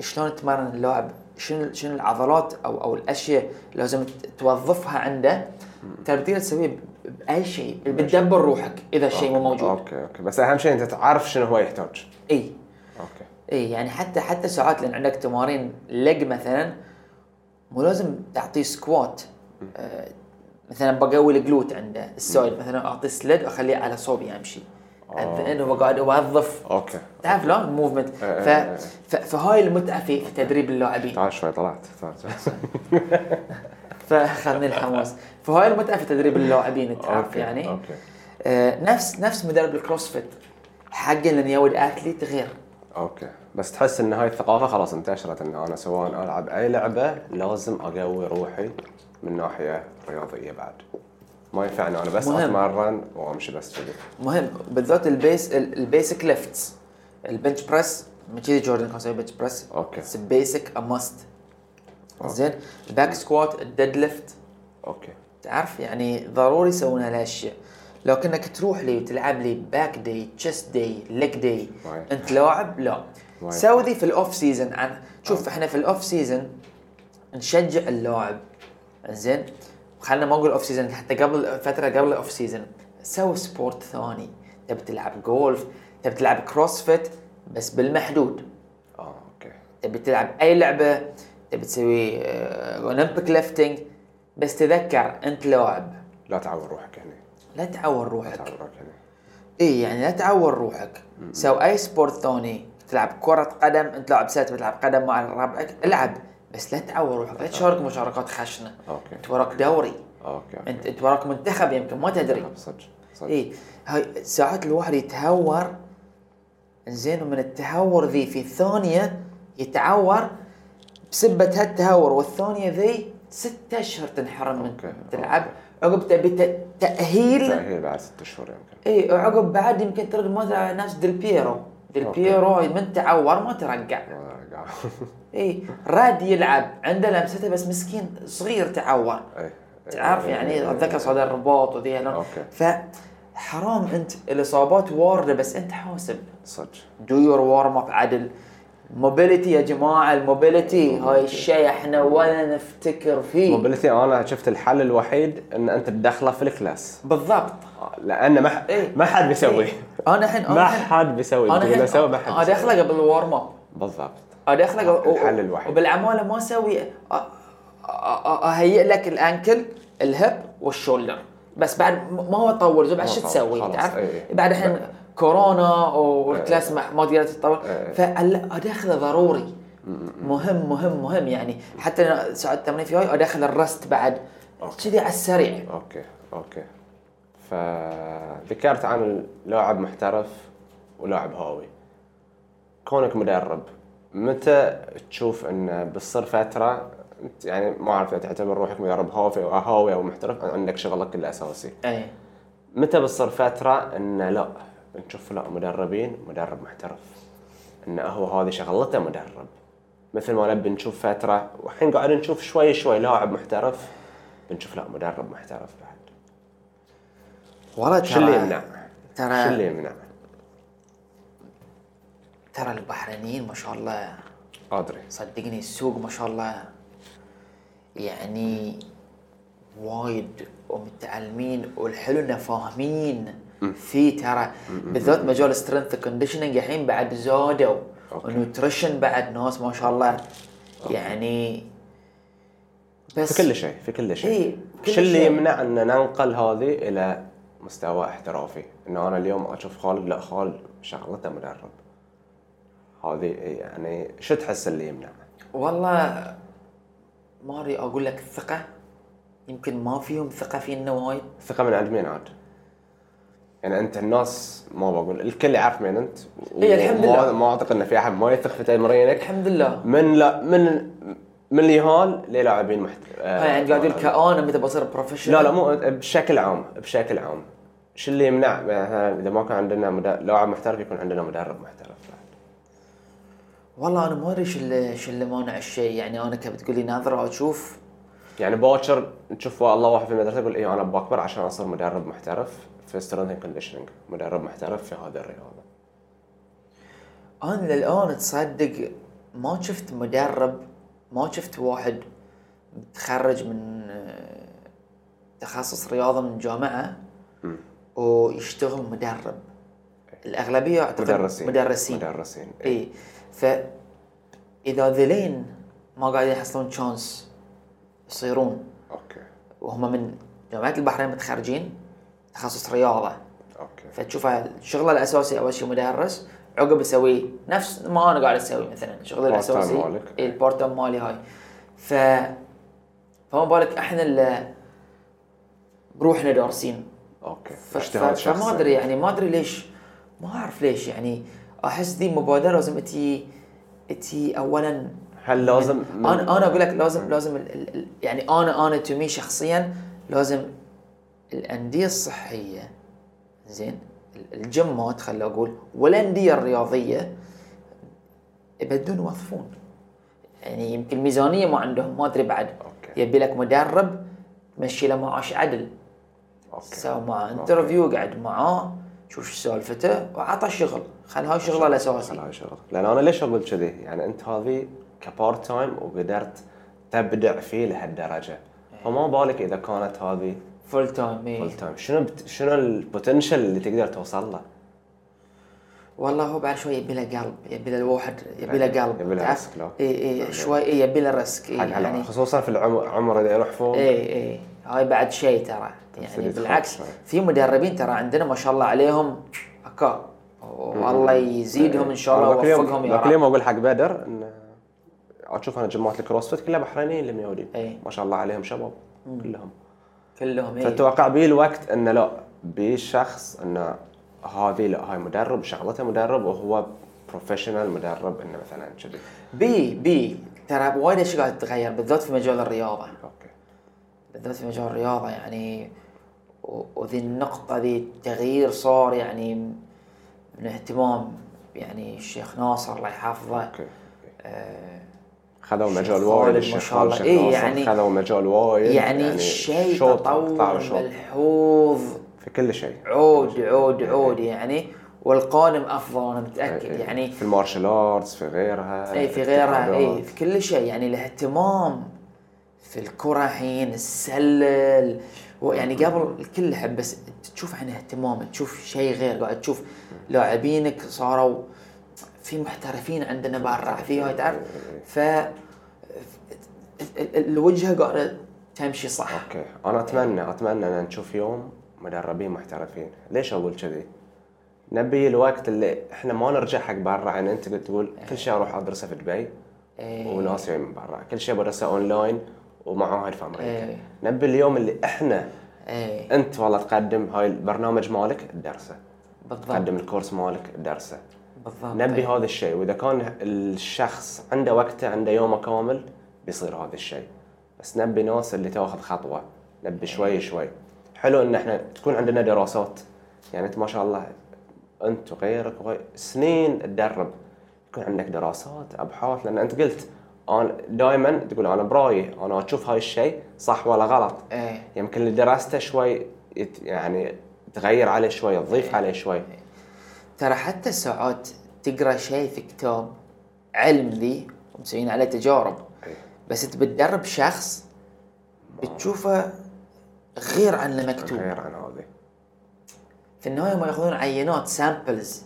[SPEAKER 2] شلون تمرن اللاعب شنو شنو العضلات او او الاشياء لازم ت- توظفها عنده ترى بتقدر تسويه ب- باي شيء بتدبر روحك
[SPEAKER 3] آه.
[SPEAKER 2] اذا الشيء مو موجود
[SPEAKER 3] اوكي اوكي بس اهم شيء انت تعرف شنو هو يحتاج
[SPEAKER 2] اي
[SPEAKER 3] اوكي
[SPEAKER 2] اي يعني حتى حتى ساعات لان عندك تمارين لج مثلا مو لازم تعطيه سكوات آه مثلا بقوي الجلوت عنده السايد مثلا اعطيه سليد واخليه على صوبي يمشي
[SPEAKER 3] آه.
[SPEAKER 2] انه هو قاعد اوظف
[SPEAKER 3] اوكي
[SPEAKER 2] تعرف لون موفمنت
[SPEAKER 3] إيه
[SPEAKER 2] ف...
[SPEAKER 3] إيه
[SPEAKER 2] ف... فهاي المتعه في في تدريب اللاعبين
[SPEAKER 3] تعال شوي طلعت تعال [laughs]
[SPEAKER 2] فخذني الحماس فهاي المتعه في تدريب اللاعبين انت عارف
[SPEAKER 3] اوكي
[SPEAKER 2] يعني
[SPEAKER 3] اوكي
[SPEAKER 2] آه نفس نفس مدرب الكروسفيت حقه لان يود اثليت غير
[SPEAKER 3] اوكي بس تحس ان هاي الثقافه خلاص انتشرت ان انا سواء العب اي لعبه لازم اقوي روحي من ناحيه رياضيه بعد ما ينفع ان انا بس
[SPEAKER 2] مهم.
[SPEAKER 3] اتمرن وامشي بس كذي
[SPEAKER 2] مهم بالذات البيس ال- البيسك ليفتس البنش بريس من كذي جوردن كان يسوي بنش بريس
[SPEAKER 3] أوكي.
[SPEAKER 2] اتس بيسك ا ماست زين الباك سكوات الديد ليفت
[SPEAKER 3] اوكي
[SPEAKER 2] تعرف يعني ضروري يسوون هالاشياء لو كانك تروح لي وتلعب لي باك داي تشيست داي ليج داي
[SPEAKER 3] وايد.
[SPEAKER 2] انت لاعب لا
[SPEAKER 3] وايد.
[SPEAKER 2] سوي ذي في الاوف سيزون عن شوف احنا في الاوف سيزون نشجع اللاعب زين خلينا ما نقول اوف سيزون حتى قبل فتره قبل الاوف سيزون سوي سبورت ثاني تبي تلعب جولف تبي تلعب كروسفيت بس بالمحدود
[SPEAKER 3] اه اوكي
[SPEAKER 2] تبي تلعب اي لعبه تبي تسوي آه، اولمبيك ليفتنج بس تذكر انت لاعب
[SPEAKER 3] لا تعور روحك هنا
[SPEAKER 2] لا تعور
[SPEAKER 3] لا
[SPEAKER 2] روحك
[SPEAKER 3] تعور روحك هنا
[SPEAKER 2] اي يعني لا تعور روحك سو اي سبورت ثاني تلعب كرة قدم انت لاعب سات بتلعب قدم مع ربعك العب بس لا تعور روحك لا تشارك مشاركات خشنة
[SPEAKER 3] أوكي.
[SPEAKER 2] انت وراك دوري
[SPEAKER 3] اوكي اوكي
[SPEAKER 2] انت انت وراك منتخب يمكن ما تدري
[SPEAKER 3] نعم، صدق صدق
[SPEAKER 2] اي هاي ساعات الواحد يتهور زين ومن التهور ذي في ثانية يتعور بسبة هالتهور والثانية ذي ست اشهر تنحرم من
[SPEAKER 3] أوكي،
[SPEAKER 2] تلعب عقب تبي ت- تأهيل
[SPEAKER 3] تأهيل بعد ست شهور يمكن
[SPEAKER 2] اي وعقب إيه، بعد يمكن ترد ما تلعب نفس ديل بيرو ديل
[SPEAKER 3] أوكي.
[SPEAKER 2] بيرو من تعور ما ترجع
[SPEAKER 3] ما قاعد
[SPEAKER 2] اي راد يلعب عنده لمسته بس مسكين صغير تعور
[SPEAKER 3] [laughs] إيه.
[SPEAKER 2] تعرف يعني اتذكر صدى الرباط وذي هالأمور.
[SPEAKER 3] أوكي.
[SPEAKER 2] فحرام انت الاصابات وارده بس انت حاسب
[SPEAKER 3] صدق
[SPEAKER 2] دو يور وارم اب عدل موبيليتي يا جماعه الموبيليتي هاي الشيء احنا ولا نفتكر فيه
[SPEAKER 3] موبيلتي انا شفت الحل الوحيد ان انت تدخله في الكلاس
[SPEAKER 2] بالضبط
[SPEAKER 3] لان ما ح-
[SPEAKER 2] إيه.
[SPEAKER 3] ما حد بيسوي
[SPEAKER 2] إيه. انا الحين
[SPEAKER 3] ما حد بيسوي
[SPEAKER 2] انا
[SPEAKER 3] اللي بسوي
[SPEAKER 2] الحين
[SPEAKER 3] ما حد
[SPEAKER 2] انا
[SPEAKER 3] بيسوي.
[SPEAKER 2] داخله قبل الوارم اب
[SPEAKER 3] بالضبط
[SPEAKER 2] ادخلك آه، و-
[SPEAKER 3] الحل
[SPEAKER 2] و-
[SPEAKER 3] الوحيد.
[SPEAKER 2] وبالعماله ما آه، اسوي أ- أ- أ- اهيئ آه، لك الانكل الهب والشولدر بس بعد م- ما هو تطور زي بعد
[SPEAKER 3] ما
[SPEAKER 2] شو
[SPEAKER 3] طور،
[SPEAKER 2] تسوي
[SPEAKER 3] خلاص، إيه.
[SPEAKER 2] تعرف
[SPEAKER 3] إي إي.
[SPEAKER 2] بعد الحين
[SPEAKER 3] بقى.
[SPEAKER 2] كورونا والكلاس ما ما قدرت تتطور
[SPEAKER 3] إي.
[SPEAKER 2] فادخله ضروري مهم مهم مهم يعني حتى أنا ساعات التمرين في هاي ادخل الرست بعد كذي على السريع
[SPEAKER 3] اوكي اوكي فذكرت عن لاعب محترف ولاعب هاوي كونك مدرب متى تشوف انه بتصير فتره أنت يعني ما اعرف إذا تعتبر روحك مدرب هاوي او هاوي او محترف عندك شغلك الاساسي
[SPEAKER 2] اي
[SPEAKER 3] متى بتصير فتره انه لا نشوف لا مدربين مدرب محترف انه هو هذه شغلته مدرب مثل ما نبي نشوف فتره والحين قاعد نشوف شوي شوي لاعب محترف بنشوف لا مدرب محترف بعد
[SPEAKER 2] والله
[SPEAKER 3] شو اللي يمنع؟
[SPEAKER 2] ترى-
[SPEAKER 3] شو اللي يمنع؟
[SPEAKER 2] ترى البحرينيين ما شاء الله
[SPEAKER 3] ادري
[SPEAKER 2] صدقني السوق ما شاء الله يعني وايد ومتعلمين والحلو انه فاهمين فيه ترى بالذات مجال سترينث كونديشننج الحين بعد زادوا والنيوتريشن بعد ناس ما شاء الله يعني بس
[SPEAKER 3] في كل شيء في كل
[SPEAKER 2] إيه،
[SPEAKER 3] شيء
[SPEAKER 2] كل
[SPEAKER 3] ايش اللي
[SPEAKER 2] شيء.
[SPEAKER 3] يمنع ان ننقل هذه الى مستوى احترافي انه انا اليوم اشوف خالد لا خالد شغلته مدرب هذه يعني شو تحس اللي يمنع
[SPEAKER 2] والله ما ادري اقول لك الثقه يمكن ما فيهم ثقه فينا وايد
[SPEAKER 3] الثقه من عند مين عاد يعني انت الناس ما بقول الكل يعرف مين انت و-
[SPEAKER 2] إيه، الحمد
[SPEAKER 3] وما-
[SPEAKER 2] لله.
[SPEAKER 3] ما اعتقد ان في احد ما يثق في تمرينك
[SPEAKER 2] الحمد لله
[SPEAKER 3] من لا من من اليهال للاعبين محت... آه،
[SPEAKER 2] هاي عندي يعني قاعد يقول لك انا متى بصير بروفيشنال
[SPEAKER 3] لا لا مو بشكل عام بشكل عام شو اللي يمنع مثلا اذا ما كان عندنا مدرب لاعب محترف يكون عندنا مدرب محترف
[SPEAKER 2] والله انا ما ادري شو اللي شو اللي مانع الشيء يعني انا كنت بتقول لي ناظره اشوف
[SPEAKER 3] يعني باكر تشوف والله واحد في المدرسه يقول إيه، اي انا بكبر عشان اصير مدرب محترف في سترينث اند كونديشننج مدرب محترف في هذه الرياضه
[SPEAKER 2] انا للان تصدق ما شفت مدرب ما شفت واحد متخرج من آه، تخصص رياضه من جامعه ويشتغل مدرب الاغلبيه اعتقد
[SPEAKER 3] مدرسين
[SPEAKER 2] مدرسين
[SPEAKER 3] مدرسين إيه.
[SPEAKER 2] اي ف اذا ذيلين ما قاعدين يحصلون تشانس يصيرون
[SPEAKER 3] اوكي
[SPEAKER 2] وهم من جامعه البحرين متخرجين تخصص رياضه
[SPEAKER 3] اوكي
[SPEAKER 2] فتشوف الشغل الاساسي اول شيء مدرس عقب يسوي نفس ما انا قاعد اسوي مثلا شغلي
[SPEAKER 3] Part-time
[SPEAKER 2] الاساسي
[SPEAKER 3] مالك.
[SPEAKER 2] إيه، البارت تايم مالي هاي ف فما بالك احنا اللي بروحنا دارسين
[SPEAKER 3] اوكي
[SPEAKER 2] ف... ف...
[SPEAKER 3] اجتهاد شخصي
[SPEAKER 2] فما ادري يعني ما ادري ليش ما اعرف ليش يعني احس دي مبادره لازم تي تي اولا
[SPEAKER 3] هل لازم
[SPEAKER 2] من- انا انا اقول لك لازم لازم ال- ال- ال- يعني انا انا تومي شخصيا لازم الانديه الصحيه زين ال- الجمات خلي اقول والانديه الرياضيه يبدون يوظفون يعني يمكن ميزانيه ما عندهم ما ادري بعد
[SPEAKER 3] أوكي.
[SPEAKER 2] يبي لك مدرب تمشي له معاش عدل
[SPEAKER 3] اوكي
[SPEAKER 2] سوى معاه انترفيو قعد معاه شوف شو سالفته وعطى شغل إيه. خل هاي شغله الاساسي
[SPEAKER 3] خلاص شغل لان انا ليش اقول كذي يعني انت هذه كبارت تايم وقدرت تبدع فيه لهالدرجه فما بالك اذا كانت هذه
[SPEAKER 2] فول تايم إيه.
[SPEAKER 3] فول تايم شنو بت... شنو البوتنشل اللي تقدر توصل له
[SPEAKER 2] والله هو بعد شوي يبي له قلب يبي له الواحد يبي له قلب
[SPEAKER 3] يبي له
[SPEAKER 2] تعرف؟
[SPEAKER 3] رسك لو.
[SPEAKER 2] اي اي شوي إي يبي له رسك اي
[SPEAKER 3] حق هلا،
[SPEAKER 2] يعني إيه،
[SPEAKER 3] خصوصا في العمر عمر اللي يروح فوق
[SPEAKER 2] اي اي هاي بعد شيء ترى يعني
[SPEAKER 3] يتخوف
[SPEAKER 2] بالعكس
[SPEAKER 3] شوي.
[SPEAKER 2] في مدربين ترى عندنا ما شاء الله عليهم اكا والله يزيدهم ان شاء الله
[SPEAKER 3] أنا ذاك اليوم-
[SPEAKER 2] ويوفقهم يا
[SPEAKER 3] ذاك اليوم
[SPEAKER 2] رب
[SPEAKER 3] اقول حق بدر انه اشوف انا جماعه الكروسفيت كلها بحرينيين اليميودين
[SPEAKER 2] إي.
[SPEAKER 3] ما شاء الله عليهم شباب كلهم
[SPEAKER 2] كلهم اي
[SPEAKER 3] فتوقع بيه الوقت انه لا بيه شخص انه هذه لا هاي مدرب شغلته مدرب وهو بروفيشنال مدرب انه مثلا كذي
[SPEAKER 2] بي بي ترى وايد اشياء قاعد تتغير بالذات في مجال الرياضه
[SPEAKER 3] اوكي
[SPEAKER 2] بالذات في مجال الرياضة يعني و- وذي النقطة ذي التغيير صار يعني من اهتمام يعني الشيخ ناصر الله يحفظه
[SPEAKER 3] اوكي
[SPEAKER 2] آه،
[SPEAKER 3] خذوا
[SPEAKER 2] شيخ
[SPEAKER 3] مجال
[SPEAKER 2] خالد
[SPEAKER 3] وايد
[SPEAKER 2] ما
[SPEAKER 3] الشيخ
[SPEAKER 2] شاء
[SPEAKER 3] خالد
[SPEAKER 2] الله.
[SPEAKER 3] الشيخ
[SPEAKER 2] إي
[SPEAKER 3] ناصر
[SPEAKER 2] يعني-
[SPEAKER 3] خذوا مجال وايد
[SPEAKER 2] يعني شيء
[SPEAKER 3] إيه، شوط،
[SPEAKER 2] تطور
[SPEAKER 3] قطعوا شوط.
[SPEAKER 2] ملحوظ
[SPEAKER 3] في كل شيء
[SPEAKER 2] عود عود عود يعني والقادم افضل انا
[SPEAKER 3] إي-
[SPEAKER 2] متاكد
[SPEAKER 3] إي.
[SPEAKER 2] يعني
[SPEAKER 3] إيه، في المارشال ارتس في غيرها
[SPEAKER 2] اي إيه، في غيرها اي
[SPEAKER 3] التحديات.
[SPEAKER 2] في كل شيء يعني الاهتمام في الكرة حين السلة يعني قبل الكل يحب بس تشوف عن اهتمام تشوف شيء غير قاعد تشوف لاعبينك صاروا في محترفين عندنا برا في هاي تعرف ف ال- ال- الوجهة قاعدة تمشي صح
[SPEAKER 3] اوكي انا اتمنى اتمنى ان نشوف يوم مدربين محترفين ليش اقول كذي نبي الوقت اللي احنا ما نرجع حق برا يعني انت قلت تقول كل شيء اروح ادرسه في دبي
[SPEAKER 2] إيه.
[SPEAKER 3] وناس جايين من برا كل شيء بدرسه اونلاين ومعاهد في
[SPEAKER 2] إيه.
[SPEAKER 3] امريكا نبي اليوم اللي احنا
[SPEAKER 2] اي
[SPEAKER 3] انت والله تقدم هاي البرنامج مالك تدرسه
[SPEAKER 2] بالضبط
[SPEAKER 3] تقدم الكورس مالك تدرسه
[SPEAKER 2] بالضبط إيه.
[SPEAKER 3] نبي هذا الشيء واذا كان الشخص عنده وقته عنده يومه كامل بيصير هذا الشيء بس نبي ناس اللي تاخذ خطوه نبي شوي شوي حلو ان احنا تكون عندنا دراسات يعني انت ما شاء الله انت وغيرك وغير سنين تدرب يكون عندك دراسات ابحاث لان انت قلت انا دائما تقول انا برايي انا اشوف هاي الشيء صح ولا غلط
[SPEAKER 2] اي
[SPEAKER 3] يمكن اللي درسته شوي يت- يعني تغير عليه شوي تضيف عليه شوي
[SPEAKER 2] ترى حتى ساعات تقرا شيء في كتاب علم ذي ومسويين عليه تجارب
[SPEAKER 3] إيه.
[SPEAKER 2] بس انت بتدرب شخص بتشوفه غير عن المكتوب
[SPEAKER 3] غير عن هذه
[SPEAKER 2] في النهايه هم ياخذون عينات سامبلز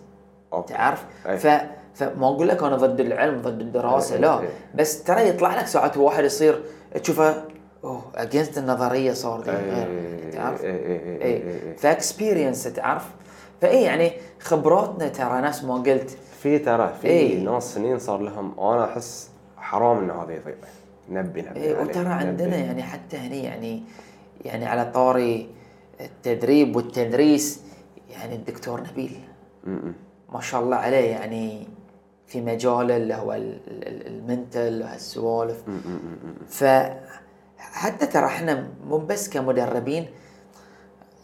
[SPEAKER 3] أوكي.
[SPEAKER 2] تعرف
[SPEAKER 3] أي.
[SPEAKER 2] ف فما اقول لك انا ضد العلم ضد الدراسه لا
[SPEAKER 3] إيه.
[SPEAKER 2] بس ترى يطلع لك ساعات واحد يصير تشوفه اوه اجينست النظريه صار ذي
[SPEAKER 3] إيه،
[SPEAKER 2] غير تعرف إيه. اي فاكسبيرينس تعرف فاي يعني خبراتنا ترى نفس ما قلت
[SPEAKER 3] في ترى في
[SPEAKER 2] إيه.
[SPEAKER 3] ناس سنين صار لهم انا احس حرام ان هذا يضيع نبي نبي
[SPEAKER 2] إيه،
[SPEAKER 3] عليه،
[SPEAKER 2] وترى
[SPEAKER 3] نبي.
[SPEAKER 2] عندنا يعني حتى هني يعني يعني على طاري التدريب والتدريس يعني الدكتور نبيل
[SPEAKER 3] م- م.
[SPEAKER 2] ما شاء الله عليه يعني في مجاله اللي هو ال- ال- المنتل وهالسوالف
[SPEAKER 3] م- م- م- م.
[SPEAKER 2] فحتى ترى احنا مو بس كمدربين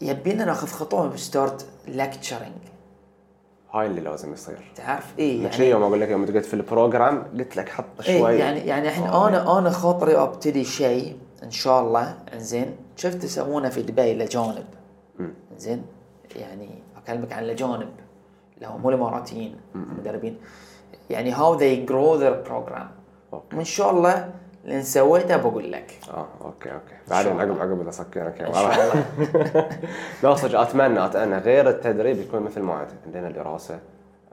[SPEAKER 2] يبينا ناخذ خطوه بستارت لكتشرنج
[SPEAKER 3] هاي اللي لازم يصير
[SPEAKER 2] تعرف ايه
[SPEAKER 3] يعني شيء يوم اقول لك يوم قلت في البروجرام قلت لك حط
[SPEAKER 2] إيه
[SPEAKER 3] شوي آه.
[SPEAKER 2] يعني يعني احنا انا انا خاطري ابتدي شيء ان شاء الله انزين شفت يسوونه في دبي لجانب
[SPEAKER 3] مم.
[SPEAKER 2] انزين يعني اكلمك عن لجانب اللي هم مو الاماراتيين المدربين يعني هاو they grow their program
[SPEAKER 3] أوكي.
[SPEAKER 2] وان شاء الله اللي سويته بقول لك
[SPEAKER 3] اه اوكي اوكي
[SPEAKER 2] شاء
[SPEAKER 3] بعدين
[SPEAKER 2] الله.
[SPEAKER 3] عقب عقب يعني. اسكرك
[SPEAKER 2] ان شاء الله
[SPEAKER 3] [laughs] لا صدق اتمنى اتمنى غير التدريب يكون مثل ما عاد. عندنا دراسه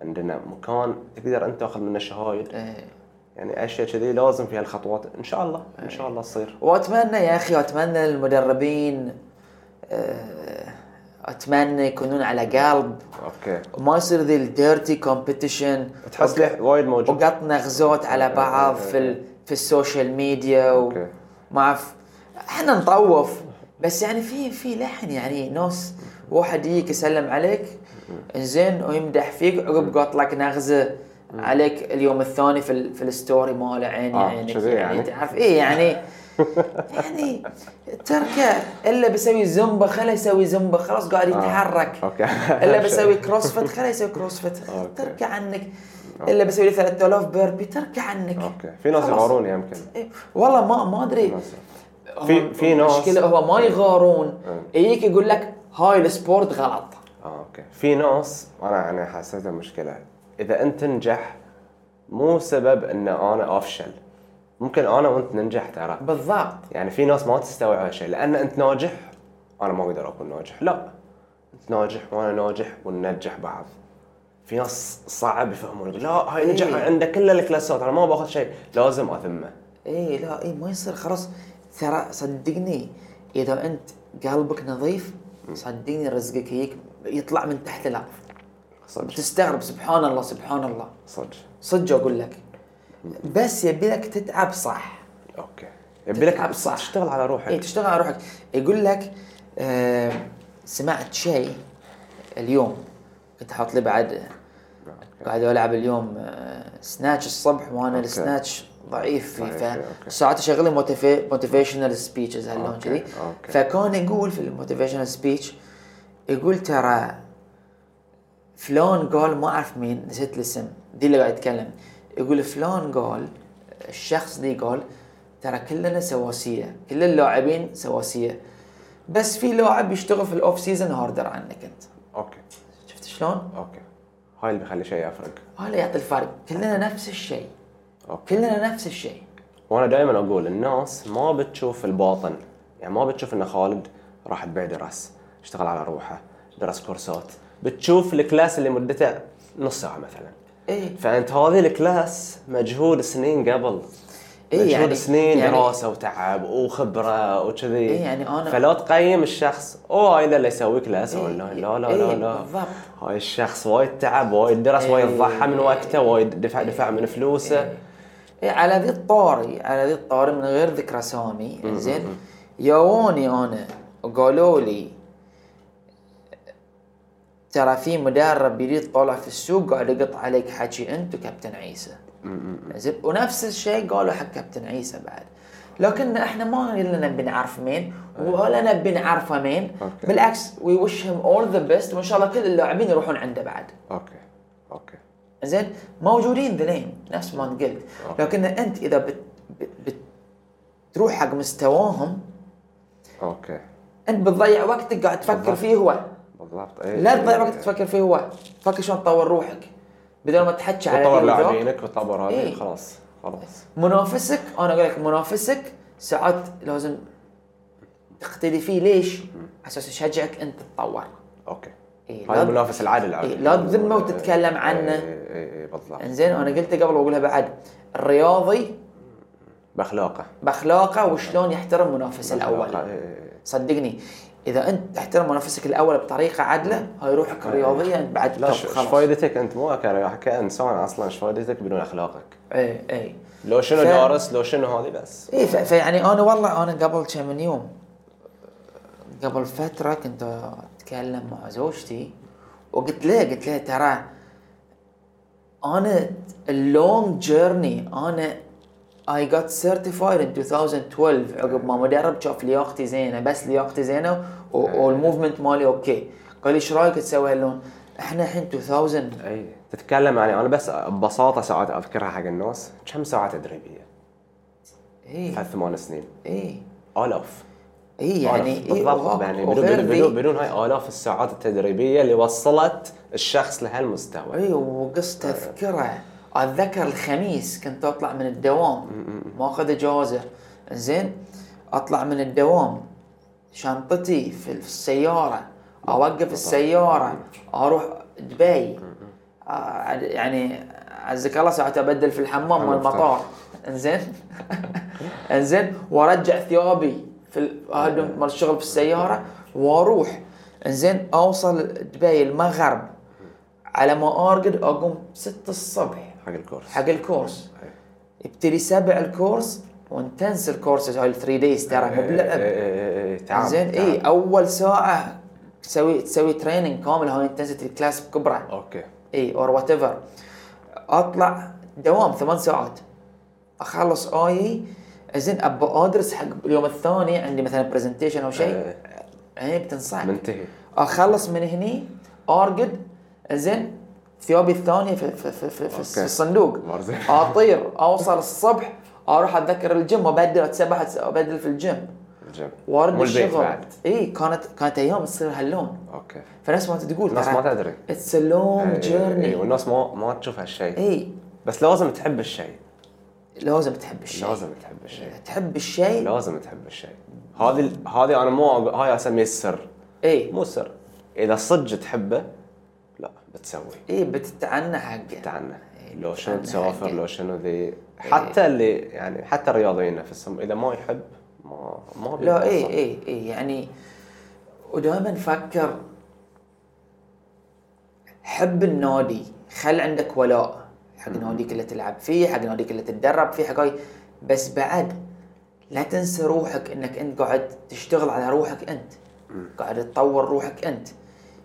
[SPEAKER 3] عندنا مكان تقدر انت تاخذ منه شهايد
[SPEAKER 2] إيه.
[SPEAKER 3] يعني اشياء كذي لازم فيها الخطوات ان شاء الله ان شاء الله تصير
[SPEAKER 2] واتمنى يا اخي اتمنى المدربين آه، اتمنى يكونون على قلب
[SPEAKER 3] اوكي
[SPEAKER 2] وما يصير ذي الديرتي كومبيتيشن
[SPEAKER 3] تحس لي وايد موجود آه،
[SPEAKER 2] وقطنا غزوت على بعض في ال... في السوشيال ميديا
[SPEAKER 3] أوكي.
[SPEAKER 2] وما اعرف احنا نطوف بس يعني في في لحن يعني ناس واحد يجيك يسلم عليك زين ويمدح فيك عقب قط لك نغزه عليك اليوم الثاني في ال... في الستوري ماله عيني
[SPEAKER 3] آه،
[SPEAKER 2] عينك
[SPEAKER 3] كذي يعني.
[SPEAKER 2] تعرف ايه يعني يعني تركه الا بسوي زومبا خله يسوي زومبا خلاص قاعد
[SPEAKER 3] آه،
[SPEAKER 2] يتحرك
[SPEAKER 3] اوكي [laughs]
[SPEAKER 2] الا بسوي كروسفيت خليه يسوي كروسفيت
[SPEAKER 3] أوكي.
[SPEAKER 2] تركع عنك الا بسوي لي 3000 بيربي تركع عنك
[SPEAKER 3] اوكي في ناس
[SPEAKER 2] خلاص.
[SPEAKER 3] يغارون يمكن
[SPEAKER 2] إيه، والله ما ما ادري
[SPEAKER 3] ناس. في في ناس إيه.
[SPEAKER 2] المشكله هو ما يغارون يجيك يقول لك هاي السبورت غلط
[SPEAKER 3] اه اوكي في ناس انا انا حسيتها مشكله اذا انت تنجح مو سبب ان انا افشل ممكن انا وانت ننجح ترى
[SPEAKER 2] بالضبط
[SPEAKER 3] يعني في ناس ما تستوعب هالشيء لان انت ناجح انا ما اقدر اكون ناجح لا انت ناجح وانا ناجح وننجح بعض في ناس صعب يفهمون يقول لا هاي نجح
[SPEAKER 2] إيه.
[SPEAKER 3] عنده كل الكلاسات انا ما باخذ شيء لازم اذمه
[SPEAKER 2] اي إيه، لا اي ما يصير خلاص ترى صدقني اذا انت قلبك نظيف صدقني رزقك هيك يطلع من تحت الارض
[SPEAKER 3] صدق
[SPEAKER 2] تستغرب سبحان الله سبحان الله
[SPEAKER 3] صدق
[SPEAKER 2] صدق اقول لك بس يبي لك تتعب صح
[SPEAKER 3] اوكي يبي لك
[SPEAKER 2] تتعب صح.
[SPEAKER 3] تشتغل على
[SPEAKER 2] اي
[SPEAKER 3] روحك
[SPEAKER 2] إيه، تشتغل على روحك يقول لك آه سمعت شيء اليوم كنت حاط لي بعد قاعد العب اليوم آه سناتش الصبح وانا
[SPEAKER 3] أوكي.
[SPEAKER 2] السناتش ضعيف فيه
[SPEAKER 3] ضعيف فيه، أوكي.
[SPEAKER 2] فساعات اشغل موتيفيشنال سبيتشز هاللون
[SPEAKER 3] أوكي،
[SPEAKER 2] كذي
[SPEAKER 3] أوكي.
[SPEAKER 2] فكان يقول في الموتيفيشنال سبيتش يقول ترى فلان قال ما اعرف مين نسيت الاسم دي اللي قاعد يتكلم يقول فلان قال الشخص دي قال ترى كلنا سواسيه كل اللاعبين سواسيه بس في لاعب يشتغل في الاوف سيزون هاردر عنك انت
[SPEAKER 3] اوكي
[SPEAKER 2] شفت شلون؟
[SPEAKER 3] اوكي هاي اللي بيخلي شيء يفرق
[SPEAKER 2] هذا يعطي الفرق كلنا نفس الشيء
[SPEAKER 3] اوكي
[SPEAKER 2] كلنا نفس الشيء
[SPEAKER 3] وانا دائما اقول الناس ما بتشوف الباطن يعني ما بتشوف ان خالد راح دبي درس اشتغل على روحه درس كورسات بتشوف الكلاس اللي مدته نص ساعه مثلا
[SPEAKER 2] ايه
[SPEAKER 3] فانت هذه الكلاس مجهود سنين قبل
[SPEAKER 2] إيه
[SPEAKER 3] مجهود
[SPEAKER 2] يعني-
[SPEAKER 3] سنين
[SPEAKER 2] يعني-
[SPEAKER 3] دراسه وتعب وخبره وكذي
[SPEAKER 2] إيه يعني أنا-
[SPEAKER 3] فلا تقيم الشخص اوه هاي اللي يسوي كلاس
[SPEAKER 2] إيه،
[SPEAKER 3] اونلاين لا لا
[SPEAKER 2] إيه،
[SPEAKER 3] لا لا
[SPEAKER 2] بالضبط.
[SPEAKER 3] هاي الشخص وايد تعب وايد درس وايد
[SPEAKER 2] إيه.
[SPEAKER 3] ضحى من وقته وايد دفع دفع من فلوسه
[SPEAKER 2] إيه على ذي الطاري على ذي الطاري من غير ذكر اسامي زين يووني انا وقالوا لي ترى في مدرب جديد طالع في السوق قاعد يقط عليك حكي انت وكابتن عيسى زين ونفس الشيء قالوا حق كابتن عيسى بعد لكن احنا ما قلنا بنعرف مين ولا نبي نعرفه مين
[SPEAKER 3] أوكي.
[SPEAKER 2] بالعكس وي وش هيم اول ذا بيست وان شاء الله كل اللاعبين يروحون عنده بعد
[SPEAKER 3] اوكي اوكي
[SPEAKER 2] زين موجودين ذنين نفس ما أنت قلت
[SPEAKER 3] أوكي.
[SPEAKER 2] لكن انت اذا بت بت بت تروح حق مستواهم
[SPEAKER 3] اوكي
[SPEAKER 2] انت بتضيع وقتك قاعد تفكر
[SPEAKER 3] بالضبط.
[SPEAKER 2] فيه هو
[SPEAKER 3] بالضبط إيه. اي
[SPEAKER 2] لا تضيع وقتك تفكر فيه هو فكر شلون تطور روحك بدل ما تحكي على
[SPEAKER 3] وتطور
[SPEAKER 2] ذي وذاك.
[SPEAKER 3] لاعبينك وتطور هذه
[SPEAKER 2] إيه.
[SPEAKER 3] خلاص خلاص
[SPEAKER 2] منافسك انا اقول لك منافسك ساعات لازم تقتدي فيه ليش؟ على اساس يشجعك انت تتطور
[SPEAKER 3] اوكي
[SPEAKER 2] إيه،
[SPEAKER 3] هذا
[SPEAKER 2] لا-
[SPEAKER 3] المنافس العادل على
[SPEAKER 2] إيه،
[SPEAKER 3] فكرة.
[SPEAKER 2] لا تذمه وتتكلم عنه. يعني
[SPEAKER 3] إيه، إيه، إيه، بالضبط
[SPEAKER 2] انزين وانا قلت قبل واقولها بعد الرياضي
[SPEAKER 3] باخلاقه
[SPEAKER 2] باخلاقه وشلون يحترم منافسه
[SPEAKER 3] بأخلاقه،
[SPEAKER 2] الاول
[SPEAKER 3] إيه، إيه.
[SPEAKER 2] صدقني اذا انت تحترم منافسك الاول بطريقه عدله هاي روحك الرياضيه انت بعد
[SPEAKER 3] لا
[SPEAKER 2] توب
[SPEAKER 3] ش- ايش
[SPEAKER 2] خلاص.
[SPEAKER 3] فائدتك انت مو كرياح- كانسان اصلا ايش فائدتك بدون اخلاقك؟
[SPEAKER 2] اي اي
[SPEAKER 3] لو شنو
[SPEAKER 2] ف-
[SPEAKER 3] دارس لو شنو هذه بس
[SPEAKER 2] اي إيه، ف- فيعني انا والله انا قبل كم من يوم قبل فتره كنت اتكلم مع زوجتي وقلت لها قلت لها ترى انا اللونج جيرني انا اي جت سيرتيفايد ان 2012 عقب ما مدرب شاف لياقتي زينه بس لياقتي زينه و- والموفمنت مالي اوكي قال لي ايش رايك تسوي هاللون؟ احنا الحين 2000
[SPEAKER 3] اي إيه. تتكلم عن انا بس ببساطه ساعات اذكرها حق الناس كم ساعه تدريبيه؟
[SPEAKER 2] اي
[SPEAKER 3] ثلاث ثمان سنين
[SPEAKER 2] اي
[SPEAKER 3] آلاف
[SPEAKER 2] اي يعني
[SPEAKER 3] آلاف
[SPEAKER 2] إيه، إيه،
[SPEAKER 3] بالضبط
[SPEAKER 2] وغاك-
[SPEAKER 3] يعني بدون,
[SPEAKER 2] وغير
[SPEAKER 3] بدون, بدون,
[SPEAKER 2] ذي-
[SPEAKER 3] بدون هاي آلاف الساعات التدريبية اللي وصلت الشخص لهالمستوى
[SPEAKER 2] اي إيه، وقص تذكره اتذكر الخميس كنت اطلع من الدوام ماخذ اجازه زين اطلع من الدوام شنطتي في السياره اوقف السياره اروح دبي آه، يعني عزك الله ساعات ابدل في الحمام مال المطار انزين انزين وارجع ثيابي في ال- هذا مال الشغل في السياره واروح انزين اوصل دبي المغرب على ما ارقد اقوم 6 الصبح
[SPEAKER 3] حق الكورس
[SPEAKER 2] حق الكورس يبتدي سبع الكورس وانتنس الكورسز هاي 3 دايز ترى مو
[SPEAKER 3] إيه،
[SPEAKER 2] بلعب إيه،
[SPEAKER 3] بلعب
[SPEAKER 2] زين
[SPEAKER 3] إيه.
[SPEAKER 2] اي اول ساعه تسوي تسوي تريننج كامل هاي انتنسيتي كلاس بكبره
[SPEAKER 3] اوكي
[SPEAKER 2] اي اور وات ايفر اطلع دوام ثمان ساعات اخلص اي زين ابى ادرس حق اليوم الثاني عندي مثلا برزنتيشن او شيء هي بتنصح
[SPEAKER 3] منتهي
[SPEAKER 2] اخلص من هني ارقد زين ثيابي الثانيه في, في, في, في, في
[SPEAKER 3] أوكي.
[SPEAKER 2] الصندوق
[SPEAKER 3] مرزي.
[SPEAKER 2] اطير اوصل الصبح اروح اتذكر الجيم وابدل اتسبح أتس- ابدل في الجيم
[SPEAKER 3] الجيم
[SPEAKER 2] وارد
[SPEAKER 3] مو البيت
[SPEAKER 2] الشغل
[SPEAKER 3] بعد.
[SPEAKER 2] اي إيه، كانت كانت ايام تصير هاللون
[SPEAKER 3] اوكي
[SPEAKER 2] فنفس ما انت تقول
[SPEAKER 3] الناس ما تدري
[SPEAKER 2] اتس ا لونج
[SPEAKER 3] إي،
[SPEAKER 2] جيرني
[SPEAKER 3] إيه، والناس ما ما تشوف هالشيء
[SPEAKER 2] اي
[SPEAKER 3] بس لازم تحب الشيء
[SPEAKER 2] لازم تحب الشيء
[SPEAKER 3] لازم تحب الشيء
[SPEAKER 2] تحب الشيء
[SPEAKER 3] لازم تحب الشيء هذه ال- هذه انا مو أب- هاي اسميه السر
[SPEAKER 2] اي
[SPEAKER 3] مو سر اذا صدق تحبه لا بتسويه
[SPEAKER 2] اي إيه، بتتعنى حقه
[SPEAKER 3] عنه
[SPEAKER 2] إيه،
[SPEAKER 3] لو شنو
[SPEAKER 2] عن
[SPEAKER 3] تسافر
[SPEAKER 2] حقه.
[SPEAKER 3] لو شنو
[SPEAKER 2] إيه.
[SPEAKER 3] ذي حتى اللي يعني حتى الرياضيين نفسهم اذا ما يحب ما ما
[SPEAKER 2] لا إيه، اي
[SPEAKER 3] بيوصل.
[SPEAKER 2] اي اي يعني ودائما فكر حب النادي خل عندك ولاء حق ناديك اللي تلعب فيه حق ناديك اللي تتدرب فيه حق هاي بس بعد لا تنسى روحك انك انت قاعد تشتغل على روحك انت قاعد تطور روحك انت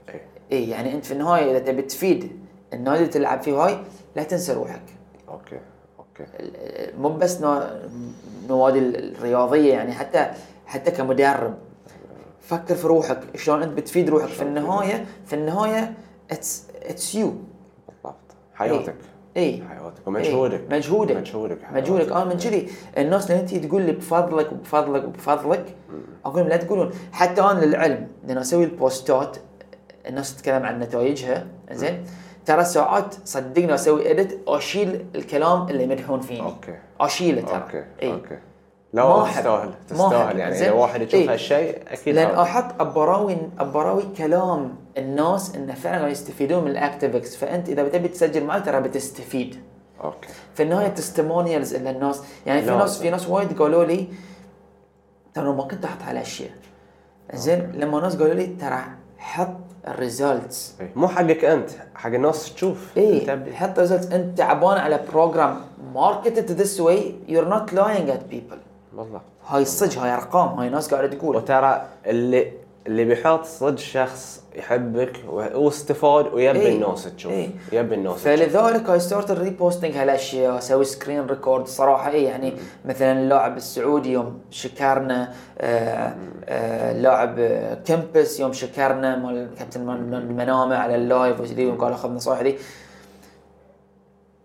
[SPEAKER 3] إي.
[SPEAKER 2] اي يعني انت في النهايه اذا تبي تفيد النادي اللي تلعب فيه هاي لا تنسى روحك
[SPEAKER 3] اوكي اوكي
[SPEAKER 2] إيه، مو بس نا- نوادي الرياضيه يعني حتى حتى كمدرب فكر في روحك شلون انت بتفيد روحك في النهايه في النهايه اتس اتس يو
[SPEAKER 3] بالضبط حياتك
[SPEAKER 2] اي
[SPEAKER 3] حياتك ومجهودك
[SPEAKER 2] إيه. مجهودك
[SPEAKER 3] مجهودك حياتك.
[SPEAKER 2] مجهودك انا آه، من كذي الناس لما تجي تقول لي بفضلك وبفضلك وبفضلك اقول لهم لا تقولون حتى انا للعلم لما اسوي البوستات الناس تتكلم عن نتائجها زين ترى ساعات صدقني اسوي اديت اشيل الكلام اللي مدحون فيني
[SPEAKER 3] أوكي.
[SPEAKER 2] اشيله ترى
[SPEAKER 3] اوكي
[SPEAKER 2] إي.
[SPEAKER 3] اوكي لا
[SPEAKER 2] إيه. ما
[SPEAKER 3] والله
[SPEAKER 2] أحب. ما
[SPEAKER 3] تستاهل
[SPEAKER 2] أحب.
[SPEAKER 3] تستاهل يعني
[SPEAKER 2] زين؟ إيه.
[SPEAKER 3] اذا واحد يشوف
[SPEAKER 2] إي.
[SPEAKER 3] هالشيء اكيد
[SPEAKER 2] لان
[SPEAKER 3] هذا.
[SPEAKER 2] احط ابراوي ابراوي كلام الناس انه فعلا قاعد يستفيدون من الاكتيفكس فانت اذا بتبي تسجل معي ترى بتستفيد
[SPEAKER 3] اوكي
[SPEAKER 2] في النهايه تستمونيالز اللي الناس يعني في
[SPEAKER 3] لا.
[SPEAKER 2] ناس في ناس وايد قالوا لي ترى ما كنت احط هالاشياء زين لما ناس قالوا لي ترى حط الريزلتس
[SPEAKER 3] إي. إيه. مو حقك انت حق الناس تشوف
[SPEAKER 2] اي
[SPEAKER 3] تبي.
[SPEAKER 2] إيه، حط الريزلتس انت تعبان على بروجرام ماركتد ذس واي يور نوت لاينج ات بيبل
[SPEAKER 3] بالضبط
[SPEAKER 2] هاي صدق هاي ارقام هاي ناس قاعده تقول
[SPEAKER 3] وترى اللي اللي بيحط صدق شخص يحبك و- واستفاد ويبي
[SPEAKER 2] إي.
[SPEAKER 3] الناس تشوف
[SPEAKER 2] إي.
[SPEAKER 3] يبي الناس تشوف
[SPEAKER 2] فلذلك هاي ستارت الريبوستنج هالاشياء اسوي سكرين ريكورد صراحه اي يعني مثلا اللاعب السعودي يوم شكرنا آه، آه، اللاعب آه، كمبس يوم شكرنا مال كابتن مال- مال المنامه على اللايف وكذي وقال اخذ نصائح ذي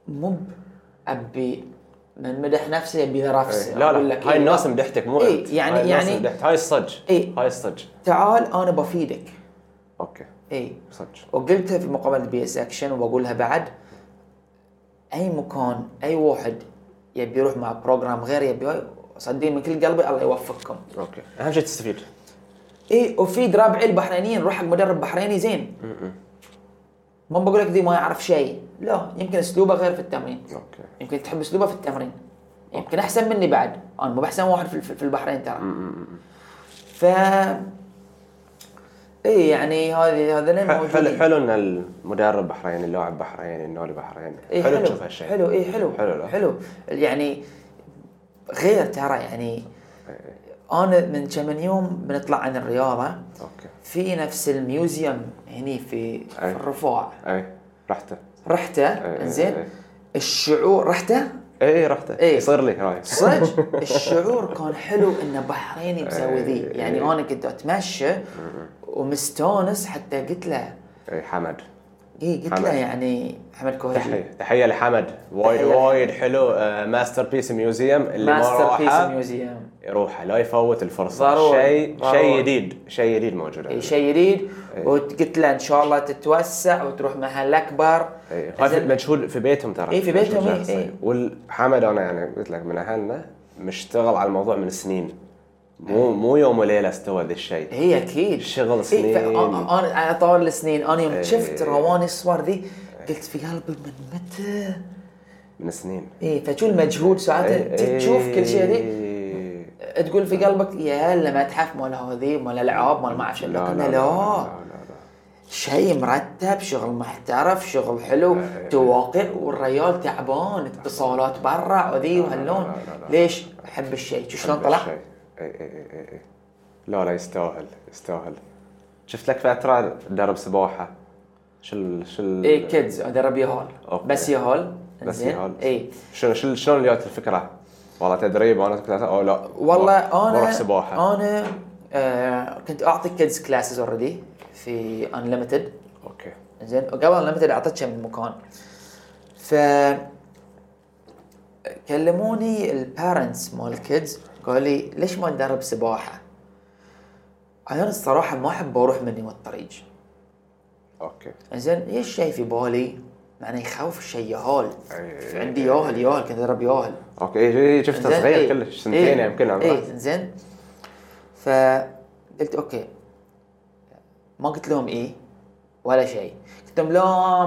[SPEAKER 2] مو ب- ابي من مدح نفسي ابي نفسي
[SPEAKER 3] لا
[SPEAKER 2] أقول
[SPEAKER 3] لا
[SPEAKER 2] لك
[SPEAKER 3] هاي
[SPEAKER 2] إيه،
[SPEAKER 3] الناس مدحتك مو
[SPEAKER 2] إيه،
[SPEAKER 3] انت
[SPEAKER 2] يعني-
[SPEAKER 3] هاي الناس
[SPEAKER 2] يعني-
[SPEAKER 3] مدحت هاي الصج
[SPEAKER 2] إيه.
[SPEAKER 3] هاي الصج
[SPEAKER 2] تعال انا بفيدك إيه.
[SPEAKER 3] اوكي
[SPEAKER 2] اي
[SPEAKER 3] صج
[SPEAKER 2] وقلتها في مقابله بي اس اكشن وبقولها بعد اي مكان اي واحد يبي يروح مع بروجرام غير يبي صدقني من كل قلبي الله يوفقكم
[SPEAKER 3] اوكي اهم شيء تستفيد
[SPEAKER 2] ايه وفي ربع البحرينيين روح حق مدرب بحريني زين ما بقول لك دي ما يعرف شيء لا يمكن اسلوبه غير في التمرين
[SPEAKER 3] اوكي
[SPEAKER 2] يمكن تحب اسلوبه في التمرين يمكن احسن مني بعد انا مو باحسن واحد في- في في البحرين ترى ف اي يعني هذه هذا لين
[SPEAKER 3] ح- حلو
[SPEAKER 2] موجودين.
[SPEAKER 3] حلو ان المدرب بحريني اللاعب بحريني النادي بحريني
[SPEAKER 2] إيه
[SPEAKER 3] حلو تشوف هالشيء
[SPEAKER 2] حلو اي حلو
[SPEAKER 3] حلو لا.
[SPEAKER 2] حلو يعني غير ترى يعني انا من كم من يوم بنطلع عن الرياضه
[SPEAKER 3] اوكي
[SPEAKER 2] في نفس الميوزيوم هني في, في
[SPEAKER 3] أي.
[SPEAKER 2] الرفاع
[SPEAKER 3] اي رحته
[SPEAKER 2] رحته
[SPEAKER 3] أي.
[SPEAKER 2] زين الشعور رحته
[SPEAKER 3] اي رحته
[SPEAKER 2] إيه.
[SPEAKER 3] يصير لي رايح [laughs]
[SPEAKER 2] صدق الشعور كان حلو انه بحريني مسوي ذي
[SPEAKER 3] أي.
[SPEAKER 2] يعني انا كنت اتمشى ومستانس حتى قلت له
[SPEAKER 3] اي حمد
[SPEAKER 2] إيه قلت له
[SPEAKER 3] حمد.
[SPEAKER 2] يعني حمد كوهجي
[SPEAKER 3] تحيه تحيه لحمد وايد
[SPEAKER 2] تحية.
[SPEAKER 3] وايد حلو آه، ماستر بيس ميوزيوم اللي ما
[SPEAKER 2] ماستر بيس
[SPEAKER 3] راحه
[SPEAKER 2] ميوزيوم
[SPEAKER 3] يروح لا يفوت الفرصه
[SPEAKER 2] ضروري.
[SPEAKER 3] شيء
[SPEAKER 2] ضروري.
[SPEAKER 3] شيء جديد شيء جديد موجود
[SPEAKER 2] إيه،
[SPEAKER 3] عندنا.
[SPEAKER 2] شيء جديد وقلت له ان شاء الله تتوسع وتروح محل اكبر
[SPEAKER 3] اي هاي في-
[SPEAKER 2] زين.
[SPEAKER 3] مجهول إيه. في بيتهم ترى
[SPEAKER 2] إي، إيه، في بيتهم،
[SPEAKER 3] مجهول
[SPEAKER 2] إي،
[SPEAKER 3] شخصي.
[SPEAKER 2] إي.
[SPEAKER 3] والحمد انا يعني قلت لك من اهلنا مشتغل على الموضوع من سنين
[SPEAKER 2] إيه.
[SPEAKER 3] مو مو يوم وليله استوى ذا الشيء
[SPEAKER 2] هي اكيد
[SPEAKER 3] شغل
[SPEAKER 2] إيه
[SPEAKER 3] سنين
[SPEAKER 2] فأ- أ- انا على طول السنين انا يوم
[SPEAKER 3] إيه.
[SPEAKER 2] شفت رواني الصور ذي قلت في قلبي من متى
[SPEAKER 3] من سنين إيه.
[SPEAKER 2] اي فشو المجهود ساعات أنت تشوف كل شيء ذي
[SPEAKER 3] ذي
[SPEAKER 2] تقول في قلبك يا هلا متحف مال هذي مال العاب مال ما اعرف شو
[SPEAKER 3] لا لا
[SPEAKER 2] لكن
[SPEAKER 3] لا,
[SPEAKER 2] لا
[SPEAKER 3] لا, لا.
[SPEAKER 2] شيء مرتب شغل محترف شغل حلو تواقع والريال تعبان اتصالات برا وذي وهاللون
[SPEAKER 3] لا، لا، لا.
[SPEAKER 2] ليش احب الشيء شو شلون طلع
[SPEAKER 3] شيء. إيه، اي اي اي اي اي لا لا يستاهل يستاهل شفت لك فتره درب سباحه شو ال- شو ال-
[SPEAKER 2] اي إيه، كيدز ادرب يهال
[SPEAKER 3] أوكي.
[SPEAKER 2] بس يهال
[SPEAKER 3] بس
[SPEAKER 2] زين؟
[SPEAKER 3] يهال.
[SPEAKER 2] اي
[SPEAKER 3] شنو شنو شلون جات الفكره؟ والله تدريب انا كنت او لا
[SPEAKER 2] والله انا
[SPEAKER 3] بروح سباحه
[SPEAKER 2] انا آه كنت اعطي كيدز كلاسز اوريدي في انليمتد
[SPEAKER 3] اوكي
[SPEAKER 2] زين وقبل انليمتد اعطيت كم مكان ف كلموني البارنتس مال الكيدز قالوا لي ليش ما ندرب سباحه؟ انا الصراحه ما احب اروح مني من الطريق
[SPEAKER 3] اوكي
[SPEAKER 2] زين ايش شيء في بالي؟ معناه يخوف شيء ياهل
[SPEAKER 3] أي-
[SPEAKER 2] في عندي ياهل ياهل كنت ادرب ياهل
[SPEAKER 3] اوكي إيه، إيه، شفته
[SPEAKER 2] إنزين،
[SPEAKER 3] صغير
[SPEAKER 2] إيه،
[SPEAKER 3] كلش سنتين يعني يمكن عمره
[SPEAKER 2] اي زين فقلت اوكي ما قلت لهم ايه ولا شيء قلت لهم لا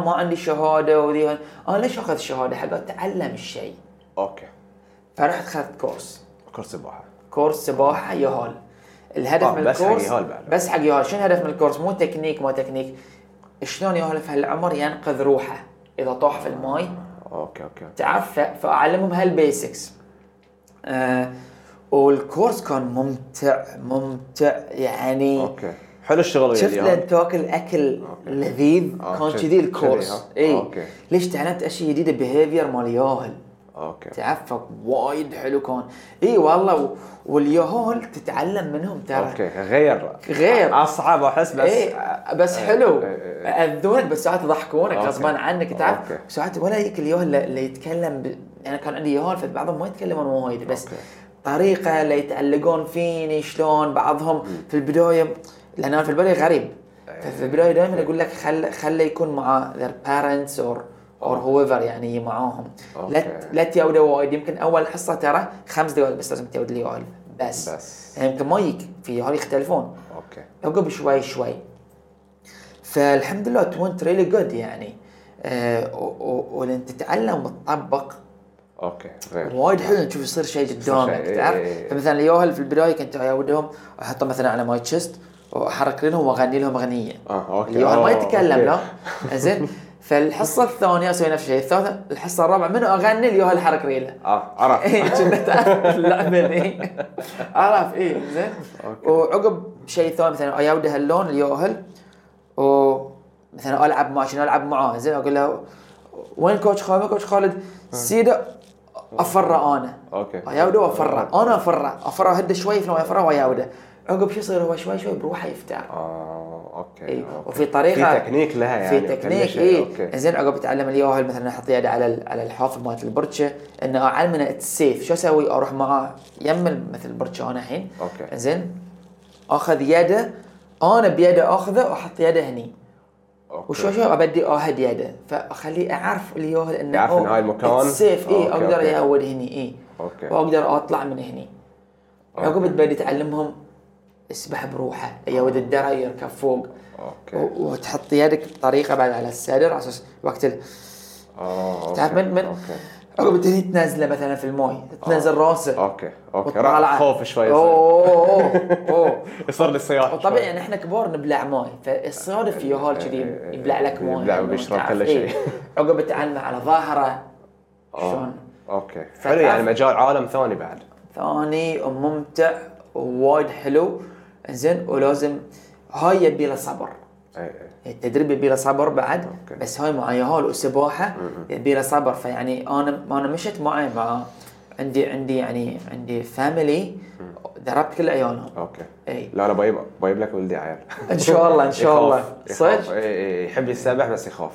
[SPEAKER 2] ما عندي شهاده وذي هاي. انا ليش اخذ شهاده حق اتعلم الشيء
[SPEAKER 3] اوكي
[SPEAKER 2] فرحت اخذت كورس
[SPEAKER 3] كورس سباحه
[SPEAKER 2] كورس سباحه يهال الهدف
[SPEAKER 3] آه،
[SPEAKER 2] من
[SPEAKER 3] بس حق
[SPEAKER 2] الكورس
[SPEAKER 3] يهال بعد.
[SPEAKER 2] بس حق يهال شنو الهدف من الكورس مو تكنيك ما تكنيك شلون يهال في هالعمر ينقذ روحه اذا طاح في الماي
[SPEAKER 3] اوكي اوكي اوكي
[SPEAKER 2] تعرف ف- فاعلمهم هالبيسكس آه والكورس كان ممتع ممتع يعني
[SPEAKER 3] اوكي حلو الشغل
[SPEAKER 2] شفت
[SPEAKER 3] اللي
[SPEAKER 2] لين تاكل اكل
[SPEAKER 3] طيب، أوكي.
[SPEAKER 2] لذيذ
[SPEAKER 3] آه،
[SPEAKER 2] كان
[SPEAKER 3] شفت-
[SPEAKER 2] كذي الكورس
[SPEAKER 3] شذي، ها؟
[SPEAKER 2] اي
[SPEAKER 3] أوكي.
[SPEAKER 2] ليش تعلمت اشياء جديده بيهيفير مال ياهل
[SPEAKER 3] اوكي
[SPEAKER 2] تعرف وايد حلو كان اي والله و- والياهل تتعلم منهم ترى
[SPEAKER 3] اوكي غير
[SPEAKER 2] غير.
[SPEAKER 3] اصعب احس بس
[SPEAKER 2] ايه بس حلو
[SPEAKER 3] إيه، إيه، إيه.
[SPEAKER 2] اذونك بس ساعات يضحكونك
[SPEAKER 3] أوكي.
[SPEAKER 2] غصبا عنك تعرف
[SPEAKER 3] أوكي.
[SPEAKER 2] ساعات ولا يجيك اليوهل اللي يتكلم ب... انا كان عندي يوهل فبعضهم ما يتكلمون وايد بس
[SPEAKER 3] أوكي.
[SPEAKER 2] طريقه اللي يتعلقون فيني شلون بعضهم في البدايه لان انا في البدايه غريب
[SPEAKER 3] إيه.
[SPEAKER 2] ففي البدايه دائما اقول لك خل خله يكون مع their parents or or whoever يعني معاهم لا ت-
[SPEAKER 3] أوكي.
[SPEAKER 2] لا تيوده وايد يمكن اول حصه ترى خمس دقائق بس لازم تيود اليوهل بس
[SPEAKER 3] بس.
[SPEAKER 2] يعني يمكن ما يجيك في يوهل يختلفون
[SPEAKER 3] اوكي
[SPEAKER 2] عقب شوي شوي فالحمد لله تونت ريلي جود يعني آه، و- و- ولان تتعلم وتطبق
[SPEAKER 3] اوكي غير
[SPEAKER 2] وايد حلو تشوف يصير شيء قدامك
[SPEAKER 3] شيء، إيه، إيه،
[SPEAKER 2] تعرف
[SPEAKER 3] إيه.
[SPEAKER 2] فمثلا يوهل في البدايه كنت اودهم احطه مثلا على ماي تشيست واحرك لهم واغني لهم اغنيه
[SPEAKER 3] اه اوكي
[SPEAKER 2] يوهل ما
[SPEAKER 3] آه،
[SPEAKER 2] يتكلم
[SPEAKER 3] أوكي.
[SPEAKER 2] لا زين فالحصه الثانيه اسوي نفس الشيء الثالثه الحصه الرابعه منو اغني اليوهل حرك ريله
[SPEAKER 3] اه
[SPEAKER 2] [laughs]
[SPEAKER 3] عرفت
[SPEAKER 2] ايه كنا تعرف اللعبه ايه اعرف ايه زين
[SPEAKER 3] أوكي.
[SPEAKER 2] وعقب شيء ثاني مثلا اياودي هاللون اليوهل و مثلا العب معه شنو العب معاه زين اقول له وين كوتش خالد وين كوتش خالد سيده افره انا
[SPEAKER 3] اوكي
[SPEAKER 2] اياوده وافره انا افره افره هده شوي في افره واياوده عقب شو يصير هو شوي شوي بروحه يفتح
[SPEAKER 3] اه اوكي
[SPEAKER 2] اي
[SPEAKER 3] أوكي.
[SPEAKER 2] إيه. وفي طريقه
[SPEAKER 3] في تكنيك لها يعني
[SPEAKER 2] في
[SPEAKER 3] وكل
[SPEAKER 2] تكنيك إيه.
[SPEAKER 3] شيء،
[SPEAKER 2] اي
[SPEAKER 3] اوكي
[SPEAKER 2] زين عقب اتعلم اليوهل مثلا احط يدي على ال- على الحافظ مالت البرشه انه اعلمنا السيف شو اسوي اروح معاه يم ال- مثل البرشه انا الحين
[SPEAKER 3] أوكي.
[SPEAKER 2] زين اخذ يده انا بيده اخذه واحط يده هني
[SPEAKER 3] أوكي.
[SPEAKER 2] وشوي شوي ابدي اهد يده فاخليه اعرف اليوهل انه
[SPEAKER 3] يعرف إن هاي المكان؟
[SPEAKER 2] السيف اي
[SPEAKER 3] أوكي،
[SPEAKER 2] اقدر
[SPEAKER 3] أوكي.
[SPEAKER 2] يهود إيه، هني إيه. اي
[SPEAKER 3] اوكي
[SPEAKER 2] واقدر اطلع من هني
[SPEAKER 3] أوكي.
[SPEAKER 2] عقب تبدي تعلمهم اسبح بروحه يود الدرع يركب فوق
[SPEAKER 3] اوكي
[SPEAKER 2] و- وتحط يدك بطريقه بعد على السادر على اساس وقت ال-
[SPEAKER 3] اه
[SPEAKER 2] تعرف من من
[SPEAKER 3] اوكي
[SPEAKER 2] عقب التهديد تنزله مثلا في الماي تنزل راسه
[SPEAKER 3] اوكي اوكي راح خوف شوي
[SPEAKER 2] اوه
[SPEAKER 3] يصير.
[SPEAKER 2] اوه
[SPEAKER 3] [laughs]
[SPEAKER 2] اوه
[SPEAKER 3] يصير لي الصياح
[SPEAKER 2] وطبيعي يعني احنا كبار نبلع ماي فالصياد في يهال كذي يبلع لك ماي
[SPEAKER 3] إيه، يبلع ويشرب
[SPEAKER 2] تعرف،
[SPEAKER 3] كل
[SPEAKER 2] إيه.
[SPEAKER 3] شيء. [laughs]
[SPEAKER 2] عقب تعلمه على ظهره
[SPEAKER 3] آه.
[SPEAKER 2] شلون
[SPEAKER 3] اوكي حلو
[SPEAKER 2] فتعرف-
[SPEAKER 3] يعني مجال عالم ثاني بعد
[SPEAKER 2] ثاني وممتع ووايد حلو زين ولازم هاي يبي له صبر
[SPEAKER 3] اي اي
[SPEAKER 2] التدريب يبي له صبر بعد
[SPEAKER 3] أوكي.
[SPEAKER 2] بس هاي مع يهال والسباحه يبي له صبر فيعني انا انا مشيت معي مع عندي عندي يعني عندي فاميلي دربت كل عيالهم
[SPEAKER 3] اوكي
[SPEAKER 2] اي
[SPEAKER 3] لا انا بجيب بجيب لك ولدي عيال
[SPEAKER 2] ان شاء الله ان شاء الله صدق إيه.
[SPEAKER 3] صدق إيه، يحب يسبح بس يخاف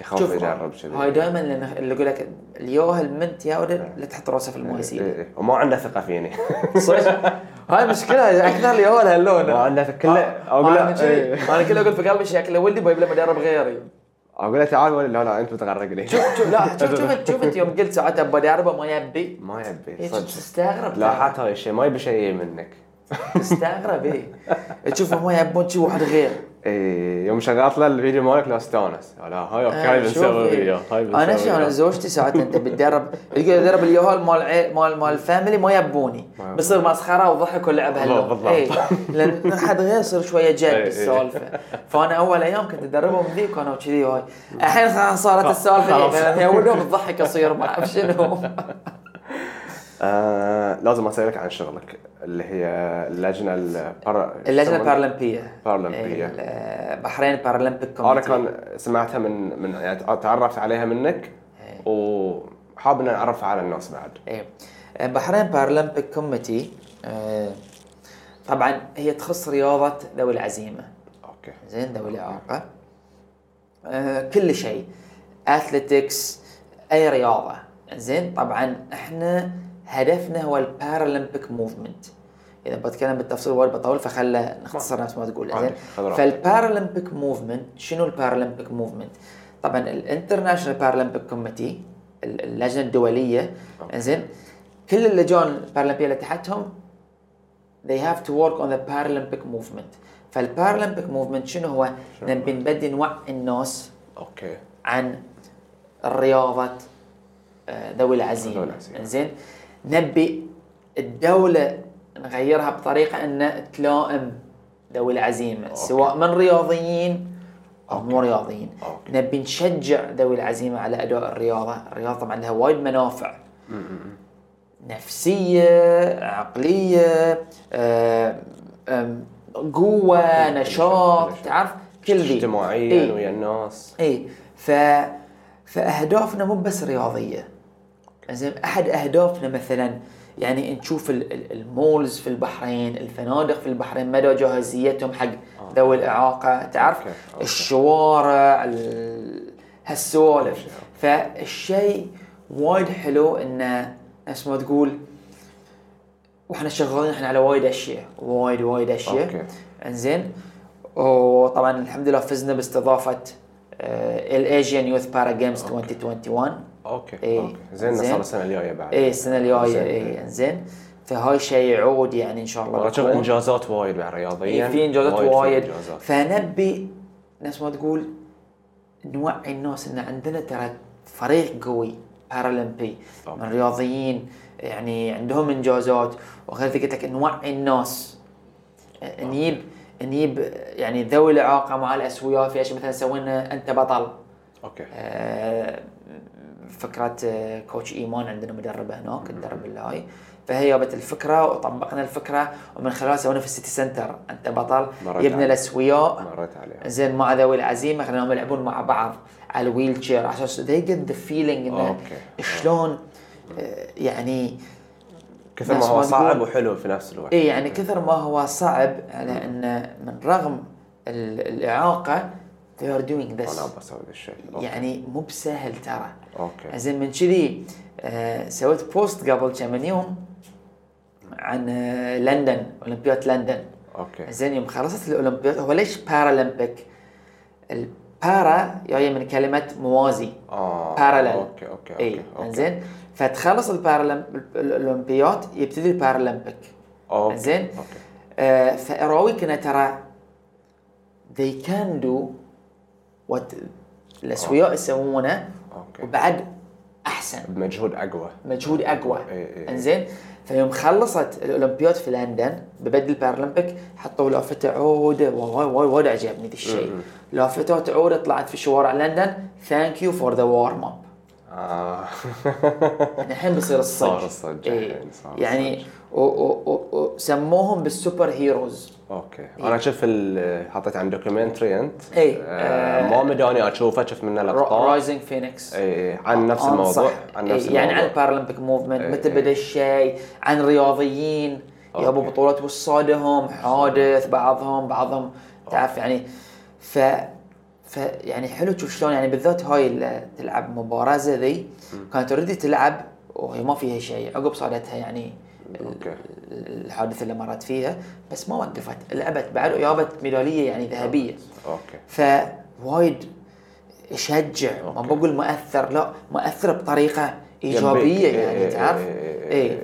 [SPEAKER 3] يخاف
[SPEAKER 2] شوف
[SPEAKER 3] يجرب شذي.
[SPEAKER 2] هاي دائما اللي يقول لك اليوهل منت يا ولد لا تحط راسه في الماي
[SPEAKER 3] إيه،
[SPEAKER 2] سيدي
[SPEAKER 3] إيه. وما عنده ثقه فيني
[SPEAKER 2] صدق هاي مشكله اكثر اليوهل هاللون
[SPEAKER 3] ما عنده ثقه كله اقول
[SPEAKER 2] انا
[SPEAKER 3] له
[SPEAKER 2] كذي
[SPEAKER 3] إيه.
[SPEAKER 2] انا كله اقول في قلبي شكله ولدي بجيب له مدرب غيري
[SPEAKER 3] اقول له تعال ولا لا لا انت بتغرقني
[SPEAKER 2] شوف شوف لا شوف شوف انت شوف انت يوم قلت ساعتها بدربه ما يبي
[SPEAKER 3] [laughs] ما
[SPEAKER 2] إيه،
[SPEAKER 3] يبي
[SPEAKER 2] شوف
[SPEAKER 3] صدق
[SPEAKER 2] تستغرب
[SPEAKER 3] لاحظت هاي الشيء ما يبي شيء منك
[SPEAKER 2] تستغرب ايه تشوفهم ما يبون شي واحد غير
[SPEAKER 3] إيه، يوم شغلت له الفيديو مالك لا استانس لا هاي اوكي [laughs] هاي
[SPEAKER 2] شوف
[SPEAKER 3] بنسوي
[SPEAKER 2] إيه.
[SPEAKER 3] وياه هاي بنسوي
[SPEAKER 2] انا شي
[SPEAKER 3] وياه.
[SPEAKER 2] انا زوجتي ساعات انت بتدرب تقول ادرب اليهال مال عي- إيه، مال مال الفاميلي ما يبوني
[SPEAKER 3] يبوني.
[SPEAKER 2] بصير مسخره وضحك ولعب هاللون
[SPEAKER 3] بالضبط.
[SPEAKER 2] إيه، لان حد غير يصير شويه جد
[SPEAKER 3] [laughs] إيه.
[SPEAKER 2] بالسالفه فانا اول ايام كنت ادربهم ذيك وانا كذي
[SPEAKER 3] [laughs]
[SPEAKER 2] هاي الحين صار- صارت
[SPEAKER 3] خلاص.
[SPEAKER 2] السالفه إيه، يوم الضحك اصير ما اعرف
[SPEAKER 3] [laughs]
[SPEAKER 2] شنو
[SPEAKER 3] آه لازم اسالك عن شغلك اللي هي اللجنه البر...
[SPEAKER 2] اللجنه البارالمبيه
[SPEAKER 3] البارالمبيه
[SPEAKER 2] إيه، ال- بحرين بارالمبيك
[SPEAKER 3] انا
[SPEAKER 2] كوميتي.
[SPEAKER 3] كان سمعتها من من يعني تعرفت عليها منك وحاب ان اعرفها على الناس بعد
[SPEAKER 2] ايه بحرين بارالمبيك كوميتي آه، طبعا هي تخص رياضه ذوي العزيمه
[SPEAKER 3] اوكي
[SPEAKER 2] زين ذوي الاعاقه آه، كل شيء اثلتكس اي رياضه زين طبعا احنا هدفنا هو البارالمبيك موفمنت اذا بتكلم بالتفصيل وايد بطول فخله نختصر نفس ما تقول
[SPEAKER 3] عادي،
[SPEAKER 2] زين
[SPEAKER 3] خذ راحتك.
[SPEAKER 2] فالبارالمبيك موفمنت شنو البارالمبيك موفمنت طبعا الانترناشونال بارالمبيك كوميتي اللجنه الدوليه زين كل اللجان البارالمبيه اللي تحتهم they have to work on the Paralympic movement فالبارالمبيك موفمنت شنو هو؟ نبي نبدي نوعي الناس
[SPEAKER 3] اوكي
[SPEAKER 2] عن رياضة آه، ذوي
[SPEAKER 3] ذوي
[SPEAKER 2] العزيمة
[SPEAKER 3] العزيمة.
[SPEAKER 2] زين نبي الدولة نغيرها بطريقة أن تلائم ذوي العزيمة أوكي. سواء من رياضيين أو مو رياضيين
[SPEAKER 3] أوكي.
[SPEAKER 2] نبي نشجع ذوي العزيمة على أداء الرياضة الرياضة طبعا لها وايد منافع نفسية عقلية آه، آم، قوة نشاط تعرف كل ذي
[SPEAKER 3] اجتماعيا
[SPEAKER 2] إيه.
[SPEAKER 3] ويا الناس
[SPEAKER 2] اي إيه، ف فاهدافنا مو بس رياضيه زين احد اهدافنا مثلا يعني نشوف ال- ال- المولز في البحرين، الفنادق في البحرين مدى جاهزيتهم حق ذوي الاعاقه، تعرف
[SPEAKER 3] آه. أوكي، أوكي.
[SPEAKER 2] الشوارع ال- هالسوالف فالشيء وايد حلو انه نفس ما تقول واحنا شغالين احنا على وايد اشياء وايد وايد اشياء
[SPEAKER 3] أوكي.
[SPEAKER 2] انزين وطبعا الحمد لله فزنا آه، باستضافه الايجين يوث بارا جيمز 2021
[SPEAKER 3] اوكي
[SPEAKER 2] إيه.
[SPEAKER 3] اوكي زين
[SPEAKER 2] زين. إيه.
[SPEAKER 3] صار السنه الجايه بعد
[SPEAKER 2] اي السنه الجايه
[SPEAKER 3] زين.
[SPEAKER 2] اي انزين إيه، فهاي شيء يعود يعني ان شاء الله
[SPEAKER 3] والله اشوف
[SPEAKER 2] بتكون.
[SPEAKER 3] انجازات وايد بعد رياضيا
[SPEAKER 2] إيه، في انجازات
[SPEAKER 3] في
[SPEAKER 2] وايد
[SPEAKER 3] إنجازات.
[SPEAKER 2] فنبي نفس ما تقول نوعي الناس ان عندنا ترى فريق قوي بارالمبي
[SPEAKER 3] أوكي.
[SPEAKER 2] من رياضيين يعني عندهم انجازات وغير ذلك قلت لك نوعي الناس نجيب نجيب يعني ذوي الاعاقه مع الاسوياء في اشياء مثلا سوينا انت بطل
[SPEAKER 3] اوكي
[SPEAKER 2] آه، فكره آه، كوتش ايمان عندنا مدربه هناك تدرب اللاي فهي جابت الفكره وطبقنا الفكره ومن خلالها سوينا في السيتي سنتر انت بطل
[SPEAKER 3] مرة
[SPEAKER 2] يبنى
[SPEAKER 3] تعال.
[SPEAKER 2] الاسوياء
[SPEAKER 3] مريت عليها
[SPEAKER 2] زين مع ذوي العزيمه خليناهم يلعبون مع بعض على الويل تشير على اساس they get the feeling انه
[SPEAKER 3] أوكي.
[SPEAKER 2] شلون آه، يعني
[SPEAKER 3] كثر ما
[SPEAKER 2] ناس
[SPEAKER 3] هو
[SPEAKER 2] ما
[SPEAKER 3] صعب
[SPEAKER 2] تقول.
[SPEAKER 3] وحلو في نفس الوقت
[SPEAKER 2] اي يعني كثر ما هو صعب على انه من رغم ال- الاعاقه they are doing this
[SPEAKER 3] انا بسوي ذا الشيء أوكي.
[SPEAKER 2] يعني مو بسهل ترى
[SPEAKER 3] اوكي
[SPEAKER 2] زين من كذي آه، سويت بوست قبل كم من يوم عن آه، لندن اولمبياد لندن
[SPEAKER 3] اوكي
[SPEAKER 2] زين يوم خلصت الاولمبياد هو ليش بارالمبيك؟ البارا جايه من كلمه موازي
[SPEAKER 3] اه
[SPEAKER 2] parallel. إيه.
[SPEAKER 3] اوكي اوكي
[SPEAKER 2] اي
[SPEAKER 3] اوكي اوكي
[SPEAKER 2] زين فتخلص البارالمب- الاولمبياد يبتدي البارالمبيك
[SPEAKER 3] أوكي.
[SPEAKER 2] زين
[SPEAKER 3] اوكي
[SPEAKER 2] آه، آه، فاراويكنا ترى they can do what الاسوياء يسوونه
[SPEAKER 3] أوكي.
[SPEAKER 2] وبعد احسن
[SPEAKER 3] بمجهود اقوى
[SPEAKER 2] مجهود اقوى
[SPEAKER 3] إي إي.
[SPEAKER 2] انزين فيوم خلصت الاولمبياد في لندن ببدل البارالمبيك حطوا لافته عوده وايد وايد وايد عجبني ذا الشيء
[SPEAKER 3] إيه،
[SPEAKER 2] لافتات عوده طلعت في شوارع لندن ثانك يو فور ذا وارم اب
[SPEAKER 3] آه. [laughs]
[SPEAKER 2] يعني الحين بيصير الصج
[SPEAKER 3] صار الصج
[SPEAKER 2] إي.
[SPEAKER 3] الحين، صار
[SPEAKER 2] يعني و- و- و- و- سموهم بالسوبر هيروز
[SPEAKER 3] اوكي
[SPEAKER 2] إيه.
[SPEAKER 3] انا اشوف ال- حطيت عن دوكيومنتري انت
[SPEAKER 2] إي.
[SPEAKER 3] آه، ما مداني اشوفه شفت منه لقطات
[SPEAKER 2] رايزنج فينيكس
[SPEAKER 3] اي عن نفس
[SPEAKER 2] أنصح.
[SPEAKER 3] الموضوع عن
[SPEAKER 2] إي،
[SPEAKER 3] نفس
[SPEAKER 2] آه، يعني عن
[SPEAKER 3] الموضوع. إيه،
[SPEAKER 2] البارالمبيك موفمنت
[SPEAKER 3] إي،
[SPEAKER 2] متى
[SPEAKER 3] إي.
[SPEAKER 2] بدا الشيء عن رياضيين
[SPEAKER 3] أوكي.
[SPEAKER 2] يابوا بطولات وصادهم حادث بعضهم بعضهم تعرف يعني ف ف يعني حلو تشوف شلون يعني بالذات هاي اللي تلعب مباراه زي ذي كانت اوريدي تلعب وهي ما فيها شيء عقب صارتها يعني ال-
[SPEAKER 3] أوكي.
[SPEAKER 2] الحادثه اللي مرت فيها بس ما وقفت لعبت بعد وجابت ميداليه يعني ذهبيه
[SPEAKER 3] اوكي
[SPEAKER 2] فوايد يشجع ما
[SPEAKER 3] أوكي.
[SPEAKER 2] بقول مؤثر لا مؤثر بطريقه ايجابيه
[SPEAKER 3] إيه،
[SPEAKER 2] يعني
[SPEAKER 3] إيه،
[SPEAKER 2] تعرف
[SPEAKER 3] إيه، إيه،
[SPEAKER 2] اي
[SPEAKER 3] إيه، إيه.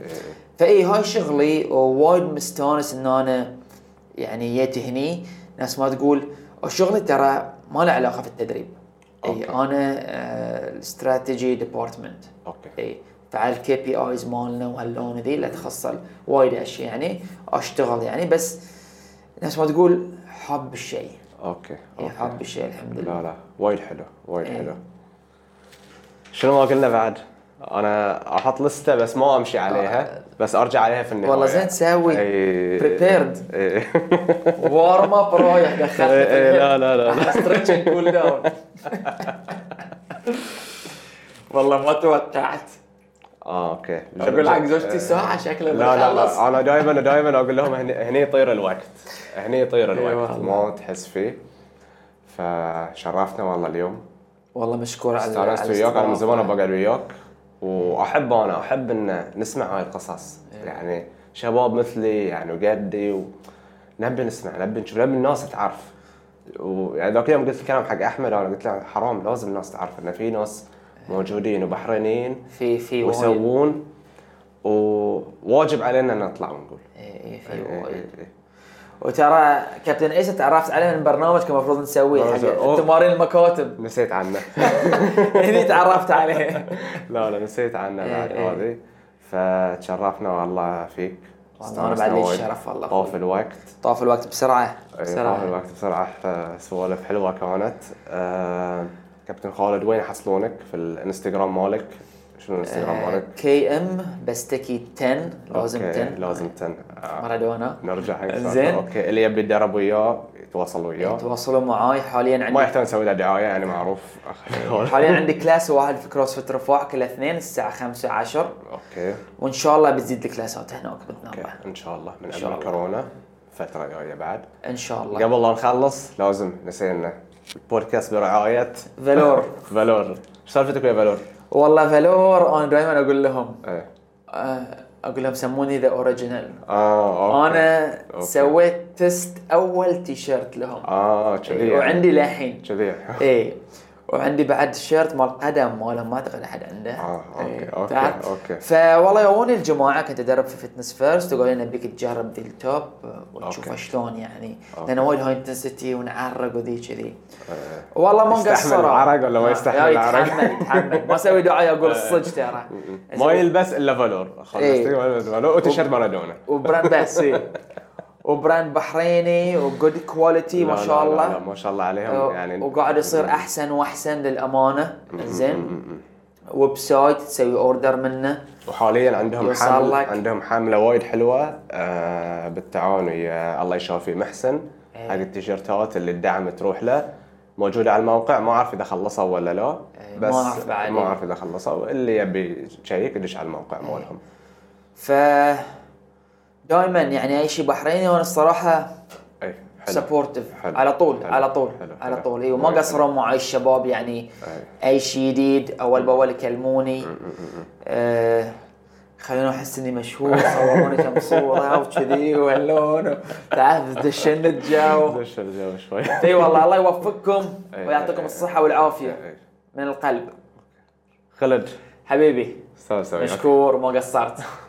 [SPEAKER 2] فاي هاي شغلي ووايد مستانس ان انا يعني جيت هني ناس ما تقول وشغلي ترى ما له علاقه في التدريب إيه، آه، اي
[SPEAKER 3] أوكي.
[SPEAKER 2] انا الاستراتيجي ديبارتمنت
[SPEAKER 3] اوكي
[SPEAKER 2] اي فعلى الكي بي ايز مالنا وهاللون ذي لا تخصل وايد اشياء يعني اشتغل يعني بس ناس ما تقول حب الشيء
[SPEAKER 3] اوكي
[SPEAKER 2] إي،
[SPEAKER 3] اوكي
[SPEAKER 2] حب الشيء الحمد لله
[SPEAKER 3] لا لا وايد حلو وايد
[SPEAKER 2] إيه.
[SPEAKER 3] حلو شنو ما قلنا بعد؟ انا احط لسته بس ما امشي عليها بس ارجع عليها في النهايه
[SPEAKER 2] آه. والله زين تسوي.
[SPEAKER 3] إيه. [laughs]
[SPEAKER 2] Prepared.
[SPEAKER 3] إيه.
[SPEAKER 2] وارم اب رايح دخلت
[SPEAKER 3] إيه، إيه، لا،
[SPEAKER 2] [laughs]
[SPEAKER 3] لا، لا.
[SPEAKER 2] ستريتشنج كول
[SPEAKER 3] [laughs]
[SPEAKER 2] داون والله ما توقعت
[SPEAKER 3] اه اوكي
[SPEAKER 2] اقول حق زوجتي ساعه شكله
[SPEAKER 3] لا لا آه.
[SPEAKER 2] بنخلص.
[SPEAKER 3] لا انا دائما دائما اقول لهم هني هني يطير الوقت هني يطير
[SPEAKER 2] إيه
[SPEAKER 3] الوقت
[SPEAKER 2] والله.
[SPEAKER 3] ما تحس فيه فشرفتنا والله اليوم
[SPEAKER 2] والله مشكور على
[SPEAKER 3] استانست
[SPEAKER 2] على
[SPEAKER 3] وياك انا من زمان
[SPEAKER 2] الاستضافة.
[SPEAKER 3] ابغى اقعد وياك واحب انا احب ان نسمع هاي القصص
[SPEAKER 2] إيه.
[SPEAKER 3] يعني شباب مثلي يعني وقدي و... نبي نسمع نبي نشوف نبي الناس تعرف ويعني ذاك اليوم قلت الكلام حق احمد انا قلت له حرام لازم الناس تعرف ان في ناس موجودين وبحرينيين
[SPEAKER 2] في إيه. في وايد
[SPEAKER 3] ويسوون وواجب علينا ان نطلع ونقول
[SPEAKER 2] إي، إي، في
[SPEAKER 3] إيه، إيه،
[SPEAKER 2] وايد
[SPEAKER 3] إيه.
[SPEAKER 2] وترى كابتن ايش تعرفت عليه من برنامج كان المفروض نسويه حق
[SPEAKER 3] أوه.
[SPEAKER 2] تمارين
[SPEAKER 3] [laughs]
[SPEAKER 2] المكاتب
[SPEAKER 3] نسيت
[SPEAKER 2] [laughs]
[SPEAKER 3] عنه
[SPEAKER 2] هني تعرفت عليه
[SPEAKER 3] لا لا نسيت عنه
[SPEAKER 2] إيه،
[SPEAKER 3] بعد
[SPEAKER 2] إيه.
[SPEAKER 3] هذه فتشرفنا والله فيك
[SPEAKER 2] والله أنا بعد لي الشرف والله.
[SPEAKER 3] طاف الوقت
[SPEAKER 2] طاف الوقت بسرعه
[SPEAKER 3] إيه، طاف
[SPEAKER 2] بسرعه
[SPEAKER 3] الوقت بسرعه فسوالف حلوه كانت آه، كابتن خالد وين يحصلونك في الانستغرام مالك شنو الانستغرام
[SPEAKER 2] آه، Uh,
[SPEAKER 3] مالك؟
[SPEAKER 2] كي ام بستكي 10 لازم
[SPEAKER 3] أوكي،
[SPEAKER 2] 10
[SPEAKER 3] لازم 10 آه،
[SPEAKER 2] مارادونا
[SPEAKER 3] نرجع حق السؤال.
[SPEAKER 2] زين.
[SPEAKER 3] اوكي اللي يبي يتدرب وياه يتواصل وياه
[SPEAKER 2] تواصلوا معاي حاليا
[SPEAKER 3] ما
[SPEAKER 2] عندي
[SPEAKER 3] [laughs] يحتاج نسوي له دعايه يعني
[SPEAKER 2] آه. [laughs]
[SPEAKER 3] معروف
[SPEAKER 2] حاليا عندي كلاس واحد في كروس فيت رفاع كل اثنين الساعه 5 10
[SPEAKER 3] اوكي
[SPEAKER 2] وان شاء الله بتزيد الكلاسات هناك
[SPEAKER 3] اوكي
[SPEAKER 2] بالنوبه
[SPEAKER 3] ان شاء الله من
[SPEAKER 2] شاء
[SPEAKER 3] قبل
[SPEAKER 2] الله.
[SPEAKER 3] كورونا فتره جايه بعد
[SPEAKER 2] ان شاء الله
[SPEAKER 3] قبل لا نخلص لازم نسينا البودكاست برعاية
[SPEAKER 2] فالور
[SPEAKER 3] فالور ايش سالفتك ويا فالور؟
[SPEAKER 2] والله فالور انا دائما اقول لهم
[SPEAKER 3] ايه
[SPEAKER 2] آه، اقول لهم سموني ذا اوريجينال
[SPEAKER 3] اه اوكي
[SPEAKER 2] انا
[SPEAKER 3] أوكي.
[SPEAKER 2] سويت تيست اول تيشيرت لهم
[SPEAKER 3] اه كذي يعني.
[SPEAKER 2] وعندي للحين [laughs]
[SPEAKER 3] كذي إيه.
[SPEAKER 2] ايه وعندي بعد شيرت مال قدم ماله ما اعتقد احد عنده
[SPEAKER 3] آه، أوكي،
[SPEAKER 2] إيه،
[SPEAKER 3] أوكي،
[SPEAKER 2] تعرف؟
[SPEAKER 3] أوكي.
[SPEAKER 2] فوالله يوني الجماعه كنت ادرب في فتنس فيرست وقالوا لي نبيك تجرب ذي التوب وتشوف
[SPEAKER 3] أوكي.
[SPEAKER 2] شلون يعني
[SPEAKER 3] أوكي.
[SPEAKER 2] لان وايد هاي انتنسيتي ونعرق وذي كذي
[SPEAKER 3] آه.
[SPEAKER 2] والله ما
[SPEAKER 3] يستحمل
[SPEAKER 2] مقصره
[SPEAKER 3] العرق ولا ما
[SPEAKER 2] آه،
[SPEAKER 3] يستحمل
[SPEAKER 2] لا،
[SPEAKER 3] العرق؟
[SPEAKER 2] يتحمل يتحمل ما اسوي دعايه اقول الصج
[SPEAKER 3] [laughs]
[SPEAKER 2] ترى
[SPEAKER 3] ما يلبس الا فالور خلصتي
[SPEAKER 2] إيه.
[SPEAKER 3] ما يلبس فالور وتيشيرت مارادونا [laughs]
[SPEAKER 2] وبراند بس إيه. وبراند بحريني وجود كواليتي إيه، ما
[SPEAKER 3] لا،
[SPEAKER 2] شاء
[SPEAKER 3] لا،
[SPEAKER 2] الله
[SPEAKER 3] لا، لا، ما شاء الله عليهم يعني
[SPEAKER 2] وقاعد يصير احسن واحسن للامانه زين
[SPEAKER 3] م- م- م.
[SPEAKER 2] ويب سايت تسوي اوردر منه
[SPEAKER 3] وحاليا عندهم
[SPEAKER 2] يوصل
[SPEAKER 3] حمل
[SPEAKER 2] لك.
[SPEAKER 3] عندهم حمله وايد حلوه آه بالتعاون ويا الله يشافي محسن
[SPEAKER 2] إيه.
[SPEAKER 3] حق التيشيرتات اللي الدعم تروح له موجوده على الموقع ما اعرف اذا خلصوا ولا لا
[SPEAKER 2] إيه، ما
[SPEAKER 3] بس
[SPEAKER 2] أعرف بعد.
[SPEAKER 3] ما اعرف اذا خلصوا اللي يبي يشيك يدش على الموقع مالهم
[SPEAKER 2] ف دائما يعني اي شيء بحريني وانا الصراحه
[SPEAKER 3] اي إيه، حلو
[SPEAKER 2] سبورتيف
[SPEAKER 3] حلو.
[SPEAKER 2] على طول
[SPEAKER 3] حلو.
[SPEAKER 2] على طول
[SPEAKER 3] حلو.
[SPEAKER 2] على
[SPEAKER 3] حلو.
[SPEAKER 2] طول إيوه، اي وما
[SPEAKER 3] وايد
[SPEAKER 2] قصروا معي الشباب يعني
[SPEAKER 3] إيه.
[SPEAKER 2] اي شيء جديد اول باول يكلموني آه، خلوني احس اني مشهور صوروني كم صوره وكذي وهاللون تعرف دشن
[SPEAKER 3] [laughs]
[SPEAKER 2] الجو
[SPEAKER 3] دش الجو شوي
[SPEAKER 2] اي والله الله يوفقكم
[SPEAKER 3] إيه،
[SPEAKER 2] ويعطيكم
[SPEAKER 3] إيه.
[SPEAKER 2] الصحه والعافيه
[SPEAKER 3] إيه.
[SPEAKER 2] من القلب
[SPEAKER 3] خلد
[SPEAKER 2] حبيبي
[SPEAKER 3] استاذ سوي
[SPEAKER 2] مشكور ما قصرت